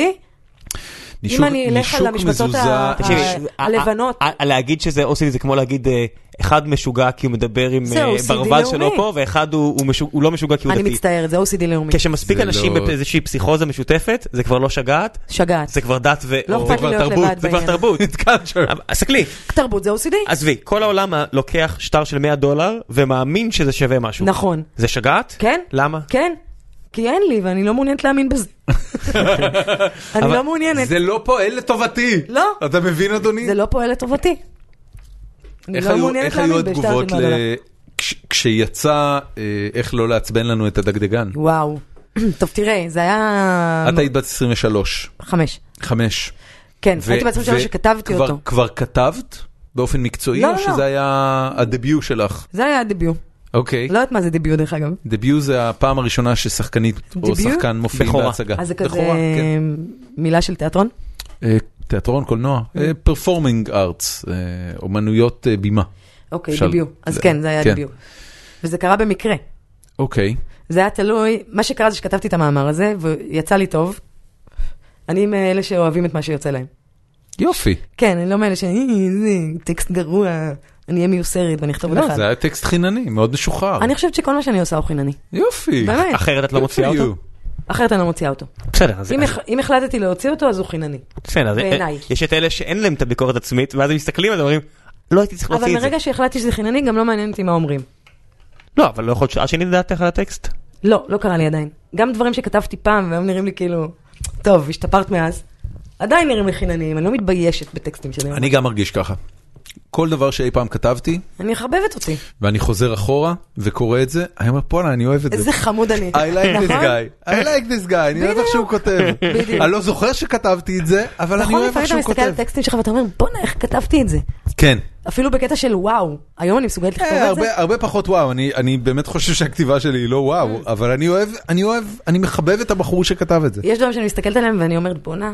[SPEAKER 1] נישוק-
[SPEAKER 3] אני אלך
[SPEAKER 1] נישוק
[SPEAKER 3] על המשבצות
[SPEAKER 1] מזוזה-
[SPEAKER 3] ה-
[SPEAKER 2] תקשיבי,
[SPEAKER 3] ה-
[SPEAKER 2] ה-
[SPEAKER 3] הלבנות.
[SPEAKER 2] ה- ה- להגיד שזה OCD זה כמו להגיד אה, אחד משוגע כי הוא מדבר עם
[SPEAKER 3] זה
[SPEAKER 2] אה,
[SPEAKER 3] OCD
[SPEAKER 2] ברווז שלו
[SPEAKER 3] לאומי.
[SPEAKER 2] פה ואחד הוא- הוא משוג- הוא לא משוגע כי הוא
[SPEAKER 3] אני
[SPEAKER 2] דתי.
[SPEAKER 3] מצטערת, זה OCD לאומי.
[SPEAKER 2] כשמספיק
[SPEAKER 1] זה
[SPEAKER 2] אנשים
[SPEAKER 1] לא-
[SPEAKER 2] באיזושהי פסיכוזה משותפת זה כבר לא שגעת,
[SPEAKER 3] שגעת.
[SPEAKER 2] זה כבר דת ו...
[SPEAKER 3] לא
[SPEAKER 2] או-
[SPEAKER 3] אכפת לי
[SPEAKER 1] כבר
[SPEAKER 3] להיות
[SPEAKER 1] תרבות,
[SPEAKER 3] לבד
[SPEAKER 2] זה כבר
[SPEAKER 3] בעניין.
[SPEAKER 2] תרבות.
[SPEAKER 1] It's culture.
[SPEAKER 2] אבל- סתכלי,
[SPEAKER 3] תרבות זה OCD?
[SPEAKER 2] עזבי, כל העולם ה- לוקח שטר של 100 דולר ומאמין שזה שווה משהו.
[SPEAKER 3] נכון.
[SPEAKER 2] זה שגעת?
[SPEAKER 3] כן?
[SPEAKER 2] למה?
[SPEAKER 3] כן. כי אין לי, ואני לא מעוניינת להאמין בזה. אני לא מעוניינת.
[SPEAKER 1] זה לא פועל לטובתי.
[SPEAKER 3] לא.
[SPEAKER 1] אתה מבין, אדוני?
[SPEAKER 3] זה לא פועל לטובתי. אני
[SPEAKER 1] איך
[SPEAKER 3] לא
[SPEAKER 1] היו-
[SPEAKER 3] מעוניינת
[SPEAKER 1] איך היו
[SPEAKER 3] להאמין בשתי
[SPEAKER 1] התגובות
[SPEAKER 3] השנים האלה.
[SPEAKER 1] ל- כש- כשיצא אה, איך לא לעצבן לנו את הדגדגן?
[SPEAKER 3] וואו. טוב, תראה, זה היה...
[SPEAKER 1] את היית בת 23,
[SPEAKER 3] חמש.
[SPEAKER 1] 5.
[SPEAKER 3] כן, הייתי בעצם שלוש שכתבתי אותו.
[SPEAKER 1] כבר כתבת באופן מקצועי,
[SPEAKER 3] לא,
[SPEAKER 1] או
[SPEAKER 3] לא.
[SPEAKER 1] שזה היה הדביוט שלך?
[SPEAKER 3] זה היה דביוט.
[SPEAKER 1] אוקיי.
[SPEAKER 3] לא יודעת מה זה דביוט, דרך אגב.
[SPEAKER 1] דביוט זה הפעם הראשונה ששחקנית או
[SPEAKER 3] דביוט?
[SPEAKER 1] שחקן מופיעים
[SPEAKER 2] בכורה.
[SPEAKER 1] בהצגה.
[SPEAKER 3] אז זה כזה
[SPEAKER 1] בכורה, כן.
[SPEAKER 3] מילה של תיאטרון?
[SPEAKER 1] אה, תיאטרון, קולנוע,
[SPEAKER 3] אה.
[SPEAKER 1] פרפורמינג ארטס, אומנויות אה, בימה.
[SPEAKER 3] אוקיי,
[SPEAKER 1] אפשר-
[SPEAKER 3] דביוט. אז
[SPEAKER 1] זה-
[SPEAKER 3] כן, זה היה
[SPEAKER 1] כן.
[SPEAKER 3] דביוט. וזה קרה במקרה.
[SPEAKER 1] אוקיי,
[SPEAKER 3] זה היה תלוי, מה שקרה זה שכתבתי את המאמר הזה, ויצא לי טוב. אני מאלה שאוהבים את מה שיוצא להם.
[SPEAKER 1] יופי.
[SPEAKER 3] כן, אני לא מאלה ש... "אה, זה טקסט גרוע, אני אהיה מיוסרת ואני אכתוב עוד
[SPEAKER 1] לא,
[SPEAKER 3] אחד.
[SPEAKER 1] זה היה טקסט חינני, מאוד משוחרר.
[SPEAKER 3] אני חושבת שכל מה שאני עושה הוא חינני.
[SPEAKER 1] יופי.
[SPEAKER 3] באמת.
[SPEAKER 2] אחרת את לא
[SPEAKER 1] Good
[SPEAKER 2] מוציאה
[SPEAKER 1] for
[SPEAKER 2] אותו?
[SPEAKER 1] you.
[SPEAKER 3] אחרת אני לא מוציאה אותו.
[SPEAKER 2] בסדר, אז...
[SPEAKER 3] אם
[SPEAKER 2] אז-
[SPEAKER 3] הח- אם החלטתי להוציא אותו, אז הוא חינני.
[SPEAKER 2] בסדר, כן, אז- אה,
[SPEAKER 3] בעיניי.
[SPEAKER 2] יש את אלה שאין להם את הביקורת עצמית, ואז הם מסתכלים על זה ואומרים, לא הייתי צריך
[SPEAKER 3] אבל
[SPEAKER 2] להוציא את זה.
[SPEAKER 3] מרגע שהחלטתי שזה חינני, גם לא מעניין אותי מה אומרים.
[SPEAKER 2] לא, אבל לא יכול להיות שעה שנית דעתך על הטקסט.
[SPEAKER 3] לא, לא קרה לי עדיין. גם דברים שכתבתי פעם, והיום נראים לי כאילו, טוב, השתפרת מאז. עדיין נראים לי חינניים, אני לא מתביישת בטקסטים שלי.
[SPEAKER 1] אני גם מרגיש ככה. כל דבר שאי פעם כתבתי,
[SPEAKER 3] אני מחבבת אותי.
[SPEAKER 1] ואני חוזר אחורה וקורא את זה, אני אומר, בואנה, אני אוהב את זה.
[SPEAKER 3] איזה חמוד אני.
[SPEAKER 1] I like this
[SPEAKER 3] נכון?
[SPEAKER 1] guy, I like this guy, אני אוהב איך שהוא
[SPEAKER 3] בדיוק.
[SPEAKER 1] כותב.
[SPEAKER 3] בדיוק.
[SPEAKER 1] אני לא זוכר שכתבתי את זה, אבל אני
[SPEAKER 3] נכון,
[SPEAKER 1] אוהב איך
[SPEAKER 3] לפעמים אתה
[SPEAKER 1] שהוא
[SPEAKER 3] מסתכל על
[SPEAKER 1] כותב.
[SPEAKER 3] טקסטים שלך ואתה אומר, בואנה, איך כתבתי את זה.
[SPEAKER 1] כן.
[SPEAKER 3] אפילו בקטע של וואו, היום אני מסוגלת לכתוב
[SPEAKER 1] אה,
[SPEAKER 3] את זה?
[SPEAKER 1] הרבה- הרבה פחות וואו, אני- אני באמת חושב שהכתיבה שלי היא לא וואו, אבל אני אוהב, אני אוהב, אני מחבב את הבחור שכתב את זה.
[SPEAKER 3] אה. יש דברים שאני מסתכלת עליהם ואני אומרת, בואנה,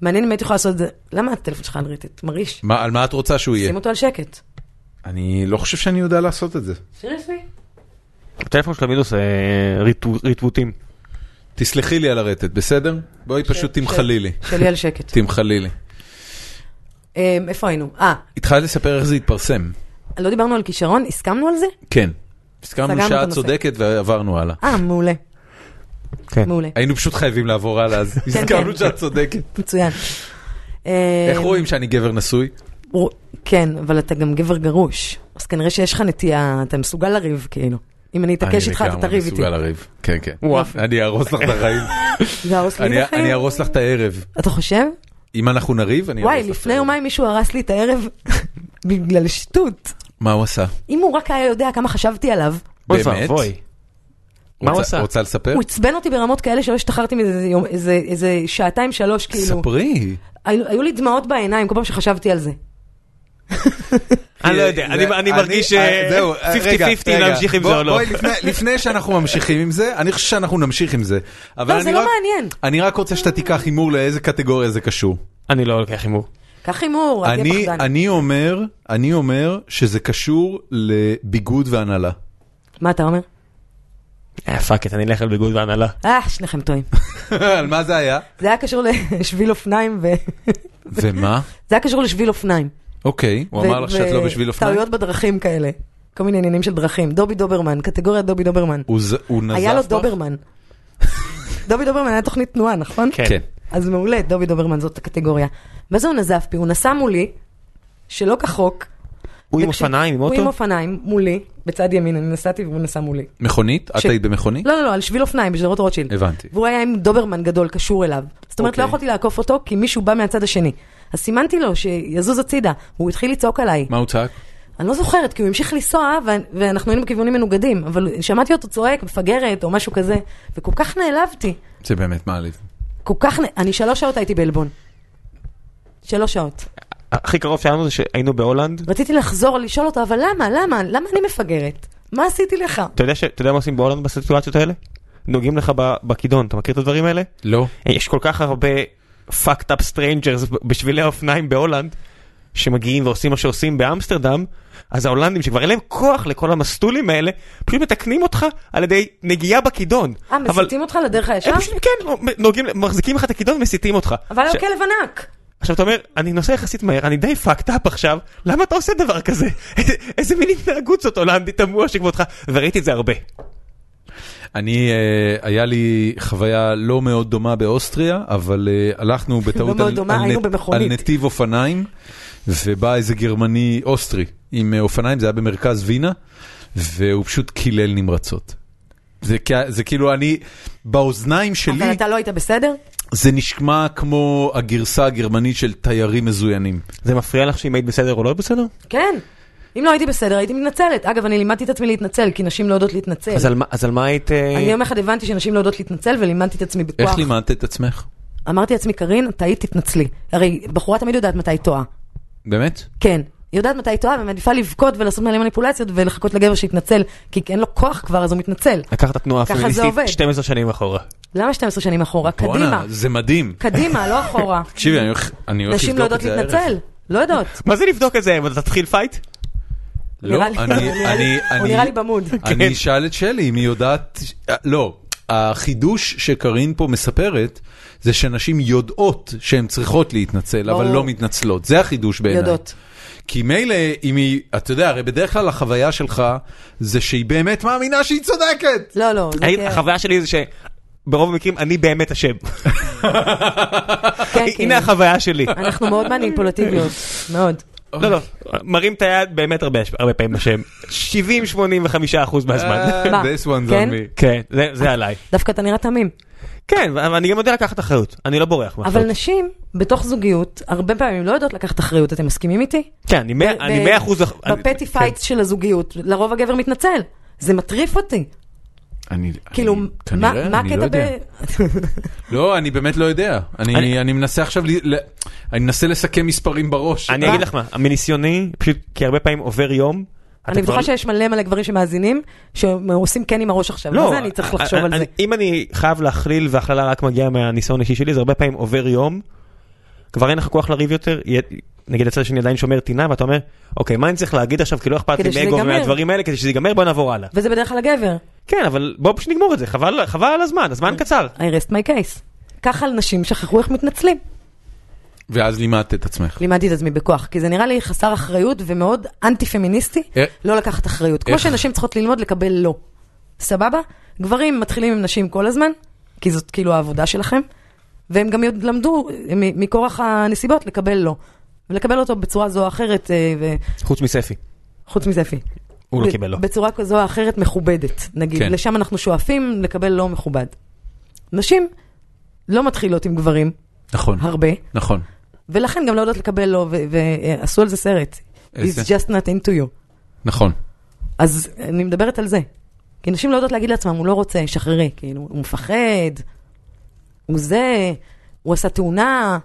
[SPEAKER 3] מעניין אם הייתי יכולה לעשות את זה. למה הטלפון שלך על רטט? מרעיש.
[SPEAKER 1] מה- על מה את רוצה שהוא יהיה?
[SPEAKER 3] שים אותו על שקט.
[SPEAKER 1] אני לא חושב שאני יודע לעשות את זה.
[SPEAKER 3] סירייסלי?
[SPEAKER 2] הטלפון של אה, עמית עושה ריטווטים.
[SPEAKER 1] תסלחי לי על הרטט, בסדר? בואי פשוט תמחלי לי.
[SPEAKER 3] כן, שלי על שקט.
[SPEAKER 1] תמחלי לי.
[SPEAKER 3] אמ, איפה היינו? אה,
[SPEAKER 1] התחלת לספר איך זה התפרסם.
[SPEAKER 3] לא דיברנו על כישרון? הסכמנו על זה?
[SPEAKER 1] כן.
[SPEAKER 3] סגרנו
[SPEAKER 1] הסכמנו
[SPEAKER 3] את
[SPEAKER 1] שאת
[SPEAKER 3] הנושא.
[SPEAKER 1] צודקת ועברנו הלאה.
[SPEAKER 3] אה, מעולה,
[SPEAKER 2] כן.
[SPEAKER 3] מעולה.
[SPEAKER 1] היינו פשוט חייבים לעבור הלאה, אז הסכמנו
[SPEAKER 3] כן.
[SPEAKER 1] שאת צודקת.
[SPEAKER 3] מצוין.
[SPEAKER 1] איך
[SPEAKER 3] אמ,
[SPEAKER 1] רואים שאני גבר נשוי?
[SPEAKER 3] הוא- כן, אבל אתה גם גבר גרוש. אז כנראה שיש לך נטייה, אתה מסוגל לריב, כאילו. אם אני אתעקש איתך, אתה תריב
[SPEAKER 1] אני לגמרי
[SPEAKER 3] איתי.
[SPEAKER 1] מסוגל לריב. כן, כן.
[SPEAKER 2] וואו.
[SPEAKER 1] אני אהרוס לך את החיים.
[SPEAKER 3] זה הרוס לי
[SPEAKER 1] אני-
[SPEAKER 3] את החיים.
[SPEAKER 1] אני אהרוס לך את הערב.
[SPEAKER 3] אתה חושב?
[SPEAKER 1] אם אנחנו נריב, אני אהרוס לך
[SPEAKER 3] וואי,
[SPEAKER 1] את הערב.
[SPEAKER 3] לפני יומיים מישהו הרס לי את הערב בגלל שטות.
[SPEAKER 1] מה הוא עשה?
[SPEAKER 3] אם הוא רק היה יודע כמה חשבתי עליו,
[SPEAKER 2] אוי
[SPEAKER 1] באמת?
[SPEAKER 2] ואבוי. מה הוא
[SPEAKER 1] רוצה-
[SPEAKER 2] עשה?
[SPEAKER 1] רוצה לספר?
[SPEAKER 3] הוא עצבן אותי ברמות כאלה שלא השתחררתי מזה איזה יום- איזה- איזה שעתיים, שלוש, כאילו.
[SPEAKER 1] ספרי.
[SPEAKER 3] היו היו לי דמעות בעיניים כל פעם שחשבתי על זה.
[SPEAKER 2] אני לא יודע, אני- אני מרגיש
[SPEAKER 1] אה, זהו, אה, רגע,
[SPEAKER 2] 50-50
[SPEAKER 1] רגע.
[SPEAKER 2] להמשיך עם
[SPEAKER 1] בוא-
[SPEAKER 2] זה או לא.
[SPEAKER 1] בואי, לפני- לפני שאנחנו ממשיכים עם זה, אני חושב שאנחנו נמשיך עם זה. אבל
[SPEAKER 3] לא, זה
[SPEAKER 1] אני
[SPEAKER 3] לא
[SPEAKER 1] רק-
[SPEAKER 3] מעניין.
[SPEAKER 1] אני רק רוצה שאתה תיקח הימור לאיזה קטגוריה זה קשור.
[SPEAKER 2] אני לא לוקח הימור.
[SPEAKER 3] קח הימור, אל תהיה
[SPEAKER 1] אני,
[SPEAKER 3] פחדן.
[SPEAKER 1] אני אומר, אני אומר שזה קשור לביגוד והנהלה.
[SPEAKER 3] מה אתה אומר?
[SPEAKER 2] אה, פאק את, אני אלך על ביגוד והנהלה.
[SPEAKER 3] אה, שניכם טועים.
[SPEAKER 1] על מה זה היה?
[SPEAKER 3] זה היה קשור לשביל אופניים, ו...
[SPEAKER 1] ומה?
[SPEAKER 3] זה היה קשור לשביל אופניים.
[SPEAKER 1] אוקיי, הוא
[SPEAKER 3] ו-
[SPEAKER 1] אמר לך שאת
[SPEAKER 3] ו-
[SPEAKER 1] לא בשביל אופניים?
[SPEAKER 3] טעויות בדרכים כאלה. כל מיני עניינים של דרכים. דובי דוברמן, קטגוריית דובי דוברמן.
[SPEAKER 1] הוא ז- הוא נזף
[SPEAKER 3] היה לו
[SPEAKER 1] בך?
[SPEAKER 3] דוברמן. דובי דוברמן היה תוכנית תנועה, נכון?
[SPEAKER 1] כן.
[SPEAKER 3] אז מעולה, דובי דוברמן זאת הקטגוריה. ואז הוא נזף בי, הוא נסע מולי, שלא כחוק.
[SPEAKER 2] הוא עם
[SPEAKER 3] וכש-
[SPEAKER 2] אופניים, עם
[SPEAKER 3] הוא עם
[SPEAKER 2] אוטו?
[SPEAKER 3] אופניים, מולי, בצד ימין, אני נסעתי והוא נסע מולי.
[SPEAKER 1] מכונית? את
[SPEAKER 3] ש-
[SPEAKER 1] היית במכונית?
[SPEAKER 3] לא, לא, לא, על שביל אופניים בשדרות רוטשילד.
[SPEAKER 1] הבנתי.
[SPEAKER 3] והוא היה עם דוברמן גדול קשור אליו. זאת אומרת, לא
[SPEAKER 1] אוקיי.
[SPEAKER 3] יכולתי לעקוף אותו, כי מישהו בא מהצד השני. אז סימנתי לו שיזוז הצידה, והוא התחיל לצעוק עליי.
[SPEAKER 1] מה הוא צעק?
[SPEAKER 3] אני לא זוכרת, כי הוא המשיך לנסוע, ו- ואנחנו היינו בכיוונים מנוגדים, אבל שמעתי אותו צועק, מפגרת, או משהו כזה, וכל כך נעלבתי.
[SPEAKER 1] זה באמת מעליב.
[SPEAKER 3] כל כך, נ- אני שלוש שעות הייתי בעלבון. שלוש שעות.
[SPEAKER 2] הכי קרוב שלנו זה שהיינו בהולנד.
[SPEAKER 3] רציתי לחזור לשאול אותו, אבל למה, למה, למה אני מפגרת? מה עשיתי לך? "אה,
[SPEAKER 2] אתה יודע ש- אתה יודע מה עושים בהולנד בסיטואציות האלה? נוגעים לך ב- בכידון, אתה מכיר את הדברים האלה?
[SPEAKER 1] לא.
[SPEAKER 2] יש כל כך הרבה fucked up strangers בשבילי האופניים בהולנד, שמגיעים ועושים מה שעושים באמסטרדם, אז ההולנדים שכבר אין להם כוח לכל המסטולים האלה, פשוט מתקנים אותך על ידי נגיעה בכידון.
[SPEAKER 3] אה,
[SPEAKER 2] אבל-
[SPEAKER 3] מסיתים אותך לדרך הישר?
[SPEAKER 2] הם פשוט, כן, נוגעים, מחזיקים לך את הכידון ומסיתים אותך.
[SPEAKER 3] אבל אוקיי.
[SPEAKER 2] ש-
[SPEAKER 3] היה כלב ענק.
[SPEAKER 2] עכשיו אתה אומר, אני נוסע יחסית מהר, אני די fucked up עכשיו, למה אתה עושה דבר כזה? איזה- איזה מין התנהגות זאת הולנדית תמוה שכבודך, וראיתי את זה הרבה.
[SPEAKER 1] אני, אה, היה לי חוויה לא מאוד דומה באוסטריה, אבל אה, הלכנו בטעות
[SPEAKER 3] לא מאוד
[SPEAKER 1] על-
[SPEAKER 3] דומה,
[SPEAKER 1] על
[SPEAKER 3] היינו
[SPEAKER 1] נ-
[SPEAKER 3] במכונית.
[SPEAKER 1] על נתיב אופניים, ובא איזה גרמני אוסטרי עם אה, אופניים, זה היה במרכז וינה, והוא פשוט קילל נמרצות. זה, כ- זה כאילו אני, באוזניים שלי
[SPEAKER 3] אבל אתה לא היית בסדר?
[SPEAKER 1] זה נשמע כמו הגרסה הגרמנית של תיירים מזוינים.
[SPEAKER 2] זה מפריע לך שאם היית בסדר או לא היית בסדר?
[SPEAKER 3] כן. אם לא הייתי בסדר, הייתי מתנצלת. אגב, אני לימדתי את עצמי להתנצל, כי נשים לא יודעות להתנצל.
[SPEAKER 2] אז על מה- אז על מה היית... אה,
[SPEAKER 3] אני יום אחד הבנתי שנשים לא יודעות להתנצל, ולימדתי את עצמי בכוח.
[SPEAKER 1] איך לימדת את עצמך?
[SPEAKER 3] אמרתי לעצמי, קארין, טעית, תתנצלי. הרי בחורה תמיד יודעת מתי היא טועה.
[SPEAKER 1] באמת?
[SPEAKER 3] כן. היא יודעת מתי היא טועה, ומעדיפה לבכות ולעשות מלא מניפולציות ולחכות לגבר שיתנצל, כי אין לו כוח כבר, אז הוא מתנצל.
[SPEAKER 2] לקחת תנועה
[SPEAKER 3] ככה זה עובד.
[SPEAKER 2] פמיניסטית 12 שנים אחורה.
[SPEAKER 3] למה 12 שנים אחורה? קדימה.
[SPEAKER 1] בואנה, זה מדהים.
[SPEAKER 3] קדימה, לא אחורה.
[SPEAKER 1] תקשיבי, אני הולך אני הולך
[SPEAKER 3] נשים לא
[SPEAKER 1] לבדוק את
[SPEAKER 3] יודעות
[SPEAKER 1] זה הערב.
[SPEAKER 3] להתנצל. לא יודעות.
[SPEAKER 2] מה זה לבדוק את זה? אתה תתחיל פייט?
[SPEAKER 3] כן.
[SPEAKER 1] לא,
[SPEAKER 3] נראה לי-
[SPEAKER 1] אני,
[SPEAKER 3] הוא נראה
[SPEAKER 1] אני,
[SPEAKER 3] לי-
[SPEAKER 1] אני,
[SPEAKER 3] הוא נראה לי במוד.
[SPEAKER 1] אני אשאל את שלי אם היא יודעת, אה, לא, החידוש שקרין פה מספרת, זה שנשים יודעות שהן צריכות להתנצל, אבל
[SPEAKER 3] ברור.
[SPEAKER 1] לא מתנצלות, זה החידוש בעיניי.
[SPEAKER 3] יודעות.
[SPEAKER 1] כי מילא אם היא, אתה יודע, הרי בדרך כלל החוויה שלך זה שהיא באמת מאמינה שהיא צודקת.
[SPEAKER 3] לא, לא. זה
[SPEAKER 2] אני-
[SPEAKER 3] כן.
[SPEAKER 2] החוויה שלי זה שברוב המקרים אני באמת אשם.
[SPEAKER 3] כן, כן.
[SPEAKER 2] הנה החוויה שלי.
[SPEAKER 3] אנחנו מאוד מניפולטיביות. מאוד.
[SPEAKER 2] לא, לא, מרים את היד באמת הרבה הרבה פעמים בשם. 70-85% מהזמן.
[SPEAKER 1] אה, This one's
[SPEAKER 3] כן?
[SPEAKER 1] on me.
[SPEAKER 2] כן, זה- זה עליי.
[SPEAKER 3] דווקא אתה נראה תמים.
[SPEAKER 2] כן, אבל אני גם יודע לקחת אחריות, אני לא בורח
[SPEAKER 1] נכון.
[SPEAKER 2] מאחריות.
[SPEAKER 3] אבל נשים, בתוך זוגיות, הרבה פעמים לא יודעות לקחת אחריות. אתם מסכימים איתי?
[SPEAKER 2] כן, אני מאה- אני
[SPEAKER 3] ב-
[SPEAKER 2] 100 אחוז...
[SPEAKER 3] בפטי
[SPEAKER 1] כן.
[SPEAKER 3] פייטס של הזוגיות, לרוב הגבר מתנצל. זה מטריף אותי.
[SPEAKER 1] אני,
[SPEAKER 3] כאילו,
[SPEAKER 1] אני-
[SPEAKER 3] מה
[SPEAKER 1] כנראה,
[SPEAKER 3] מה
[SPEAKER 1] אני לא
[SPEAKER 3] הקטע
[SPEAKER 1] יודע.
[SPEAKER 3] ב...
[SPEAKER 1] לא, אני באמת לא יודע. אני, אני...
[SPEAKER 2] אני-
[SPEAKER 1] מנסה עכשיו, ל... ל... אני מנסה לסכם מספרים בראש.
[SPEAKER 2] כן. אני אגיד לך מה, מניסיוני, פשוט כי הרבה פעמים עובר יום.
[SPEAKER 3] אני
[SPEAKER 2] אתה כבר-
[SPEAKER 3] בטוחה שיש מלא מלא גברים שמאזינים, שעושים כן עם הראש עכשיו.
[SPEAKER 1] לא,
[SPEAKER 3] מה זה אני
[SPEAKER 1] אה,
[SPEAKER 3] צריך לחשוב על
[SPEAKER 2] לא, אני-
[SPEAKER 3] זה?
[SPEAKER 2] אם אני חייב להכליל והכללה רק מגיעה מהניסיון האישי שלי, זה הרבה פעמים עובר יום, כבר אין לך כוח לריב יותר, י- נגיד הצד השני עדיין שומר טינה, ואתה אומר, אוקיי, מה אני צריך להגיד עכשיו, כי לא אכפת
[SPEAKER 3] כדי
[SPEAKER 2] לי
[SPEAKER 3] שזה
[SPEAKER 2] מאגו
[SPEAKER 3] ייגמר."
[SPEAKER 2] ומהדברים האלה, כדי שזה ייגמר, בוא נעבור הלאה.
[SPEAKER 3] וזה בדרך כלל הגבר.
[SPEAKER 2] כן, אבל בוא פשוט נגמור את זה, חבל חבל על הזמן, הזמן קצר.
[SPEAKER 3] I rest my case. ככה נשים שכחו איך מתנצלים.
[SPEAKER 1] ואז לימדת את עצמך.
[SPEAKER 3] לימדתי את עצמי בכוח, כי זה נראה לי חסר אחריות ומאוד אנטי-פמיניסטי
[SPEAKER 1] אה,
[SPEAKER 3] לא לקחת אחריות. כמו
[SPEAKER 2] אה?
[SPEAKER 1] איך?
[SPEAKER 3] שנשים צריכות ללמוד לקבל לא. סבבה? גברים מתחילים עם נשים כל הזמן, כי זאת כאילו העבודה שלכם, והם גם יודעים- למדו אה, מ- מכורח הנסיבות לקבל לא. ולקבל אותו בצורה זו או אחרת, אה, ו-
[SPEAKER 2] חוץ מספי,
[SPEAKER 3] חוץ מזה אפי.
[SPEAKER 2] הוא לא
[SPEAKER 3] ב-
[SPEAKER 2] קיבל לא.
[SPEAKER 3] בצורה כזו או אחרת מכובדת, נגיד.
[SPEAKER 1] כן.
[SPEAKER 3] כן. לשם אנחנו שואפים לקבל לא מכובד. נשים לא מתחילות עם גברים
[SPEAKER 1] נכון,
[SPEAKER 3] הרבה,
[SPEAKER 1] נכון.
[SPEAKER 3] ולכן גם לא יודעות לקבל לא, ו- ועשו על זה סרט.
[SPEAKER 1] איזה?
[SPEAKER 3] It's just not into you.
[SPEAKER 1] נכון.
[SPEAKER 3] אז אני מדברת על זה. כי נשים לא יודעות להגיד לעצמם, הוא לא רוצה, שחררי. כאילו, הוא מפחד, הוא זה, הוא עשה תאונה.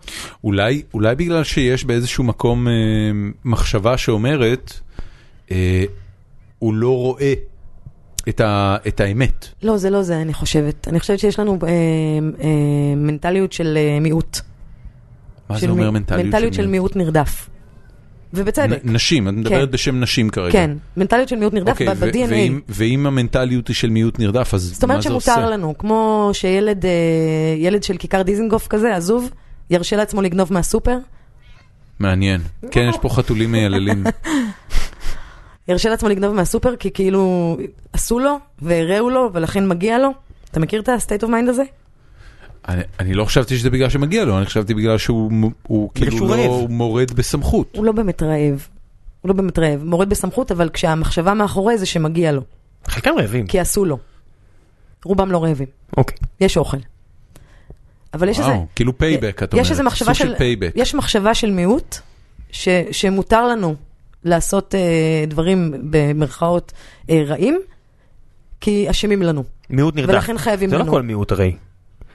[SPEAKER 1] אולי, אולי בגלל שיש באיזשהו מקום אה, מחשבה שאומרת, אה, הוא לא רואה את, ה, את האמת.
[SPEAKER 3] לא, זה לא זה, אני חושבת. אני חושבת שיש לנו אה, אה, מנטליות של אה, מיעוט.
[SPEAKER 1] מה
[SPEAKER 3] של
[SPEAKER 1] זה אומר
[SPEAKER 3] מי-
[SPEAKER 1] מנטליות,
[SPEAKER 3] מנטליות של מיעוט נרדף. ובצדק.
[SPEAKER 1] נ- נשים, את מדברת
[SPEAKER 3] כן.
[SPEAKER 1] בשם נשים כרגע.
[SPEAKER 3] כן, מנטליות של מיעוט נרדף
[SPEAKER 1] אוקיי,
[SPEAKER 3] ב-
[SPEAKER 1] ו- ואם-
[SPEAKER 3] ב-DNA.
[SPEAKER 1] ואם המנטליות היא של מיעוט נרדף, אז מה זה עושה?
[SPEAKER 3] זאת אומרת שמותר לנו, כמו שילד אה, ילד של כיכר דיזנגוף כזה, עזוב, ירשה לעצמו לגנוב מהסופר,
[SPEAKER 1] מעניין. כן,
[SPEAKER 3] לא.
[SPEAKER 1] יש פה חתולים מייללים.
[SPEAKER 3] ירשה לעצמו לגנוב מהסופר כי כאילו עשו לו והראו לו ולכן מגיע לו. אתה מכיר את ה-state of mind הזה?
[SPEAKER 1] אני, אני לא חשבתי שזה בגלל שמגיע לו, אני חשבתי בגלל שהוא מ- הוא
[SPEAKER 2] בגלל
[SPEAKER 1] כאילו
[SPEAKER 2] שהוא
[SPEAKER 1] לא
[SPEAKER 2] רעב.
[SPEAKER 1] הוא מורד בסמכות.
[SPEAKER 3] הוא לא באמת רעב. הוא לא באמת רעב, מורד בסמכות, אבל כשהמחשבה מאחורי זה שמגיע לו,
[SPEAKER 2] חלקם רעבים.
[SPEAKER 3] כי עשו לו. רובם לא רעבים,
[SPEAKER 2] אוקיי.
[SPEAKER 3] יש אוכל. אבל יש איזה,
[SPEAKER 1] וואו, כאילו פייבק, את אומרת.
[SPEAKER 3] יש איזה מחשבה
[SPEAKER 1] סוג
[SPEAKER 3] של,
[SPEAKER 1] של פייבק.
[SPEAKER 3] יש מחשבה של מיעוט, ש, שמותר לנו לעשות אה, דברים במרכאות אה, רעים, כי אשמים לנו.
[SPEAKER 2] מיעוט נרדף.
[SPEAKER 3] ולכן חייבים
[SPEAKER 2] זה
[SPEAKER 3] לנו.
[SPEAKER 2] לא כל מיעוט הרי.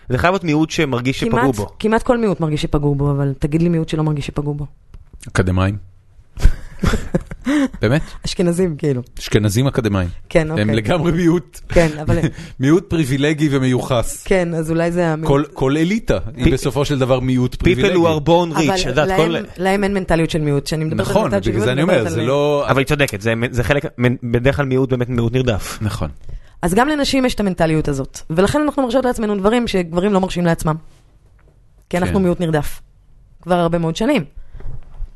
[SPEAKER 2] זה חייב להיות מיעוט שמרגיש שפגעו
[SPEAKER 3] כמעט,
[SPEAKER 2] בו.
[SPEAKER 3] כמעט כל מיעוט מרגיש שפגעו בו, אבל תגיד לי מיעוט שלא מרגיש שפגעו בו.
[SPEAKER 1] אקדמאים. באמת?
[SPEAKER 3] אשכנזים כאילו.
[SPEAKER 1] אשכנזים אקדמאים.
[SPEAKER 3] כן, אוקיי.
[SPEAKER 1] הם לגמרי מיעוט,
[SPEAKER 3] כן, אבל...
[SPEAKER 1] מיעוט פריבילגי ומיוחס.
[SPEAKER 3] כן, אז אולי זה המיעוט.
[SPEAKER 1] כל, כל אליטה היא
[SPEAKER 2] פי-
[SPEAKER 1] בסופו של דבר מיעוט
[SPEAKER 2] People
[SPEAKER 1] פריבילגי.
[SPEAKER 2] who are born
[SPEAKER 3] אבל
[SPEAKER 2] rich. את יודעת, כל-
[SPEAKER 3] להם- להם אין מנטליות של מיעוט, כשאני מדברת על
[SPEAKER 1] נכון,
[SPEAKER 3] מנטליות של
[SPEAKER 1] בגלל
[SPEAKER 3] מיעוט,
[SPEAKER 1] זה אני
[SPEAKER 3] מדברת
[SPEAKER 1] אומר,
[SPEAKER 3] על-
[SPEAKER 1] זה לא...
[SPEAKER 2] אבל היא צודקת, זה- זה חלק, בדרך כלל מיעוט באמת מיעוט נרדף.
[SPEAKER 1] נכון.
[SPEAKER 3] כן, אז גם לנשים יש את המנטליות הזאת, ולכן אנחנו מרשות לעצמנו דברים שגברים לא מרשים לעצמם. כי אנחנו
[SPEAKER 1] כן.
[SPEAKER 3] מיעוט נרדף. כבר הרבה מאוד שנים.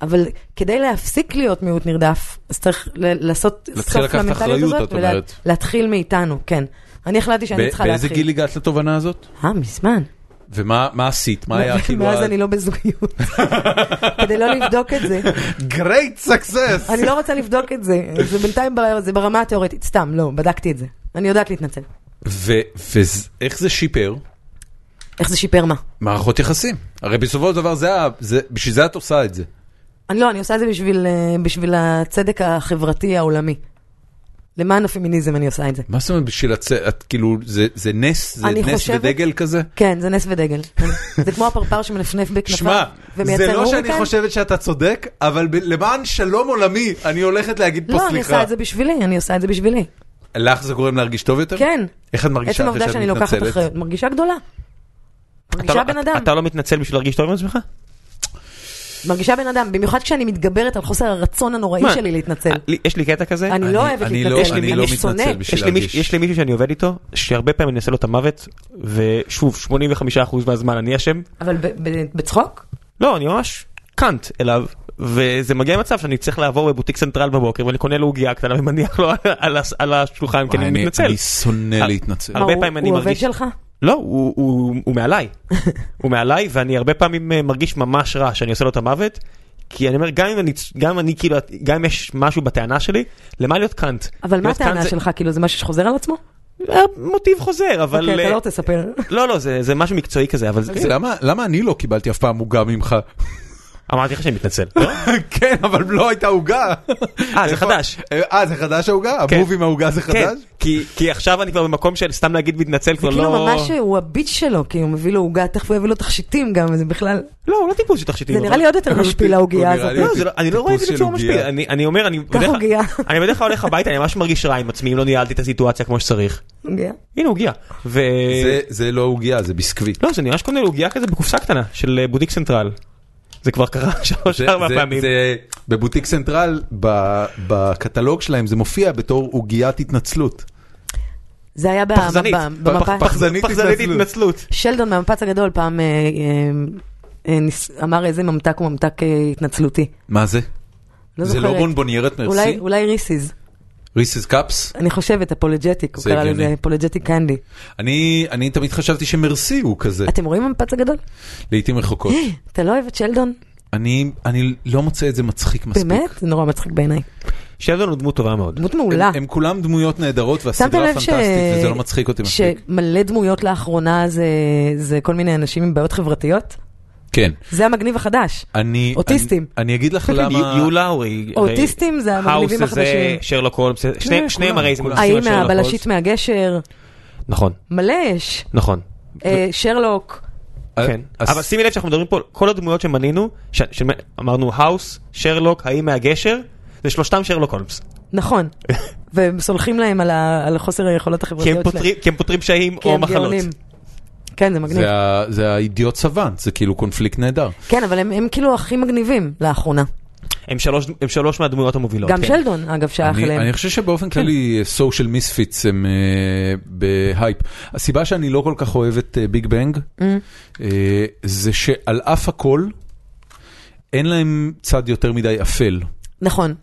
[SPEAKER 3] אבל כדי להפסיק להיות מיעוט נרדף, אז צריך ל- לעשות
[SPEAKER 1] להתחיל
[SPEAKER 3] סוף
[SPEAKER 1] לקחת
[SPEAKER 3] למנטליות
[SPEAKER 1] אחריות,
[SPEAKER 3] הזאת,
[SPEAKER 1] את אומרת.
[SPEAKER 3] ולהתחיל מאיתנו, כן. אני החלטתי שאני
[SPEAKER 1] ב-
[SPEAKER 3] צריכה להתחיל.
[SPEAKER 1] באיזה גיל הגעת לתובנה הזאת?
[SPEAKER 3] אה, מזמן.
[SPEAKER 1] ומה מה עשית? מה היה כאילו...
[SPEAKER 3] מאז אני לא בזוגיות. כדי לא לבדוק את זה.
[SPEAKER 1] גרייט סקסס!
[SPEAKER 3] אני לא רוצה לבדוק את זה. זה בינתיים בר- זה ברמה התיאורטית. סתם, לא, בדקתי את זה. אני יודעת להתנצל.
[SPEAKER 1] ואיך זה שיפר?
[SPEAKER 3] איך זה שיפר מה?
[SPEAKER 1] מערכות יחסים. הרי בסופו של דבר זה ה... זה- בשביל זה את עושה את זה.
[SPEAKER 3] אני לא, אני עושה את זה בשביל, אה, בשביל הצדק החברתי העולמי. למען הפמיניזם אני עושה את זה.
[SPEAKER 1] מה זאת אומרת בשביל הצ... את כאילו, זה זה נס? זה
[SPEAKER 3] אני
[SPEAKER 1] נס
[SPEAKER 3] חושבת-
[SPEAKER 1] ודגל כזה?
[SPEAKER 3] כן, זה נס ודגל. זה כמו הפרפר שמנפנף בכנפיו
[SPEAKER 1] שמע,
[SPEAKER 3] נכון. ומייצר
[SPEAKER 1] זה לא שאני
[SPEAKER 3] הוריקן.
[SPEAKER 1] חושבת שאתה צודק, אבל ב- למען שלום עולמי, אני הולכת להגיד פה
[SPEAKER 3] לא, אני
[SPEAKER 1] סליחה.
[SPEAKER 3] עושה את זה בשבילי, אני עושה את זה בשבילי.
[SPEAKER 1] לך זה גורם להרגיש טוב יותר?
[SPEAKER 3] כן.
[SPEAKER 1] איך את מרגישה
[SPEAKER 3] עצם
[SPEAKER 1] אחרי
[SPEAKER 3] העובדה
[SPEAKER 1] שאת
[SPEAKER 3] שאני לוקחת
[SPEAKER 1] מתנצלת?
[SPEAKER 3] אחריות. מרגישה גדולה.
[SPEAKER 2] אתה
[SPEAKER 3] מרגישה
[SPEAKER 2] לא-
[SPEAKER 3] בן
[SPEAKER 2] אתה-
[SPEAKER 3] אדם.
[SPEAKER 2] אתה לא מתנצל בשביל להרגיש טוב עם עצמך?
[SPEAKER 3] מרגישה בן אדם, במיוחד כשאני מתגברת על חוסר הרצון הנוראי
[SPEAKER 2] מה?
[SPEAKER 3] שלי להתנצל.
[SPEAKER 2] אה, לי- יש לי קטע כזה,
[SPEAKER 3] אני לא אוהבת
[SPEAKER 1] אני לא-
[SPEAKER 3] להתנצל,
[SPEAKER 1] אני לא
[SPEAKER 3] אני שונאת.
[SPEAKER 1] מתנצל בשביל
[SPEAKER 2] יש לי מיש-
[SPEAKER 1] להרגיש.
[SPEAKER 2] יש לי מישהו שאני עובד איתו, שהרבה פעמים אני עושה לו את המוות, ושוב, 85% מהזמן אני אשם.
[SPEAKER 3] אבל ב- ב- בצחוק?
[SPEAKER 2] לא, אני ממש קאנט אליו, וזה מגיע למצב שאני צריך לעבור בבוטיק סנטרל בבוקר, ואני קונה לו עוגיה קטנה ומניח לו על- על הס- על השולחן, כי
[SPEAKER 1] וואי,
[SPEAKER 2] אני
[SPEAKER 1] אני-
[SPEAKER 2] מתנצל. אה,
[SPEAKER 1] אני שונא להתנצל.
[SPEAKER 2] הרבה
[SPEAKER 3] מה, הוא-
[SPEAKER 2] פעמים אני
[SPEAKER 3] הוא עובד
[SPEAKER 2] מרגיש-
[SPEAKER 3] שלך?
[SPEAKER 2] לא, הוא, הוא, הוא מעליי. הוא מעליי, ואני הרבה פעמים אה, מרגיש ממש רע שאני עושה לו את המוות, כי אני אומר, גם אם אני, גם אני כאילו, גם אם יש משהו בטענה שלי, למה להיות קאנט?
[SPEAKER 3] אבל מה
[SPEAKER 2] להיות קאנט
[SPEAKER 3] הטענה
[SPEAKER 2] לא, זה-
[SPEAKER 3] שלך? כאילו, זה משהו שחוזר על עצמו?
[SPEAKER 2] אה, מוטיב חוזר, אבל...
[SPEAKER 3] אוקיי,
[SPEAKER 2] אה,
[SPEAKER 3] אתה לא רוצה לספר.
[SPEAKER 2] לא, לא, זה זה משהו מקצועי כזה, אבל... זה-
[SPEAKER 3] אוקיי.
[SPEAKER 1] למה- למה אני לא קיבלתי אף פעם עוגה ממך?
[SPEAKER 2] אמרתי לך שאני מתנצל. לא?
[SPEAKER 1] כן, אבל לא הייתה עוגה.
[SPEAKER 2] אה, זה חדש.
[SPEAKER 1] אה, זה חדש העוגה?
[SPEAKER 2] כן.
[SPEAKER 1] המוב עם העוגה זה
[SPEAKER 2] כן,
[SPEAKER 1] חדש?
[SPEAKER 2] כי- כי עכשיו אני כבר במקום של סתם להגיד מתנצל
[SPEAKER 3] זה
[SPEAKER 2] כבר לא...
[SPEAKER 3] כאילו ממש, הוא הביט שלו, כי הוא מביא לו עוגה, תכף הוא יביא לו תכשיטים גם, זה בכלל...
[SPEAKER 2] לא, הוא לא טיפוס של תכשיטים.
[SPEAKER 3] זה
[SPEAKER 2] אבל-
[SPEAKER 3] נראה לי עוד יותר משפיל העוגיה
[SPEAKER 1] הוא נראה
[SPEAKER 3] הזאת.
[SPEAKER 1] לי-
[SPEAKER 2] לא, זה לא- אני לא רואה את זה
[SPEAKER 1] טיפוס
[SPEAKER 2] בצורה
[SPEAKER 1] של
[SPEAKER 2] משפיל.
[SPEAKER 1] עוגיה.
[SPEAKER 2] אני אני אומר, אני...
[SPEAKER 3] קח
[SPEAKER 2] בדרך-
[SPEAKER 3] עוגיה.
[SPEAKER 2] אני בדרך כלל הולך הביתה, אני ממש מרגיש רע עם עצמי אם לא ניהלתי את הסיטואציה כמו שצריך.
[SPEAKER 3] עוגיה.
[SPEAKER 2] הנה עוגיה. ו...
[SPEAKER 1] זה- זה לא עוגיה, זה ביסקוויט.
[SPEAKER 2] לא, זה נראה שקונה עוגיה כזה בקופסה קטנה של אה, בוטיק סנטרל. זה כבר קרה שלוש
[SPEAKER 1] זה-
[SPEAKER 2] ארבע
[SPEAKER 1] זה-
[SPEAKER 2] פעמים.
[SPEAKER 1] זה- בבוטיק סנטרל, ב- בקטלוג שלהם זה מופיע בתור עוגיית התנצלות.
[SPEAKER 3] זה היה
[SPEAKER 2] פחזנית.
[SPEAKER 3] במפה.
[SPEAKER 2] פ-
[SPEAKER 1] פח-
[SPEAKER 3] במפה.
[SPEAKER 1] פח- פחזנית
[SPEAKER 2] פחזנית
[SPEAKER 1] התנצלות.
[SPEAKER 2] התנצלות.
[SPEAKER 3] שלדון מהמפץ הגדול פעם אה, אה, אה, ניס- אמר איזה ממתק הוא ממתק אה, התנצלותי.
[SPEAKER 1] מה זה?
[SPEAKER 3] לא
[SPEAKER 1] זה
[SPEAKER 3] זוכרת.
[SPEAKER 1] לא בונבוניירת
[SPEAKER 3] אולי-
[SPEAKER 1] מרסי?
[SPEAKER 3] אולי ריסיס.
[SPEAKER 1] ריסיס קאפס?
[SPEAKER 3] אני חושבת, אפולג'טיק, הוא
[SPEAKER 1] זה
[SPEAKER 3] קרא
[SPEAKER 1] הגיוני.
[SPEAKER 3] לזה אפולג'טיק קנדי.
[SPEAKER 1] אני אני תמיד חשבתי שמרסי הוא כזה,
[SPEAKER 3] אתם רואים המפץ הגדול?
[SPEAKER 1] לעיתים רחוקות.
[SPEAKER 3] אתה לא אוהב את שלדון?
[SPEAKER 1] אני אני לא מוצא את זה מצחיק מספיק.
[SPEAKER 3] באמת? זה נורא מצחיק בעיניי.
[SPEAKER 2] שלדון הוא דמות טובה מאוד.
[SPEAKER 3] דמות
[SPEAKER 1] הם-
[SPEAKER 3] מעולה.
[SPEAKER 1] הם כולם דמויות נהדרות
[SPEAKER 3] שמת
[SPEAKER 1] והסדרה
[SPEAKER 3] לב ש...
[SPEAKER 1] פנטסטית וזה לא מצחיק אותי מספיק.
[SPEAKER 3] שמלא דמויות לאחרונה זה, זה כל מיני אנשים עם בעיות חברתיות?
[SPEAKER 1] כן.
[SPEAKER 3] זה המגניב החדש.
[SPEAKER 1] אני...
[SPEAKER 3] אוטיסטים. כן.
[SPEAKER 1] אני, אני אגיד לך למה...
[SPEAKER 2] יו- יולה אורי.
[SPEAKER 3] אוטיסטים זה המגניבים
[SPEAKER 2] אה, האוס הזה,
[SPEAKER 3] החדשים. אה,
[SPEAKER 2] שרלוק הולמס, שני-
[SPEAKER 1] כולם,
[SPEAKER 2] שניהם הרי זה
[SPEAKER 1] כולם.
[SPEAKER 2] מומחים
[SPEAKER 3] האם
[SPEAKER 2] על שרלוק
[SPEAKER 3] הבלשית
[SPEAKER 2] הולמס.
[SPEAKER 3] מהגשר?
[SPEAKER 2] נכון,
[SPEAKER 3] מלא יש.
[SPEAKER 2] נכון.
[SPEAKER 3] אה, שרלוק.
[SPEAKER 2] כן.
[SPEAKER 1] אה, אז-
[SPEAKER 2] אבל שימי לב שאנחנו מדברים פה, כל הדמויות שמנינו, ש- שאמרנו האוס, שרלוק, האם מהגשר, זה שלושתם שרלוק הולמס.
[SPEAKER 3] נכון. והם סולחים להם על, ה... על חוסר היכולות
[SPEAKER 2] כי הם
[SPEAKER 3] החברתיות שלהם.
[SPEAKER 2] פותרים- כי הם פותרים פשעים
[SPEAKER 3] כי
[SPEAKER 2] או
[SPEAKER 3] הם
[SPEAKER 2] מחלות.
[SPEAKER 3] גאונים. כן, זה מגניב.
[SPEAKER 1] זה, ה, זה האידיוט סוואנט, זה כאילו קונפליקט נהדר.
[SPEAKER 3] כן, אבל הם, הם כאילו הכי מגניבים לאחרונה.
[SPEAKER 1] אוקיי.
[SPEAKER 2] הם שלוש- הם שלוש מהדמויות המובילות.
[SPEAKER 3] גם
[SPEAKER 2] כן.
[SPEAKER 3] שלדון, אגב, שייך
[SPEAKER 1] אני,
[SPEAKER 3] אליהם.
[SPEAKER 1] אני חושב שבאופן כללי
[SPEAKER 3] כן.
[SPEAKER 1] סושיאל מיספיטס הם uh, בהייפ. הסיבה שאני לא כל כך אוהב את ביג בנג,
[SPEAKER 3] Mm.
[SPEAKER 1] uh, זה שעל אף הכל, אין להם צד יותר מדי אפל.
[SPEAKER 3] נכון.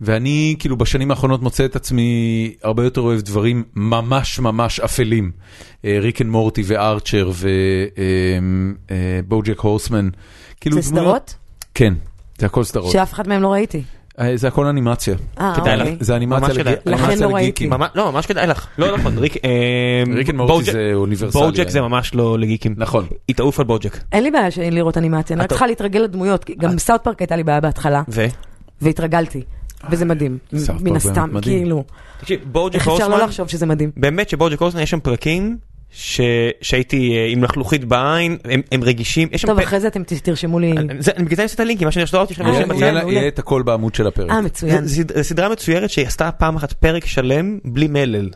[SPEAKER 1] ואני כאילו בשנים האחרונות מוצא את עצמי הרבה יותר אוהב דברים ממש ממש אפלים. אה, ריק אנד מורטי וארצ'ר ובוג'ק הורסמן. כאילו
[SPEAKER 3] זה
[SPEAKER 1] דמויות-
[SPEAKER 3] סדרות?
[SPEAKER 1] כן, זה הכל סדרות.
[SPEAKER 3] שאף אחת מהם לא ראיתי.
[SPEAKER 1] אה, זה הכל אנימציה.
[SPEAKER 3] אה,
[SPEAKER 2] כדאי לך.
[SPEAKER 3] אוקיי.
[SPEAKER 1] זה אנימציה
[SPEAKER 2] ממש
[SPEAKER 1] לג-
[SPEAKER 2] כדאי. לכן
[SPEAKER 1] אנימציה
[SPEAKER 3] לא ראיתי.
[SPEAKER 1] לגיקים.
[SPEAKER 2] ממש- לא, ממש כדאי לך. לא נכון, ריק... אמ,
[SPEAKER 1] ריק אנד מורטי
[SPEAKER 2] בוג'ק-
[SPEAKER 1] זה אוניברסלי.
[SPEAKER 2] בוג'ק זה ממש לא לגיקים.
[SPEAKER 1] נכון.
[SPEAKER 2] היא תעוף על בוג'ק.
[SPEAKER 3] אין לי בעיה שאין לראות אנימציה, אני רק
[SPEAKER 2] אתה-
[SPEAKER 3] צריכה להתרגל לדמויות, כי גם סאוט פארק הייתה לי בעיה בהתחלה,
[SPEAKER 2] ו?
[SPEAKER 3] והתרגלתי, וזה
[SPEAKER 1] אה,
[SPEAKER 3] מדהים,
[SPEAKER 1] סאוט פארק
[SPEAKER 3] מן
[SPEAKER 1] באמת
[SPEAKER 3] הסתם,
[SPEAKER 1] מדהים.
[SPEAKER 3] כאילו,
[SPEAKER 2] תקשיב, בוג'ק
[SPEAKER 3] איך אפשר לא
[SPEAKER 2] הורסמן,
[SPEAKER 3] לחשוב שזה מדהים?
[SPEAKER 2] באמת שבוג'ק הורסמן יש שם פרקים ש- שהייתי אה, עם לחלוחית בעין, הם- הם רגישים, יש שם...
[SPEAKER 3] טוב,
[SPEAKER 2] פרק-
[SPEAKER 3] אחרי זה אתם ת- תרשמו לי,
[SPEAKER 2] אני- זה- אני בגלל זה אני עושה את הלינקים, מה שאני עושה אותי, יש לכם
[SPEAKER 3] אה,
[SPEAKER 2] משהו
[SPEAKER 1] יהיה-
[SPEAKER 3] מעולה,
[SPEAKER 1] יהיה
[SPEAKER 2] בצד.
[SPEAKER 1] לה-
[SPEAKER 3] מעולה.
[SPEAKER 1] יהיה את הכל בעמוד של הפרק.
[SPEAKER 3] אה, מצוין,
[SPEAKER 2] זה- זה- זו סדרה מצוירת שעשתה פעם אחת פרק שלם בלי מלל.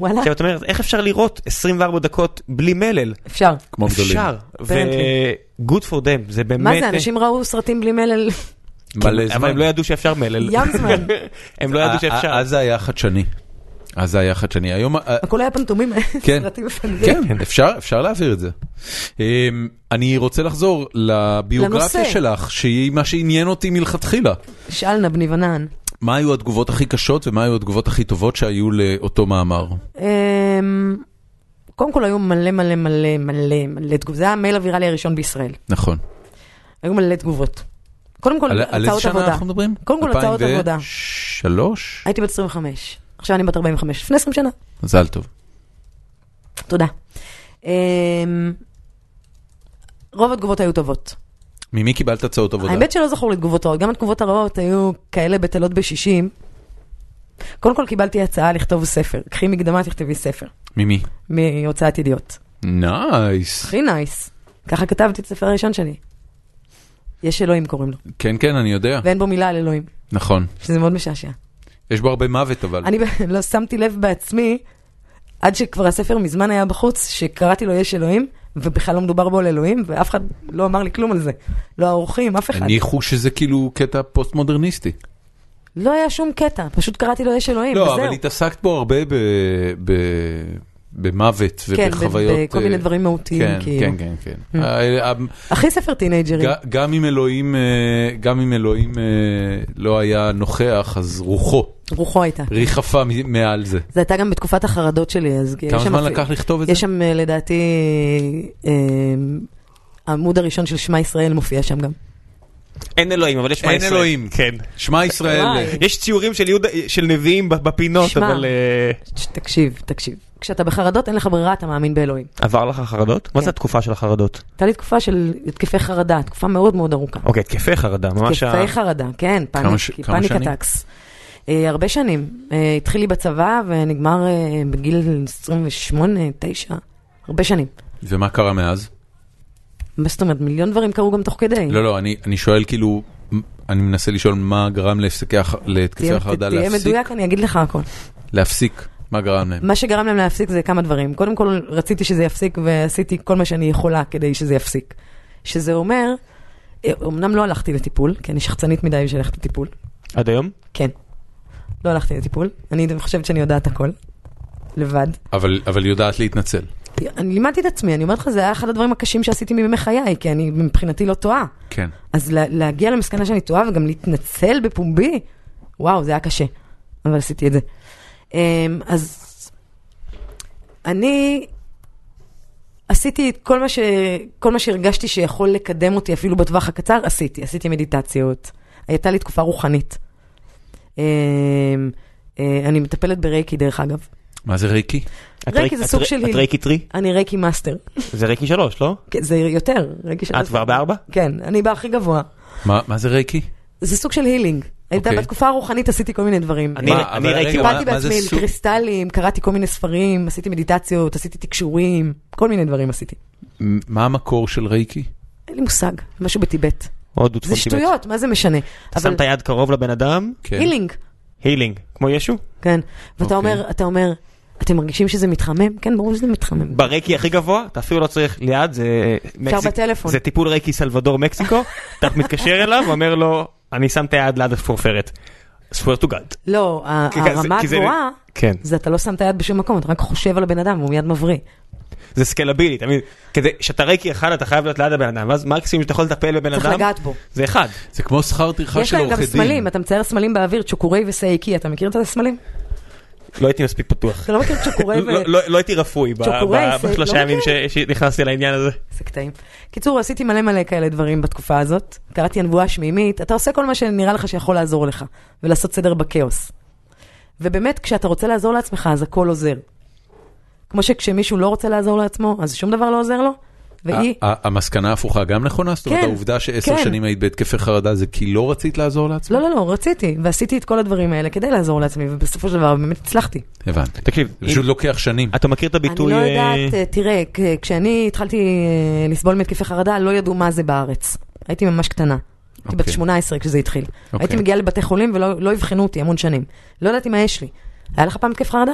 [SPEAKER 3] וואלה,
[SPEAKER 2] עכשיו את אומרת, איך אפשר לראות 24 דקות בלי מלל?
[SPEAKER 3] אפשר.
[SPEAKER 1] כמו גדולים.
[SPEAKER 2] אפשר.
[SPEAKER 3] Apparently.
[SPEAKER 2] ו-good for them, זה באמת... אה,
[SPEAKER 3] מה זה, אנשים ראו סרטים בלי מלל
[SPEAKER 1] מלא
[SPEAKER 2] אבל
[SPEAKER 1] זמן. אה,
[SPEAKER 2] הם לא ידעו שאפשר מלל.
[SPEAKER 3] ים זמן,
[SPEAKER 2] הם לא ידעו שאפשר.
[SPEAKER 1] אז זה היה חדשני. אז זה היה חדשני. היום... אה,
[SPEAKER 3] הכל היה פנטומים,
[SPEAKER 1] כן.
[SPEAKER 3] סרטים מפנדים.
[SPEAKER 1] כן, אפשר, אפשר להעביר את זה. אמ, אני רוצה לחזור לביוגרפיה
[SPEAKER 3] לנושא.
[SPEAKER 1] שלך, שהיא מה שעניין אותי מלכתחילה.
[SPEAKER 3] שאל נבני ונען.
[SPEAKER 1] מה היו התגובות הכי קשות ומה היו התגובות הכי טובות שהיו לאותו מאמר?
[SPEAKER 3] אמ, קודם כל היו מלא מלא מלא מלא מלא תגובות, זה היה המייל הוויראלי הראשון בישראל,
[SPEAKER 1] נכון.
[SPEAKER 3] היו מלא תגובות. קודם כל,
[SPEAKER 1] על על איזה
[SPEAKER 3] הצעות
[SPEAKER 1] שנה
[SPEAKER 3] עבודה.
[SPEAKER 1] אנחנו מדברים?
[SPEAKER 3] קודם כל, הצעות עבודה.
[SPEAKER 1] 2003?
[SPEAKER 3] הייתי בת 25, עכשיו אני בת 45, לפני 20 שנה.
[SPEAKER 1] מזל טוב.
[SPEAKER 3] תודה. אמ, רוב התגובות היו טובות.
[SPEAKER 1] ממי קיבלת הצעות עבודה?
[SPEAKER 3] האמת שלא זכור לי תגובות רעות, גם התגובות הרעות היו כאלה בטלות בשישים. קודם כל קיבלתי הצעה לכתוב ספר, קחי מקדמה, תכתבי ספר,
[SPEAKER 1] ממי?
[SPEAKER 3] מהוצאת ידיעות.
[SPEAKER 1] נייס.
[SPEAKER 3] הכי נייס. ככה כתבתי את הספר הראשון שלי. יש אלוהים קוראים לו,
[SPEAKER 1] כן, כן, אני יודע.
[SPEAKER 3] ואין בו מילה על אלוהים,
[SPEAKER 1] נכון.
[SPEAKER 3] שזה מאוד משעשע.
[SPEAKER 1] יש בו הרבה מוות אבל.
[SPEAKER 3] אני ב- לא שמתי לב בעצמי, עד שכבר הספר מזמן היה בחוץ, שקראתי לו יש אלוהים, ובכלל לא מדובר בו על אלוהים, ואף אחד לא אמר לי כלום על זה. לא האורחים, אף אחד.
[SPEAKER 1] הניחו שזה כאילו קטע פוסט-מודרניסטי.
[SPEAKER 3] לא היה שום קטע, פשוט קראתי לו יש אלוהים,
[SPEAKER 1] לא, אבל
[SPEAKER 3] וזהו.
[SPEAKER 1] התעסקת בו הרבה ב... ב... במוות
[SPEAKER 3] כן,
[SPEAKER 1] ובחוויות...
[SPEAKER 3] ב- בכל
[SPEAKER 1] אה,
[SPEAKER 3] מיני דברים מהותיים,
[SPEAKER 1] כן,
[SPEAKER 3] כאילו.
[SPEAKER 1] כן, כן, כן. ה- ה-
[SPEAKER 3] הכי ספר טינג'רים.
[SPEAKER 1] ג- גם אם אלוהים, אה, גם אם אלוהים אה, לא היה נוכח, אז רוחו
[SPEAKER 3] רוחו הייתה.
[SPEAKER 1] ריחפה מ- מעל זה.
[SPEAKER 3] זה הייתה גם בתקופת החרדות שלי, אז יש
[SPEAKER 1] כמה
[SPEAKER 3] שם
[SPEAKER 1] זמן
[SPEAKER 3] אפילו-
[SPEAKER 1] לקח לכתוב את זה?
[SPEAKER 3] יש שם אה, לדעתי, אמ, אה, העמוד הראשון של שמע ישראל מופיע שם גם.
[SPEAKER 2] אין אלוהים, אבל יש שמע
[SPEAKER 1] אין
[SPEAKER 2] ישראל.
[SPEAKER 1] אלוהים.
[SPEAKER 2] כן.
[SPEAKER 1] שמע ישראל.
[SPEAKER 3] וואי.
[SPEAKER 2] יש ציורים של יהודה, של נביאים בפינות,
[SPEAKER 3] שמע.
[SPEAKER 2] אבל... אה,
[SPEAKER 3] ש- תקשיב, תקשיב. כשאתה בחרדות, אין לך ברירה, אתה מאמין באלוהים.
[SPEAKER 2] עבר לך חרדות?
[SPEAKER 3] כן.
[SPEAKER 2] מה זה התקופה של החרדות?
[SPEAKER 3] הייתה לי תקופה של התקפי חרדה, תקופה מאוד מאוד ארוכה.
[SPEAKER 2] אוקיי, התקפי חרדה, ממש... ה-
[SPEAKER 3] התקפי חרדה, כן,
[SPEAKER 1] כמה ש- כמה
[SPEAKER 3] פאניק
[SPEAKER 1] שנים?
[SPEAKER 3] הטקס. הרבה שנים. אה, התחיל לי בצבא ונגמר אה, בגיל 28, 9, הרבה שנים.
[SPEAKER 1] ומה קרה מאז?
[SPEAKER 3] כן. מה זאת אומרת, מיליון דברים קרו גם תוך כדי.
[SPEAKER 1] לא, לא, אני אני שואל כאילו, אני מנסה לשאול מה גרם להפסקי הח- להתקפי
[SPEAKER 3] תהיה-
[SPEAKER 1] החרדה
[SPEAKER 3] תהיה
[SPEAKER 1] להפסיק?
[SPEAKER 3] מדויק, אני אגיד לך הכל.
[SPEAKER 1] להפסיק, מה גרם להם?
[SPEAKER 3] מה שגרם להם להפסיק זה כמה דברים. קודם כל, רציתי שזה יפסיק ועשיתי כל מה שאני יכולה כדי שזה יפסיק. שזה אומר, אה, אמנם לא הלכתי לטיפול, כי אני שחצנית מדי בשביל ללכת לטיפול.
[SPEAKER 2] עד היום?
[SPEAKER 3] כן. לא הלכתי לטיפול, אני חושבת שאני יודעת הכל. לבד.
[SPEAKER 1] אבל אבל היא יודעת להתנצל.
[SPEAKER 3] אני לימדתי את עצמי, אני אומרת לך, זה היה אחד הדברים הקשים שעשיתי מימי חיי, כי אני מבחינתי לא טועה.
[SPEAKER 1] כן.
[SPEAKER 3] אז לה, להגיע למסקנה שאני טועה וגם להתנצל בפומבי, וואו, זה היה קשה. אבל עשיתי את זה. Um, אז אני עשיתי את כל מה, ש, כל מה שהרגשתי שיכול לקדם אותי, אפילו בטווח הקצר, עשיתי. עשיתי מדיטציות. הייתה לי תקופה רוחנית. Um, uh, אני מטפלת ברייקי, דרך אגב.
[SPEAKER 1] מה זה רייקי?
[SPEAKER 2] את
[SPEAKER 3] רייקי
[SPEAKER 2] ריק-
[SPEAKER 3] זה
[SPEAKER 2] את
[SPEAKER 3] סוג
[SPEAKER 2] ר-
[SPEAKER 3] של
[SPEAKER 2] את
[SPEAKER 3] היל.
[SPEAKER 2] רייקי טרי?
[SPEAKER 3] אני רייקי מאסטר.
[SPEAKER 2] זה רייקי שלוש, לא? אה,
[SPEAKER 3] כן, זה יותר, רייקי של...
[SPEAKER 2] את כבר בארבע?
[SPEAKER 3] כן, אני בהכי גבוה.
[SPEAKER 1] מה מה זה רייקי?
[SPEAKER 3] זה סוג של הילינג. הייתה
[SPEAKER 1] אוקיי.
[SPEAKER 3] בתקופה הרוחנית עשיתי כל מיני דברים. אה,
[SPEAKER 2] אני-
[SPEAKER 1] מה,
[SPEAKER 2] אני
[SPEAKER 1] אבל
[SPEAKER 2] ראיתי-
[SPEAKER 1] רגע, מה-
[SPEAKER 3] טיפלתי
[SPEAKER 1] מה זה
[SPEAKER 3] בעצמי עם
[SPEAKER 1] סוג-
[SPEAKER 3] קריסטלים, קראתי כל מיני ספרים, עשיתי מדיטציות, עשיתי תקשורים, כל מיני דברים עשיתי.
[SPEAKER 1] מה המקור של רייקי?
[SPEAKER 3] אין לי מושג, משהו בטיבט.
[SPEAKER 2] הודו צפון
[SPEAKER 3] זה
[SPEAKER 2] טיבט.
[SPEAKER 3] שטויות, מה זה משנה?
[SPEAKER 2] אתה
[SPEAKER 3] אבל
[SPEAKER 2] שם את היד קרוב לבן אדם,
[SPEAKER 1] כן.
[SPEAKER 3] הילינג,
[SPEAKER 2] הילינג, כמו ישו.
[SPEAKER 3] כן. ואתה
[SPEAKER 1] אוקיי.
[SPEAKER 3] אומר, אתה אומר, אתם מרגישים שזה מתחמם? כן, ברור שזה מתחמם.
[SPEAKER 2] ברייקי הכי גבוה, אתה אפילו לא צריך ליד, זה... מקסיק-
[SPEAKER 3] בטלפון.
[SPEAKER 2] זה טיפול רייקי סלבדור מקסיקו, אתה מתקשר אליו, אומר לו, אני שם את היד ליד הפורפרת. swear to God.
[SPEAKER 3] לא, ה-
[SPEAKER 2] כי- כי זה-
[SPEAKER 3] הרמה
[SPEAKER 2] כי זה-
[SPEAKER 3] הגבוהה,
[SPEAKER 2] כן.
[SPEAKER 3] זה אתה לא שם את היד בשום מקום, אתה רק חושב על הבן אדם והוא מיד מבריא.
[SPEAKER 2] זה סקלבילי, אתה מבין? כדי שאתה רייקי אחד, אתה חייב להיות ליד הבן אדם, ואז מקסימום שאתה יכול לטפל בבן
[SPEAKER 3] צריך
[SPEAKER 2] אדם,
[SPEAKER 3] לגעת בו.
[SPEAKER 2] זה אחד.
[SPEAKER 1] זה כמו שכר טרחה
[SPEAKER 3] יש
[SPEAKER 1] של
[SPEAKER 3] להם גם
[SPEAKER 1] עורכי דין.
[SPEAKER 3] סמלים, אתה מצייר סמלים באוויר, צ'וקורי וסייקי, אתה מכיר את הסמלים?
[SPEAKER 2] לא הייתי מספיק פתוח.
[SPEAKER 3] אתה לא מכיר צ'וקורי ו...
[SPEAKER 2] לא- לא- לא הייתי רפוי ב-
[SPEAKER 3] צ'וקורי,
[SPEAKER 2] ב-
[SPEAKER 3] זה-
[SPEAKER 2] בשלושה
[SPEAKER 3] לא
[SPEAKER 2] ימים ש- שנכנסתי לעניין הזה.
[SPEAKER 3] זה קטעים. קיצור, עשיתי מלא מלא כאלה דברים בתקופה הזאת. קראתי הנבואה שמימית, אתה עושה כל מה שנראה לך שיכול לעזור לך, ולעשות סדר בכאוס. ובאמת, כשאתה רוצה לעזור לעצמך, אז הכל עוזר. כמו שכשמישהו לא רוצה לעזור לעצמו, אז שום דבר לא עוזר לו, והיא...
[SPEAKER 1] ה- ה- המסקנה ההפוכה גם נכונה? זאת אומרת,
[SPEAKER 3] כן,
[SPEAKER 1] העובדה שעשר
[SPEAKER 3] כן.
[SPEAKER 1] שנים היית בהתקפי חרדה זה כי לא רצית לעזור לעצמך?
[SPEAKER 3] לא, לא, לא, רציתי, ועשיתי את כל הדברים האלה כדי לעזור לעצמי, ובסופו של דבר באמת הצלחתי.
[SPEAKER 1] הבנתי.
[SPEAKER 2] תקשיב,
[SPEAKER 1] זה פשוט לוקח שנים.
[SPEAKER 2] אתה מכיר את
[SPEAKER 3] אני
[SPEAKER 2] הביטוי...
[SPEAKER 3] לא
[SPEAKER 2] אה,
[SPEAKER 3] יודעת, אה, תראה, כ- כשאני התחלתי אה, לסבול מהתקפי חרדה, לא ידעו מה זה בארץ. הייתי ממש קטנה. הייתי בת
[SPEAKER 1] אוקיי.
[SPEAKER 3] 18 כשזה התחיל.
[SPEAKER 1] אוקיי.
[SPEAKER 3] הייתי מגיעה לבתי חולים ולא לא אבחנו אותי המון שנים. לא ידעתי מה יש לי. היה לך פעם התקף חרדה?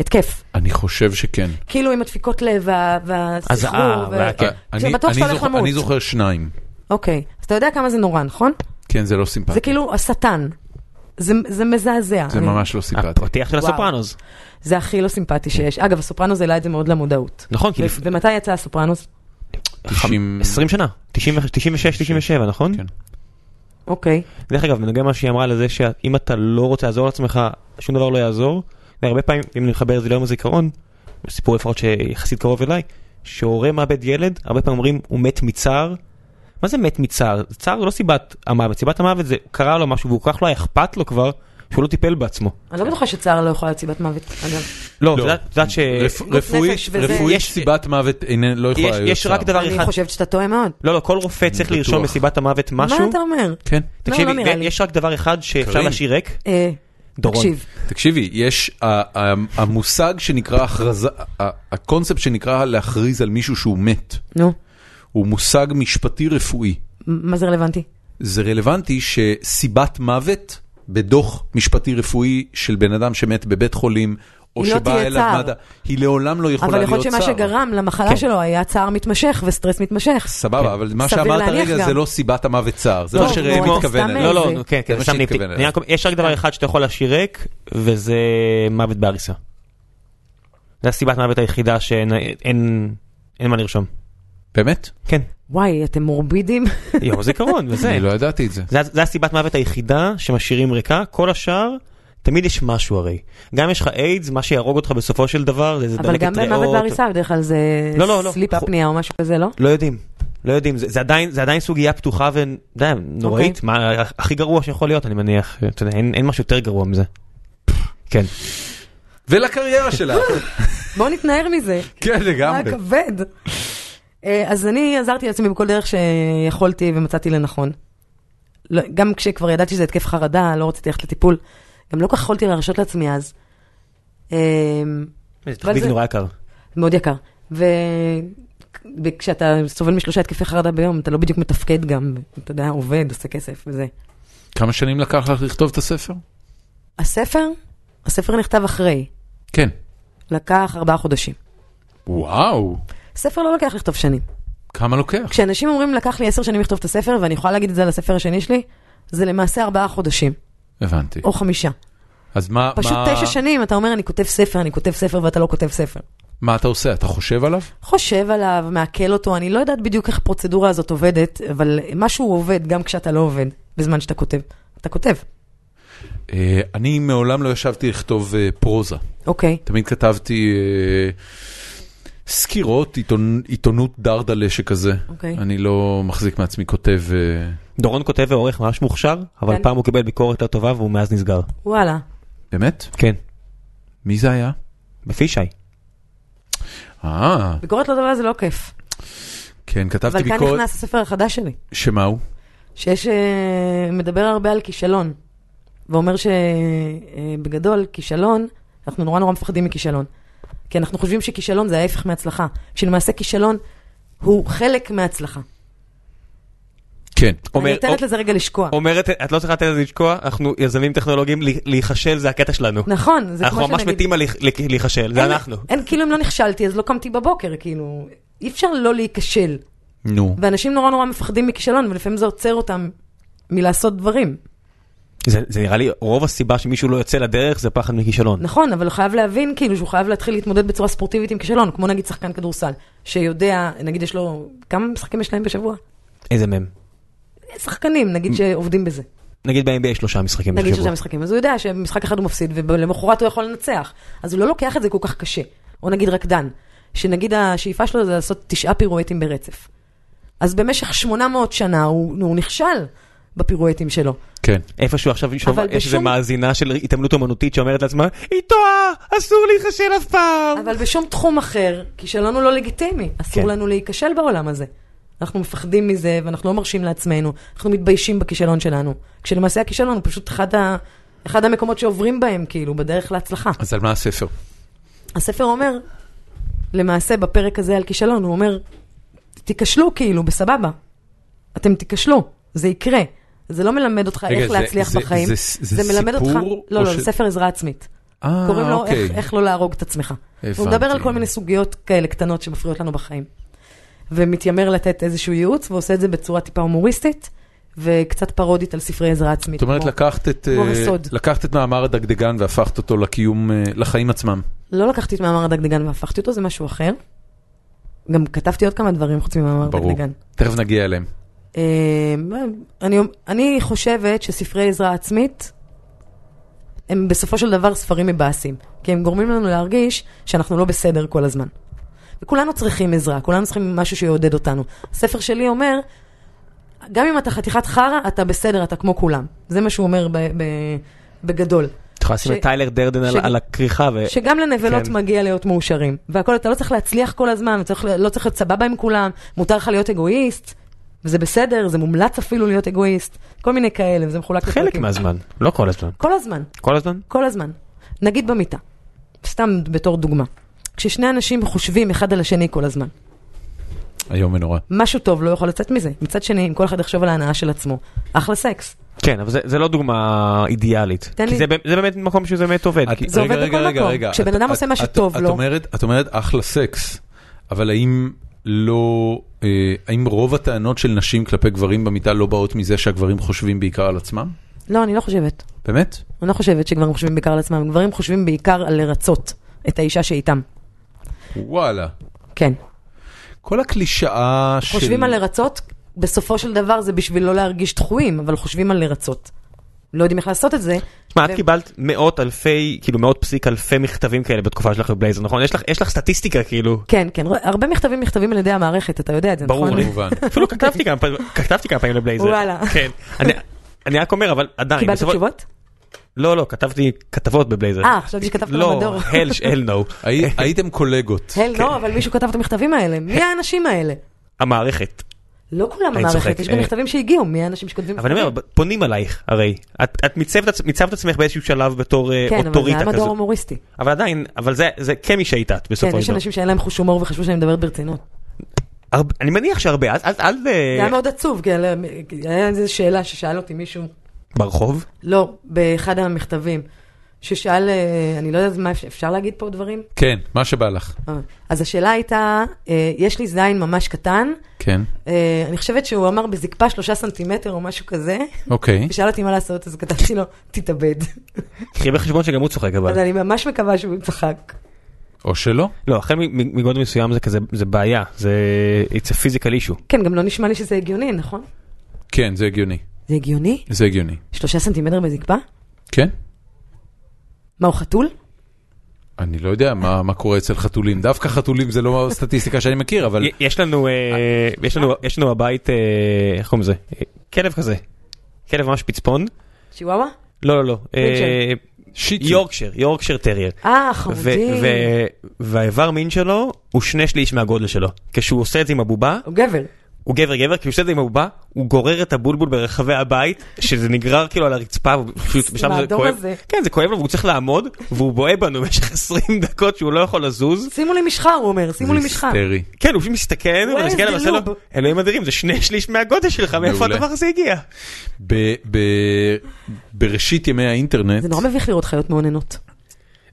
[SPEAKER 3] התקף.
[SPEAKER 1] אני חושב שכן.
[SPEAKER 3] כאילו עם הדפיקות לב וה- והסחרור.
[SPEAKER 2] הזעה,
[SPEAKER 3] ו-
[SPEAKER 2] וה- כן.
[SPEAKER 1] אה, אני-
[SPEAKER 3] כשבטוח
[SPEAKER 1] אני
[SPEAKER 3] שאתה הולך
[SPEAKER 1] זוכ-
[SPEAKER 3] למות.
[SPEAKER 1] אני זוכר שניים.
[SPEAKER 3] אוקיי. אז אתה יודע כמה זה נורא, נכון?
[SPEAKER 1] כן, זה לא סימפטי.
[SPEAKER 3] זה כאילו השטן. זה- זה מזעזע.
[SPEAKER 1] זה
[SPEAKER 3] אני-
[SPEAKER 1] ממש לא סימפטי.
[SPEAKER 2] הפתיח של
[SPEAKER 3] אה, וואו.
[SPEAKER 2] הסופרנוס.
[SPEAKER 3] זה הכי לא סימפטי שיש. אגב, הסופרנוס העלה את זה מאוד למודעות.
[SPEAKER 2] נכון, כי
[SPEAKER 3] ו-
[SPEAKER 2] לפ-
[SPEAKER 3] ומתי יצא הסופרנוס?
[SPEAKER 1] 90
[SPEAKER 2] 20 שנה, 96-97, נכון?
[SPEAKER 1] כן.
[SPEAKER 3] אוקיי.
[SPEAKER 2] דרך אגב, בנוגע למה שהיא אמרה לזה שאם אתה לא רוצה לעזור לעצמך, שום דבר לא יעזור. והרבה פעמים, אם אני מחבר את זה ליום הזיכרון, סיפור לפחות שיחסית קרוב אליי, שהורה מאבד ילד, הרבה פעמים אומרים, הוא מת מצער. מה זה מת מצער? צער זה לא סיבת המוות, סיבת המוות זה קרה לו משהו והוא כל כך לא היה אכפת לו כבר, שהוא לא טיפל בעצמו.
[SPEAKER 3] אני לא בטוחה שצער לא יכול להיות סיבת מוות, אגב.
[SPEAKER 2] לא, את
[SPEAKER 1] לא.
[SPEAKER 2] יודעת- את יודעת ש...
[SPEAKER 1] רפ-
[SPEAKER 3] גוף
[SPEAKER 1] רפואית-
[SPEAKER 3] נפש וזה-
[SPEAKER 1] רפואית
[SPEAKER 2] יש-
[SPEAKER 1] סיבת מוות איננה- לא יכולה
[SPEAKER 2] יש-
[SPEAKER 1] להיות
[SPEAKER 2] יש רק
[SPEAKER 1] צער.
[SPEAKER 2] דבר
[SPEAKER 3] אני
[SPEAKER 2] אחד.
[SPEAKER 3] חושבת שאתה טועה מאוד.
[SPEAKER 2] לא, לא, כל רופא צריך
[SPEAKER 1] בטוח.
[SPEAKER 2] לרשום בסיבת המוות משהו.
[SPEAKER 3] מה אתה אומר?
[SPEAKER 1] כן.
[SPEAKER 3] לא נראה לי.
[SPEAKER 2] יש רק דבר אחד שאפשר
[SPEAKER 1] קרים.
[SPEAKER 2] להשאיר ריק,
[SPEAKER 3] אה,
[SPEAKER 2] דורון.
[SPEAKER 3] תקשיב,
[SPEAKER 1] תקשיבי, יש ה- ה- המושג שנקרא הכרזה, ה- הקונספט שנקרא להכריז על מישהו שהוא מת,
[SPEAKER 3] נו,
[SPEAKER 1] הוא מושג משפטי רפואי.
[SPEAKER 3] מ- מה זה רלוונטי?
[SPEAKER 1] זה רלוונטי שסיבת מוות בדוח משפטי רפואי של בן אדם שמת בבית חולים, או
[SPEAKER 3] היא לא
[SPEAKER 1] שבא
[SPEAKER 3] תהיה
[SPEAKER 1] אליו
[SPEAKER 3] צער.
[SPEAKER 1] מד"א, היא לעולם לא יכולה
[SPEAKER 3] אבל
[SPEAKER 1] להיות
[SPEAKER 3] יכול
[SPEAKER 1] צער.
[SPEAKER 3] להיות שמה שגרם למחלה
[SPEAKER 2] כן.
[SPEAKER 3] שלו היה צער מתמשך וסטרס מתמשך.
[SPEAKER 1] סבבה, אבל מה
[SPEAKER 3] סביר
[SPEAKER 1] שאמרת
[SPEAKER 3] להניח
[SPEAKER 1] רגע
[SPEAKER 3] גם.
[SPEAKER 1] זה לא סיבת המוות צער, זה
[SPEAKER 2] לא,
[SPEAKER 1] מה שראם
[SPEAKER 2] כמו-
[SPEAKER 1] מתכוון
[SPEAKER 3] סתם
[SPEAKER 1] אליו.
[SPEAKER 2] לא,
[SPEAKER 3] איזה-
[SPEAKER 2] לא, נו, כן,
[SPEAKER 1] זה
[SPEAKER 2] כן,
[SPEAKER 1] מה
[SPEAKER 2] סתם
[SPEAKER 1] שהתכוון
[SPEAKER 2] נימתי.
[SPEAKER 1] אליו.
[SPEAKER 2] אני רק אומר, יש רק דבר אחד שאתה יכול להשאיר ריק, וזה מוות בעריסה. זה הסיבת מוות היחידה שאין אין- אין מה לרשום.
[SPEAKER 1] באמת?
[SPEAKER 2] כן,
[SPEAKER 3] וואי, אתם מורבידים.
[SPEAKER 2] יום הזיכרון
[SPEAKER 3] כן.
[SPEAKER 2] וזה.
[SPEAKER 1] אני לא ידעתי את זה.
[SPEAKER 2] זה- זה הסיבת מוות היחידה שמשאירים ריקה, כל השאר, תמיד יש משהו הרי. גם יש לך איידס, מה שיהרוג אותך בסופו של דבר, זה איזה
[SPEAKER 3] אבל
[SPEAKER 2] דלקת
[SPEAKER 3] גם
[SPEAKER 2] ריאות.
[SPEAKER 3] במוות בעריסה בדרך כלל זה
[SPEAKER 2] לא, לא, לא.
[SPEAKER 3] סליפ
[SPEAKER 2] חו-
[SPEAKER 3] אפניה או משהו כזה, לא?
[SPEAKER 2] לא יודעים. לא יודעים, זה, זה, עדיין, זה עדיין סוגיה פתוחה ונוראית, okay. מה הכי גרוע שיכול להיות, אני מניח, אתה יודע, אין, אין משהו יותר גרוע מזה. כן.
[SPEAKER 1] ולקריירה שלך.
[SPEAKER 3] בואו נתנער מזה.
[SPEAKER 1] כן,
[SPEAKER 3] מה
[SPEAKER 1] לגמרי.
[SPEAKER 3] כבד. אה, אז אני עזרתי לעצמי בכל דרך שיכולתי ומצאתי לנכון. לא- גם כשכבר ידעתי שזה התקף חרדה, לא רציתי ללכת לטיפול. גם לא כל כך יכולתי להרשות לעצמי אז. אה,
[SPEAKER 2] זה תחביב
[SPEAKER 3] זה-
[SPEAKER 2] נורא יקר.
[SPEAKER 3] מאוד יקר. וכשאתה סובל משלושה התקפי חרדה ביום, אתה לא בדיוק מתפקד גם, אתה יודע, עובד, עושה כסף וזה.
[SPEAKER 1] כמה שנים לקח לך לכתוב את הספר?
[SPEAKER 3] הספר, הספר נכתב אחרי,
[SPEAKER 1] כן.
[SPEAKER 3] לקח ארבעה חודשים.
[SPEAKER 1] וואו,
[SPEAKER 3] ספר לא לוקח לכתוב שנים.
[SPEAKER 1] כמה לוקח?
[SPEAKER 3] כשאנשים אומרים לקח לי עשר שנים לכתוב את הספר, ואני יכולה להגיד את זה על הספר השני שלי, זה למעשה ארבעה חודשים,
[SPEAKER 1] הבנתי.
[SPEAKER 3] או חמישה.
[SPEAKER 1] אז מה,
[SPEAKER 3] פשוט
[SPEAKER 1] מה,
[SPEAKER 3] תשע שנים אתה אומר, אני כותב ספר, אני כותב ספר, ואתה לא כותב ספר.
[SPEAKER 1] מה אתה עושה? אתה חושב עליו?
[SPEAKER 3] חושב עליו, מעכל אותו, אני לא יודעת בדיוק איך הפרוצדורה הזאת עובדת, אבל משהו עובד גם כשאתה לא עובד, בזמן שאתה כותב. אתה כותב,
[SPEAKER 1] אה, אני מעולם לא ישבתי לכתוב אה, פרוזה.
[SPEAKER 3] אוקיי.
[SPEAKER 1] תמיד כתבתי אה, סקירות, עיתונ- עיתונות דרדלה שכזה.
[SPEAKER 3] אוקיי.
[SPEAKER 1] אני לא מחזיק מעצמי כותב... אה,
[SPEAKER 2] דורון כותב ועורך ממש מוכשר, אבל
[SPEAKER 3] כן.
[SPEAKER 2] פעם הוא קיבל ביקורת לא טובה והוא מאז נסגר.
[SPEAKER 3] וואלה.
[SPEAKER 1] באמת?
[SPEAKER 2] כן.
[SPEAKER 1] מי זה היה?
[SPEAKER 2] בפישי.
[SPEAKER 1] אה,
[SPEAKER 3] ביקורת לא טובה זה לא כיף.
[SPEAKER 1] כן, כתבתי
[SPEAKER 3] אבל כאן
[SPEAKER 1] ביקורת...
[SPEAKER 3] נכנס הספר החדש שלי,
[SPEAKER 1] שמה הוא?
[SPEAKER 3] שיש, אה, מדבר הרבה על כישלון, ואומר שבגדול, כישלון, אנחנו נורא נורא מפחדים מכישלון. כי אנחנו חושבים שכישלון זה ההפך מהצלחה, שלמעשה כישלון הוא חלק מההצלחה.
[SPEAKER 1] כן.
[SPEAKER 2] אומר-
[SPEAKER 3] אני נותנת
[SPEAKER 2] או-
[SPEAKER 3] לזה רגע לשקוע.
[SPEAKER 2] אומרת, את לא צריכה לתת לזה לשקוע, אנחנו יזמים טכנולוגיים, לה- להיכשל זה הקטע שלנו.
[SPEAKER 3] נכון, זה כמו
[SPEAKER 2] אנחנו
[SPEAKER 3] שנגיד...
[SPEAKER 2] ממש מתים על להיכ- להיכ- להיכשל, זה
[SPEAKER 3] אין-
[SPEAKER 2] אנחנו.
[SPEAKER 3] אין, כאילו אם לא נכשלתי, אז לא קמתי בבוקר, כאילו, אי אפשר לא להיכשל.
[SPEAKER 1] נו.
[SPEAKER 3] ואנשים נורא נורא מפחדים מכישלון, ולפעמים זה עוצר אותם מלעשות דברים.
[SPEAKER 2] זה זה נראה לי, רוב הסיבה שמישהו לא יוצא לדרך זה פחד מכישלון.
[SPEAKER 3] נכון, אבל הוא חייב להבין, כאילו, שהוא חייב להתחיל להתמודד בצורה ספורטיבית עם כישלון, כמו נגיד שחקן כדורסל, שיודע, נגיד יש לו, כמה משחקים יש להם בשבוע? נכון. אה,
[SPEAKER 2] איזה מהם?
[SPEAKER 3] שחקנים, נגיד שעובדים בזה.
[SPEAKER 2] נגיד ב-NBA יש שלושה משחקים
[SPEAKER 3] נגיד שלושה
[SPEAKER 2] בשבוע.
[SPEAKER 3] משחקים, אז הוא יודע שמשחק אחד הוא מפסיד, ולמחרת הוא יכול לנצח. אז הוא לא לוקח את זה כל כך קשה. או נגיד רקדן, שנגיד השאיפה שלו זה לעשות תשעה פירואטים ברצף. אז במשך 800 שנה הוא, הוא נכשל בפירואטים שלו.
[SPEAKER 1] כן.
[SPEAKER 2] איפשהו עכשיו יש-
[SPEAKER 3] אבל
[SPEAKER 2] יש איזה
[SPEAKER 3] בשום-
[SPEAKER 2] מאזינה של התעמלות אומנותית שאומרת לעצמה, היא טועה, אסור להיכשל אף פעם.
[SPEAKER 3] אבל בשום תחום אחר, כישלון הוא לא לגיטימי. אסור
[SPEAKER 2] כן.
[SPEAKER 3] לנו להיכשל בעולם הזה. אנחנו מפחדים מזה, ואנחנו לא מרשים לעצמנו. אנחנו מתביישים בכישלון שלנו. כשלמעשה הכישלון הוא פשוט אחד, ה... אחד המקומות שעוברים בהם, כאילו, בדרך להצלחה.
[SPEAKER 1] אז על מה הספר?
[SPEAKER 3] הספר אומר, למעשה בפרק הזה על כישלון, הוא אומר, תיכשלו כאילו, בסבבה. אתם תיכשלו, זה יקרה. זה לא מלמד אותך
[SPEAKER 1] רגע,
[SPEAKER 3] איך
[SPEAKER 1] זה-
[SPEAKER 3] להצליח
[SPEAKER 1] זה-
[SPEAKER 3] בחיים.
[SPEAKER 1] זה- זה
[SPEAKER 3] מלמד אותך...
[SPEAKER 1] סיפור
[SPEAKER 3] לא,
[SPEAKER 1] או
[SPEAKER 3] לא,
[SPEAKER 1] ש-
[SPEAKER 3] זה ספר עזרה עצמית.
[SPEAKER 1] אה,
[SPEAKER 3] קוראים לו
[SPEAKER 1] אוקיי.
[SPEAKER 3] איך, איך לא להרוג את עצמך. הוא מדבר על כל מיני סוגיות כאלה קטנות שמפריעות לנו בחיים. ומתיימר לתת איזשהו ייעוץ, ועושה את זה בצורה טיפה הומוריסטית, וקצת פרודית על ספרי עזרה עצמית.
[SPEAKER 1] זאת אומרת,
[SPEAKER 3] כמו-
[SPEAKER 1] לקחת את, אה,
[SPEAKER 3] כמו הסוד.
[SPEAKER 1] לקחת את מאמר הדגדגן והפכת אותו לקיום, אה, לחיים עצמם.
[SPEAKER 3] לא לקחתי את מאמר הדגדגן והפכתי אותו, זה משהו אחר. גם כתבתי עוד כמה דברים חוץ ממאמר
[SPEAKER 1] ברור.
[SPEAKER 3] הדגדגן.
[SPEAKER 1] תכף נגיע אליהם.
[SPEAKER 3] אה, אני, אני חושבת שספרי עזרה עצמית הם בסופו של דבר ספרים מבאסים, כי הם גורמים לנו להרגיש שאנחנו לא בסדר כל הזמן. וכולנו צריכים עזרה, כולנו צריכים משהו שיעודד אותנו. הספר שלי אומר, גם אם אתה חתיכת חרא, אתה בסדר, אתה כמו כולם. זה מה שהוא אומר ב, ב, בגדול.
[SPEAKER 2] את יכולה לשים
[SPEAKER 3] ש-
[SPEAKER 2] את טיילר דרדן על-
[SPEAKER 3] ש-
[SPEAKER 2] על הכריכה, ו-
[SPEAKER 3] שגם לנבלות
[SPEAKER 2] כן.
[SPEAKER 3] כן. מגיע להיות מאושרים. והכל, אתה לא צריך להצליח כל הזמן, אתה צריך, לא צריך להיות סבבה עם כולם, מותר לך להיות אגואיסט, וזה בסדר, זה מומלץ אפילו להיות אגואיסט, כל מיני כאלה, וזה מחולק
[SPEAKER 2] חלק מהזמן, לא כל הזמן.
[SPEAKER 3] כל הזמן,
[SPEAKER 2] כל הזמן?
[SPEAKER 3] כל הזמן. נגיד במיטה, סתם בתור דוגמה. כששני אנשים חושבים אחד על השני כל הזמן,
[SPEAKER 1] איום ונורא.
[SPEAKER 3] משהו טוב לא יכול לצאת מזה. מצד שני, אם כל אחד יחשוב על ההנאה של עצמו, אחלה סקס.
[SPEAKER 2] כן, אבל זה- זה לא דוגמה אידיאלית.
[SPEAKER 3] תן
[SPEAKER 2] כי
[SPEAKER 3] לי-
[SPEAKER 2] זה באמת- זה באמת מקום שזה באמת עובד.
[SPEAKER 1] אה,
[SPEAKER 2] כי-
[SPEAKER 3] זה עובד בכל מקום. כשבן אדם עושה משהו טוב
[SPEAKER 1] את
[SPEAKER 3] לו.
[SPEAKER 1] אומרת, את אומרת אחלה סקס, אבל האם לא, אה, האם רוב הטענות של נשים כלפי גברים במיטה לא באות מזה שהגברים חושבים בעיקר על עצמם?
[SPEAKER 3] לא, אני לא חושבת.
[SPEAKER 1] באמת?
[SPEAKER 3] אני לא חושבת שגברים חושבים בעיקר על עצמם, גברים חושבים בעיקר על לרצות את האישה שאיתם.
[SPEAKER 1] וואלה.
[SPEAKER 3] כן.
[SPEAKER 1] כל הקלישאה של...
[SPEAKER 3] חושבים על לרצות, בסופו של דבר זה בשביל לא להרגיש דחויים, אבל חושבים על לרצות. לא יודעים איך לעשות את זה.
[SPEAKER 2] תשמע, את
[SPEAKER 3] ו-
[SPEAKER 2] קיבלת מאות אלפי, כאילו מאות פסיק אלפי מכתבים כאלה בתקופה שלך בבלייזר, נכון? יש לך- יש לך סטטיסטיקה כאילו.
[SPEAKER 3] כן, כן, ר- הרבה מכתבים נכתבים על ידי המערכת, אתה יודע את זה,
[SPEAKER 2] ברור
[SPEAKER 3] נכון?
[SPEAKER 2] לי.
[SPEAKER 1] כמובן.
[SPEAKER 2] אפילו כתבתי כמה פעמים, כתבתי כמה פעמים לבלייזר.
[SPEAKER 3] וואלה.
[SPEAKER 2] כן. אני- אני רק אומר, אבל עדיין.
[SPEAKER 3] קיבלת
[SPEAKER 2] בסופו-
[SPEAKER 3] תשובות?
[SPEAKER 2] לא, לא, כתבתי כתבות בבלייזר.
[SPEAKER 3] אה, חשבתי שכתבת
[SPEAKER 2] לא,
[SPEAKER 3] במדור.
[SPEAKER 2] hell ש- hell no.
[SPEAKER 1] הי- הייתם קולגות.
[SPEAKER 2] כן.
[SPEAKER 3] הל, לא, אבל מישהו כתב את המכתבים האלה, מי האנשים האלה?
[SPEAKER 2] המערכת.
[SPEAKER 3] לא כולם
[SPEAKER 2] כן. אני צוחק,
[SPEAKER 3] המערכת, יש גם
[SPEAKER 2] אה.
[SPEAKER 3] מכתבים שהגיעו, מי האנשים שכותבים
[SPEAKER 2] אבל אני אומר, פונים אלייך, הרי. את- את מיצבת עצ- מיצבת עצמך באיזשהו שלב בתור אה,
[SPEAKER 3] כן, אבל זה
[SPEAKER 2] אוטוריטה
[SPEAKER 3] היה מדור
[SPEAKER 2] כזאת.
[SPEAKER 3] הומוריסטי.
[SPEAKER 2] אבל עדיין, אבל זה- זה כן מי שהיית את
[SPEAKER 3] כן,
[SPEAKER 2] בסופו
[SPEAKER 3] יש
[SPEAKER 2] של דבר. אה.
[SPEAKER 3] אנשים שאין להם חוש הומור וחשבו שאני מדברת ברצינות.
[SPEAKER 2] הרבה- אני מניח שהרבה, אל- אל- אה, אל...
[SPEAKER 3] זה היה מאוד עצוב, כי היה- היה איזו שאלה ששאל אותי מישהו,
[SPEAKER 2] ברחוב?
[SPEAKER 3] לא, באחד המכתבים, ששאל, אה, אני לא יודעת מה, אפשר- אפשר להגיד פה דברים?
[SPEAKER 1] כן, מה שבא לך.
[SPEAKER 3] אה, אז השאלה הייתה, אה, יש לי זין ממש קטן,
[SPEAKER 1] כן,
[SPEAKER 3] אה, אני חושבת שהוא אמר בזקפה שלושה סנטימטר או משהו כזה,
[SPEAKER 1] אוקיי.
[SPEAKER 3] ושאל אותי מה לעשות, אז כתבתי לו, תתאבד.
[SPEAKER 2] קחי בחשבון שגם הוא צוחק אבל.
[SPEAKER 3] אז אני ממש מקווה שהוא צחק.
[SPEAKER 1] או שלא.
[SPEAKER 2] לא, החל מ- מ- מגודל מסוים זה כזה, זה בעיה, זה it's a physical issue.
[SPEAKER 3] כן, גם לא נשמע לי שזה הגיוני, נכון?
[SPEAKER 1] כן, זה הגיוני.
[SPEAKER 3] זה הגיוני?
[SPEAKER 1] זה הגיוני.
[SPEAKER 3] שלושה סנטימטר בזקפה?
[SPEAKER 1] כן?
[SPEAKER 3] מה, הוא חתול?
[SPEAKER 1] אני לא יודע מה מה קורה אצל חתולים. דווקא חתולים זה לא סטטיסטיקה שאני מכיר, אבל...
[SPEAKER 2] י- יש לנו, אה, יש לנו, יש לנו הבית, אה, איך קוראים לזה? אה, כלב כזה. כלב ממש פצפון.
[SPEAKER 3] שיוואווה?
[SPEAKER 2] לא, לא, לא. אה,
[SPEAKER 3] מינצ'ן.
[SPEAKER 1] שיטי.
[SPEAKER 2] יורקשר, יורקשר טרייר.
[SPEAKER 3] אה,
[SPEAKER 2] ו-
[SPEAKER 3] חמודי.
[SPEAKER 2] ו- והאיבר מין שלו הוא שני שליש מהגודל שלו. כשהוא עושה את זה עם הבובה,
[SPEAKER 3] הוא גבר.
[SPEAKER 2] הוא גבר גבר, כי הוא עושה את זה עם הבובה, הוא גורר את הבולבול ברחבי הבית, שזה נגרר כאילו על הרצפה, והוא פשוט בשלב זה
[SPEAKER 3] מהאדום
[SPEAKER 2] כואב.
[SPEAKER 3] הזה.
[SPEAKER 2] כן, זה כואב לו, והוא צריך לעמוד, והוא בוהה בנו במשך 20 דקות שהוא לא יכול לזוז.
[SPEAKER 3] שימו לי משחר, הוא אומר, שימו לי משחר.
[SPEAKER 1] היסטרי.
[SPEAKER 2] כן, הוא פשוט מסתכל עלינו,
[SPEAKER 3] Where
[SPEAKER 2] ומסתכל
[SPEAKER 3] is
[SPEAKER 2] עלינו,
[SPEAKER 3] the
[SPEAKER 2] ועושה לו,
[SPEAKER 3] lube?
[SPEAKER 2] אלוהים אדירים, זה שני שליש מהגודל שלך, מאיפה
[SPEAKER 1] מעולה.
[SPEAKER 2] הדבר הזה הגיע?
[SPEAKER 1] ב- ב- בראשית ימי האינטרנט,
[SPEAKER 3] זה נורא מביך לראות חיות מאוננות.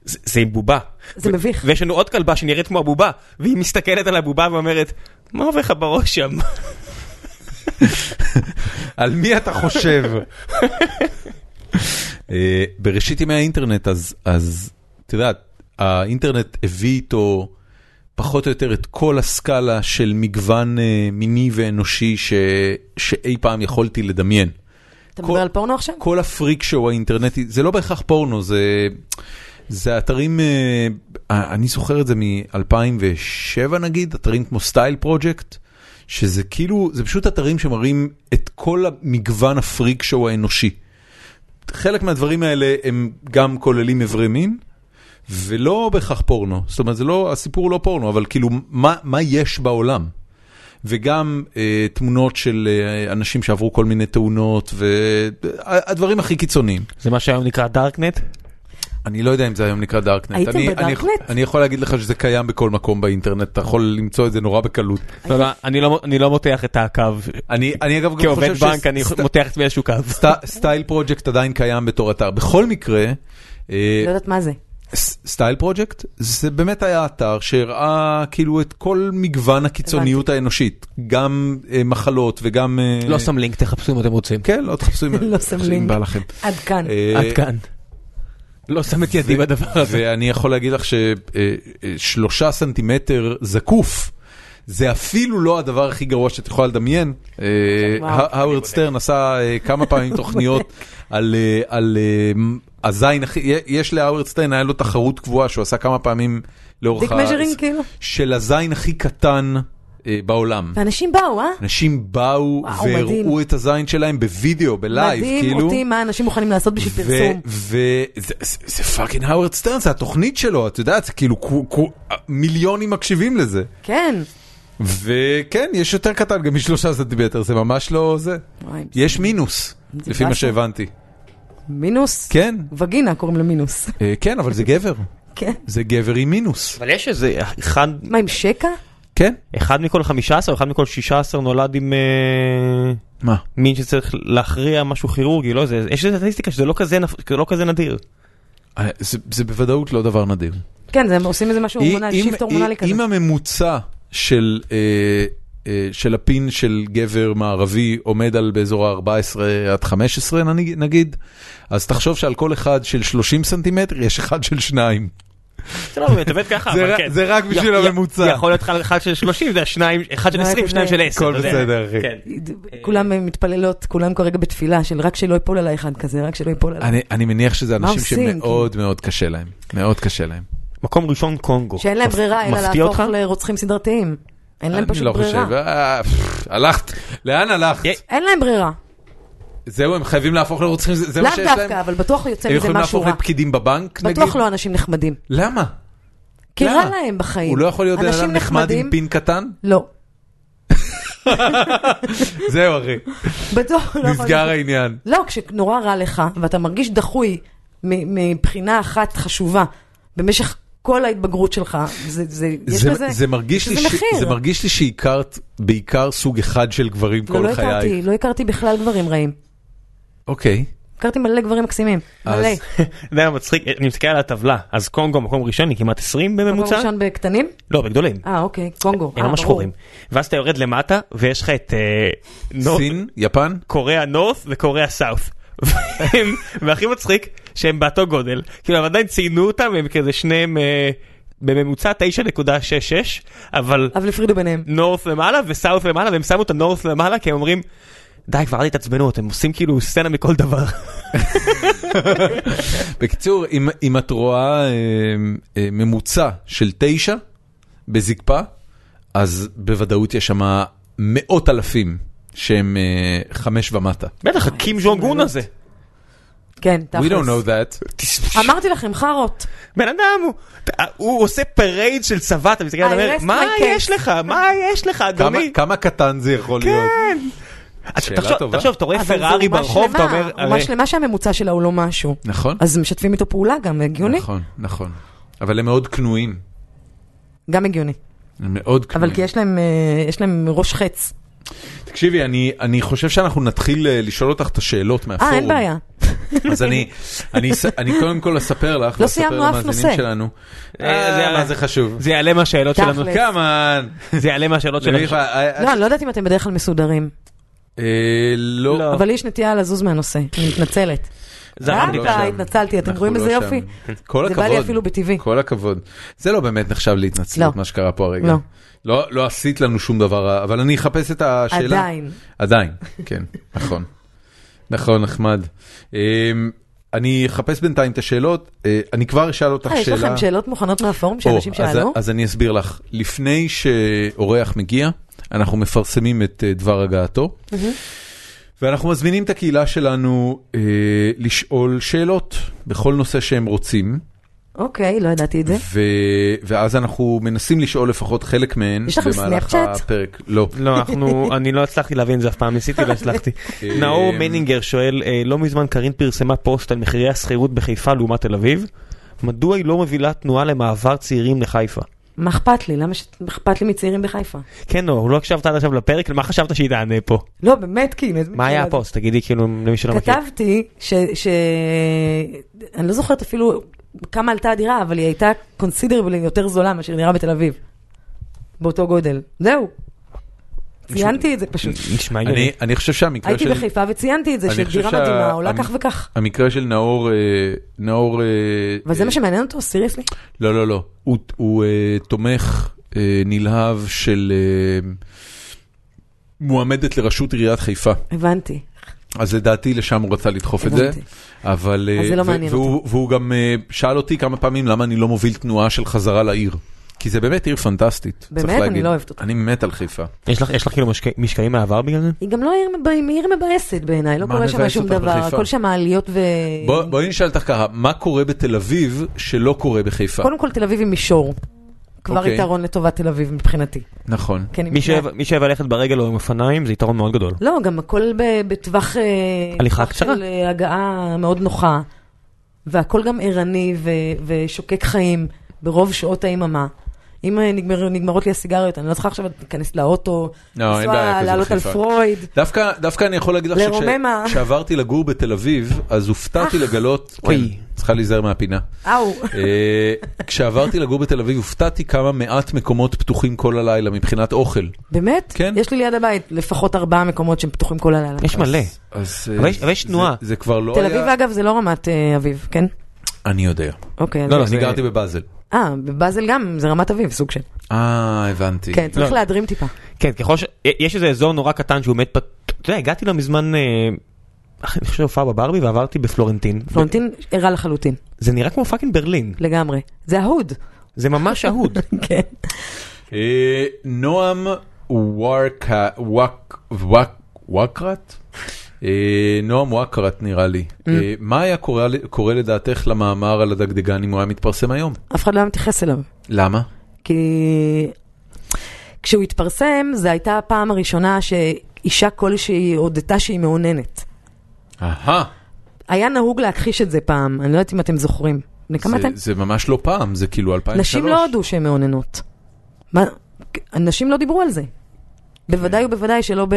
[SPEAKER 2] זה זה עם בובה.
[SPEAKER 3] זה
[SPEAKER 2] ו-
[SPEAKER 3] מביך.
[SPEAKER 2] ויש לנו עוד כלבה שנראית כמו הבובה, והיא מסתכלת על הבובה ואומרת, מה עובר לך בראש שם?
[SPEAKER 1] על מי אתה חושב? אה, בראשית ימי האינטרנט, אז, אז את יודעת, האינטרנט הביא איתו פחות או יותר את כל הסקאלה של מגוון אה, מיני ואנושי ש, שאי פעם יכולתי לדמיין.
[SPEAKER 3] אתה
[SPEAKER 1] כל-
[SPEAKER 3] מדבר על פורנו עכשיו?
[SPEAKER 2] אה,
[SPEAKER 1] כל הפריק שואו האינטרנטי, זה לא בהכרח פורנו, זה, זה אתרים, אה, אני זוכר את זה מ-2007 נגיד, אתרים כמו סטייל פרוג'קט, שזה כאילו, זה פשוט אתרים שמראים את כל המגוון הפריק שואו האנושי. חלק מהדברים האלה הם גם כוללים איברי מין. ולא בהכרח פורנו, זאת אומרת, זה לא, הסיפור הוא לא פורנו, אבל כאילו, מה, מה יש בעולם? וגם אה, תמונות של אה, אנשים שעברו כל מיני תאונות, והדברים הכי קיצוניים.
[SPEAKER 2] זה מה שהיום נקרא דארקנט?
[SPEAKER 1] אני לא יודע אם זה היום נקרא דארקנט.
[SPEAKER 3] הייתם
[SPEAKER 1] אני, אני,
[SPEAKER 3] בדארקנט?
[SPEAKER 1] אני יכול להגיד לך שזה קיים בכל מקום באינטרנט, אתה יכול למצוא את זה נורא בקלות.
[SPEAKER 2] לא, לא, אני לא- אני לא מותח את הקו.
[SPEAKER 1] אני, אני אגב גם
[SPEAKER 2] כעובד
[SPEAKER 1] חושב
[SPEAKER 2] בנק אני מותח את עצמי איזשהו קו.
[SPEAKER 1] סט- סטייל פרוג'קט עדיין קיים בתור אתר. בכל מקרה, אה,
[SPEAKER 3] לא יודעת מה זה.
[SPEAKER 1] ס- סטייל פרוג'קט זה באמת היה אתר שהראה כאילו את כל מגוון הקיצוניות האנושית, גם אה, מחלות וגם... אה,
[SPEAKER 2] לא שם לינק, תחפשו אם אתם רוצים.
[SPEAKER 1] כן, לא תחפשו אם
[SPEAKER 3] לא שם
[SPEAKER 1] אם
[SPEAKER 3] לינק.
[SPEAKER 1] בא לכם.
[SPEAKER 3] עד כאן.
[SPEAKER 1] אה,
[SPEAKER 2] עד כאן. לא שם את ידי בדבר הזה.
[SPEAKER 1] ואני יכול להגיד לך ששלושה סנטימטר זקוף. זה אפילו לא הדבר הכי גרוע שאת יכולה לדמיין. אה,
[SPEAKER 3] וואו.
[SPEAKER 1] הא- האוורד סטרן עשה אה, כמה פעמים תוכניות על, אה, על אה, מ- הזין הכי, יש להאוורד סטרן, היה לו תחרות קבועה שהוא עשה כמה פעמים לאורך
[SPEAKER 3] דיק מז'רינג כאילו.
[SPEAKER 1] של הזין הכי קטן אה, בעולם.
[SPEAKER 3] ואנשים באו, אה?
[SPEAKER 1] אנשים באו
[SPEAKER 3] וואו,
[SPEAKER 1] והראו
[SPEAKER 3] מדהים.
[SPEAKER 1] את הזין שלהם בווידאו, בלייב,
[SPEAKER 3] מדהים
[SPEAKER 1] כאילו.
[SPEAKER 3] אותי מה אנשים מוכנים לעשות בשביל פרסום.
[SPEAKER 1] וזה פאקינג האוורד סטרן, זה התוכנית שלו, את יודעת, זה כאילו כו- כו- מיליונים מקשיבים לזה.
[SPEAKER 3] כן.
[SPEAKER 1] וכן, יש יותר קטן גם משלושה סנטימטר, זה ממש לא זה.
[SPEAKER 3] וואי,
[SPEAKER 1] יש מינוס,
[SPEAKER 3] זה
[SPEAKER 1] לפי מה
[SPEAKER 3] משהו.
[SPEAKER 1] שהבנתי.
[SPEAKER 3] מינוס?
[SPEAKER 1] כן,
[SPEAKER 3] וגינה קוראים למינוס.
[SPEAKER 1] אה, כן, אבל זה גבר.
[SPEAKER 3] כן.
[SPEAKER 1] זה גבר עם מינוס.
[SPEAKER 2] אבל יש איזה אחד,
[SPEAKER 3] מה, עם שקע?
[SPEAKER 1] כן?
[SPEAKER 2] אחד מכל 15, אחד מכל 16 נולד עם אה,
[SPEAKER 1] מה?
[SPEAKER 2] מין שצריך להכריע משהו כירורגי, לא זה, יש איזו סטטיסטיקה שזה לא כזה, נפ- לא כזה נדיר.
[SPEAKER 1] אה, זה זה בוודאות לא דבר נדיר.
[SPEAKER 3] כן, זה- הם עושים איזה משהו הורמונלי,
[SPEAKER 1] אם-
[SPEAKER 3] שיפט הורמונלי
[SPEAKER 1] אם-
[SPEAKER 3] כזה.
[SPEAKER 1] אם הממוצע של... אה, אה, של הפין של גבר מערבי עומד על באזור ה-14 עד 15 נניג- נגיד, אז תחשוב שעל כל אחד של 30 סנטימטר יש אחד של שניים.
[SPEAKER 2] זה לא באמת עובד ככה,
[SPEAKER 1] זה
[SPEAKER 2] אבל
[SPEAKER 1] ר-
[SPEAKER 2] כן.
[SPEAKER 1] זה רק בשביל
[SPEAKER 2] י- י-
[SPEAKER 1] הממוצע.
[SPEAKER 2] יכול להיות אחד- אחד של 30, זה השניים, אחד של
[SPEAKER 3] לא
[SPEAKER 2] 20,
[SPEAKER 3] כזה.
[SPEAKER 2] שניים של 10.
[SPEAKER 1] הכל בסדר, אחי.
[SPEAKER 2] כן.
[SPEAKER 3] כולם אה, מתפללות, כולם כרגע בתפילה של רק שלא ייפול עליי אחד כזה, רק שלא ייפול עליי.
[SPEAKER 1] אני, אני מניח שזה
[SPEAKER 3] מה
[SPEAKER 1] אנשים
[SPEAKER 3] עושים,
[SPEAKER 1] שמאוד מאוד קשה להם, מאוד קשה להם.
[SPEAKER 2] מקום ראשון קונגו.
[SPEAKER 3] שאין להם
[SPEAKER 2] מפ-
[SPEAKER 3] ברירה אלא
[SPEAKER 2] מפתיע
[SPEAKER 3] להפוך
[SPEAKER 2] אותך?
[SPEAKER 3] לרוצחים סדרתיים. אין להם
[SPEAKER 1] אני
[SPEAKER 3] פשוט
[SPEAKER 1] לא
[SPEAKER 3] ברירה.
[SPEAKER 1] חושב, אה, פפ, הלכת, לאן הלכת?
[SPEAKER 2] אה,
[SPEAKER 3] אין להם ברירה.
[SPEAKER 1] זהו, הם חייבים להפוך לרוצחים, זה זה
[SPEAKER 3] לאו
[SPEAKER 1] מה שיש להם?
[SPEAKER 3] דווקא, אבל בטוח יוצא
[SPEAKER 1] הם
[SPEAKER 3] מזה
[SPEAKER 1] יכולים
[SPEAKER 3] משהו
[SPEAKER 1] להפוך
[SPEAKER 3] רע.
[SPEAKER 1] לפקידים בבנק, נגיד?
[SPEAKER 3] בטוח לא אנשים נחמדים.
[SPEAKER 1] למה?
[SPEAKER 3] כי רע
[SPEAKER 1] למה?
[SPEAKER 3] להם בחיים.
[SPEAKER 1] הוא לא יכול להיות בן
[SPEAKER 3] אנשים
[SPEAKER 1] אדם נחמד עם
[SPEAKER 3] נחמדים-
[SPEAKER 1] פין קטן?
[SPEAKER 3] לא.
[SPEAKER 1] זהו, אחי,
[SPEAKER 3] בטוח לא יכול
[SPEAKER 1] נסגר
[SPEAKER 3] להיות.
[SPEAKER 1] העניין.
[SPEAKER 3] לא, כשנורא רע לך, ואתה מרגיש דחוי מ- מבחינה אחת חשובה במשך כל ההתבגרות שלך, זה, זה, יש
[SPEAKER 1] זה-
[SPEAKER 3] בזה,
[SPEAKER 1] זה מרגיש
[SPEAKER 3] יש
[SPEAKER 1] לי
[SPEAKER 3] לזה
[SPEAKER 1] ש-
[SPEAKER 3] מחיר.
[SPEAKER 1] זה מרגיש לי שהכרת בעיקר סוג אחד של גברים
[SPEAKER 3] לא,
[SPEAKER 1] כל
[SPEAKER 3] לא
[SPEAKER 1] חיי.
[SPEAKER 3] הכרתי, לא הכרתי בכלל גברים רעים.
[SPEAKER 1] אוקיי.
[SPEAKER 3] הכרתי מלא גברים מקסימים.
[SPEAKER 1] אז-
[SPEAKER 3] מלא.
[SPEAKER 2] זה היה מצחיק, אני מסתכל על הטבלה, אז קונגו מקום ראשון היא כמעט 20
[SPEAKER 3] מקום
[SPEAKER 2] בממוצע?
[SPEAKER 3] ראשון בקטנים?
[SPEAKER 2] לא, בגדולים.
[SPEAKER 3] אה, אוקיי, קונגו.
[SPEAKER 2] הם
[SPEAKER 3] אה,
[SPEAKER 2] ממש
[SPEAKER 3] ברור.
[SPEAKER 2] שחורים. ואז אתה יורד למטה, ויש לך את אה, נו-
[SPEAKER 1] סין, יפן?
[SPEAKER 2] קוריאה נורת וקוריאה סאוף. והם- והכי מצחיק, שהם באותו גודל. כאילו, הם עדיין ציינו אותם, הם כזה שניהם אה, בממוצע 9.66, אבל
[SPEAKER 3] אבל הפרידו
[SPEAKER 1] Mm.
[SPEAKER 3] ביניהם.
[SPEAKER 2] נורת למעלה וסאוף למעלה, והם שמו את הנורת למעלה, כי הם אומרים, די, כבר אל תתעצבנו, אתם עושים כאילו סצנה מכל דבר.
[SPEAKER 1] בקיצור, אם, אם את רואה אה, אה, ממוצע של תשע בזקפה, אז בוודאות יש שם מאות אלפים שהם אה, חמש ומטה.
[SPEAKER 2] בטח, הקים ז'ונג און הזה.
[SPEAKER 3] כן,
[SPEAKER 1] We don't know
[SPEAKER 3] תכלס.
[SPEAKER 1] that.
[SPEAKER 3] אמרתי לכם, חארות.
[SPEAKER 2] בן אדם, הוא- הוא עושה פרייד של צבא, אתה מסתכל עליו,
[SPEAKER 3] I
[SPEAKER 2] ואומר,
[SPEAKER 3] rest
[SPEAKER 2] מה
[SPEAKER 3] my case."
[SPEAKER 2] יש לך? מה יש לך,
[SPEAKER 1] כמה,
[SPEAKER 2] אדוני?
[SPEAKER 1] כמה קטן זה יכול להיות?
[SPEAKER 2] כן. אתה-
[SPEAKER 1] כאילו, שאלה
[SPEAKER 2] תחשוב,
[SPEAKER 1] טובה.
[SPEAKER 2] תחשוב, אתה רואה
[SPEAKER 3] אבל זה
[SPEAKER 2] פרארי
[SPEAKER 3] אומה
[SPEAKER 2] ברחוב, אתה
[SPEAKER 3] שלמה,
[SPEAKER 2] אומר,
[SPEAKER 3] אומה
[SPEAKER 2] הרי-
[SPEAKER 3] שלמה שהממוצע שלה הוא לא משהו.
[SPEAKER 1] נכון,
[SPEAKER 3] אז משתפים איתו פעולה גם, הגיוני?
[SPEAKER 1] נכון, נכון. אבל הם מאוד כנועים.
[SPEAKER 3] גם הגיוני.
[SPEAKER 1] הם מאוד כנועים.
[SPEAKER 3] אבל כי יש להם, אה, יש להם ראש חץ.
[SPEAKER 1] תקשיבי, אני, אני חושב שאנחנו נתחיל אה, לשאול אותך את השאלות מהפורום.
[SPEAKER 3] אה, אין בעיה.
[SPEAKER 1] אז אני, אני, אס- אני קודם כל אספר לך,
[SPEAKER 3] לא
[SPEAKER 1] ואספר
[SPEAKER 3] סיימנו אף
[SPEAKER 1] למאזינים
[SPEAKER 3] נושא.
[SPEAKER 1] שלנו.
[SPEAKER 2] אה, זה-
[SPEAKER 1] אה, מה זה חשוב?
[SPEAKER 2] זה יעלה מהשאלות שלנו,
[SPEAKER 3] תכל'ס.
[SPEAKER 1] כמובן.
[SPEAKER 2] זה יעלה מהשאלות שלנו.
[SPEAKER 1] למיכה, אה,
[SPEAKER 3] לא, אני לא יודעת אם אתם בדרך כלל מסודרים.
[SPEAKER 1] אה,
[SPEAKER 2] לא.
[SPEAKER 1] לא.
[SPEAKER 3] אבל לי יש נטייה לזוז מהנושא. אני מתנצלת.
[SPEAKER 2] זרמתי
[SPEAKER 1] לא
[SPEAKER 3] אה,
[SPEAKER 1] שם.
[SPEAKER 3] התנצלתי, אתם
[SPEAKER 1] אנחנו
[SPEAKER 3] רואים
[SPEAKER 1] לא
[SPEAKER 3] איזה
[SPEAKER 1] שם.
[SPEAKER 3] יופי?
[SPEAKER 1] כל
[SPEAKER 3] זה
[SPEAKER 1] הכבוד.
[SPEAKER 3] בא לי אפילו בטבעי.
[SPEAKER 1] כל הכבוד. זה לא באמת נחשב להתנצלות,
[SPEAKER 3] לא.
[SPEAKER 1] מה שקרה פה הרגע.
[SPEAKER 3] לא.
[SPEAKER 1] לא. לא עשית לנו שום דבר, רע, אבל אני אחפש את השאלה.
[SPEAKER 3] עדיין.
[SPEAKER 1] עדיין, כן, נכון. נכון, נחמד. אמ, אני אחפש בינתיים את השאלות, אה, אני כבר אשאל אותך
[SPEAKER 3] אה,
[SPEAKER 1] שאלה.
[SPEAKER 3] יש לכם שאלות מוכנות מהפורום
[SPEAKER 1] או,
[SPEAKER 3] שאנשים
[SPEAKER 1] אז-
[SPEAKER 3] שאלו?
[SPEAKER 1] אז אני אסביר לך. לפני שאורח מגיע, אנחנו מפרסמים את אה, דבר הגעתו, ואנחנו מזמינים את הקהילה שלנו אה, לשאול שאלות בכל נושא שהם רוצים,
[SPEAKER 3] אוקיי, לא ידעתי את זה.
[SPEAKER 1] ו- ואז אנחנו מנסים לשאול לפחות חלק מהן
[SPEAKER 3] יש לכם
[SPEAKER 1] במהלך
[SPEAKER 3] סנאפצ'אט?
[SPEAKER 1] הפרק. לא.
[SPEAKER 2] לא, אנחנו, אני לא הצלחתי להבין את זה אף פעם, ניסיתי, לא הצלחתי. נאור מנינגר שואל, אה, לא מזמן קארין פרסמה פוסט על מחירי השכירות בחיפה לעומת תל אביב, מדוע היא לא מובילה תנועה למעבר צעירים לחיפה?
[SPEAKER 3] מה אכפת לי? למה ש- מה אכפת לי מצעירים בחיפה?
[SPEAKER 2] כן, נאור, לא הקשבת עד עכשיו לפרק, מה חשבת שהיא תענה פה?
[SPEAKER 3] לא, באמת, כאילו. איזה
[SPEAKER 2] מה
[SPEAKER 3] מין
[SPEAKER 2] היה
[SPEAKER 3] שאלה
[SPEAKER 2] הפוסט? תגידי כאילו למי
[SPEAKER 3] זאת?
[SPEAKER 1] לא
[SPEAKER 2] שלא מכיר.
[SPEAKER 3] כתבתי ש... ש- אני לא זוכרת אפילו כמה עלתה הדירה, אבל היא הייתה קונסידרבלי יותר זולה מאשר דירה בתל אביב. באותו גודל. זהו. ציינתי את זה פשוט.
[SPEAKER 2] נשמע הגיוני.
[SPEAKER 1] אני, אני חושב שהמקרה
[SPEAKER 3] הייתי
[SPEAKER 1] של...
[SPEAKER 3] בחיפה וציינתי את זה,
[SPEAKER 1] אני חושב
[SPEAKER 3] שדירה
[SPEAKER 1] שה-
[SPEAKER 3] מדהימה עולה
[SPEAKER 1] אני-
[SPEAKER 3] כך וכך.
[SPEAKER 1] המקרה של נאור, אה, נאור... אה,
[SPEAKER 3] אבל זה
[SPEAKER 1] אה,
[SPEAKER 3] מה שמעניין אותו, סיריוסלי?
[SPEAKER 1] לא, לא, לא. הוא, הוא אה, תומך אה, נלהב של אה, מועמדת לראשות עיריית חיפה.
[SPEAKER 3] הבנתי.
[SPEAKER 1] אז לדעתי לשם הוא רצה לדחוף את זה.
[SPEAKER 3] הבנתי.
[SPEAKER 1] אבל... אה,
[SPEAKER 3] אז זה לא
[SPEAKER 1] ו-
[SPEAKER 3] מעניין
[SPEAKER 1] והוא, והוא גם אה, שאל אותי כמה פעמים למה אני לא מוביל תנועה של חזרה לעיר. כי זה באמת עיר פנטסטית, צריך
[SPEAKER 3] באמת? אני
[SPEAKER 1] להגיד.
[SPEAKER 3] לא אוהבת אותה. אה.
[SPEAKER 1] אני מת על חיפה.
[SPEAKER 2] יש לך- יש לך כאילו משק- משקעים מהעבר בגלל זה?
[SPEAKER 3] היא גם לא עיר, מב... היא עיר מבאסת בעיניי, לא
[SPEAKER 1] מה
[SPEAKER 3] קורה שם
[SPEAKER 1] מבאס
[SPEAKER 3] שום
[SPEAKER 1] אותך
[SPEAKER 3] דבר,
[SPEAKER 1] בחיפה?
[SPEAKER 3] הכל שם עליות ו...
[SPEAKER 1] בוא, בואי נשאל אותך ככה, מה קורה בתל אביב שלא קורה בחיפה?
[SPEAKER 3] קודם כל תל אביב היא מישור. כבר
[SPEAKER 1] אוקיי.
[SPEAKER 3] יתרון לטובת תל אביב מבחינתי.
[SPEAKER 1] נכון.
[SPEAKER 3] כן, היא
[SPEAKER 2] מי
[SPEAKER 3] מבחינת-
[SPEAKER 2] שאוהב- מי שאוהב ללכת ברגל או עם אופניים זה יתרון מאוד גדול.
[SPEAKER 3] לא, גם הכל ב- בטווח... אה,
[SPEAKER 2] הליכה
[SPEAKER 3] טווח
[SPEAKER 2] קצרה.
[SPEAKER 3] של אה, הגעה מאוד נוחה, והכל גם ערני ו... ושוקק חיים ברוב שעות היממה. אם אה, נגמר, נגמרות לי הסיגריות, אני לא צריכה עכשיו להיכנס לאוטו,
[SPEAKER 1] לא, אין בעיה כזו
[SPEAKER 3] לעלות על
[SPEAKER 1] בחיפה.
[SPEAKER 3] פרויד.
[SPEAKER 1] דווקא, דווקא אני יכול להגיד לך
[SPEAKER 3] לרומם ה-
[SPEAKER 1] שכשעברתי לגור בתל אביב, אז
[SPEAKER 3] אה,
[SPEAKER 1] הופתעתי לגלות,
[SPEAKER 2] אוי.
[SPEAKER 1] כן, צריכה להיזהר מהפינה.
[SPEAKER 3] אאו.
[SPEAKER 1] אה, כשעברתי לגור בתל אביב, הופתעתי כמה מעט מקומות פתוחים כל הלילה מבחינת אוכל.
[SPEAKER 3] באמת?
[SPEAKER 1] כן.
[SPEAKER 3] יש לי ליד הבית לפחות ארבעה מקומות שהם פתוחים כל הלילה.
[SPEAKER 2] יש מלא.
[SPEAKER 1] אז,
[SPEAKER 2] אבל
[SPEAKER 1] אה,
[SPEAKER 2] יש- אבל יש
[SPEAKER 1] זה-
[SPEAKER 2] תנועה.
[SPEAKER 1] זה כבר לא
[SPEAKER 3] תל אביב,
[SPEAKER 1] היה...
[SPEAKER 3] אגב, זה לא רמת אה, אביב, כן?
[SPEAKER 1] אני יודע.
[SPEAKER 3] אוקיי. אז-
[SPEAKER 1] לא, לא, אני
[SPEAKER 2] זה-
[SPEAKER 1] גרתי בבאזל.
[SPEAKER 3] אה, בבאזל גם, זה רמת אביב, סוג של.
[SPEAKER 1] אה, הבנתי.
[SPEAKER 3] כן, צריך
[SPEAKER 2] לא.
[SPEAKER 3] להדרים טיפה.
[SPEAKER 2] כן, ככל ש... יש איזה אזור נורא קטן שהוא מת... פת- אתה יודע, הגעתי לא מזמן, אה, אני חושב, הופעה בברבי ועברתי בפלורנטין.
[SPEAKER 3] פלורנטין ערה לחלוטין,
[SPEAKER 2] זה נראה כמו פאקינג ברלין.
[SPEAKER 3] לגמרי. זה אהוד.
[SPEAKER 2] זה ממש אהוד.
[SPEAKER 3] כן.
[SPEAKER 1] אה, נועם ווארקה, וואק, וואק, וואקרט? אה, נועם וואקרט נראה לי.
[SPEAKER 3] Mm.
[SPEAKER 1] אה, מה היה קורה- קורה לדעתך למאמר על הדגדגן אם הוא היה מתפרסם היום?
[SPEAKER 3] אף אחד לא היה מתייחס אליו.
[SPEAKER 1] למה?
[SPEAKER 3] כי כשהוא התפרסם, זו הייתה הפעם הראשונה שאישה כלשהי הודתה שהיא מאוננת.
[SPEAKER 1] אהה,
[SPEAKER 3] היה נהוג להכחיש את זה פעם, אני לא יודעת אם אתם זוכרים. בני כמה
[SPEAKER 1] זה-
[SPEAKER 3] אתם?
[SPEAKER 1] זה ממש לא פעם, זה כאילו 2003.
[SPEAKER 3] נשים לא הודו שהן מאוננות. מה, נשים לא דיברו על זה. בוודאי ובוודאי שלא ב-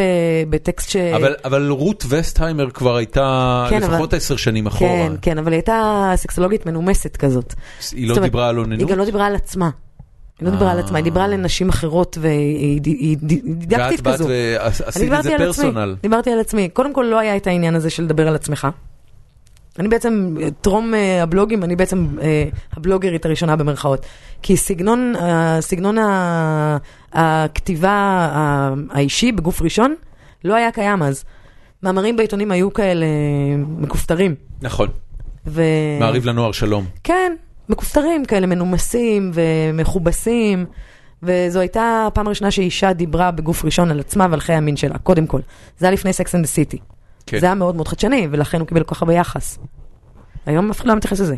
[SPEAKER 3] בטקסט ש...
[SPEAKER 1] אבל, אבל רות וסטהיימר כבר הייתה
[SPEAKER 3] אה, כן,
[SPEAKER 1] לפחות
[SPEAKER 3] אבל-
[SPEAKER 1] עשר שנים אחורה.
[SPEAKER 3] כן, כן, אבל היא הייתה סקסולוגית מנומסת כזאת.
[SPEAKER 1] היא לא
[SPEAKER 3] זאת אומרת,
[SPEAKER 1] דיברה על אוננות?
[SPEAKER 3] היא גם לא דיברה על עצמה. היא לא דיברה על עצמה, היא דיברה לנשים אחרות והיא היא- היא- היא דידקטית
[SPEAKER 1] אה. ואת
[SPEAKER 3] כזו.
[SPEAKER 1] באת
[SPEAKER 3] אני
[SPEAKER 1] ועשית את
[SPEAKER 3] דיברתי
[SPEAKER 1] זה
[SPEAKER 3] על
[SPEAKER 1] פרסונל.
[SPEAKER 3] עצמי, דיברתי על עצמי. קודם כל לא היה את העניין הזה של לדבר על עצמך. אני בעצם, טרום אה, הבלוגים, אני בעצם אה, הבלוגרית הראשונה במרכאות. כי סגנון, אה, סגנון ה- הכתיבה ה- האישי בגוף ראשון לא היה קיים אז. מאמרים בעיתונים היו כאלה אה, מכופתרים.
[SPEAKER 1] נכון,
[SPEAKER 3] ו...
[SPEAKER 1] מעריב לנוער שלום.
[SPEAKER 3] כן, מכופתרים כאלה, מנומסים ומכובסים, וזו הייתה הפעם הראשונה שאישה דיברה בגוף ראשון על עצמה ועל חיי המין שלה, קודם כל. זה היה לפני Sex and the City.
[SPEAKER 1] כן.
[SPEAKER 3] זה היה מאוד מאוד חדשני, ולכן הוא קיבל כל כך הרבה יחס. היום אף אחד לא מתייחס לזה.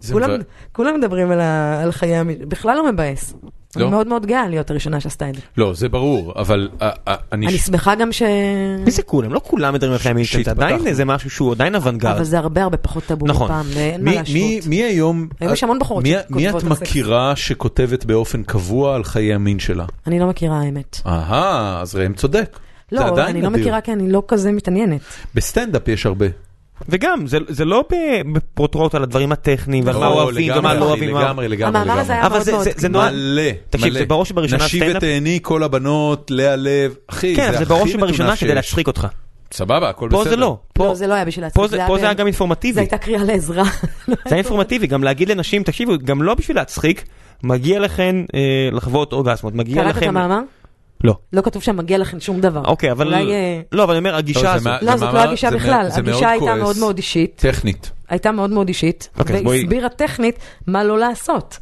[SPEAKER 1] זה
[SPEAKER 3] כולם,
[SPEAKER 1] מבא-
[SPEAKER 3] כולם מדברים על, ה, על חיי המין, בכלל לא מבאס.
[SPEAKER 1] לא?
[SPEAKER 3] אני מאוד מאוד גאה להיות הראשונה שעשתה את זה.
[SPEAKER 1] לא, זה ברור, אבל אה, אה, אני...
[SPEAKER 3] אני שמחה גם ש...
[SPEAKER 2] מי זה כולם? לא כולם מדברים על חיי המינטנט,
[SPEAKER 1] שהתפתחנו.
[SPEAKER 2] עדיין איזה משהו שהוא עדיין
[SPEAKER 3] אבל
[SPEAKER 2] אוונגרד.
[SPEAKER 3] זה הרבה הרבה פחות טאבו
[SPEAKER 2] נכון.
[SPEAKER 3] מפעם, ואין מה
[SPEAKER 1] מי-
[SPEAKER 3] להשוות.
[SPEAKER 1] מי- מי היום...
[SPEAKER 3] היום יש המון בחורות
[SPEAKER 1] מי-
[SPEAKER 3] שכותבות
[SPEAKER 1] מי
[SPEAKER 3] על
[SPEAKER 1] את
[SPEAKER 3] סקס.
[SPEAKER 1] מכירה שכותבת באופן קבוע על חיי המין שלה?
[SPEAKER 3] אני לא מכירה האמת.
[SPEAKER 1] אהה, אז ראם צודק. זה
[SPEAKER 3] לא,
[SPEAKER 1] עדיין
[SPEAKER 3] אני לא
[SPEAKER 1] נדיר.
[SPEAKER 3] מכירה כי אני לא כזה מתעניינת.
[SPEAKER 1] בסטנדאפ יש הרבה.
[SPEAKER 2] וגם, זה- זה לא בפרוטרוט על הדברים הטכניים ועל מה
[SPEAKER 1] או,
[SPEAKER 2] אוהבים ומה
[SPEAKER 1] לגמרי,
[SPEAKER 2] לא אוהבים. מה-
[SPEAKER 1] לגמרי, לגמרי.
[SPEAKER 3] המאמר
[SPEAKER 1] לגמרי.
[SPEAKER 3] הזה היה
[SPEAKER 2] אבל
[SPEAKER 3] מאוד
[SPEAKER 2] זה-
[SPEAKER 3] מאוד
[SPEAKER 2] זה- זה
[SPEAKER 3] קטן.
[SPEAKER 2] נועד-
[SPEAKER 1] מלא,
[SPEAKER 2] תקשיב,
[SPEAKER 1] מלא.
[SPEAKER 2] זה בראש ובראשונה
[SPEAKER 1] נשי
[SPEAKER 2] סטנדאפ.
[SPEAKER 1] ותהני כל הבנות, לאה לב, אחי,
[SPEAKER 2] כן, אבל זה
[SPEAKER 1] הכי
[SPEAKER 2] בראש
[SPEAKER 1] מטונף
[SPEAKER 2] ובראשונה כדי
[SPEAKER 1] שיש.
[SPEAKER 2] להצחיק אותך.
[SPEAKER 1] סבבה, הכל בסדר.
[SPEAKER 2] פה זה לא. פה-
[SPEAKER 3] לא, זה לא היה בשביל
[SPEAKER 2] פה
[SPEAKER 3] להצחיק.
[SPEAKER 2] זה פה זה היה גם
[SPEAKER 3] זה
[SPEAKER 2] אינפורמטיבי.
[SPEAKER 3] הייתה קריאה לעזרה.
[SPEAKER 2] זה
[SPEAKER 3] לא
[SPEAKER 2] היה אינפורמטיבי, גם להגיד לנשים, תקשיבו, גם לא בשביל להצחיק, מגיע לכן אה, לחוות אורגזמות, מגיע
[SPEAKER 3] קראת את
[SPEAKER 2] לכם...
[SPEAKER 3] המאמר?
[SPEAKER 2] לא.
[SPEAKER 3] לא כתוב שם מגיע לכם שום דבר.
[SPEAKER 2] אוקיי, אבל...
[SPEAKER 3] אולי... אה,
[SPEAKER 2] לא, אבל אני אומר,
[SPEAKER 1] לא, זה
[SPEAKER 2] הגישה הזאת.
[SPEAKER 1] מה-
[SPEAKER 3] לא, זאת לא
[SPEAKER 1] מאמר-
[SPEAKER 3] הגישה
[SPEAKER 1] זה מאוד-
[SPEAKER 3] בכלל.
[SPEAKER 1] זה מאוד
[SPEAKER 3] הגישה הייתה
[SPEAKER 1] כועס.
[SPEAKER 3] מאוד מאוד אישית.
[SPEAKER 1] טכנית.
[SPEAKER 3] הייתה מאוד מאוד אישית.
[SPEAKER 2] אוקיי, אז בואי-
[SPEAKER 3] והסבירה טכנית מה לא לעשות.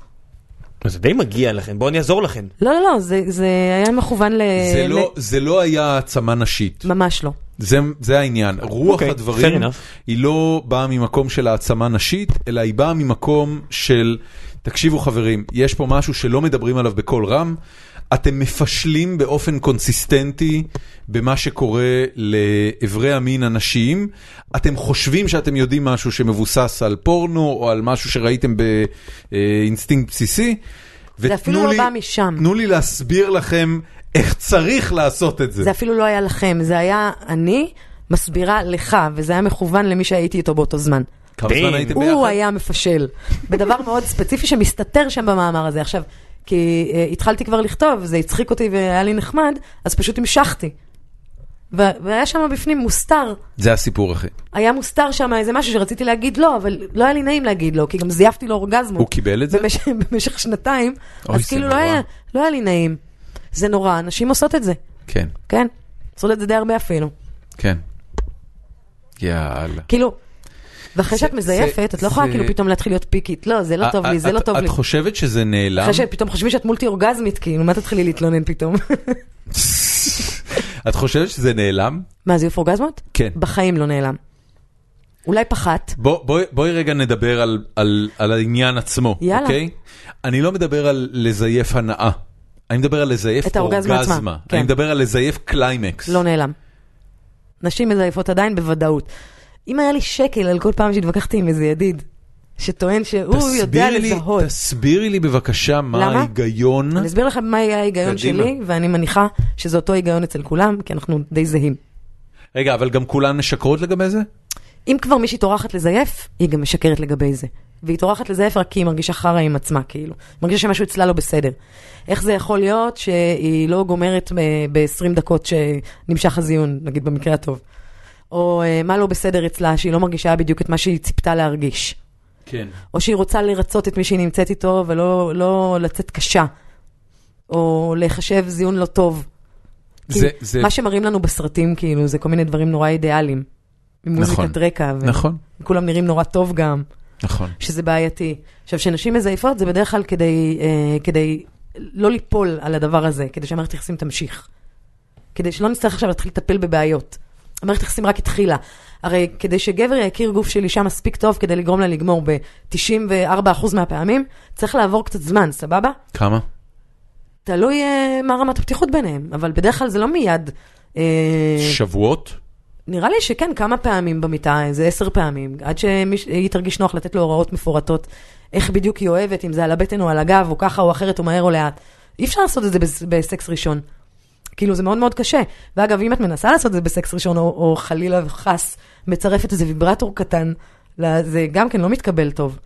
[SPEAKER 2] לא, זה די מגיע לכם, בואו אני אעזור לכם.
[SPEAKER 3] לא, לא, לא, זה- זה היה מכוון ל...
[SPEAKER 1] זה
[SPEAKER 3] אה, ל-
[SPEAKER 1] לא- זה לא היה העצמה נשית,
[SPEAKER 3] ממש לא.
[SPEAKER 1] זה- זה העניין. רוח
[SPEAKER 2] אוקיי,
[SPEAKER 1] הדברים
[SPEAKER 2] fair enough.
[SPEAKER 1] היא לא באה ממקום של העצמה נשית, אלא היא באה ממקום של, תקשיבו חברים, יש פה משהו שלא מדברים עליו בקול רם, אתם מפשלים באופן קונסיסטנטי במה שקורה לאיברי המין הנשיים, אתם חושבים שאתם יודעים משהו שמבוסס על פורנו או על משהו שראיתם באינסטינקט בסיסי.
[SPEAKER 3] זה אפילו
[SPEAKER 1] ותנו
[SPEAKER 3] לא
[SPEAKER 1] לי-
[SPEAKER 3] בא משם.
[SPEAKER 1] תנו לי להסביר לכם איך צריך לעשות את זה.
[SPEAKER 3] זה אפילו לא היה לכם, זה היה אני מסבירה לך, וזה היה מכוון למי שהייתי איתו באותו זמן.
[SPEAKER 1] כמה זמן
[SPEAKER 2] דין.
[SPEAKER 1] הייתם ביחד?
[SPEAKER 3] הוא היה מפשל, בדבר מאוד ספציפי שמסתתר שם במאמר הזה. עכשיו, כי אה, התחלתי כבר לכתוב, זה הצחיק אותי והיה לי נחמד, אז פשוט המשכתי. ו- והיה שם בפנים מוסתר,
[SPEAKER 1] זה הסיפור אחי.
[SPEAKER 3] היה מוסתר שם איזה משהו שרציתי להגיד לא, אבל לא היה לי נעים להגיד לא, כי גם זייפתי לו אורגזמות.
[SPEAKER 1] הוא קיבל את זה?
[SPEAKER 3] במשך, במשך שנתיים,
[SPEAKER 1] אוי,
[SPEAKER 3] אז
[SPEAKER 1] זה
[SPEAKER 3] כאילו לא
[SPEAKER 1] נורא.
[SPEAKER 3] היה, לא היה לי נעים. זה נורא, נשים עושות את זה,
[SPEAKER 1] כן,
[SPEAKER 3] כן? עושות את זה די הרבה אפילו.
[SPEAKER 1] כן. יאללה.
[SPEAKER 3] כאילו, ואחרי
[SPEAKER 1] זה-
[SPEAKER 3] שאת מזייפת,
[SPEAKER 1] זה-
[SPEAKER 3] את לא יכולה
[SPEAKER 1] זה- אה,
[SPEAKER 3] כאילו פתאום להתחיל להיות פיקית. לא, זה לא טוב לי, זה לא
[SPEAKER 1] את-
[SPEAKER 3] טוב לי.
[SPEAKER 1] את חושבת שזה נעלם?
[SPEAKER 3] אחרי שפתאום חושבים שאת מולטי אורגזמית, כאילו, מה תתחילי להתלונן פתאום?
[SPEAKER 1] את חושבת שזה נעלם?
[SPEAKER 3] מה, זיוף אורגזמות?
[SPEAKER 1] כן.
[SPEAKER 3] בחיים לא נעלם. אולי פחת,
[SPEAKER 1] בוא- בואי בואי רגע נדבר על- על על העניין עצמו,
[SPEAKER 3] יאללה.
[SPEAKER 1] אוקיי? אני לא מדבר על לזייף הנאה. אני מדבר על לזייף
[SPEAKER 3] את האורגזמה עצמה,
[SPEAKER 1] אורגזמה. אני
[SPEAKER 3] כן.
[SPEAKER 1] מדבר על לזייף קליימקס.
[SPEAKER 3] לא נעלם. נשים מזייפות עדיין בוודאות. אם היה לי שקל על כל פעם שהתווכחתי עם איזה ידיד, שטוען שהוא יודע
[SPEAKER 1] תסבירי לי-
[SPEAKER 3] לזהות.
[SPEAKER 1] תסבירי לי בבקשה מה
[SPEAKER 3] למה?
[SPEAKER 1] ההיגיון.
[SPEAKER 3] אני אסביר לכם מה יהיה ההיגיון
[SPEAKER 1] קדימה.
[SPEAKER 3] שלי, ואני מניחה שזה אותו היגיון אצל כולם, כי אנחנו די זהים.
[SPEAKER 1] רגע, אבל גם כולן משקרות לגבי זה?
[SPEAKER 3] אם כבר מישהי טורחת לזייף, היא גם משקרת לגבי זה. והיא טורחת לזייף רק כי היא מרגישה חרא עם עצמה, כאילו. היא מרגישה שמשהו אצלה לא בסדר. איך זה יכול להיות שהיא לא גומרת ב-20 דקות שנמשך הזיון, נגיד במקרה הטוב? או אה, מה לא בסדר אצלה, שהיא לא מרגישה בדיוק את מה שהיא ציפתה להרגיש.
[SPEAKER 1] כן.
[SPEAKER 3] או שהיא רוצה לרצות את מי שהיא נמצאת איתו ולא לא לצאת קשה, או לחשב זיון לא טוב. כי
[SPEAKER 1] זה, זה,
[SPEAKER 3] מה שמראים לנו בסרטים, כאילו, זה כל מיני דברים נורא אידיאליים. מוזיקת
[SPEAKER 1] נכון.
[SPEAKER 3] רקע, ו-
[SPEAKER 1] נכון,
[SPEAKER 3] וכולם נראים נורא טוב גם,
[SPEAKER 1] נכון.
[SPEAKER 3] שזה בעייתי. עכשיו, כשנשים מזייפות, זה בדרך כלל כדי, אה, כדי לא ליפול על הדבר הזה, כדי שהמערכת יחסים תמשיך. כדי שלא נצטרך עכשיו להתחיל לטפל בבעיות. המערכת יחסים רק התחילה. הרי כדי שגבר יכיר גוף של אישה מספיק טוב כדי לגרום לה לגמור ב-94% מהפעמים, צריך לעבור קצת זמן, סבבה?
[SPEAKER 1] כמה?
[SPEAKER 3] תלוי אה, מה רמת הפתיחות ביניהם, אבל בדרך כלל זה לא מיד... אה,
[SPEAKER 1] שבועות?
[SPEAKER 3] נראה לי שכן, כמה פעמים במיטה, איזה עשר פעמים, עד שהיא תרגיש נוח לתת לו הוראות מפורטות, איך בדיוק היא אוהבת, אם זה על הבטן או על הגב, או ככה או אחרת, או מהר או לאט. אי אפשר לעשות את זה בס- בסקס ראשון. כאילו, זה מאוד מאוד קשה. ואגב, אם את מנסה לעשות את זה בסקס ראשון, או, או חלילה וחס, מצרפת איזה ויברטור קטן, ל- זה גם כן לא מתקבל טוב.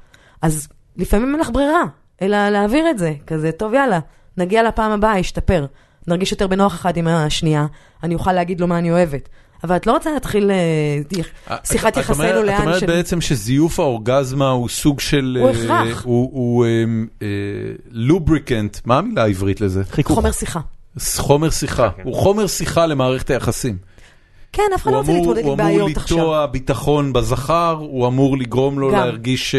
[SPEAKER 3] אז לפעמים אין לך ברירה, אלא להעביר את זה, כזה, טוב, יאללה, נגיע לפעם הבאה, ישתפר. נרגיש יותר בנוח אחת עם השנייה, אני אוכל להגיד לו מה אני אוהבת. אבל את לא רוצה להתחיל אה, שיחת
[SPEAKER 1] את- את
[SPEAKER 3] יחסינו
[SPEAKER 1] אומרת-
[SPEAKER 3] לאן
[SPEAKER 1] את אומרת
[SPEAKER 3] של-
[SPEAKER 1] בעצם שזיוף האורגזמה הוא סוג של...
[SPEAKER 3] הוא
[SPEAKER 1] אה,
[SPEAKER 3] הכרח.
[SPEAKER 1] הוא- הוא לובריקנט, מה המילה העברית לזה?
[SPEAKER 2] חיכוך.
[SPEAKER 3] חומר שיחה.
[SPEAKER 1] חומר שיחה.
[SPEAKER 2] כן.
[SPEAKER 1] הוא חומר שיחה למערכת היחסים.
[SPEAKER 3] כן, אף אחד
[SPEAKER 1] הוא
[SPEAKER 3] לא רוצה
[SPEAKER 1] אמור,
[SPEAKER 3] להתמודד
[SPEAKER 1] הוא
[SPEAKER 3] עם
[SPEAKER 1] אמור
[SPEAKER 3] בעיות עכשיו.
[SPEAKER 1] לטוע ביטחון בזכר, הוא אמור לגרום לו
[SPEAKER 3] גם.
[SPEAKER 1] להרגיש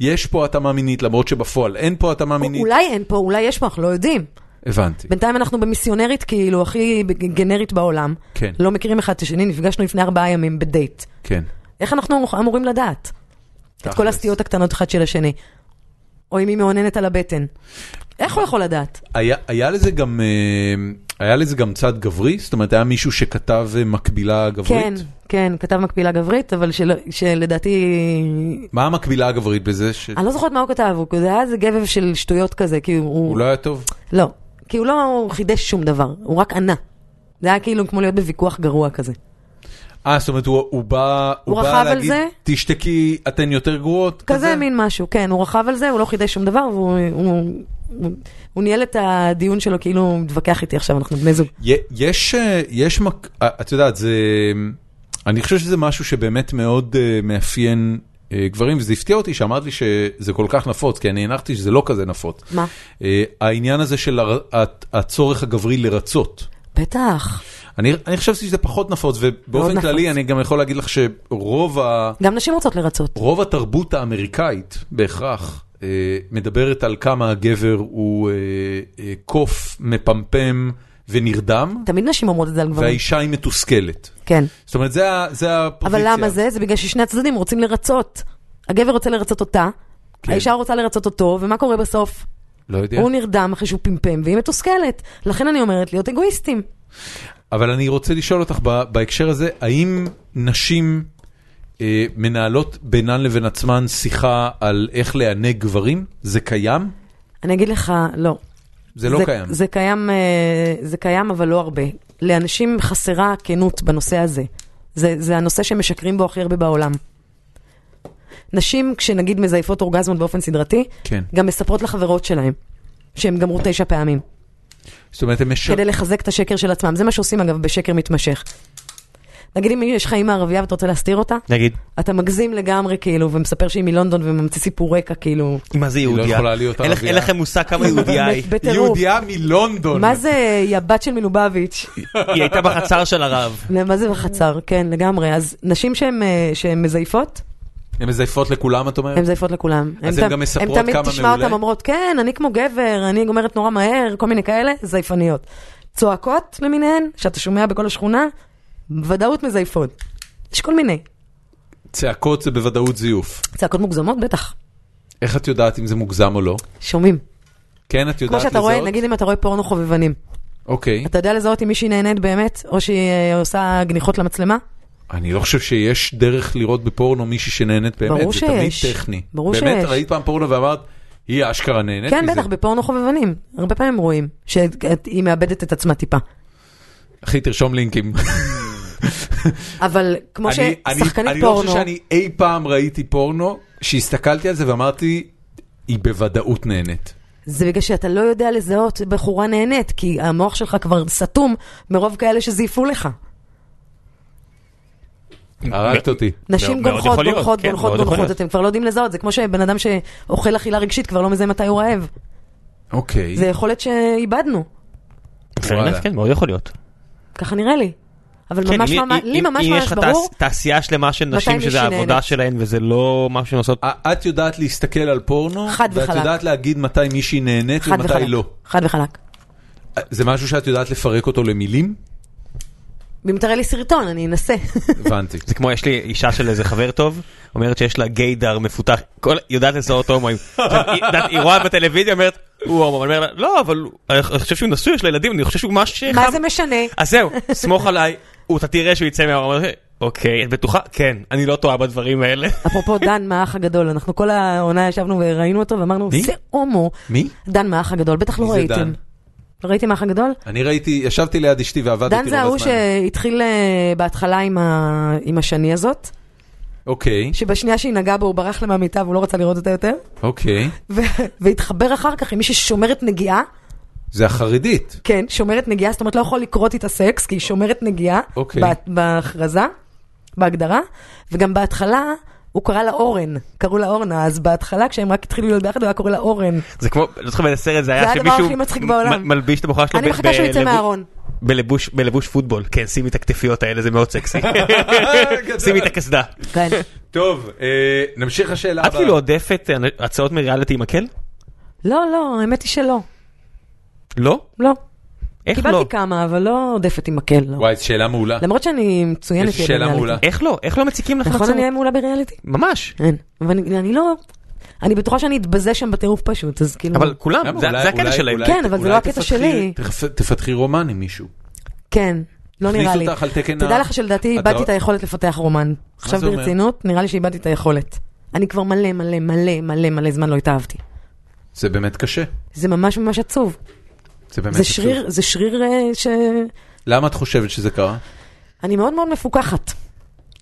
[SPEAKER 1] שיש פה התאמה מינית, למרות שבפועל אין פה התאמה מינית.
[SPEAKER 3] אולי אין פה, אולי יש פה, אנחנו לא יודעים.
[SPEAKER 1] הבנתי.
[SPEAKER 3] בינתיים אנחנו במיסיונרית כאילו הכי גנרית בעולם.
[SPEAKER 1] כן,
[SPEAKER 3] לא מכירים אחד את השני, נפגשנו לפני ארבעה ימים בדייט.
[SPEAKER 1] כן.
[SPEAKER 3] איך אנחנו אמורים לדעת? את כל הסטיות הקטנות אחד של השני. או אם היא מאוננת על הבטן. איך הוא יכול לדעת?
[SPEAKER 1] היה, היה לזה גם... אה, היה לזה גם צד גברי? זאת אומרת, היה מישהו שכתב אה, מקבילה גברית?
[SPEAKER 3] כן, כן, כתב מקבילה גברית, אבל שלא- שלדעתי
[SPEAKER 1] מה המקבילה הגברית בזה? ש...
[SPEAKER 3] אני לא זוכרת מה הוא כתב, הוא זה היה איזה גבב של שטויות כזה, כי הוא...
[SPEAKER 1] הוא לא היה טוב?
[SPEAKER 3] לא, כי הוא לא הוא חידש שום דבר, הוא רק ענה. זה היה כאילו כמו להיות בוויכוח גרוע כזה.
[SPEAKER 1] אה, זאת אומרת, הוא, הוא בא,
[SPEAKER 3] הוא רכב
[SPEAKER 1] בא
[SPEAKER 3] על
[SPEAKER 1] להגיד,
[SPEAKER 3] זה?
[SPEAKER 1] תשתקי, אתן יותר גרועות?
[SPEAKER 3] כזה מין משהו, כן, הוא רכב על זה, הוא לא חידש שום דבר, והוא הוא, הוא, הוא ניהל את הדיון שלו כאילו הוא מתווכח איתי עכשיו, אנחנו בני זוג.
[SPEAKER 1] י- יש, אה, יש, מק... אה, את יודעת, זה... אני חושב שזה משהו שבאמת מאוד אה, מאפיין אה, גברים, וזה הפתיע אותי שאמרת לי שזה כל כך נפוץ, כי אני הנחתי שזה לא כזה נפוץ.
[SPEAKER 3] מה?
[SPEAKER 1] אה, העניין הזה של הר... הת- הצורך הגברי לרצות.
[SPEAKER 3] בטח,
[SPEAKER 1] אני, אני חשבתי שזה פחות נפוץ, ובאופן
[SPEAKER 3] מאוד
[SPEAKER 1] כללי
[SPEAKER 3] נפוץ.
[SPEAKER 1] אני גם יכול להגיד לך שרוב ה...
[SPEAKER 3] גם נשים רוצות לרצות.
[SPEAKER 1] רוב התרבות האמריקאית בהכרח אה, מדברת על כמה הגבר הוא אה, אה, קוף, מפמפם ונרדם,
[SPEAKER 3] תמיד נשים אומרות את זה על גברים,
[SPEAKER 1] והאישה היא מתוסכלת.
[SPEAKER 3] כן.
[SPEAKER 1] זאת אומרת, זה, ה- זה
[SPEAKER 3] אבל
[SPEAKER 1] הפוזיציה.
[SPEAKER 3] למה זה? זה בגלל ששני הצדדים רוצים לרצות. הגבר רוצה לרצות אותה,
[SPEAKER 1] כן.
[SPEAKER 3] האישה רוצה לרצות אותו, ומה קורה בסוף?
[SPEAKER 1] לא יודע.
[SPEAKER 3] הוא נרדם אחרי שהוא פמפם והיא מתוסכלת. לכן אני אומרת להיות אגואיסטים.
[SPEAKER 1] אבל אני רוצה לשאול אותך ב- בהקשר הזה, האם נשים אה, מנהלות בינן לבין עצמן שיחה על איך לענג גברים? זה קיים?
[SPEAKER 3] אני אגיד לך, לא.
[SPEAKER 1] זה לא קיים.
[SPEAKER 3] זה קיים, אה, זה קיים, אבל לא הרבה. לאנשים חסרה כנות בנושא הזה. זה, זה הנושא שמשקרים בו הכי הרבה בעולם. נשים, כשנגיד מזייפות אורגזמות באופן סדרתי,
[SPEAKER 1] כן.
[SPEAKER 3] גם מספרות לחברות שלהן, שהן גמרו תשע פעמים,
[SPEAKER 1] זאת אומרת, הם משל...
[SPEAKER 3] כדי לחזק את השקר של עצמם. זה מה שעושים, אגב, בשקר מתמשך. נגיד אם יש לך אימא ערבייה ואתה רוצה להסתיר אותה,
[SPEAKER 2] נגיד,
[SPEAKER 3] אתה מגזים לגמרי, כאילו, ומספר שהיא מלונדון וממציא סיפור רקע, כאילו,
[SPEAKER 2] מה זה
[SPEAKER 1] לא
[SPEAKER 2] יהודייה?
[SPEAKER 1] יכולה להיות
[SPEAKER 2] אין לך-
[SPEAKER 1] ערבייה.
[SPEAKER 2] אין לכם מושג כמה יהודייה היא.
[SPEAKER 3] בטירוף.
[SPEAKER 1] יהודייה מלונדון.
[SPEAKER 3] מה זה, היא הבת של מלובביץ'?
[SPEAKER 2] היא הייתה בחצר של הרב.
[SPEAKER 3] מה זה בחצר? כן, לגמרי. אז נשים שהן אה, שהן מזייפות,
[SPEAKER 1] הן מזייפות לכולם, את אומרת?
[SPEAKER 3] הן מזייפות לכולם.
[SPEAKER 1] אז
[SPEAKER 3] הן
[SPEAKER 1] הן
[SPEAKER 3] ת-
[SPEAKER 1] גם מספרות
[SPEAKER 3] הן תמיד
[SPEAKER 1] כמה
[SPEAKER 3] תשמע
[SPEAKER 1] מעולה?
[SPEAKER 3] אותן אומרות, כן, אני כמו גבר, אני גומרת נורא מהר, כל מיני כאלה, זייפניות. צועקות למיניהן, שאתה שומע בכל השכונה, בוודאות מזייפות. יש כל מיני.
[SPEAKER 1] צעקות זה בוודאות זיוף.
[SPEAKER 3] צעקות מוגזמות, בטח.
[SPEAKER 1] איך את יודעת אם זה מוגזם או לא?
[SPEAKER 3] שומעים.
[SPEAKER 1] כן, את יודעת
[SPEAKER 3] כמו
[SPEAKER 1] לזהות?
[SPEAKER 3] שאתה רואה, נגיד אם אתה רואה פורנו חובבנים,
[SPEAKER 1] אוקיי.
[SPEAKER 3] אתה יודע לזהות אם מישהי נהנית באמת, או שהיא אה, עושה גניחות למצלמה?
[SPEAKER 1] אני לא חושב שיש דרך לראות בפורנו מישהי שנהנית באמת.
[SPEAKER 3] ברור
[SPEAKER 1] זה תמיד
[SPEAKER 3] שיש.
[SPEAKER 1] טכני.
[SPEAKER 3] ברור
[SPEAKER 1] באמת,
[SPEAKER 3] שיש.
[SPEAKER 1] ראית פעם פורנו ואמרת, היא אשכרה נהנית
[SPEAKER 3] כן,
[SPEAKER 1] מזה.
[SPEAKER 3] בטח, בפורנו חובבנים. הרבה פעמים רואים שהיא מאבדת את עצמה טיפה.
[SPEAKER 1] אחי, תרשום לינקים.
[SPEAKER 3] אבל כמו
[SPEAKER 1] אני- אני-
[SPEAKER 3] ששחקנית
[SPEAKER 1] אני לא חושב
[SPEAKER 3] פורנו,
[SPEAKER 1] שאני אי פעם ראיתי פורנו, שהסתכלתי על זה ואמרתי, היא בוודאות נהנית.
[SPEAKER 3] זה בגלל שאתה לא יודע לזהות בחורה נהנית, כי המוח שלך כבר סתום מרוב כאלה שזייפו לך.
[SPEAKER 1] הרגת אותי.
[SPEAKER 2] מאוד
[SPEAKER 3] נשים גונחות,
[SPEAKER 2] יכול להיות,
[SPEAKER 3] גונחות,
[SPEAKER 2] כן,
[SPEAKER 3] גונחות,
[SPEAKER 2] מאוד יכול
[SPEAKER 3] גונחות,
[SPEAKER 2] להיות.
[SPEAKER 3] אתם כבר לא יודעים לזהות, זה כמו שבן אדם שאוכל אכילה רגשית כבר לא מזהה מתי הוא רעב.
[SPEAKER 1] אוקיי.
[SPEAKER 3] זה יכולת שאיבדנו,
[SPEAKER 1] וואלה.
[SPEAKER 2] כן, מאוד יכול להיות.
[SPEAKER 3] ככה נראה לי. אבל
[SPEAKER 2] כן,
[SPEAKER 3] ממש
[SPEAKER 2] אם-
[SPEAKER 3] ממש,
[SPEAKER 2] אם-
[SPEAKER 3] לי
[SPEAKER 2] אם-
[SPEAKER 3] ממש
[SPEAKER 2] אם יש
[SPEAKER 3] ממש
[SPEAKER 2] לך
[SPEAKER 3] ברור,
[SPEAKER 2] תעש- תעשייה שלמה של
[SPEAKER 3] מתי
[SPEAKER 2] נשים
[SPEAKER 3] מישהי
[SPEAKER 2] שזה העבודה
[SPEAKER 3] נהנית.
[SPEAKER 2] שלהן וזה לא משהו שהן עושות.
[SPEAKER 1] א- את יודעת להסתכל על פורנו,
[SPEAKER 3] חד
[SPEAKER 1] ואת
[SPEAKER 3] וחלק.
[SPEAKER 1] יודעת להגיד מתי מישהי נהנית
[SPEAKER 3] חד
[SPEAKER 1] ומתי
[SPEAKER 3] וחלק.
[SPEAKER 1] לא.
[SPEAKER 3] חד וחלק.
[SPEAKER 1] זה משהו שאת יודעת לפרק אותו למילים?
[SPEAKER 3] אם תראה לי סרטון, אני אנסה.
[SPEAKER 1] הבנתי.
[SPEAKER 2] זה כמו יש לי אישה של איזה חבר טוב, אומרת שיש לה גיידר מפותח, כל, יודעת לזהות הומואים. עכשיו, היא- יודעת, היא רואה בטלוויזיה, אומרת, הוא הומו, אני אומר לה, לא, אבל הוא- אני אני חושב שהוא נשוי, יש לו ילדים, אני חושב שהוא ממש
[SPEAKER 3] מה
[SPEAKER 2] חם."
[SPEAKER 3] זה משנה?
[SPEAKER 2] אז זהו, סמוך עליי, הוא- אתה תראה שהוא יצא מהאור, אומר, אוקיי, את בטוחה? כן, אני לא טועה בדברים האלה.
[SPEAKER 3] אפרופו דן מהאח הגדול, אנחנו כל העונה ישבנו וראינו אותו ואמרנו,
[SPEAKER 1] מי?
[SPEAKER 3] זה הומו.
[SPEAKER 1] מי?
[SPEAKER 3] דן מהאח הגדול, בטח
[SPEAKER 1] מי
[SPEAKER 3] לא
[SPEAKER 1] זה דן? לא
[SPEAKER 3] ראיתם. לא ראיתם האח הגדול?
[SPEAKER 1] אני ראיתי, ישבתי ליד אשתי ועבדתי לא
[SPEAKER 3] דן זה ההוא שהתחיל אה, בהתחלה עם ה- עם השני הזאת,
[SPEAKER 1] אוקיי,
[SPEAKER 3] שבשנייה שהיא נגעה בו הוא ברח לה מהמיטה והוא לא רצה לראות אותה יותר,
[SPEAKER 1] אוקיי.
[SPEAKER 3] ו- והתחבר אחר כך עם מי ששומרת נגיעה,
[SPEAKER 1] זה החרדית.
[SPEAKER 3] כן, שומרת נגיעה, זאת אומרת לא יכול לקרות איתה סקס, כי היא שומרת נגיעה,
[SPEAKER 1] אוקיי.
[SPEAKER 3] בה- בהכרזה, בהגדרה, וגם בהתחלה... הוא קרא לה אורן, קראו לה אורנה, אז בהתחלה כשהם רק התחילו להיות ביחד הוא היה קורא לה אורן.
[SPEAKER 2] זה כמו, לא זוכר באיזה סרט זה
[SPEAKER 3] זה
[SPEAKER 2] היה,
[SPEAKER 3] הדבר
[SPEAKER 2] שמישהו
[SPEAKER 3] הכי מצחיק בעולם.
[SPEAKER 2] מ- מלביש את הבחורה שלו
[SPEAKER 3] אני
[SPEAKER 2] ב-
[SPEAKER 3] מחכה שהוא יצא
[SPEAKER 2] בלבוש-
[SPEAKER 3] מהארון.
[SPEAKER 2] בלבוש- בלבוש פוטבול, כן, שימי את הכתפיות האלה, זה מאוד סקסי. שימי את הקסדה.
[SPEAKER 3] כן.
[SPEAKER 1] טוב, אה, נמשיך לשאלה
[SPEAKER 2] את כאילו עודפת אה, הצעות מריאליטי עם מקל?
[SPEAKER 3] לא, לא, האמת היא שלא.
[SPEAKER 2] לא?
[SPEAKER 3] לא.
[SPEAKER 2] איך לא?
[SPEAKER 3] קיבלתי כמה, אבל לא עודפת עם מקל, לא.
[SPEAKER 1] וואי, זו שאלה מעולה.
[SPEAKER 3] למרות שאני מצוינת
[SPEAKER 1] יש לי שאלה
[SPEAKER 3] בריאליטי.
[SPEAKER 1] מעולה.
[SPEAKER 2] איך לא? איך לא מציקים לך?
[SPEAKER 3] נכון,
[SPEAKER 2] הצעות?
[SPEAKER 3] אני אהיה מעולה בריאליטי?
[SPEAKER 2] ממש.
[SPEAKER 3] אין. אבל אני אני לא... אני בטוחה שאני אתבזה שם בטירוף פשוט, אז כאילו...
[SPEAKER 2] אבל כולם,
[SPEAKER 1] למה?
[SPEAKER 2] לא, זה
[SPEAKER 1] אולי-
[SPEAKER 2] זה הקטע
[SPEAKER 1] אולי-
[SPEAKER 2] שלהם.
[SPEAKER 1] אולי-
[SPEAKER 3] כן, אבל זה
[SPEAKER 1] אולי
[SPEAKER 3] לא הקטע
[SPEAKER 1] תפתחי-
[SPEAKER 3] שלי.
[SPEAKER 1] תפ- תפתחי רומן עם מישהו.
[SPEAKER 3] כן, לא נראה לי.
[SPEAKER 1] תכניס אותך על תקן ה-
[SPEAKER 3] תדע לך שלדעתי
[SPEAKER 1] אתה-
[SPEAKER 3] איבדתי את היכולת לפתח רומן. עכשיו
[SPEAKER 1] זה אומר?
[SPEAKER 3] ברצינות, נראה לי שאיבדתי את היכולת. אני כבר מלא מלא מלא מלא מלא זמן לא התאהבתי.
[SPEAKER 1] זה באמת קשה.
[SPEAKER 3] זה ממש ממש עצוב.
[SPEAKER 1] זה באמת
[SPEAKER 3] זה
[SPEAKER 1] קשה.
[SPEAKER 3] שריר, זה שריר אה, ש...
[SPEAKER 1] למה את חושבת שזה קרה?
[SPEAKER 3] אני מאוד מאוד מפוקחת.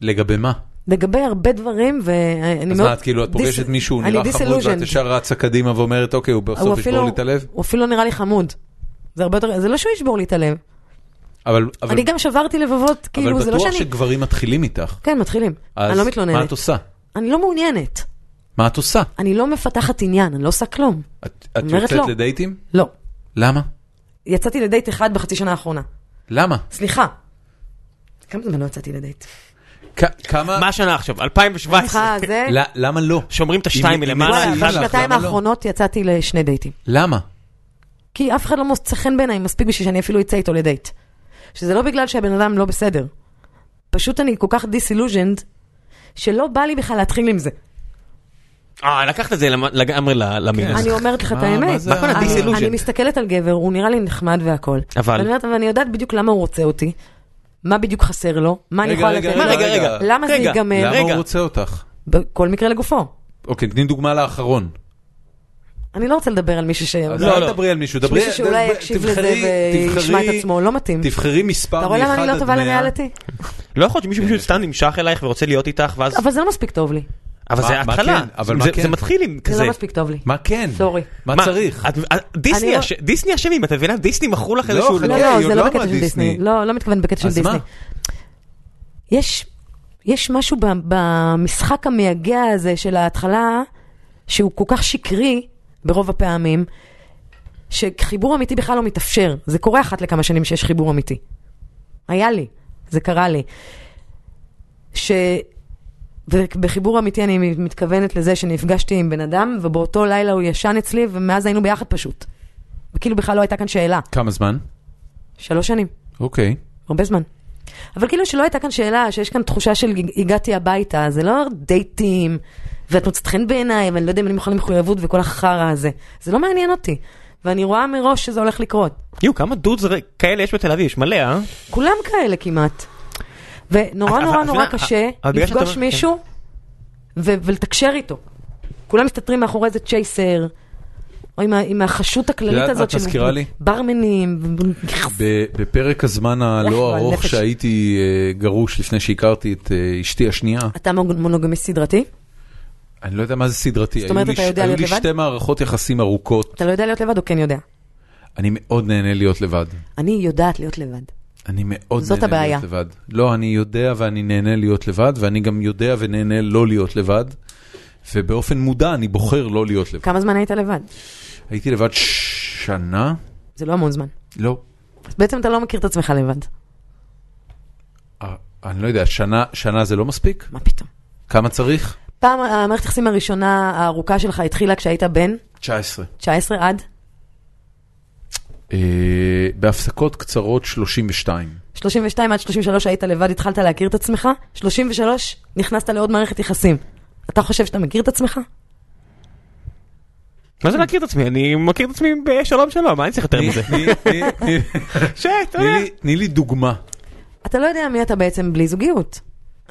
[SPEAKER 1] לגבי מה?
[SPEAKER 3] לגבי הרבה דברים, ואני
[SPEAKER 1] אז
[SPEAKER 3] מאוד...
[SPEAKER 1] מה, את כאילו, את
[SPEAKER 3] דיס-
[SPEAKER 1] פוגשת מישהו, הוא
[SPEAKER 3] אני
[SPEAKER 1] נראה חמוד, ואת
[SPEAKER 3] disillusioned.
[SPEAKER 1] ישר רצה קדימה ואומרת, אוקיי, הוא
[SPEAKER 3] הוא
[SPEAKER 1] בסוף ישבור
[SPEAKER 3] אפילו,
[SPEAKER 1] לי את הלב?
[SPEAKER 3] הוא אפילו לא נראה לי חמוד. זה הרבה יותר, זה לא שהוא ישבור לי את הלב.
[SPEAKER 1] אבל אבל-
[SPEAKER 3] אני גם שברתי לבבות, כאילו,
[SPEAKER 1] אבל
[SPEAKER 3] זה לא
[SPEAKER 1] בטוח
[SPEAKER 3] שאני...
[SPEAKER 1] שגברים מתחילים איתך.
[SPEAKER 3] כן, מתחילים. אני
[SPEAKER 1] אז
[SPEAKER 3] לא
[SPEAKER 1] מה את
[SPEAKER 3] מתלוננת.
[SPEAKER 1] עושה?
[SPEAKER 3] אני לא מעוניינת.
[SPEAKER 1] מה את עושה?
[SPEAKER 3] אני לא מפתחת עניין, אני לא עושה כלום.
[SPEAKER 1] את את
[SPEAKER 3] אומרת
[SPEAKER 1] יוצאת
[SPEAKER 3] לא.
[SPEAKER 1] לדייטים?
[SPEAKER 3] לא.
[SPEAKER 1] למה?
[SPEAKER 3] יצאתי לדייט אחד בחצי שנה האחרונה.
[SPEAKER 1] למה?
[SPEAKER 3] סליחה. כמה זמן לא יצאתי לדייט?
[SPEAKER 1] כ- כמה...
[SPEAKER 2] מה השנה עכשיו?
[SPEAKER 3] אני צריכה
[SPEAKER 2] 2017.
[SPEAKER 3] זה...
[SPEAKER 1] ל- למה לא?
[SPEAKER 2] כן. שומרים את
[SPEAKER 1] אם-
[SPEAKER 2] השתיים
[SPEAKER 1] אם
[SPEAKER 2] מלמעלה.
[SPEAKER 1] מציעים
[SPEAKER 3] וואלה,
[SPEAKER 1] לך,
[SPEAKER 2] אחד לך.
[SPEAKER 3] בשנתיים
[SPEAKER 1] למה לא?
[SPEAKER 3] האחרונות יצאתי לשני דייטים.
[SPEAKER 1] למה?
[SPEAKER 3] אה, כי אף אחד לא מוצא חן בעיניי מספיק בשביל שאני אפילו אצא איתו לדייט. שזה לא בגלל שהבן אדם לא בסדר. פשוט אני כל כך דיסילוז'נד, שלא בא לי בכלל להתחיל עם זה.
[SPEAKER 2] אה, לקחת את זה למ- לגמרי ל-
[SPEAKER 1] כן.
[SPEAKER 2] למינוס.
[SPEAKER 3] אני אומרת לך את
[SPEAKER 1] מה- מה
[SPEAKER 3] האמת.
[SPEAKER 1] זה
[SPEAKER 2] הכל
[SPEAKER 3] אני-
[SPEAKER 2] ה-disillusion?
[SPEAKER 3] אני מסתכלת על גבר, הוא נראה לי נחמד והכל.
[SPEAKER 2] אבל-
[SPEAKER 3] ואני אומרת, אבל אני יודעת בדיוק למה הוא רוצה אותי, מה בדיוק חסר לו, מה אני
[SPEAKER 1] רגע,
[SPEAKER 3] יכולה
[SPEAKER 1] רגע,
[SPEAKER 3] לתת.
[SPEAKER 2] מה,
[SPEAKER 3] לו.
[SPEAKER 2] רגע, רגע.
[SPEAKER 3] למה זה
[SPEAKER 2] רגע,
[SPEAKER 3] ייגמר?
[SPEAKER 1] למה הוא
[SPEAKER 2] רגע.
[SPEAKER 1] רוצה אותך?
[SPEAKER 3] בכל מקרה לגופו.
[SPEAKER 1] אוקיי, תני דוגמה לאחרון.
[SPEAKER 3] אני לא רוצה לדבר על מישהו ש...
[SPEAKER 1] אז
[SPEAKER 2] לא,
[SPEAKER 1] אל
[SPEAKER 2] לא.
[SPEAKER 1] תדברי על מישהו, דברי...
[SPEAKER 3] מישהו שאולי
[SPEAKER 1] דברי-
[SPEAKER 3] יקשיב לזה
[SPEAKER 1] תבחרי-
[SPEAKER 3] וישמע את
[SPEAKER 1] תבחרי-
[SPEAKER 3] עצמו, לא מתאים.
[SPEAKER 1] תבחרי מספר מאחד
[SPEAKER 3] אתה רואה
[SPEAKER 1] עד מאה.
[SPEAKER 3] למה אני לא טובה לריאליטי?
[SPEAKER 2] לא יכול להיות שמישהו פשוט סתם נמשך אלייך ורוצה להיות איתך, ואז...
[SPEAKER 3] אבל זה לא מספיק טוב לי.
[SPEAKER 2] אבל
[SPEAKER 1] מה-
[SPEAKER 2] זה
[SPEAKER 1] מה
[SPEAKER 2] ההתחלה.
[SPEAKER 1] כן? אבל מה
[SPEAKER 2] זה-
[SPEAKER 1] כן?
[SPEAKER 2] זה מתחיל עם
[SPEAKER 3] זה
[SPEAKER 2] כזה.
[SPEAKER 3] לא מספיק טוב לי.
[SPEAKER 1] מה כן?
[SPEAKER 3] סורי.
[SPEAKER 1] מה צריך?
[SPEAKER 2] את- את- דיסני
[SPEAKER 3] אני לא-
[SPEAKER 2] אש- דיסני אשמים, את מבינה? דיסני מכרו לך
[SPEAKER 1] לא,
[SPEAKER 2] איזשהו...
[SPEAKER 1] חכה.
[SPEAKER 3] לא,
[SPEAKER 1] אוקיי,
[SPEAKER 3] לא,
[SPEAKER 1] עוד
[SPEAKER 3] זה
[SPEAKER 1] לא
[SPEAKER 3] לא בקטע של
[SPEAKER 1] מהדיסני.
[SPEAKER 3] דיסני. לא, לא מתכוונת בקטע של
[SPEAKER 1] אז מה?
[SPEAKER 3] דיסני. יש, יש משהו ב- במשחק המייגע הזה של ההתחלה, שהוא כל כך שקרי ברוב הפעמים, שחיבור אמיתי בכלל לא מתאפשר. זה קורה אחת לכמה שנים שיש חיבור אמיתי. היה לי, זה קרה לי. ש... ובחיבור אמיתי אני מתכוונת לזה שנפגשתי עם בן אדם, ובאותו לילה הוא ישן אצלי, ומאז היינו ביחד פשוט. וכאילו בכלל לא הייתה כאן שאלה.
[SPEAKER 1] כמה זמן?
[SPEAKER 3] שלוש שנים.
[SPEAKER 1] אוקיי.
[SPEAKER 3] הרבה זמן. אבל כאילו שלא הייתה כאן שאלה, שיש כאן תחושה של "הג- הגעתי הביתה, זה לא דייטים, ואת מוצאת חן בעיניי, ואני לא יודע אם אני מוכן למחויבות וכל החרא הזה. זה לא מעניין אותי. ואני רואה מראש שזה הולך לקרות.
[SPEAKER 2] יו, כמה דודס ר- כאלה יש בתל אביב? יש מלא, אה?
[SPEAKER 3] כולם כאלה כמעט. ונורא
[SPEAKER 2] אבל-
[SPEAKER 3] נורא
[SPEAKER 2] אבל-
[SPEAKER 3] נורא
[SPEAKER 2] אבל-
[SPEAKER 3] קשה
[SPEAKER 2] אבל בגלל שאתה
[SPEAKER 3] לפגוש
[SPEAKER 2] אומר-
[SPEAKER 3] מישהו ו- ולתקשר איתו. כולם מסתתרים מאחורי איזה צ'ייסר, או עם ה- עם החשות הכללית
[SPEAKER 1] יודעת מה
[SPEAKER 3] הזאת
[SPEAKER 1] את מזכירה לי?
[SPEAKER 3] ברמנים. ו-
[SPEAKER 1] ב- בפרק הזמן הלא
[SPEAKER 3] גועל
[SPEAKER 1] ארוך
[SPEAKER 3] נפש.
[SPEAKER 1] שהייתי אה, גרוש לפני שהכרתי את אה, אשתי השנייה,
[SPEAKER 3] אתה מונוג- מונוגמיסט סדרתי?
[SPEAKER 1] אני לא יודע מה זה סדרתי. היו
[SPEAKER 3] אומרת,
[SPEAKER 1] לי
[SPEAKER 3] אתה
[SPEAKER 1] ש-
[SPEAKER 3] יודע
[SPEAKER 1] היו
[SPEAKER 3] להיות
[SPEAKER 1] לי
[SPEAKER 3] לבד?
[SPEAKER 1] שתי מערכות יחסים ארוכות,
[SPEAKER 3] אתה לא יודע להיות לבד או כן יודע?
[SPEAKER 1] אני מאוד נהנה להיות לבד.
[SPEAKER 3] אני יודעת להיות לבד.
[SPEAKER 1] אני מאוד
[SPEAKER 3] זאת
[SPEAKER 1] נהנה
[SPEAKER 3] הבעיה.
[SPEAKER 1] להיות לבד. לא, אני יודע ואני נהנה להיות לבד, ואני גם יודע ונהנה לא להיות לבד, ובאופן מודע אני בוחר לא להיות לבד.
[SPEAKER 3] כמה זמן היית לבד?
[SPEAKER 1] הייתי לבד שנה?
[SPEAKER 3] זה לא המון זמן.
[SPEAKER 1] לא.
[SPEAKER 3] אז בעצם אתה לא מכיר את עצמך לבד.
[SPEAKER 1] אה, אני לא יודע, שנה, שנה זה לא מספיק?
[SPEAKER 3] מה פתאום?
[SPEAKER 1] כמה צריך?
[SPEAKER 3] פעם המערכת היחסים הראשונה הארוכה שלך התחילה כשהיית בן
[SPEAKER 1] 19.
[SPEAKER 3] 19 עד
[SPEAKER 1] אה, בהפסקות קצרות 32.
[SPEAKER 3] 32 עד 33 היית לבד, התחלת להכיר את עצמך, 33 נכנסת לעוד מערכת יחסים. אתה חושב שאתה מכיר את עצמך?
[SPEAKER 2] מה
[SPEAKER 3] כן.
[SPEAKER 2] זה להכיר את עצמי? אני מכיר את עצמי בשלום שלום, מה אני צריך יותר
[SPEAKER 1] תני-
[SPEAKER 2] מזה?
[SPEAKER 1] תני- תני- תני-
[SPEAKER 2] שט, אה?
[SPEAKER 1] תני לי- תני לי דוגמה.
[SPEAKER 3] אתה לא יודע מי אתה בעצם בלי זוגיות.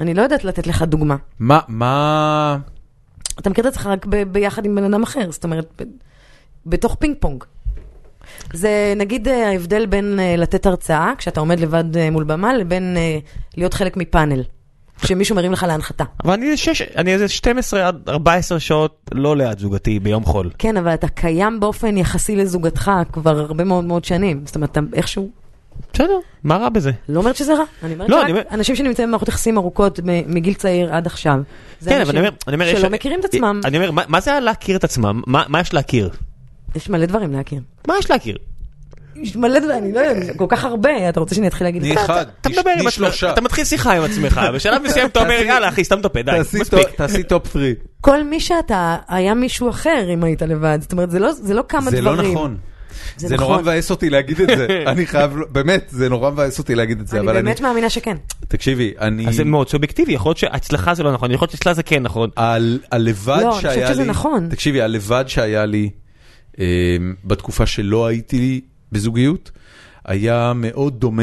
[SPEAKER 3] אני לא יודעת לתת לך דוגמה.
[SPEAKER 1] מה, מה...
[SPEAKER 3] אתה מכיר את עצמך רק ב- ביחד עם בן אדם אחר, זאת אומרת, ב- בתוך פינג פונג. זה נגיד אה, ההבדל בין אה, לתת הרצאה, כשאתה עומד לבד אה, מול במה, לבין אה, להיות חלק מפאנל, כשמישהו מרים לך להנחתה.
[SPEAKER 2] אבל אני שש, אני איזה 12 עד 14 שעות לא ליד זוגתי ביום חול.
[SPEAKER 3] כן, אבל אתה קיים באופן יחסי לזוגתך כבר הרבה מאוד מאוד שנים. זאת אומרת, אתה איכשהו
[SPEAKER 2] בסדר, מה רע בזה?
[SPEAKER 3] לא אומרת שזה רע, אני אומרת
[SPEAKER 2] לא,
[SPEAKER 3] שרק
[SPEAKER 2] אני אומר-
[SPEAKER 3] אנשים שנמצאים במערכות יחסים ארוכות מ- מגיל צעיר עד עכשיו, זה
[SPEAKER 2] כן, אבל
[SPEAKER 3] אנשים
[SPEAKER 2] אני אומר, אני אומר, יש-
[SPEAKER 3] שלא מכירים את עצמם,
[SPEAKER 2] אני אומר, מה- מה זה להכיר את עצמם? מה מה יש להכיר?
[SPEAKER 3] יש מלא דברים להכיר.
[SPEAKER 2] מה יש להכיר?
[SPEAKER 3] יש מלא דברים, אני לא יודעת, כל כך הרבה, אתה רוצה שאני אתחיל להגיד
[SPEAKER 1] תני
[SPEAKER 3] לך?
[SPEAKER 1] אחד,
[SPEAKER 2] אתה מדבר עם
[SPEAKER 1] תני
[SPEAKER 2] עצמך,
[SPEAKER 1] שלושה.
[SPEAKER 2] אתה מתחיל שיחה עם עצמך, בשלב מסוים אתה אומר,
[SPEAKER 1] תעשי-
[SPEAKER 2] יאללה אחי, סתם את הפה, די,
[SPEAKER 1] תעשי
[SPEAKER 2] מספיק.
[SPEAKER 1] טופ- תעשי טופ 3.
[SPEAKER 3] כל מי שאתה, היה מישהו אחר אם היית לבד, זאת אומרת, זה לא- זה לא כמה
[SPEAKER 1] זה
[SPEAKER 3] דברים.
[SPEAKER 1] לא נכון.
[SPEAKER 3] זה
[SPEAKER 1] זה
[SPEAKER 3] נכון.
[SPEAKER 1] נורא מבאס אותי להגיד את זה. אני חייב, באמת, זה נורא מבאס אותי להגיד את זה,
[SPEAKER 3] אני
[SPEAKER 1] אבל אני...
[SPEAKER 3] באמת מאמינה שכן.
[SPEAKER 1] תקשיבי, אני...
[SPEAKER 2] אז זה מאוד סובייקטיבי, יכול להיות שהצלחה זה לא נכון, יכול להיות שהצלחה זה כן נכון.
[SPEAKER 1] על- הלבד
[SPEAKER 3] לא, אני
[SPEAKER 1] שהיה לי...
[SPEAKER 3] חושבת שזה נכון.
[SPEAKER 1] תקשיבי, הלבד שהיה לי אמ, בתקופה שלא הייתי בזוגיות, היה מאוד דומה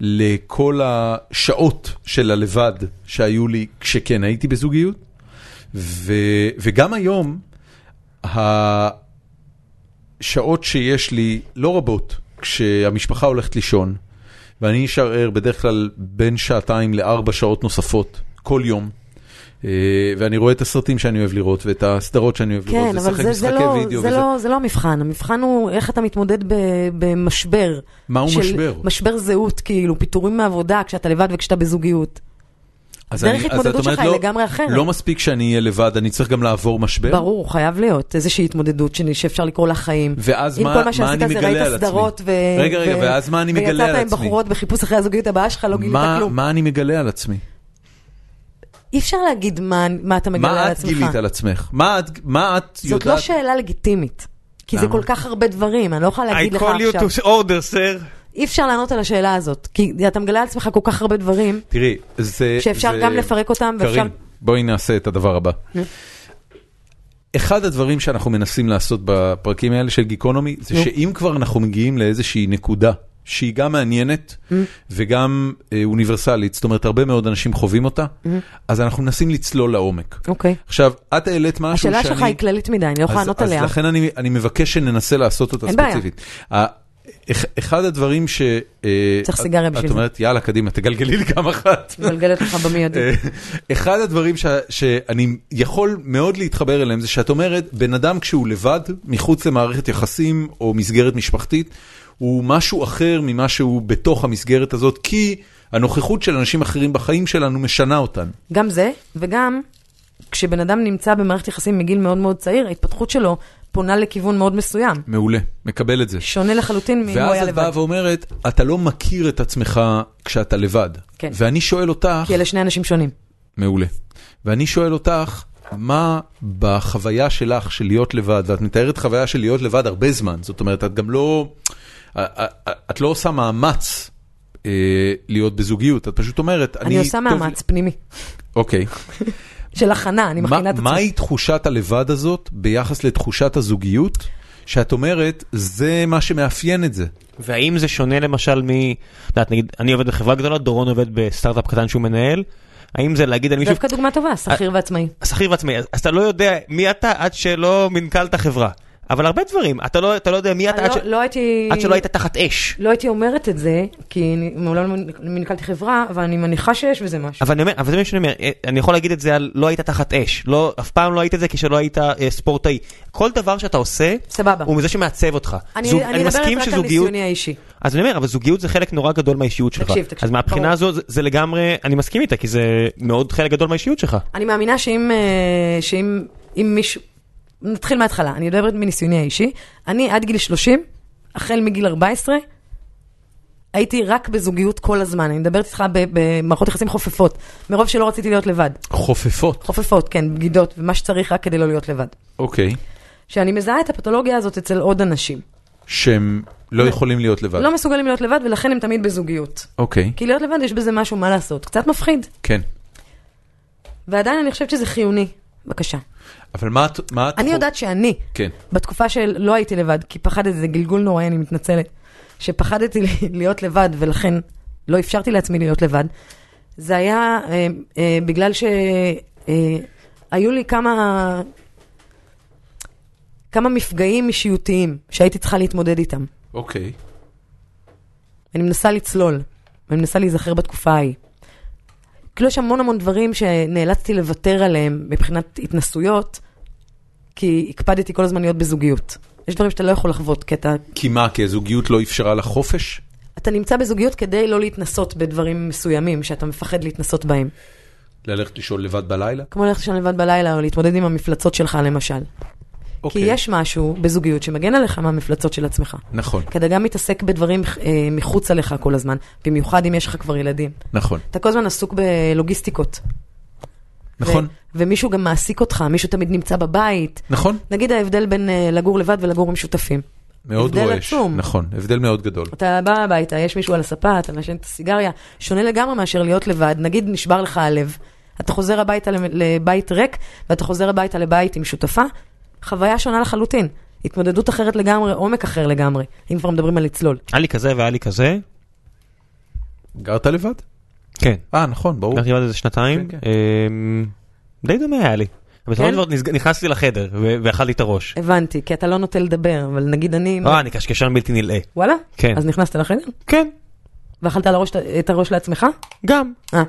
[SPEAKER 1] לכל השעות של הלבד שהיו לי כשכן הייתי בזוגיות, ו, וגם היום, השעות שיש לי לא רבות כשהמשפחה הולכת לישון, ואני נשאר ער בדרך כלל בין שעתיים לארבע שעות נוספות כל יום. אה, ואני רואה את הסרטים שאני אוהב לראות ואת הסדרות שאני אוהב
[SPEAKER 3] כן,
[SPEAKER 1] לראות,
[SPEAKER 3] אבל
[SPEAKER 1] ולשחק
[SPEAKER 3] זה- זה
[SPEAKER 1] משחקי
[SPEAKER 3] לא-
[SPEAKER 1] וידאו.
[SPEAKER 3] זה
[SPEAKER 1] וזה-
[SPEAKER 3] לא- זה לא המבחן, המבחן הוא איך אתה מתמודד ב- במשבר.
[SPEAKER 1] מהו
[SPEAKER 3] של-
[SPEAKER 1] משבר?
[SPEAKER 3] משבר זהות, כאילו, פיטורים מעבודה כשאתה לבד וכשאתה בזוגיות.
[SPEAKER 1] כן. אז
[SPEAKER 3] דרך
[SPEAKER 1] אני- אז את
[SPEAKER 3] התמודדות
[SPEAKER 1] אומרת,
[SPEAKER 3] שלך היא
[SPEAKER 1] לא-
[SPEAKER 3] לגמרי אחרת.
[SPEAKER 1] לא מספיק שאני אהיה לבד, אני צריך גם לעבור משבר.
[SPEAKER 3] ברור, חייב להיות איזושהי התמודדות שאני- שאפשר לקרוא לה חיים.
[SPEAKER 1] ואז
[SPEAKER 3] אם
[SPEAKER 1] מה-
[SPEAKER 3] כל
[SPEAKER 1] מה
[SPEAKER 3] מה שעשית
[SPEAKER 1] אני
[SPEAKER 3] זה
[SPEAKER 1] מגלה על
[SPEAKER 3] ראית
[SPEAKER 1] עצמי?
[SPEAKER 3] סדרות ו...
[SPEAKER 1] רגע, רגע,
[SPEAKER 3] ו-
[SPEAKER 1] ואז מה אני מגלה על
[SPEAKER 3] ויצאת עם
[SPEAKER 1] עצמי?
[SPEAKER 3] בחורות בחיפוש אחרי הזוגיות הבאה שלך, לא גילית
[SPEAKER 1] מה-
[SPEAKER 3] כלום.
[SPEAKER 1] מה אני מגלה על עצמי?
[SPEAKER 3] אי אפשר להגיד מה- מה אתה מגלה
[SPEAKER 1] מה
[SPEAKER 3] על
[SPEAKER 1] את
[SPEAKER 3] עצמך.
[SPEAKER 1] גילית על עצמך? מה את- מה את
[SPEAKER 3] זאת
[SPEAKER 1] יודעת?
[SPEAKER 3] לא שאלה לגיטימית. כי זה
[SPEAKER 1] למה?
[SPEAKER 3] כל כך הרבה דברים, אני לא יכולה להגיד לך עכשיו.
[SPEAKER 2] order, sir.
[SPEAKER 3] אי אפשר לענות על השאלה הזאת, כי אתה מגלה על עצמך כל כך הרבה דברים,
[SPEAKER 1] תראי, זה...
[SPEAKER 3] שאפשר
[SPEAKER 1] זה-
[SPEAKER 3] גם לפרק אותם, ואפשר...
[SPEAKER 1] קרין, בואי נעשה את הדבר הבא. אחד הדברים שאנחנו מנסים לעשות בפרקים האלה של גיקונומי, זה
[SPEAKER 3] נו.
[SPEAKER 1] שאם כבר אנחנו מגיעים לאיזושהי נקודה שהיא גם מעניינת וגם אה, אוניברסלית, זאת אומרת הרבה מאוד אנשים חווים אותה, אז אנחנו מנסים לצלול לעומק.
[SPEAKER 3] אוקיי.
[SPEAKER 1] עכשיו, את העלית משהו שאני...
[SPEAKER 3] השאלה שלך היא כללית מדי, אני לא יכולה
[SPEAKER 1] אז-
[SPEAKER 3] לענות עליה.
[SPEAKER 1] אז לכן אני, אני מבקש שננסה לעשות אותה
[SPEAKER 3] אין בעיה.
[SPEAKER 1] ספציפית. ה- אח- אחד הדברים ש... אה,
[SPEAKER 3] צריך סיגריה
[SPEAKER 1] את-
[SPEAKER 3] בשביל
[SPEAKER 1] את
[SPEAKER 3] זה.
[SPEAKER 1] אומרת, יאללה, קדימה, תגלגלי לי גם אחת.
[SPEAKER 3] מבלגלת לך במיידי.
[SPEAKER 1] אה, אחד הדברים ש, שאני יכול מאוד להתחבר אליהם זה שאת אומרת, בן אדם כשהוא לבד, מחוץ למערכת יחסים או מסגרת משפחתית, הוא משהו אחר ממה שהוא בתוך המסגרת הזאת, כי הנוכחות של אנשים אחרים בחיים שלנו משנה אותנו.
[SPEAKER 3] גם זה, וגם כשבן אדם נמצא במערכת יחסים מגיל מאוד מאוד צעיר, ההתפתחות שלו פונה לכיוון מאוד מסוים.
[SPEAKER 1] מעולה, מקבל את זה.
[SPEAKER 3] שונה לחלוטין מאם הוא
[SPEAKER 1] ואז
[SPEAKER 3] היה
[SPEAKER 1] את באה
[SPEAKER 3] לבד.
[SPEAKER 1] ואומרת, אתה לא מכיר את עצמך כשאתה לבד.
[SPEAKER 3] כן.
[SPEAKER 1] ואני שואל אותך,
[SPEAKER 3] כי אלה שני אנשים שונים.
[SPEAKER 1] מעולה. ואני שואל אותך, מה בחוויה שלך של להיות לבד, ואת מתארת חוויה של להיות לבד הרבה זמן, זאת אומרת, את גם לא, את לא עושה מאמץ אה, להיות בזוגיות, את פשוט אומרת, אני...
[SPEAKER 3] אני עושה
[SPEAKER 1] טוב-
[SPEAKER 3] מאמץ פנימי.
[SPEAKER 1] אוקיי.
[SPEAKER 3] של הכנה, אני מכינה את
[SPEAKER 1] מה-
[SPEAKER 3] עצמי.
[SPEAKER 1] מהי תחושת הלבד הזאת ביחס לתחושת הזוגיות, שאת אומרת, זה מה שמאפיין את זה?
[SPEAKER 2] והאם זה שונה למשל מ... את יודעת, נגיד, אני עובד בחברה גדולה, דורון עובד בסטארט-אפ קטן שהוא מנהל, האם זה להגיד על מישהו...
[SPEAKER 3] דווקא דוגמה טובה,
[SPEAKER 1] אה,
[SPEAKER 3] שכיר ועצמאי.
[SPEAKER 2] שכיר ועצמאי, אז אז אתה לא יודע מי אתה עד שלא מנכלת חברה. אבל הרבה דברים, אתה לא אתה לא יודע מי אתה
[SPEAKER 3] אני
[SPEAKER 2] עד
[SPEAKER 3] לא-
[SPEAKER 2] ש-
[SPEAKER 3] לא הייתי...
[SPEAKER 2] עד שלא היית תחת אש.
[SPEAKER 3] לא הייתי אומרת את זה, כי אני מעולם לא מנכלתי חברה, אבל אני מניחה שיש בזה משהו.
[SPEAKER 2] אבל אני אומר, אבל זה מה שאני אומר, אה, אני יכול להגיד את זה על לא היית תחת אש, לא, אף פעם לא היית את זה כשלא היית אה, ספורטאי. כל דבר שאתה עושה,
[SPEAKER 3] סבבה.
[SPEAKER 2] הוא מזה שמעצב אותך.
[SPEAKER 3] אני
[SPEAKER 2] זו-
[SPEAKER 3] אני מדברת רק על
[SPEAKER 2] שזוגיות-
[SPEAKER 3] ניסיוני האישי.
[SPEAKER 2] אז אני אומר, אבל זוגיות זה חלק נורא גדול מהאישיות שלך.
[SPEAKER 3] תקשיב, תקשיב,
[SPEAKER 2] אז מהבחינה
[SPEAKER 3] ברור.
[SPEAKER 2] הזו זה- זה לגמרי, אני מסכים איתה, כי זה מאוד חלק גדול מהאישיות שלך.
[SPEAKER 3] אני מאמינה שאם, אה, שאם אם מישהו... נתחיל מההתחלה, אני מדברת מניסיוני האישי. אני עד גיל 30, החל מגיל 14, הייתי רק בזוגיות כל הזמן. אני מדברת איתך ב- במערכות יחסים חופפות, מרוב שלא רציתי להיות לבד.
[SPEAKER 1] חופפות.
[SPEAKER 3] חופפות, כן, בגידות, ומה שצריך רק כדי לא להיות לבד.
[SPEAKER 1] אוקיי.
[SPEAKER 3] שאני מזהה את הפתולוגיה הזאת אצל עוד אנשים.
[SPEAKER 1] שהם לא יכולים להיות לבד.
[SPEAKER 3] לא מסוגלים להיות לבד, ולכן הם תמיד בזוגיות.
[SPEAKER 1] אוקיי,
[SPEAKER 3] כי להיות לבד יש בזה משהו, מה לעשות? קצת מפחיד.
[SPEAKER 1] כן.
[SPEAKER 3] ועדיין אני חושבת שזה חיוני. בבקשה.
[SPEAKER 1] אבל מה את... מה את
[SPEAKER 3] אני
[SPEAKER 1] חו-
[SPEAKER 3] יודעת שאני,
[SPEAKER 1] כן.
[SPEAKER 3] בתקופה של לא הייתי לבד, כי פחדתי, זה גלגול נוראי, אני מתנצלת, שפחדתי להיות לבד ולכן לא אפשרתי לעצמי להיות לבד, זה היה אה, אה, בגלל שהיו אה, היו לי כמה, כמה מפגעים אישיותיים שהייתי צריכה להתמודד איתם.
[SPEAKER 1] אוקיי.
[SPEAKER 3] אני מנסה לצלול, ואני מנסה להיזכר בתקופה ההיא. כאילו יש המון המון דברים שנאלצתי לוותר עליהם מבחינת התנסויות, כי הקפדתי כל הזמן להיות בזוגיות. יש דברים שאתה לא יכול לחוות, כי אתה,
[SPEAKER 1] כי מה, כי הזוגיות לא אפשרה לך חופש?
[SPEAKER 3] אתה נמצא בזוגיות כדי לא להתנסות בדברים מסוימים שאתה מפחד להתנסות בהם.
[SPEAKER 1] ללכת לישון לבד בלילה?
[SPEAKER 3] כמו ללכת לישון לבד בלילה, או להתמודד עם המפלצות שלך למשל. כי
[SPEAKER 1] אוקיי.
[SPEAKER 3] יש משהו בזוגיות שמגן עליך מהמפלצות של עצמך.
[SPEAKER 1] נכון,
[SPEAKER 3] כי אתה גם מתעסק בדברים אה, מחוצה לך כל הזמן, במיוחד אם יש לך כבר ילדים.
[SPEAKER 1] נכון,
[SPEAKER 3] אתה כל הזמן עסוק בלוגיסטיקות.
[SPEAKER 1] נכון,
[SPEAKER 3] ו- ומישהו גם מעסיק אותך, מישהו תמיד נמצא בבית.
[SPEAKER 1] נכון.
[SPEAKER 3] נגיד ההבדל בין אה, לגור לבד ולגור עם שותפים.
[SPEAKER 1] מאוד
[SPEAKER 3] הבדל
[SPEAKER 1] רועש.
[SPEAKER 3] עצום.
[SPEAKER 1] נכון, הבדל מאוד גדול.
[SPEAKER 3] אתה בא הביתה, יש מישהו על הספה, אתה מעשן את הסיגריה, שונה לגמרי מאשר להיות לבד, נגיד נשבר לך הלב, אתה חוזר הביתה למ- לבית ריק, ואתה חוזר הביתה לבית עם שותפה, חוויה שונה לחלוטין. התמודדות אחרת לגמרי, עומק אחר לגמרי, אם כבר מדברים על לצלול.
[SPEAKER 2] היה לי כזה והיה לי כזה.
[SPEAKER 1] גרת לבד?
[SPEAKER 2] כן.
[SPEAKER 1] אה, נכון, ברור.
[SPEAKER 3] אוקיי.
[SPEAKER 2] גרתי לבד איזה שנתיים.
[SPEAKER 1] כן,
[SPEAKER 2] אמ, די דומה היה לי. בסופו
[SPEAKER 3] כן?
[SPEAKER 2] של דבר נסג- נכנסתי לחדר ו- ואכלתי את הראש.
[SPEAKER 3] הבנתי, כי אתה לא נוטה לדבר, אבל נגיד אני...
[SPEAKER 2] אה, אני קשקשן בלתי נלאה.
[SPEAKER 3] וואלה?
[SPEAKER 2] כן.
[SPEAKER 3] אז נכנסת לחדר?
[SPEAKER 2] כן,
[SPEAKER 3] ואכלת על הראש, את הראש לעצמך?
[SPEAKER 2] גם.
[SPEAKER 3] אה.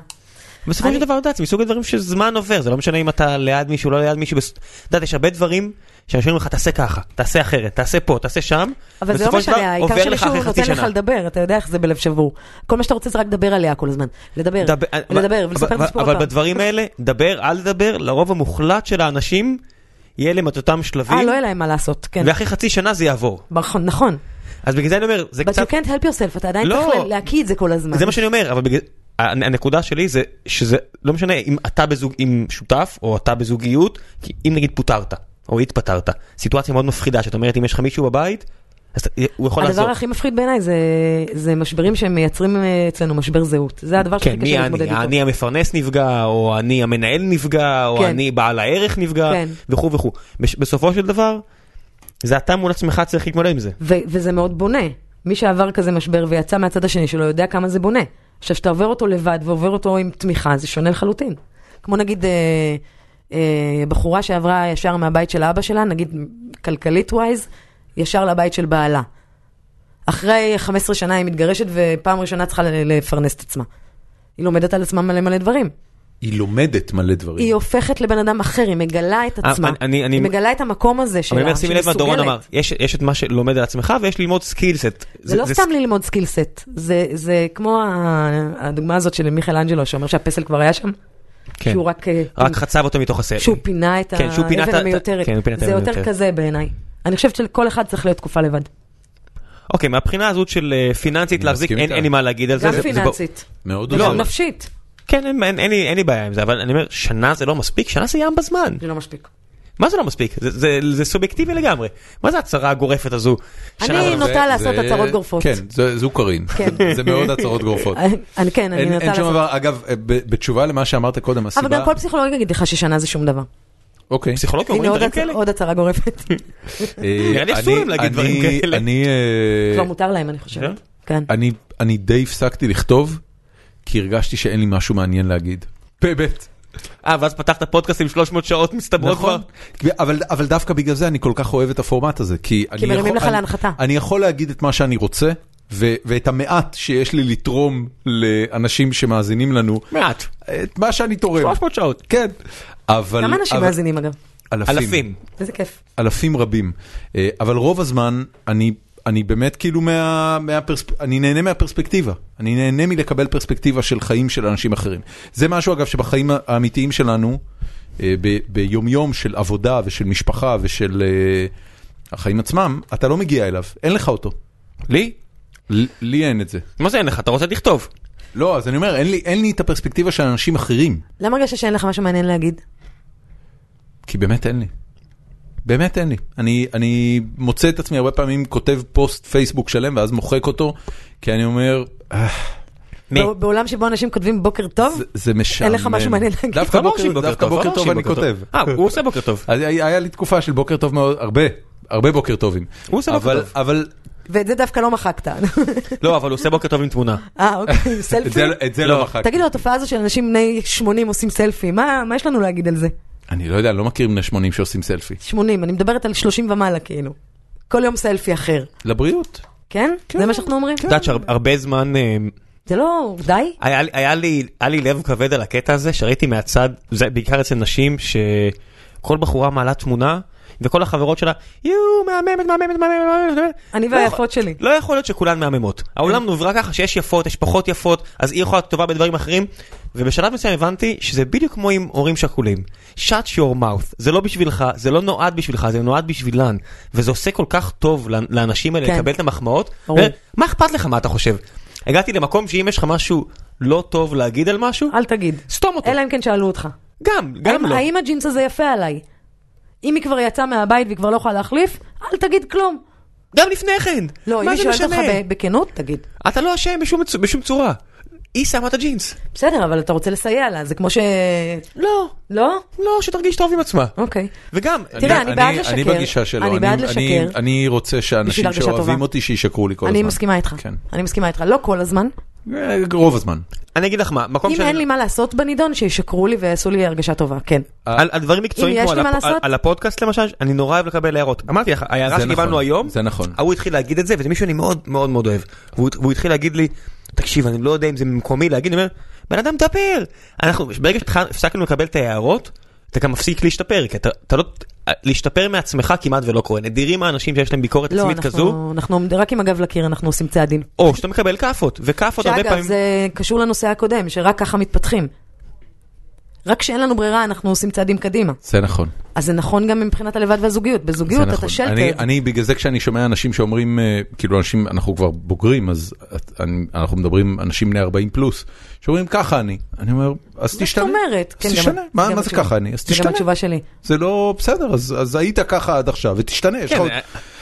[SPEAKER 2] בסופו
[SPEAKER 3] אני-
[SPEAKER 2] של דבר, אתה יודע, זה מסוג הדברים שזמן עובר, זה לא משנה אם אתה ליד מישהו, לא ליד מישהו, בס- אתה יודע, יש הרבה דברים שאנשים אומרים לך, תעשה ככה, תעשה אחרת, תעשה פה, תעשה שם,
[SPEAKER 3] אבל זה לא
[SPEAKER 2] בסופו של דבר,
[SPEAKER 3] משנה, העיקר
[SPEAKER 2] עובר לך
[SPEAKER 3] שמישהו
[SPEAKER 2] אחרי חצי
[SPEAKER 3] נותן לך
[SPEAKER 2] שנה.
[SPEAKER 3] לדבר, אתה יודע איך זה בלב שבור. כל מה שאתה רוצה זה רק לדבר עליה כל הזמן. לדבר,
[SPEAKER 2] דבר-
[SPEAKER 3] לדבר,
[SPEAKER 2] אה, אבל-
[SPEAKER 3] ולספר את
[SPEAKER 2] אבל-
[SPEAKER 3] הסיפור
[SPEAKER 2] אבל
[SPEAKER 3] הבא.
[SPEAKER 2] בדברים האלה, דבר, אל תדבר, לרוב המוחלט של האנשים, יהיה להם את אותם
[SPEAKER 3] אה,
[SPEAKER 2] שלבים,
[SPEAKER 3] לא יהיה להם מה לעשות, כן.
[SPEAKER 2] ואחרי חצי שנה זה יעבור.
[SPEAKER 3] נכון, נכון.
[SPEAKER 2] אז בגלל זה אני אומר, זה
[SPEAKER 3] But
[SPEAKER 2] קצת...
[SPEAKER 3] you can't help yourself, אתה עדיין
[SPEAKER 2] לא.
[SPEAKER 3] צריך ל- להקיא את זה כל הזמן.
[SPEAKER 2] זה מה שאני אומר, אבל בגלל... הנ- הנקודה שלי זה שזה לא משנה אם אתה בזוג עם שותף או אתה בזוגיות, כי אם נגיד פוטרת או התפטרת, סיטואציה מאוד מפחידה שאת אומרת אם יש לך מישהו בבית, אז ת- הוא יכול לעזור.
[SPEAKER 3] הדבר הכי מפחיד בעיניי זה, זה משברים שמייצרים אה, אצלנו משבר זהות. זה הדבר
[SPEAKER 2] כן,
[SPEAKER 3] שהכי
[SPEAKER 2] מי
[SPEAKER 3] קשה
[SPEAKER 2] אני?
[SPEAKER 3] להתמודד איתו.
[SPEAKER 2] אני המפרנס נפגע, או אני המנהל נפגע, או
[SPEAKER 3] כן.
[SPEAKER 2] אני בעל הערך נפגע,
[SPEAKER 3] כן.
[SPEAKER 2] וכו' וכו'. בש- בסופו של דבר, זה אתה מול עצמך צריך להתמודד עם זה.
[SPEAKER 3] ו- וזה מאוד בונה. מי שעבר כזה משבר ויצא מהצד השני שלו יודע כמה זה בונה. עכשיו, כשאתה עובר אותו לבד ועובר אותו עם תמיכה, זה שונה לחלוטין. כמו נגיד אה, אה, בחורה שעברה ישר מהבית של אבא שלה, נגיד כלכלית ווייז, ישר לבית של בעלה. אחרי 15 שנה היא מתגרשת ופעם ראשונה צריכה ל- לפרנס את עצמה. היא לומדת על עצמה מלא מלא דברים.
[SPEAKER 1] היא לומדת מלא דברים.
[SPEAKER 3] היא הופכת לבן אדם אחר, היא מגלה את
[SPEAKER 2] אה,
[SPEAKER 3] עצמה.
[SPEAKER 2] אני- אני- אני-
[SPEAKER 3] היא מגלה את המקום הזה שלה,
[SPEAKER 2] אבל אני אומר,
[SPEAKER 3] שהיא
[SPEAKER 2] שימי לב מה דורון
[SPEAKER 3] מסוגלת.
[SPEAKER 2] אמר, יש יש את מה שלומד על עצמך ויש ללמוד סקילסט.
[SPEAKER 3] זה לא סתם ללמוד סקילסט, זה, זה כמו ה- הדוגמה הזאת של מיכאל אנג'לו שאומר שהפסל כבר היה שם,
[SPEAKER 2] כן.
[SPEAKER 3] שהוא רק, אה,
[SPEAKER 2] רק חצב אותו מתוך הסרט.
[SPEAKER 3] שהוא פינה את
[SPEAKER 2] כן, שהוא פינה את
[SPEAKER 3] האבן
[SPEAKER 2] ה-
[SPEAKER 3] המיותרת,
[SPEAKER 2] כן, הוא פינה את
[SPEAKER 3] זה
[SPEAKER 2] האבן
[SPEAKER 3] יותר
[SPEAKER 2] המיותרת.
[SPEAKER 3] כזה בעיניי. אני חושבת שלכל אחד צריך להיות תקופה לבד,
[SPEAKER 2] אוקיי, מהבחינה הזאת של אה, פיננסית
[SPEAKER 1] אני
[SPEAKER 2] להחזיק,
[SPEAKER 1] מסכים
[SPEAKER 2] אין
[SPEAKER 1] איתך.
[SPEAKER 2] אין לי מה להגיד על זה.
[SPEAKER 3] גם
[SPEAKER 2] זה- זה ב-
[SPEAKER 3] פיננסית,
[SPEAKER 1] מאוד
[SPEAKER 2] לא,
[SPEAKER 3] גם
[SPEAKER 1] עוזרת.
[SPEAKER 3] נפשית,
[SPEAKER 2] כן, אין- אין- אין לי- אין לי בעיה עם זה, אבל אני אומר, שנה זה לא מספיק, שנה זה ים בזמן.
[SPEAKER 3] זה לא מספיק.
[SPEAKER 2] מה זה לא מספיק? זה- זה- זה סובייקטיבי לגמרי. מה זה הצהרה הגורפת הזו? שנה
[SPEAKER 3] אני
[SPEAKER 2] זה-
[SPEAKER 3] נוטה
[SPEAKER 1] אה, זה-
[SPEAKER 3] לעשות
[SPEAKER 1] זה-
[SPEAKER 3] הצהרות גורפות.
[SPEAKER 1] כן, זה- זו קארין.
[SPEAKER 3] כן.
[SPEAKER 1] זה- זה מאוד הצהרות גורפות.
[SPEAKER 3] אני, אני- כן, אני
[SPEAKER 1] אין
[SPEAKER 3] נוטה
[SPEAKER 1] אין שום
[SPEAKER 3] לעשות.
[SPEAKER 1] דבר, אגב, אה, ב- בתשובה למה שאמרת קודם, הסיבה...
[SPEAKER 3] אבל גם כל פסיכולוג יגיד לך ששנה זה שום דבר.
[SPEAKER 1] אוקיי.
[SPEAKER 2] פסיכולוגים
[SPEAKER 3] הנה
[SPEAKER 2] אומרים
[SPEAKER 3] עוד
[SPEAKER 2] כן, דברים
[SPEAKER 3] הצ-
[SPEAKER 2] כאלה?
[SPEAKER 3] עוד הצהרה גורפת,
[SPEAKER 1] אה,
[SPEAKER 2] נראה לי אסור
[SPEAKER 1] אני-
[SPEAKER 2] להם להגיד
[SPEAKER 1] אני-
[SPEAKER 2] דברים כאלה.
[SPEAKER 1] אני, אה,
[SPEAKER 3] כבר מותר להם אני חושבת. כן.
[SPEAKER 1] אני- אני די הפסקתי לכתוב, כי הרגשתי שאין לי משהו מעניין להגיד. באמת.
[SPEAKER 2] אה, ואז פתחת פודקאסט עם 300 שעות מסתברות כבר?
[SPEAKER 1] נכון, אבל, אבל דווקא בגלל זה אני כל כך אוהב את הפורמט הזה, כי, אני
[SPEAKER 3] מרימים
[SPEAKER 1] יכול-
[SPEAKER 3] לך
[SPEAKER 1] אני,
[SPEAKER 3] להנחתה.
[SPEAKER 1] אני יכול להגיד את מה שאני רוצה, ו, ואת המעט שיש לי לתרום לאנשים שמאזינים לנו,
[SPEAKER 2] מעט.
[SPEAKER 1] את מה שאני תורם.
[SPEAKER 2] 300 שעות.
[SPEAKER 1] כן, אבל...
[SPEAKER 3] כמה אנשים
[SPEAKER 1] אבל-
[SPEAKER 3] מאזינים אגב?
[SPEAKER 1] אלפים.
[SPEAKER 2] אלפים.
[SPEAKER 3] איזה כיף.
[SPEAKER 1] אלפים רבים. אה, אבל רוב הזמן אני, אני באמת כאילו מה... מהפרספ... אני נהנה מהפרספקטיבה. אני נהנה מלקבל פרספקטיבה של חיים של אנשים אחרים. זה משהו אגב שבחיים האמיתיים שלנו, אה, ב... ביומיום של עבודה ושל משפחה ושל אה, החיים עצמם, אתה לא מגיע אליו, אין לך אותו.
[SPEAKER 2] לי?
[SPEAKER 1] ל- לי אין את זה.
[SPEAKER 2] מה זה אין לך? אתה רוצה לכתוב.
[SPEAKER 1] לא, אז אני אומר, אין לי, אין לי את הפרספקטיבה של אנשים אחרים,
[SPEAKER 3] למה הרגשת שאין לך משהו מעניין להגיד?
[SPEAKER 1] כי באמת אין לי. באמת אין לי. אני, אני מוצא את עצמי הרבה פעמים כותב פוסט פייסבוק שלם ואז מוחק אותו, כי אני אומר, "אה,
[SPEAKER 2] מי?
[SPEAKER 1] לא,
[SPEAKER 3] בע- בעולם שבו אנשים כותבים בוקר טוב?
[SPEAKER 1] זה, זה משעמם.
[SPEAKER 3] לך משהו מעניין להגיד?
[SPEAKER 1] דווקא
[SPEAKER 2] לא אמר
[SPEAKER 1] בוקר,
[SPEAKER 2] שהיא בוקר
[SPEAKER 1] דווקא
[SPEAKER 2] טוב, לא
[SPEAKER 1] בוקר
[SPEAKER 2] אמר
[SPEAKER 1] טוב
[SPEAKER 2] שהיא
[SPEAKER 1] אני
[SPEAKER 2] בוקר
[SPEAKER 1] כותב.
[SPEAKER 2] אה, הוא עושה בוקר טוב.
[SPEAKER 1] אז היה היה לי תקופה של בוקר טוב מאוד, הרבה, הרבה בוקר טובים.
[SPEAKER 2] הוא עושה בוקר
[SPEAKER 1] אבל-
[SPEAKER 2] טוב.
[SPEAKER 1] אבל
[SPEAKER 3] ואת זה דווקא לא מחקת.
[SPEAKER 2] לא, אבל הוא עושה בוקר טוב עם
[SPEAKER 1] כן.
[SPEAKER 2] תמונה.
[SPEAKER 3] אה, אוקיי,
[SPEAKER 1] את
[SPEAKER 3] סלפי?
[SPEAKER 1] זה- את זה
[SPEAKER 2] לא.
[SPEAKER 1] לא מחקתי.
[SPEAKER 3] תגיד לו, התופעה הזו של אנשים בני 80 עושים סלפי, מה מה יש לנו להגיד על זה?
[SPEAKER 1] אני לא יודע, אני לא מכיר בני 80 שעושים סלפי.
[SPEAKER 3] 80, אני מדברת על 30 ומעלה כאילו. כל יום סלפי אחר,
[SPEAKER 1] לבריאות.
[SPEAKER 3] כן? זה מה שאנחנו אומרים?
[SPEAKER 2] את יודעת שהרבה זמן אה,
[SPEAKER 3] זה לא, די?
[SPEAKER 2] היה, לי- היה, לי, היה לי לב כבד על הקטע הזה, שראיתי מהצד, זה בעיקר אצל נשים, שכל בחורה מעלה תמונה, וכל החברות שלה, יואו, מהממת, מהממת, מהממת, מהממת.
[SPEAKER 3] אני
[SPEAKER 2] לא יכול-
[SPEAKER 3] והיפות שלי.
[SPEAKER 2] לא יכול להיות שכולן מהממות. העולם נוברא ככה שיש יפות, יש פחות יפות, אז היא יכולה להיות טובה בדברים אחרים. ובשלב מסוים הבנתי שזה בדיוק כמו עם הורים שכולים. shut your mouth, זה לא בשבילך, זה לא נועד בשבילך, זה נועד בשבילן. וזה עושה כל כך טוב לאנ- לאנשים האלה
[SPEAKER 3] כן.
[SPEAKER 2] לקבל את המחמאות.
[SPEAKER 3] ברור.
[SPEAKER 2] ו- מה אכפת לך מה אתה חושב? הגעתי למקום שאם יש לך משהו לא טוב להגיד על משהו,
[SPEAKER 3] אל תגיד.
[SPEAKER 2] סתום אותו.
[SPEAKER 3] אלא אם כן שאלו אותך.
[SPEAKER 2] גם, גם
[SPEAKER 3] האם-
[SPEAKER 2] לא.
[SPEAKER 3] האם הג'ינס הזה יפה עליי? אם היא כבר יצאה מהבית והיא כבר לא יכולה להחליף, אל תגיד כלום.
[SPEAKER 2] גם לפני כן.
[SPEAKER 3] לא, אם
[SPEAKER 2] מה
[SPEAKER 3] היא
[SPEAKER 2] זה
[SPEAKER 3] שואלת אותך
[SPEAKER 2] משנה?
[SPEAKER 3] ב- בכנות, תגיד.
[SPEAKER 2] אתה לא אשם בשום צ- בשום צורה. היא שמה את הג'ינס.
[SPEAKER 3] בסדר, אבל אתה רוצה לסייע לה, זה כמו ש...
[SPEAKER 2] לא,
[SPEAKER 3] לא?
[SPEAKER 2] לא, שתרגיש טוב עם עצמה.
[SPEAKER 3] אוקיי.
[SPEAKER 2] וגם,
[SPEAKER 3] תראה, אני בעד לשקר.
[SPEAKER 1] אני בגישה שלו.
[SPEAKER 3] אני בעד לשקר.
[SPEAKER 1] אני, אני רוצה
[SPEAKER 3] בשביל
[SPEAKER 1] שאנשים
[SPEAKER 3] הרגשה טובה.
[SPEAKER 1] שאוהבים אותי שישקרו לי כל הזמן.
[SPEAKER 3] אני מסכימה איתך.
[SPEAKER 1] כן.
[SPEAKER 3] אני מסכימה איתך, לא כל הזמן.
[SPEAKER 1] אה, רוב הזמן.
[SPEAKER 2] אני אגיד לך מה, מקום
[SPEAKER 3] אם אין לי מה לעשות בנידון, שישקרו לי ויעשו לי הרגשה טובה, כן.
[SPEAKER 2] על, על דברים מקצועיים
[SPEAKER 3] יש
[SPEAKER 2] כמו
[SPEAKER 3] לי
[SPEAKER 2] על,
[SPEAKER 3] מה
[SPEAKER 2] הפ... על,
[SPEAKER 3] לעשות.
[SPEAKER 2] על הפודקאסט למשל, אני נורא אוהב לקבל הערות. אמרתי לך, ההערה
[SPEAKER 1] זה
[SPEAKER 2] שקיבלנו
[SPEAKER 1] נכון,
[SPEAKER 2] היום,
[SPEAKER 1] זה נכון.
[SPEAKER 2] ההוא התחיל להגיד את זה, וזה מישהו שאני מאוד מאוד מאוד אוהב. והוא, והוא התחיל להגיד לי, תקשיב, אני לא יודע אם זה במקומי להגיד, אני אומר, בן אדם תפר. אנחנו, ברגע שהפסקנו לקבל את ההערות, אתה גם מפסיק להשתפר, כי אתה, אתה לא, להשתפר מעצמך כמעט ולא קורה. נדירים האנשים שיש להם ביקורת
[SPEAKER 3] לא,
[SPEAKER 2] עצמית כזו,
[SPEAKER 3] אנחנו- אנחנו עומד- רק עם הגב לקיר אנחנו עושים צעדים.
[SPEAKER 2] או שאתה מקבל כאפות, וכאפות הרבה
[SPEAKER 3] שאגב,
[SPEAKER 2] פעמים...
[SPEAKER 3] זה קשור לנושא הקודם, שרק ככה מתפתחים. רק כשאין לנו ברירה, אנחנו עושים צעדים קדימה.
[SPEAKER 1] זה נכון.
[SPEAKER 3] אז זה נכון גם מבחינת הלבד והזוגיות. בזוגיות
[SPEAKER 1] זה נכון.
[SPEAKER 3] אתה
[SPEAKER 1] אני,
[SPEAKER 3] שלטר.
[SPEAKER 1] אני בגלל זה כשאני שומע אנשים שאומרים, אה, כאילו אנשים, אנחנו כבר בוגרים, אז את- אני, אנחנו מדברים, אנשים בני 40 פלוס, שאומרים ככה אני. אני אומר, אז
[SPEAKER 3] מה זאת
[SPEAKER 1] תשתנה.
[SPEAKER 3] אומרת? כן,
[SPEAKER 1] אז
[SPEAKER 3] גם-
[SPEAKER 1] תשתנה. מה,
[SPEAKER 3] גם
[SPEAKER 1] מה זה
[SPEAKER 3] התשובה-
[SPEAKER 1] ככה אני? אז
[SPEAKER 3] זה גם
[SPEAKER 1] תשתנה.
[SPEAKER 3] התשובה שלי.
[SPEAKER 1] זה לא בסדר, אז, אז היית ככה עד עכשיו, ותשתנה. יש
[SPEAKER 2] כן,
[SPEAKER 1] לך עוד-
[SPEAKER 2] אה,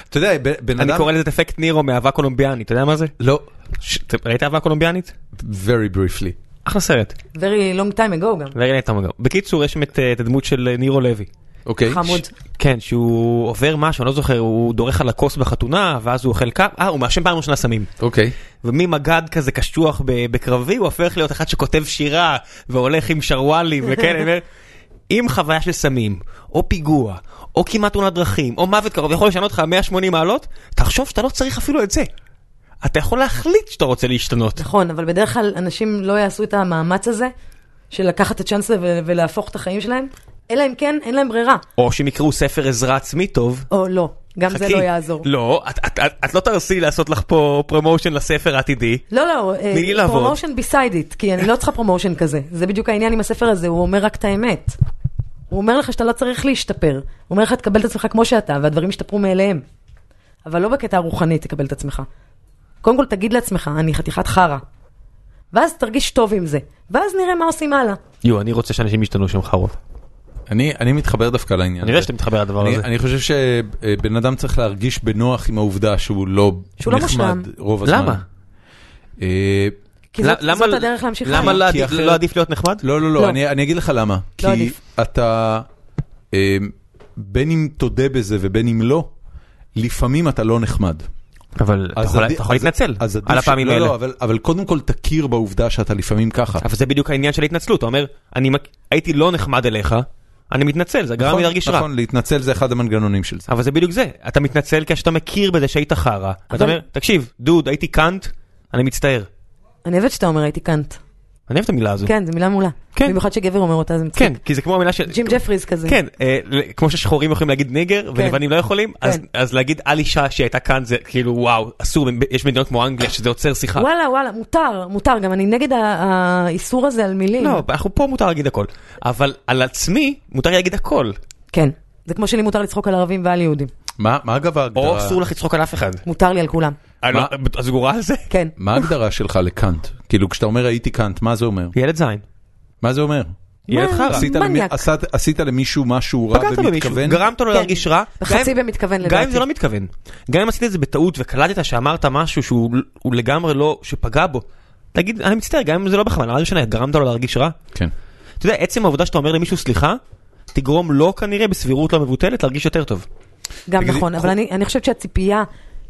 [SPEAKER 1] אתה יודע, ב- בן
[SPEAKER 2] אני
[SPEAKER 1] אדם...
[SPEAKER 2] קורא לזה את אפקט נירו מאהבה קולומביאנית, אתה יודע מה זה?
[SPEAKER 1] לא,
[SPEAKER 2] ש- ראית אהבה קולומביאנית?
[SPEAKER 1] very briefly.
[SPEAKER 2] אחלה סרט.
[SPEAKER 3] Very long time ago גם.
[SPEAKER 2] רגע, נהיית מגע. בקיצור, יש שם את אה, את הדמות של אה, נירו לוי.
[SPEAKER 1] אוקיי.
[SPEAKER 3] חמוד.
[SPEAKER 2] כן, שהוא עובר משהו, אני לא זוכר, הוא דורך על הכוס בחתונה, ואז הוא אוכל קאפ, אה, הוא מעשן פעם ראשונה סמים.
[SPEAKER 1] אוקיי.
[SPEAKER 2] וממג"ד כזה קשוח ב- בקרבי, הוא הופך להיות אחד שכותב שירה, והולך עם שרוואלים, וכן, אני אומר, אם חוויה של סמים, או פיגוע, או כמעט תאונת דרכים, או מוות קרוב, יכול לשנות לך 180 מעלות, תחשוב שאתה לא צריך אפילו את זה. אתה יכול להחליט שאתה רוצה להשתנות.
[SPEAKER 3] נכון, אבל בדרך כלל אנשים לא יעשו את המאמץ הזה של לקחת את הצ'אנס הזה ו- ולהפוך את החיים שלהם, אלא אם כן אין להם ברירה,
[SPEAKER 2] או שהם יקראו ספר עזרה עצמית טוב,
[SPEAKER 3] או לא, גם זה
[SPEAKER 2] חכי.
[SPEAKER 3] לא יעזור.
[SPEAKER 2] לא, את, את, את, את לא תרסי לעשות לך פה פרומושן לספר העתידי.
[SPEAKER 3] לא, לא,
[SPEAKER 2] תני לי לעבוד.
[SPEAKER 3] פרומושן בסייד איט, כי אני לא צריכה פרומושן כזה. זה בדיוק העניין עם הספר הזה, הוא אומר רק את האמת. הוא אומר לך שאתה לא צריך להשתפר. הוא אומר לך, תקבל את עצמך כמו שאתה, והדברים ישתפרו מאליהם. אבל לא בקטע הרוחני תקבל את עצמך. קודם כל תגיד לעצמך, אני חתיכת חרא. ואז תרגיש טוב עם זה. ואז נראה מה עושים הלאה.
[SPEAKER 2] יו, אני רוצה שאנשים ישתנו שם חרוב.
[SPEAKER 1] אני, אני מתחבר דווקא לעניין.
[SPEAKER 2] אוקיי. אני יודע
[SPEAKER 1] הזה.
[SPEAKER 2] שאתה מתחבר לדבר
[SPEAKER 1] אני,
[SPEAKER 2] הזה.
[SPEAKER 1] אני חושב שבן אדם צריך להרגיש בנוח עם העובדה שהוא לא
[SPEAKER 3] שהוא לא
[SPEAKER 1] נחמד
[SPEAKER 3] מושלם.
[SPEAKER 1] רוב הזמן.
[SPEAKER 2] למה?
[SPEAKER 1] אה,
[SPEAKER 3] כי זאת,
[SPEAKER 2] למה-
[SPEAKER 3] זאת הדרך להמשיך
[SPEAKER 2] למה
[SPEAKER 3] חיים.
[SPEAKER 2] לא
[SPEAKER 1] כי
[SPEAKER 2] עדיף-
[SPEAKER 1] אחרת-
[SPEAKER 2] לא עדיף להיות נחמד?
[SPEAKER 1] לא, לא, לא,
[SPEAKER 3] לא.
[SPEAKER 1] אני, אני אגיד לך למה. כי
[SPEAKER 3] עדיף.
[SPEAKER 1] אתה, אה, בין אם תודה בזה ובין אם לא, לפעמים אתה לא נחמד.
[SPEAKER 2] אבל אתה
[SPEAKER 1] אז
[SPEAKER 2] יכול-
[SPEAKER 1] עדי-
[SPEAKER 2] אתה יכול
[SPEAKER 1] אז-
[SPEAKER 2] להתנצל
[SPEAKER 1] אז עדיף
[SPEAKER 2] על
[SPEAKER 1] ש-
[SPEAKER 2] הפעמים
[SPEAKER 1] לא,
[SPEAKER 2] האלה.
[SPEAKER 1] לא, אבל- אבל קודם כל תכיר בעובדה שאתה לפעמים ככה.
[SPEAKER 2] אבל זה בדיוק העניין של ההתנצלות, אתה אומר, אני מק- הייתי לא נחמד אליך, אני מתנצל, זה גרם לי
[SPEAKER 1] נכון,
[SPEAKER 2] להרגיש רע.
[SPEAKER 1] נכון, להתנצל זה אחד המנגנונים של זה.
[SPEAKER 2] אבל זה בדיוק זה, אתה מתנצל כשאתה מכיר בזה שהיית חרא. אתה
[SPEAKER 3] אבל-
[SPEAKER 2] אומר, תקשיב, דוד, הייתי קאנט, אני מצטער.
[SPEAKER 3] אני אוהבת שאתה אומר, הייתי קאנט.
[SPEAKER 2] אני אוהב את המילה הזו.
[SPEAKER 3] כן, זו מילה מעולה.
[SPEAKER 2] כן.
[SPEAKER 3] במיוחד שגבר אומר אותה זה מצחיק.
[SPEAKER 2] כן, כי זה כמו המילה של...
[SPEAKER 3] ג'ים ג'פריז כזה.
[SPEAKER 2] כן, אה, ל- כמו ששחורים יכולים להגיד ניגר ולבנים לא יכולים, אז-
[SPEAKER 3] כן.
[SPEAKER 2] אז להגיד על אישה שהייתה כאן זה כאילו וואו, אסור, יש מדינות כמו אנגליה שזה עוצר שיחה.
[SPEAKER 3] וואלה, וואלה, מותר, מותר, גם אני נגד ה- האיסור הזה על מילים.
[SPEAKER 2] לא, אנחנו פה מותר להגיד הכל, אבל על עצמי מותר להגיד הכל.
[SPEAKER 3] כן. זה כמו שלי מותר לצחוק על ערבים ועל יהודים.
[SPEAKER 1] מה מה אגב
[SPEAKER 2] או אסור
[SPEAKER 1] ההגדרה?
[SPEAKER 2] לך לצחוק על אף אחד.
[SPEAKER 3] מותר לי על כולם.
[SPEAKER 2] אני לא- אז הוא גורל זה?
[SPEAKER 3] כן.
[SPEAKER 1] מה ההגדרה שלך לקאנט? כאילו כשאתה אומר הייתי קאנט, מה זה אומר?
[SPEAKER 2] ילד זין.
[SPEAKER 1] מה זה אומר?
[SPEAKER 2] ילד
[SPEAKER 3] מה?
[SPEAKER 2] חרא.
[SPEAKER 1] עשית למי-
[SPEAKER 3] לא, מניאק.
[SPEAKER 1] עשת- עשית למישהו משהו רע
[SPEAKER 2] פגעת במישהו,
[SPEAKER 1] במתכוון?
[SPEAKER 2] גרמת לו
[SPEAKER 3] כן.
[SPEAKER 2] להרגיש רע.
[SPEAKER 3] בחצי
[SPEAKER 2] גם אם-
[SPEAKER 3] במתכוון
[SPEAKER 2] גם אם
[SPEAKER 3] לדעתי.
[SPEAKER 2] זה לא מתכוון. גם אם עשית את זה בטעות וקלטת שאמרת משהו שהוא הוא לגמרי לא, שפגע בו. תגיד, אני מצטער, גם אם זה לא בכוונה, לא משנה, גרמת לו להרגיש רע.
[SPEAKER 1] כן.
[SPEAKER 2] אתה יודע, עצם העובדה שאתה אומר למישהו סליחה, תגרום לו כנראה בסבירות לא מבוטלת להרגיש יותר טוב.
[SPEAKER 3] גם
[SPEAKER 1] בגלל-
[SPEAKER 3] נכון, אבל אני אני חושבת שהציפייה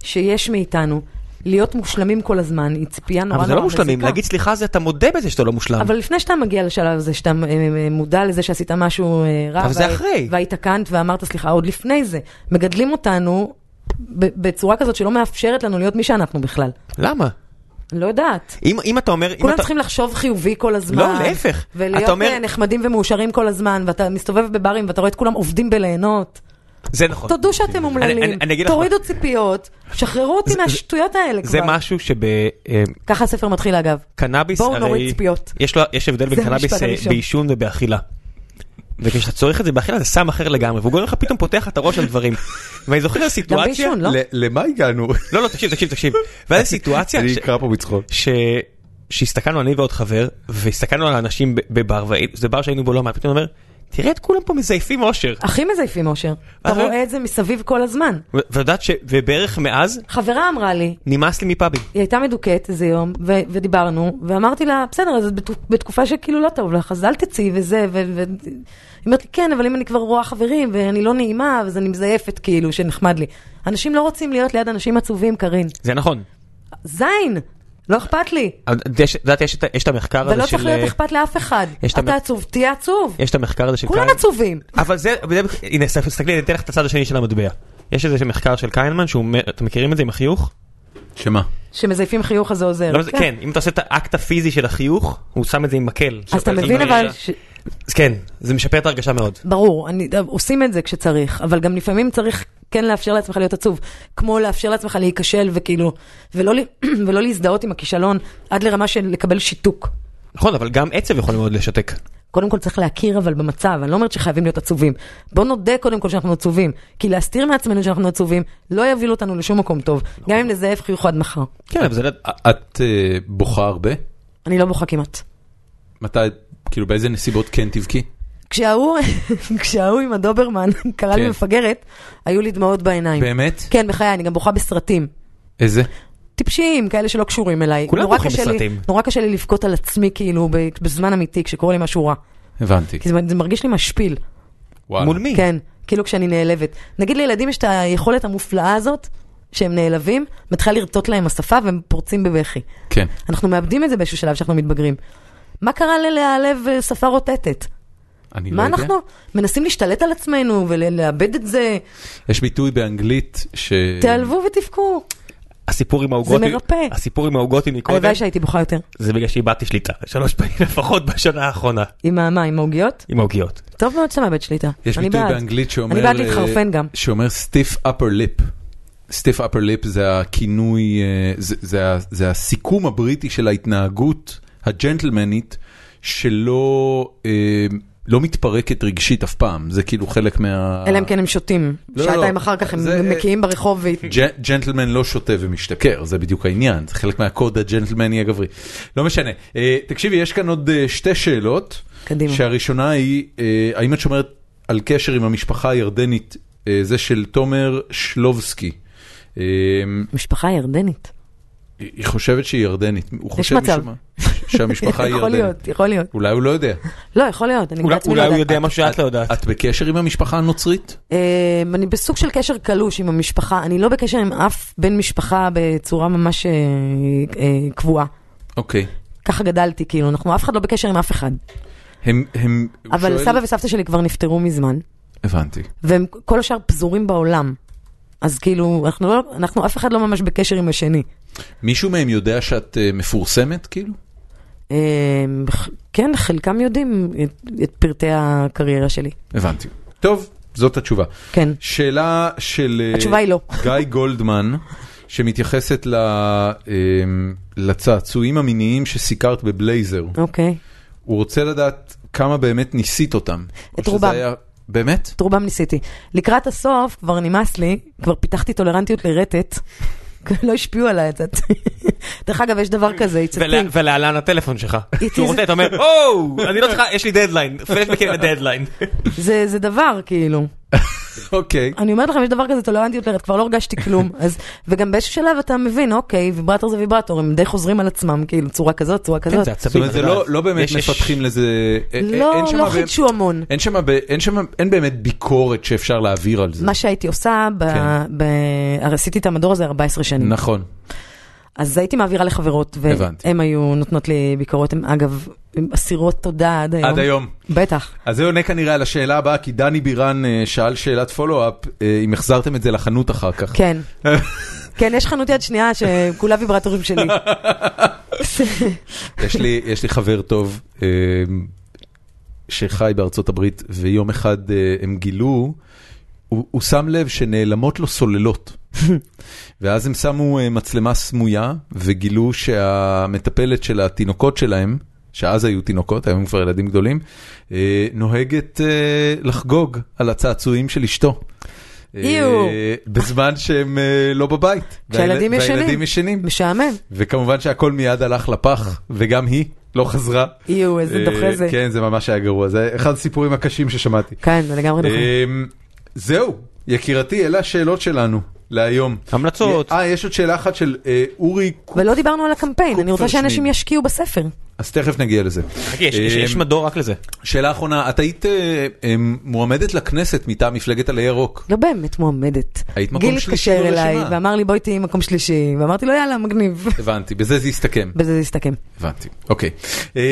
[SPEAKER 3] שיש מאיתנו להיות מושלמים כל הזמן, היא ציפייה נורא נורא
[SPEAKER 2] אבל זה
[SPEAKER 3] מזיקה.
[SPEAKER 2] לא מושלמים, להגיד סליחה זה אתה מודה בזה שאתה לא מושלם.
[SPEAKER 3] אבל לפני שאתה מגיע לשלב הזה, שאתה אה, אה, מודע לזה שעשית משהו אה, רע,
[SPEAKER 2] אבל זה
[SPEAKER 3] וה-
[SPEAKER 2] אחרי.
[SPEAKER 3] והיית קאנט ואמרת סליחה, עוד לפני זה. מגדלים אותנו ב- בצורה כזאת שלא מאפשרת לנו להיות מי שאנחנו בכלל.
[SPEAKER 2] למה?
[SPEAKER 3] אני לא יודעת.
[SPEAKER 2] אם אם אתה אומר... אם
[SPEAKER 3] כולם
[SPEAKER 2] אתה-
[SPEAKER 3] צריכים לחשוב חיובי כל הזמן.
[SPEAKER 2] לא, להפך.
[SPEAKER 3] ולהיות
[SPEAKER 2] אתה אומר-
[SPEAKER 3] אה, נחמדים ומאושרים כל הזמן, ואתה מסתובב בברים ואתה רואה את כולם עובדים בליהנות.
[SPEAKER 2] זה נכון.
[SPEAKER 3] תודו שאתם
[SPEAKER 2] אני-
[SPEAKER 3] אומללים,
[SPEAKER 2] אני אגיד לך
[SPEAKER 3] תורידו ציפיות, שחררו אותי מהשטויות האלה כבר.
[SPEAKER 2] זה משהו שבקנאביס,
[SPEAKER 3] ככה הספר מתחיל אגב. בואו נוריד
[SPEAKER 2] הרי...
[SPEAKER 3] ציפיות.
[SPEAKER 2] יש לו- יש הבדל בין
[SPEAKER 3] זה
[SPEAKER 2] קנאביס
[SPEAKER 3] המשפט
[SPEAKER 2] אה,
[SPEAKER 3] הראשון.
[SPEAKER 2] בעישון ובאכילה. וכשאתה צורך את זה באכילה זה סם אחר לגמרי, והוא גורם לך פתאום פותח את הראש על דברים. ואני זוכר סיטואציה...
[SPEAKER 3] בעישון, לא?
[SPEAKER 1] ל- למה הגענו?
[SPEAKER 2] לא, לא, תקשיב, תקשיב, תקשיב. ואז סיטואציה...
[SPEAKER 1] אני
[SPEAKER 2] ש-
[SPEAKER 1] אקרא פה בצחוק.
[SPEAKER 2] ש... שהסתכלנו אני ועוד חבר, והסתכלנו על האנשים ב- בבר, וזה בר שהיינו בו לא מעט, פתאום אומר, תראה את כולם פה מזייפים אושר.
[SPEAKER 3] הכי מזייפים אושר. אתה
[SPEAKER 2] אבל-
[SPEAKER 3] רואה את זה מסביב כל הזמן.
[SPEAKER 2] ו- ויודעת ש... ובערך מאז,
[SPEAKER 3] חברה אמרה לי,
[SPEAKER 2] נמאס לי מפאבים.
[SPEAKER 3] היא הייתה מדוכאת איזה יום, ו- ודיברנו, ואמרתי לה, בסדר, אז את בת- בתקופה שכאילו לא טוב לך, אז אל תצאי וזה, ו... ו- היא אומרת לי, כן, אבל אם אני כבר רואה חברים, ואני לא נעימה, אז אני מזייפת כאילו, שנחמד לי. אנשים לא רוצים להיות ליד אנשים עצובים, קארין.
[SPEAKER 2] זה נכון.
[SPEAKER 3] זין! לא אכפת לי.
[SPEAKER 2] אבל יש- את יודעת, יש את ה- יש את המחקר הזה של... אה,
[SPEAKER 3] ולא לא צריך להיות אכפת לאף אחד.
[SPEAKER 2] יש את המ-
[SPEAKER 3] אתה עצוב, תהיה עצוב.
[SPEAKER 2] יש את המחקר הזה של
[SPEAKER 3] כולם
[SPEAKER 2] קיינמן.
[SPEAKER 3] עצובים.
[SPEAKER 2] אבל זה, זה- הנה, ס- תסתכלי, אני אתן לך את הצד השני של המטבע. יש איזה מחקר של קיינמן, שהוא אומר, אתם מכירים את זה עם החיוך?
[SPEAKER 1] שמה?
[SPEAKER 3] שמזייפים חיוך אז זה עוזר.
[SPEAKER 2] לא, זה- כן, אם אתה עושה את האקט הפיזי של החיוך, הוא שם את זה עם מקל.
[SPEAKER 3] אז אתה
[SPEAKER 2] זה-
[SPEAKER 3] מבין
[SPEAKER 2] זה-
[SPEAKER 3] אבל, ש-
[SPEAKER 2] אז כן, זה משפר את ההרגשה מאוד.
[SPEAKER 3] ברור, אני, עושים את זה כשצריך, אבל גם לפעמים צריך כן לאפשר לעצמך להיות עצוב, כמו לאפשר לעצמך להיכשל וכאילו, ולא, ל- ולא להזדהות עם הכישלון עד לרמה של לקבל שיתוק.
[SPEAKER 2] נכון, אבל גם עצב יכול מאוד לשתק.
[SPEAKER 3] קודם כל צריך להכיר אבל במצב, אני לא אומרת שחייבים להיות עצובים. בוא נודה קודם כל שאנחנו עצובים, כי להסתיר מעצמנו שאנחנו עצובים לא יוביל אותנו לשום מקום טוב, גם אם נזייף חיוך עד מחר.
[SPEAKER 2] כן, אבל זה... לא-
[SPEAKER 1] את אה, בוכה הרבה?
[SPEAKER 3] אני לא בוכה כמעט.
[SPEAKER 1] מתי, כאילו באיזה נסיבות כן תבכי?
[SPEAKER 3] כשההוא, כשההוא עם הדוברמן קרא לי
[SPEAKER 1] כן.
[SPEAKER 3] מפגרת, היו לי דמעות בעיניים.
[SPEAKER 1] באמת?
[SPEAKER 3] כן, בחיי, אני גם בוכה בסרטים.
[SPEAKER 1] איזה?
[SPEAKER 3] טיפשיים, כאלה שלא קשורים אליי.
[SPEAKER 2] כולם
[SPEAKER 3] נורא
[SPEAKER 2] בוכים
[SPEAKER 3] קשה לי-
[SPEAKER 2] בסרטים.
[SPEAKER 3] נורא קשה לי לבכות על עצמי, כאילו, ב- בזמן אמיתי, כשקורה לי משהו רע.
[SPEAKER 1] הבנתי.
[SPEAKER 3] כי זה, זה מרגיש לי משפיל,
[SPEAKER 1] וואלה.
[SPEAKER 2] מול מי?
[SPEAKER 3] כן, כאילו כשאני נעלבת. נגיד לילדים יש את היכולת המופלאה הזאת, שהם נעלבים, מתחילה לרטוט להם השפה והם פורצים בבכי.
[SPEAKER 1] כן.
[SPEAKER 3] אנחנו מאבדים את זה באיזשהו שלב כשאנחנו מתבגרים. מה קרה ללהעלב אה, שפה רוטטת?
[SPEAKER 1] אני לא
[SPEAKER 3] מה
[SPEAKER 1] יודע.
[SPEAKER 3] אנחנו מנסים להשתלט על עצמנו ולאבד את זה?
[SPEAKER 2] אה.
[SPEAKER 1] יש ביטוי באנגלית ש...
[SPEAKER 3] תיעלבו ותבכו.
[SPEAKER 2] הסיפור עם העוגות...
[SPEAKER 3] זה מרפא.
[SPEAKER 2] הסיפור עם העוגות עם מקודם,
[SPEAKER 3] הלוואי שהייתי בוכה יותר.
[SPEAKER 2] זה בגלל שאיבדתי שליטה. שלוש פעמים לפחות בשנה האחרונה.
[SPEAKER 3] עם ה- מה, עם העוגיות?
[SPEAKER 2] עם העוגיות.
[SPEAKER 3] טוב מאוד שאתה מאבד שליטה.
[SPEAKER 1] יש
[SPEAKER 3] אני
[SPEAKER 1] ביטוי
[SPEAKER 3] בעד.
[SPEAKER 1] באנגלית שאומר...
[SPEAKER 3] אני בעד
[SPEAKER 1] אה,
[SPEAKER 3] להתחרפן גם.
[SPEAKER 1] שאומר stiff upper lip. stiff upper lip זה הכינוי, אה, זה- זה ה- זה הסיכום הבריטי של ההתנהגות הג'נטלמנית שלא אה, לא מתפרקת רגשית אף פעם. זה כאילו חלק מה...
[SPEAKER 3] אלא אם כן הם שותים.
[SPEAKER 1] לא, לא.
[SPEAKER 3] שעתיים אחר כך הם
[SPEAKER 1] זה-
[SPEAKER 3] מקיאים ברחוב. ו-
[SPEAKER 1] ג'- ג'נטלמן לא שותה ומשתכר, זה בדיוק העניין, זה חלק מהקוד הג'נטלמני הגברי. לא משנה. אה, תקשיבי, יש כאן עוד אה, שתי שאלות.
[SPEAKER 3] קדימה.
[SPEAKER 1] שהראשונה היא, אה, האם את שומרת על קשר עם המשפחה הירדנית, אה, זה של תומר שלובסקי. אה,
[SPEAKER 3] משפחה ירדנית.
[SPEAKER 1] היא היא חושבת שהיא ירדנית, הוא חושב
[SPEAKER 3] מצב.
[SPEAKER 1] משום מה שהמשפחה היא
[SPEAKER 3] יכול
[SPEAKER 1] ירדנית.
[SPEAKER 3] להיות, יכול להיות.
[SPEAKER 1] אולי הוא לא יודע.
[SPEAKER 3] לא, יכול להיות, אני
[SPEAKER 2] אולי-
[SPEAKER 3] בעצמי לא
[SPEAKER 2] אולי הוא
[SPEAKER 3] יודעת.
[SPEAKER 2] יודע משהו שאת לא יודעת.
[SPEAKER 1] את בקשר עם המשפחה הנוצרית?
[SPEAKER 3] אמ, אני בסוג של קשר קלוש עם המשפחה, אני לא בקשר עם אף בן משפחה בצורה ממש אה, אה, קבועה.
[SPEAKER 1] אוקיי.
[SPEAKER 3] ככה גדלתי, כאילו, אנחנו אף אחד לא בקשר עם אף אחד.
[SPEAKER 1] הם, הם, הוא
[SPEAKER 3] אבל
[SPEAKER 1] שואל-
[SPEAKER 3] סבא וסבתא שלי כבר נפטרו מזמן,
[SPEAKER 1] הבנתי.
[SPEAKER 3] והם כל השאר פזורים בעולם. אז כאילו, אנחנו לא, אנחנו אף אחד לא ממש בקשר עם השני.
[SPEAKER 1] מישהו מהם יודע שאת אה, מפורסמת, כאילו?
[SPEAKER 3] אה, בח- כן, חלקם יודעים את, את פרטי הקריירה שלי.
[SPEAKER 1] הבנתי. טוב, זאת התשובה.
[SPEAKER 3] כן.
[SPEAKER 1] שאלה של אה,
[SPEAKER 3] התשובה היא לא.
[SPEAKER 1] גיא גולדמן, שמתייחסת ל, אמ, לצעצועים המיניים שסיקרת בבלייזר.
[SPEAKER 3] אוקיי.
[SPEAKER 1] הוא רוצה לדעת כמה באמת ניסית אותם. או
[SPEAKER 3] את
[SPEAKER 1] שזה
[SPEAKER 3] רובם.
[SPEAKER 1] היה- באמת?
[SPEAKER 3] את רובם ניסיתי. לקראת הסוף כבר נמאס לי, כבר פיתחתי טולרנטיות לרטט. לא השפיעו עליי את זה. דרך אגב, יש דבר כזה, it's a
[SPEAKER 2] ולה-
[SPEAKER 3] thing.
[SPEAKER 2] ולהלן הטלפון שלך.
[SPEAKER 3] It
[SPEAKER 2] שהוא
[SPEAKER 3] is-
[SPEAKER 2] רוצה, אתה אומר, או, אני לא צריכה, יש לי דדליין. פלשבקים לדדליין.
[SPEAKER 3] זה זה דבר, כאילו.
[SPEAKER 1] אוקיי.
[SPEAKER 3] אני אומרת לכם, יש דבר כזה טולרנטיות לרטט, כבר לא הרגשתי כלום. אז, וגם באיזשהו שלב אתה מבין, אוקיי, ויברטור זה ויברטור, הם די חוזרים על עצמם, כאילו, צורה כזאת, צורה
[SPEAKER 2] כן,
[SPEAKER 3] כזאת.
[SPEAKER 2] זה
[SPEAKER 1] זאת
[SPEAKER 2] עצבים.
[SPEAKER 1] אומרת, זה
[SPEAKER 2] אתה
[SPEAKER 1] לא-
[SPEAKER 2] יודע.
[SPEAKER 1] לא באמת
[SPEAKER 2] יש- יש-
[SPEAKER 1] מפתחים לזה... אה, אה,
[SPEAKER 3] לא,
[SPEAKER 1] אין אה. שמה
[SPEAKER 3] לא
[SPEAKER 1] באמת-
[SPEAKER 3] חידשו המון.
[SPEAKER 1] אין שם, אין שם, אין באמת ביקורת שאפשר להעביר על זה.
[SPEAKER 3] מה שהייתי עושה, ב-
[SPEAKER 1] כן.
[SPEAKER 3] ב- הרי עשיתי את המדור הזה 14 שנים.
[SPEAKER 1] נכון.
[SPEAKER 3] אז הייתי מעבירה לחברות,
[SPEAKER 1] הבנתי.
[SPEAKER 3] והן היו נותנות לי ביקורות, הן אגב, הן אסירות תודה עד היום.
[SPEAKER 1] עד היום.
[SPEAKER 3] בטח.
[SPEAKER 1] אז זה עונה כנראה על השאלה הבאה, כי דני בירן אה, שאל שאלת פולו-אפ, אה, אם החזרתם את זה לחנות אחר כך.
[SPEAKER 3] כן. כן, יש חנות יד שנייה שכולה ויברטורים שלי.
[SPEAKER 1] יש לי, יש לי חבר טוב אה, שחי בארצות הברית, ויום אחד אה, הם גילו, הוא, הוא שם לב שנעלמות לו סוללות. ואז הם שמו אה, מצלמה סמויה, וגילו שהמטפלת של התינוקות שלהם, שאז היו תינוקות, היום הם כבר ילדים גדולים, אה, נוהגת אה, לחגוג על הצעצועים של אשתו. אה,
[SPEAKER 3] איו.
[SPEAKER 1] בזמן שהם אה, לא בבית.
[SPEAKER 3] כשהילדים
[SPEAKER 1] והילד-
[SPEAKER 3] ישנים.
[SPEAKER 1] והילדים ישנים.
[SPEAKER 3] משעמם.
[SPEAKER 1] וכמובן שהכל מיד הלך לפח, וגם היא לא חזרה.
[SPEAKER 3] יואו, איזה
[SPEAKER 1] אה,
[SPEAKER 3] דוחה זה.
[SPEAKER 1] כן, זה ממש היה גרוע, זה אחד הסיפורים הקשים ששמעתי.
[SPEAKER 3] כן, זה לגמרי נכון.
[SPEAKER 1] אמ, זהו, יקירתי, אלה השאלות שלנו להיום.
[SPEAKER 2] המלצות.
[SPEAKER 1] אה, יש עוד שאלה אחת של אה, אורי, קו-
[SPEAKER 3] ולא דיברנו על הקמפיין, אני רוצה
[SPEAKER 1] קופרשמיד.
[SPEAKER 3] שאנשים ישקיעו בספר.
[SPEAKER 1] אז תכף נגיע לזה.
[SPEAKER 2] חכה, יש- יש- יש
[SPEAKER 1] אמ,
[SPEAKER 2] מדור רק לזה.
[SPEAKER 1] שאלה אחרונה, את היית אה, אמ, מועמדת לכנסת מטעם מפלגת עלי ירוק.
[SPEAKER 3] לא באמת מועמדת.
[SPEAKER 1] היית מקום
[SPEAKER 3] גיל
[SPEAKER 1] שלישי
[SPEAKER 3] התקשר
[SPEAKER 1] ברשימה.
[SPEAKER 3] אליי ואמר לי, בואי תהיי מקום שלישי, ואמרתי לו, יאללה, מגניב.
[SPEAKER 1] הבנתי, בזה זה הסתכם.
[SPEAKER 3] בזה זה הסתכם.
[SPEAKER 1] הבנתי, אוקיי. אמ,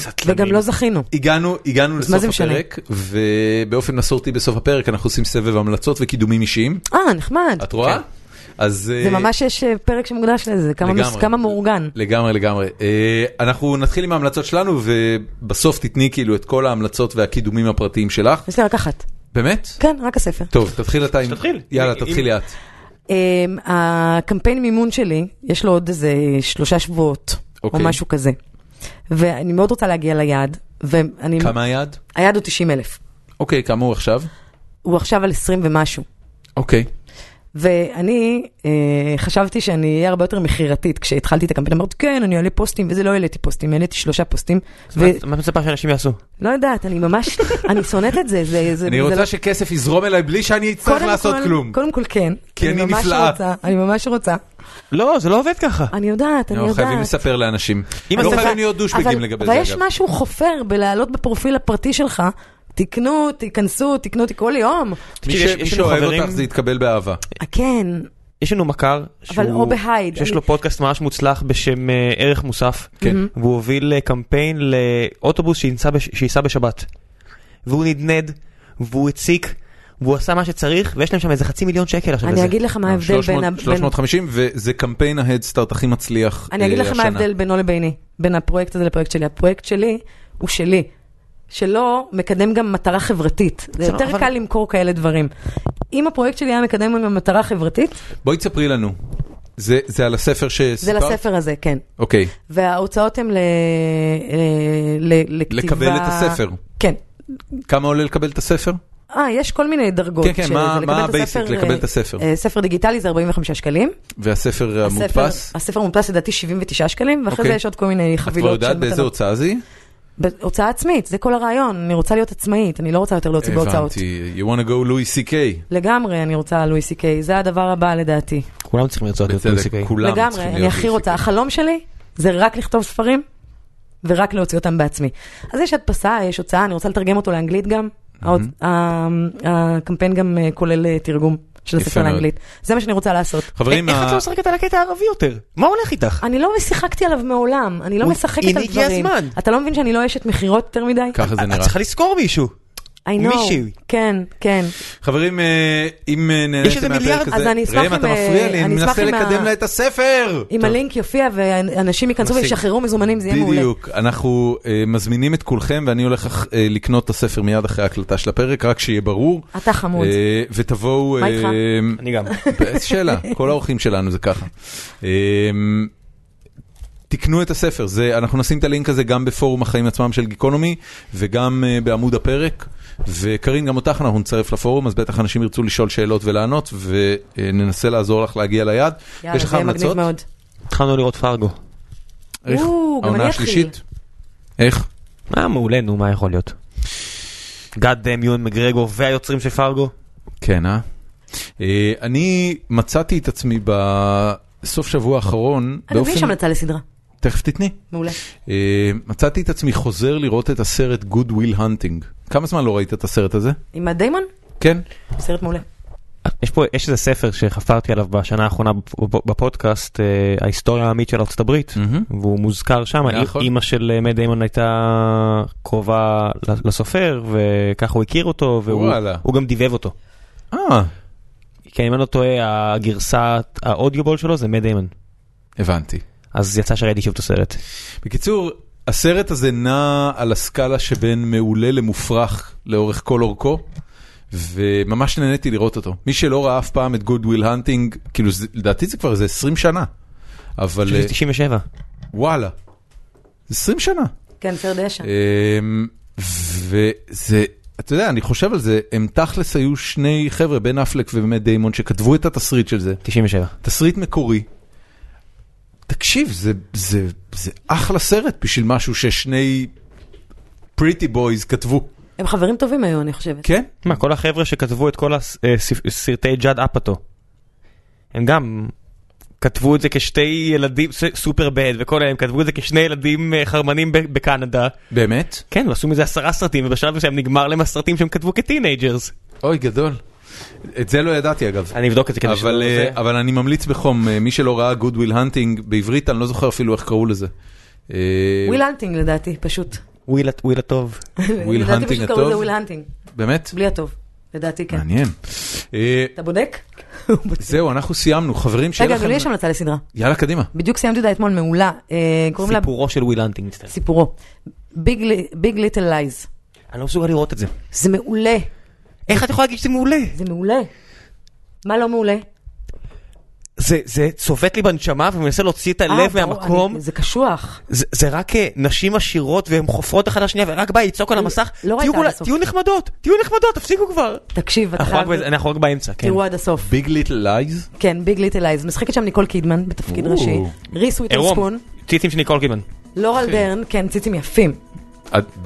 [SPEAKER 2] סטלנים.
[SPEAKER 3] וגם לא זכינו.
[SPEAKER 1] הגענו, הגענו
[SPEAKER 3] אז מה זה
[SPEAKER 1] לסוף
[SPEAKER 3] משנה?
[SPEAKER 1] הפרק, ובאופן מסורתי בסוף הפרק אנחנו עושים סבב המלצות וקידומים אישיים.
[SPEAKER 3] אה, נחמד.
[SPEAKER 1] את רואה?
[SPEAKER 2] כן.
[SPEAKER 1] אז...
[SPEAKER 3] זה
[SPEAKER 1] אה,
[SPEAKER 3] ממש יש אה, פרק שמוקדש לזה, כמה
[SPEAKER 1] לגמרי.
[SPEAKER 3] מס- כמה מאורגן.
[SPEAKER 1] לגמרי, לגמרי. אה, אנחנו נתחיל עם ההמלצות שלנו, ובסוף תתני כאילו את כל ההמלצות והקידומים הפרטיים שלך.
[SPEAKER 3] יש לי רק אחת.
[SPEAKER 1] באמת?
[SPEAKER 3] כן, רק הספר.
[SPEAKER 1] טוב, תתחיל אתה עם...
[SPEAKER 2] שתתחיל.
[SPEAKER 1] יאללה,
[SPEAKER 2] אם-
[SPEAKER 1] תתחילי את.
[SPEAKER 3] אמ, הקמפיין מימון שלי, יש לו עוד איזה שלושה שבועות, או
[SPEAKER 1] אוקיי.
[SPEAKER 3] משהו כזה. ואני מאוד רוצה להגיע ליעד, ואני...
[SPEAKER 1] כמה היעד?
[SPEAKER 3] היעד הוא 90 אלף.
[SPEAKER 1] אוקיי, כמה הוא עכשיו?
[SPEAKER 3] הוא עכשיו על 20 ומשהו.
[SPEAKER 1] אוקיי.
[SPEAKER 3] ואני אה, חשבתי שאני אהיה הרבה יותר מכירתית. כשהתחלתי את הקמפיין אמרתי, כן, אני אעלה פוסטים, וזה לא העליתי פוסטים, העליתי שלושה פוסטים.
[SPEAKER 2] מה מה את מצפה שאנשים יעשו?
[SPEAKER 3] ולא יודעת, אני ממש, אני שונאת את זה. זה, זה
[SPEAKER 1] אני
[SPEAKER 3] זה
[SPEAKER 1] רוצה
[SPEAKER 3] לא-
[SPEAKER 1] שכסף יזרום אליי בלי שאני אצטרך
[SPEAKER 3] קודם
[SPEAKER 1] לעשות
[SPEAKER 3] כל-
[SPEAKER 1] כלום.
[SPEAKER 3] קודם כל כן.
[SPEAKER 1] כי אני
[SPEAKER 3] ממש
[SPEAKER 1] נפלאה.
[SPEAKER 3] רוצה, אני ממש רוצה.
[SPEAKER 2] לא, זה לא עובד ככה.
[SPEAKER 3] אני יודעת, אני
[SPEAKER 1] לא,
[SPEAKER 3] יודעת.
[SPEAKER 1] חייבים לספר לאנשים.
[SPEAKER 2] אם
[SPEAKER 1] לא
[SPEAKER 2] הספר-
[SPEAKER 1] חייבים להיות דושבגים לגבי זה,
[SPEAKER 3] אבל
[SPEAKER 1] אגב.
[SPEAKER 3] יש משהו חופר בלהעלות בפרופיל הפרטי שלך, תקנו, תיכנסו, תקנו אותי כל יום.
[SPEAKER 1] מי
[SPEAKER 2] תקשיב,
[SPEAKER 1] ש-
[SPEAKER 2] יש-
[SPEAKER 1] מי
[SPEAKER 2] יש לנו
[SPEAKER 1] שאוהב
[SPEAKER 2] חברים-
[SPEAKER 1] אותך זה יתקבל באהבה.
[SPEAKER 3] אה, כן,
[SPEAKER 2] יש לנו מכר, שהוא-
[SPEAKER 3] או בהייד.
[SPEAKER 2] שיש
[SPEAKER 3] אני-
[SPEAKER 2] לו פודקאסט ממש מוצלח בשם אה, ערך מוסף,
[SPEAKER 1] כן.
[SPEAKER 2] והוא הוביל אה, קמפיין לאוטובוס שייסע בש- שייסע בשבת. והוא נדנד, והוא הציק, והוא עשה מה שצריך, ויש להם שם איזה חצי מיליון שקל עכשיו
[SPEAKER 3] אני
[SPEAKER 2] לזה.
[SPEAKER 3] אגיד לך מה ההבדל
[SPEAKER 1] 300
[SPEAKER 3] בין... ה- בין-
[SPEAKER 1] 350 וזה קמפיין ההדסטארט הכי מצליח
[SPEAKER 3] אני אגיד
[SPEAKER 1] אה,
[SPEAKER 3] לך מה
[SPEAKER 1] השנה.
[SPEAKER 3] ההבדל בינו לביני, בין הפרויקט הזה לפרויקט שלי. הפרויקט שלי הוא שלי. שלא מקדם גם מטרה חברתית. זה
[SPEAKER 2] בסדר,
[SPEAKER 3] יותר
[SPEAKER 2] אבל-
[SPEAKER 3] קל למכור כאלה דברים. אם הפרויקט שלי היה מקדם גם מטרה חברתית,
[SPEAKER 1] בואי תספרי לנו. זה זה על הספר שסיפרת?
[SPEAKER 3] זה לספר הזה, כן.
[SPEAKER 1] אוקיי.
[SPEAKER 3] וההוצאות הן ל- אה, ל- לכתיבה...
[SPEAKER 1] לקבל את הספר.
[SPEAKER 3] כן.
[SPEAKER 1] כמה עולה לקבל את הספר?
[SPEAKER 3] אה, יש כל מיני דרגות.
[SPEAKER 1] כן, כן,
[SPEAKER 3] של
[SPEAKER 1] מה-
[SPEAKER 3] זה. לקבל
[SPEAKER 1] מה
[SPEAKER 3] את הספר,
[SPEAKER 1] ה-basic? לקבל
[SPEAKER 3] אה,
[SPEAKER 1] את הספר.
[SPEAKER 3] אה, ספר דיגיטלי זה 45 שקלים.
[SPEAKER 1] והספר המודפס?
[SPEAKER 3] הספר- הספר המודפס לדעתי 79 שקלים, ואחרי
[SPEAKER 1] אוקיי.
[SPEAKER 3] זה יש עוד כל מיני
[SPEAKER 1] את כבר
[SPEAKER 3] חבילות של
[SPEAKER 1] יודעת באיזה
[SPEAKER 3] מתנות.
[SPEAKER 1] הוצאה זה?
[SPEAKER 3] בהוצאה עצמית, זה כל הרעיון, אני רוצה להיות עצמאית, אני לא רוצה יותר להוציא בהוצאות.
[SPEAKER 1] הבנתי. You want to go Louis C.K.
[SPEAKER 3] לגמרי אני רוצה לואי סי קיי, זה הדבר הבא לדעתי.
[SPEAKER 2] כולם צריכים לרצות להיות
[SPEAKER 1] בצדק,
[SPEAKER 2] פוליסיקאים.
[SPEAKER 1] כולם
[SPEAKER 3] לגמרי,
[SPEAKER 1] צריכים
[SPEAKER 3] אני
[SPEAKER 1] להיות
[SPEAKER 3] הכי
[SPEAKER 1] Louis
[SPEAKER 3] רוצה.
[SPEAKER 1] CK.
[SPEAKER 3] החלום שלי זה רק לכתוב ספרים ורק להוציא אותם בעצמי. אז יש הדפסה, יש הוצאה, אני רוצה לתרגם אותו לאנגלית גם. האות- ה- הקמפיין גם אה, כולל אה, תרגום של
[SPEAKER 1] יפה
[SPEAKER 3] הספר
[SPEAKER 1] מאוד.
[SPEAKER 3] לאנגלית. זה מה שאני רוצה לעשות.
[SPEAKER 1] חברים,
[SPEAKER 2] איך
[SPEAKER 1] ה-
[SPEAKER 2] את לא משחקת על הקטע הערבי יותר? מה הולך איתך?
[SPEAKER 3] אני לא משחקתי עליו מעולם, אני לא
[SPEAKER 2] הוא-
[SPEAKER 3] משחקת על
[SPEAKER 2] הנה,
[SPEAKER 3] דברים.
[SPEAKER 2] הגיע הזמן.
[SPEAKER 3] אתה לא מבין שאני לא אשת מכירות יותר מדי?
[SPEAKER 1] ככה זה
[SPEAKER 2] אה, את
[SPEAKER 1] נראה.
[SPEAKER 2] צריכה לזכור מישהו.
[SPEAKER 3] I know.
[SPEAKER 2] מישהי.
[SPEAKER 3] כן, כן.
[SPEAKER 1] חברים, אה, אם אה,
[SPEAKER 2] יש איזה
[SPEAKER 1] נהניתם מהפרק
[SPEAKER 2] מיליארד,
[SPEAKER 1] הזה,
[SPEAKER 3] אז אני אשמח
[SPEAKER 1] ראם,
[SPEAKER 3] אם,
[SPEAKER 1] אתה
[SPEAKER 3] אה,
[SPEAKER 1] מפריע לי, אני
[SPEAKER 3] אני אשמח
[SPEAKER 1] מנסה
[SPEAKER 3] אם ה-
[SPEAKER 1] לקדם לה את הספר.
[SPEAKER 3] אם הלינק יופיע ואנשים ייכנסו
[SPEAKER 1] נשיג.
[SPEAKER 3] וישחררו מזומנים, זה יהיה מעולה.
[SPEAKER 1] בדיוק, אנחנו אה, מזמינים את כולכם ואני הולך אה, לקנות את הספר מיד אחרי ההקלטה של הפרק, רק שיהיה ברור.
[SPEAKER 3] אתה חמוד.
[SPEAKER 1] אה, ותבואו...
[SPEAKER 3] מה
[SPEAKER 1] אה,
[SPEAKER 3] איתך?
[SPEAKER 2] אני גם.
[SPEAKER 1] איזה שאלה, כל האורחים שלנו זה ככה. אה, תקנו את הספר, זה, אנחנו נשים את הלינק הזה גם בפורום החיים עצמם של גיקונומי וגם אה, בעמוד הפרק. וקרין, גם אותך אנחנו נצרף לפורום, אז בטח אנשים ירצו לשאול שאלות ולענות, וננסה לעזור לך להגיע ליעד.
[SPEAKER 3] יאללה,
[SPEAKER 1] יש לך
[SPEAKER 3] זה יהיה מגניב
[SPEAKER 1] המלצות?
[SPEAKER 3] מאוד.
[SPEAKER 2] התחלנו לראות פרגו.
[SPEAKER 1] איך?
[SPEAKER 3] או, גם
[SPEAKER 1] העונה
[SPEAKER 3] אני אתחיל.
[SPEAKER 1] השלישית? איך?
[SPEAKER 2] אה, מעולה, נו, מה יכול להיות? גאד דאם יואן מגרגו והיוצרים של פרגו.
[SPEAKER 1] כן, אה? אה, אני מצאתי את עצמי בסוף שבוע האחרון,
[SPEAKER 3] אני מבין שם יצא לסדרה.
[SPEAKER 1] תכף תתני.
[SPEAKER 3] מעולה.
[SPEAKER 1] אה, מצאתי את עצמי חוזר לראות את הסרט Good Will Hunting. כמה זמן לא ראית את הסרט הזה?
[SPEAKER 3] עם מאט דיימון?
[SPEAKER 1] כן.
[SPEAKER 3] סרט מעולה.
[SPEAKER 2] יש פה, יש איזה ספר שחפרתי עליו בשנה האחרונה בפ- בפודקאסט, אה, ההיסטוריה העמית של ארצות הברית,
[SPEAKER 1] מהמם.
[SPEAKER 2] והוא מוזכר שם,
[SPEAKER 1] נכון.
[SPEAKER 2] אימא של אה, מאט דיימון הייתה קרובה לסופר, וככה הוא הכיר אותו, והוא
[SPEAKER 1] וואלה.
[SPEAKER 2] הוא גם דיבב אותו.
[SPEAKER 1] אה,
[SPEAKER 2] כן, אם אני לא טועה, הגרסת האודיובול שלו זה מאט דיימון.
[SPEAKER 1] הבנתי.
[SPEAKER 2] אז יצא שראיתי שוב את הסרט.
[SPEAKER 1] בקיצור, הסרט הזה נע על הסקאלה שבין מעולה למופרך לאורך כל אורכו, וממש נהניתי לראות אותו. מי שלא ראה אף פעם את Good Will Hunting, כאילו זה- לדעתי זה כבר איזה 20 שנה, אבל
[SPEAKER 2] זה
[SPEAKER 1] אה,
[SPEAKER 2] 97.
[SPEAKER 1] וואלה, 20 שנה.
[SPEAKER 3] כן, סרט די ישן.
[SPEAKER 1] אמ, וזה, אתה יודע, אני חושב על זה, הם תכלס היו שני חבר'ה, בן אפלק ובאמת דיימון, שכתבו את התסריט של זה,
[SPEAKER 2] 97.
[SPEAKER 1] תסריט מקורי. תקשיב, זה, זה, זה אחלה סרט בשביל משהו ששני פריטי בויז כתבו,
[SPEAKER 3] הם חברים טובים היו, אני חושבת.
[SPEAKER 1] כן?
[SPEAKER 2] מה, כל החבר'ה שכתבו את כל הסרטי ג'אד אפאטו, הם גם כתבו את זה כשתי ילדים, ס- סופר בד וכל הם כתבו את זה כשני ילדים אה, חרמנים ב- בקנדה.
[SPEAKER 1] באמת?
[SPEAKER 2] כן, ועשו מזה עשרה סרטים, ובשלב מסוים נגמר להם הסרטים שהם כתבו כטינג'רס.
[SPEAKER 1] אוי, גדול. את זה לא ידעתי אגב.
[SPEAKER 2] אני אבדוק את זה כדי
[SPEAKER 1] אבל,
[SPEAKER 2] שזה-
[SPEAKER 1] אה, אבל אני ממליץ בחום, אה, מי שלא ראה Good Will Hunting, בעברית אני לא זוכר אפילו איך קראו לזה. אה,
[SPEAKER 3] וויל הנטינג לדעתי, פשוט.
[SPEAKER 2] וויל וויל הטוב.
[SPEAKER 1] וויל
[SPEAKER 3] לדעתי
[SPEAKER 1] הנטינג
[SPEAKER 3] פשוט קראו לזה
[SPEAKER 1] הטוב?
[SPEAKER 3] וויל הנטינג.
[SPEAKER 1] באמת?
[SPEAKER 3] בלי הטוב. לדעתי כן.
[SPEAKER 1] מעניין. אה,
[SPEAKER 3] אתה בודק? הוא בודק.
[SPEAKER 1] זהו, אנחנו סיימנו. חברים, שיהיה
[SPEAKER 3] רגע, אבל לי יש
[SPEAKER 1] לכם...
[SPEAKER 3] המלצה לסדרה.
[SPEAKER 1] יאללה, קדימה.
[SPEAKER 3] בדיוק סיימתי אותה אתמול, מעולה. אה, קוראים לה...
[SPEAKER 2] סיפורו של וויל הנטינג, מצטער.
[SPEAKER 3] סיפורו. ביג ליטל לייז.
[SPEAKER 2] אני לא מסוגל לראות את זה.
[SPEAKER 3] זה מעולה.
[SPEAKER 2] איך את יכולה להגיד שזה מעולה?
[SPEAKER 3] זה מעולה. מה לא מעולה?
[SPEAKER 2] זה- זה צובט לי בנשמה ומנסה להוציא את
[SPEAKER 3] אה,
[SPEAKER 2] הלב
[SPEAKER 3] ברור,
[SPEAKER 2] מהמקום.
[SPEAKER 3] אני- זה קשוח.
[SPEAKER 2] זה זה רק אה, נשים עשירות והן חופרות אחת לשנייה ורק בא לצעוק על המסך,
[SPEAKER 3] לא ראית
[SPEAKER 2] תהיו
[SPEAKER 3] עד
[SPEAKER 2] כולה-
[SPEAKER 3] הסוף. אה,
[SPEAKER 2] תהיו נחמדות, תהיו נחמדות, תפסיקו כבר.
[SPEAKER 3] תקשיב, אתה
[SPEAKER 2] אנחנו רק
[SPEAKER 3] חייב...
[SPEAKER 2] בזה- אנחנו רק באמצע, כן.
[SPEAKER 3] תראו עד הסוף.
[SPEAKER 1] ביג ליטל לייז.
[SPEAKER 3] כן, ביג ליטל אייז. משחקת שם ניקול קידמן בתפקיד
[SPEAKER 1] או.
[SPEAKER 3] ראשי. ריס וויטרספון.
[SPEAKER 2] עירום, ציצים של ניקול קידמן.
[SPEAKER 3] לורל דרן, כן, ציצים יפים.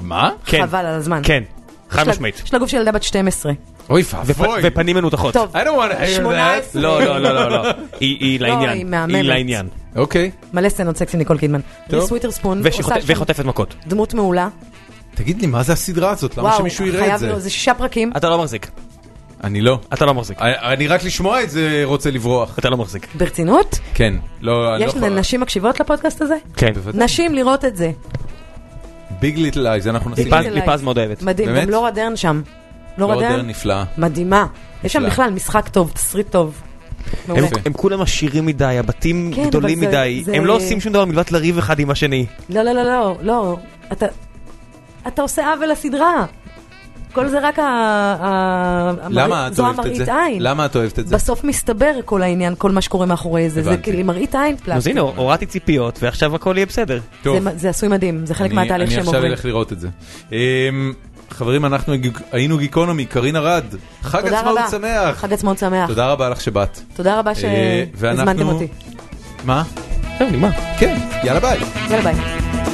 [SPEAKER 1] מה?
[SPEAKER 2] כן.
[SPEAKER 3] חבל על הזמן.
[SPEAKER 2] כן, חד
[SPEAKER 3] יש לה-
[SPEAKER 2] משמעית.
[SPEAKER 3] יש לה גוף של ילדה בת 12.
[SPEAKER 1] אוי
[SPEAKER 2] ופ-
[SPEAKER 1] ואבוי.
[SPEAKER 2] ופנים מנותחות.
[SPEAKER 3] טוב,
[SPEAKER 1] I don't want to hear that.
[SPEAKER 3] 18.
[SPEAKER 2] לא, לא, לא, לא, לא. היא- היא
[SPEAKER 3] לא,
[SPEAKER 2] לעניין.
[SPEAKER 3] היא מהממת.
[SPEAKER 2] היא לעניין.
[SPEAKER 1] אוקיי.
[SPEAKER 3] מלא סצנות סקסי עם ניקול קידמן.
[SPEAKER 1] טוב.
[SPEAKER 3] ריס וויטרספון
[SPEAKER 2] ושחוט-
[SPEAKER 3] עושה שם
[SPEAKER 2] וחוטפת מכות.
[SPEAKER 3] דמות מעולה.
[SPEAKER 1] תגיד לי, מה זה הסדרה הזאת? למה
[SPEAKER 3] וואו,
[SPEAKER 1] שמישהו יראה את
[SPEAKER 3] חייב
[SPEAKER 1] זה?
[SPEAKER 3] לו, זה שישה פרקים.
[SPEAKER 2] אתה לא מחזיק.
[SPEAKER 1] אני לא.
[SPEAKER 2] אתה לא מחזיק.
[SPEAKER 1] אני רק לשמוע את זה רוצה לברוח.
[SPEAKER 2] אתה לא מחזיק.
[SPEAKER 3] ברצינות?
[SPEAKER 1] כן. לא, אני לא
[SPEAKER 3] יש
[SPEAKER 1] יכול.
[SPEAKER 3] נשים מקשיבות לפודקאסט הזה?
[SPEAKER 2] כן.
[SPEAKER 1] בוודאי.
[SPEAKER 3] נשים לראות את זה.
[SPEAKER 1] ביג ליטל לייז, אנחנו נשים...
[SPEAKER 3] ליטל
[SPEAKER 2] ליפז-
[SPEAKER 1] את
[SPEAKER 3] לייז.
[SPEAKER 1] זה.
[SPEAKER 2] ליפז מאוד אוהבת.
[SPEAKER 3] מדהים,
[SPEAKER 1] באמת?
[SPEAKER 3] גם לורה דרן שם. לורה
[SPEAKER 1] לא דרך
[SPEAKER 3] דרן?
[SPEAKER 1] נפלאה.
[SPEAKER 3] מדהימה. יש שם
[SPEAKER 1] נפלא.
[SPEAKER 3] בכלל משחק טוב, תסריט טוב. מעולה.
[SPEAKER 1] יפה.
[SPEAKER 2] הם כולם עשירים מדי, הבתים
[SPEAKER 3] כן, אבל
[SPEAKER 2] גדולים
[SPEAKER 3] זה-
[SPEAKER 2] מדי,
[SPEAKER 3] זה-
[SPEAKER 2] הם לא עושים שום דבר מלבד לריב אחד עם השני.
[SPEAKER 3] לא, לא, לא, לא, לא. אתה- אתה עושה עוול לסדרה. כל זה רק ה... ה-
[SPEAKER 1] למה
[SPEAKER 3] המראית-
[SPEAKER 1] את
[SPEAKER 3] זו
[SPEAKER 1] אוהבת את
[SPEAKER 3] המראית
[SPEAKER 1] זה?
[SPEAKER 3] עין.
[SPEAKER 1] למה את אוהבת את זה?
[SPEAKER 3] בסוף מסתבר כל העניין, כל מה שקורה מאחורי זה. זה
[SPEAKER 1] הבנתי.
[SPEAKER 3] כאילו מראית עין
[SPEAKER 2] אז
[SPEAKER 3] פלסטיק.
[SPEAKER 2] הנה, הורדתי ציפיות ועכשיו הכל יהיה בסדר.
[SPEAKER 1] טוב.
[SPEAKER 3] זה- זה עשוי מדהים, זה חלק
[SPEAKER 1] אני-
[SPEAKER 3] מהתהליך שהם
[SPEAKER 1] אני עכשיו
[SPEAKER 3] עוברים.
[SPEAKER 1] אלך לראות את זה. אמ, חברים, אנחנו הגיק- היינו גיקונומי, קרין ארד. חג
[SPEAKER 3] תודה
[SPEAKER 1] עצמאות
[SPEAKER 3] רבה.
[SPEAKER 1] שמח.
[SPEAKER 3] חג עצמאות שמח.
[SPEAKER 1] תודה רבה לך שבאת.
[SPEAKER 3] תודה רבה
[SPEAKER 1] אה, ואנחנו-
[SPEAKER 3] שהזמנתם אותי.
[SPEAKER 1] מה?
[SPEAKER 2] זהו, נגמר.
[SPEAKER 1] כן, יאללה ביי.
[SPEAKER 3] יאללה ביי.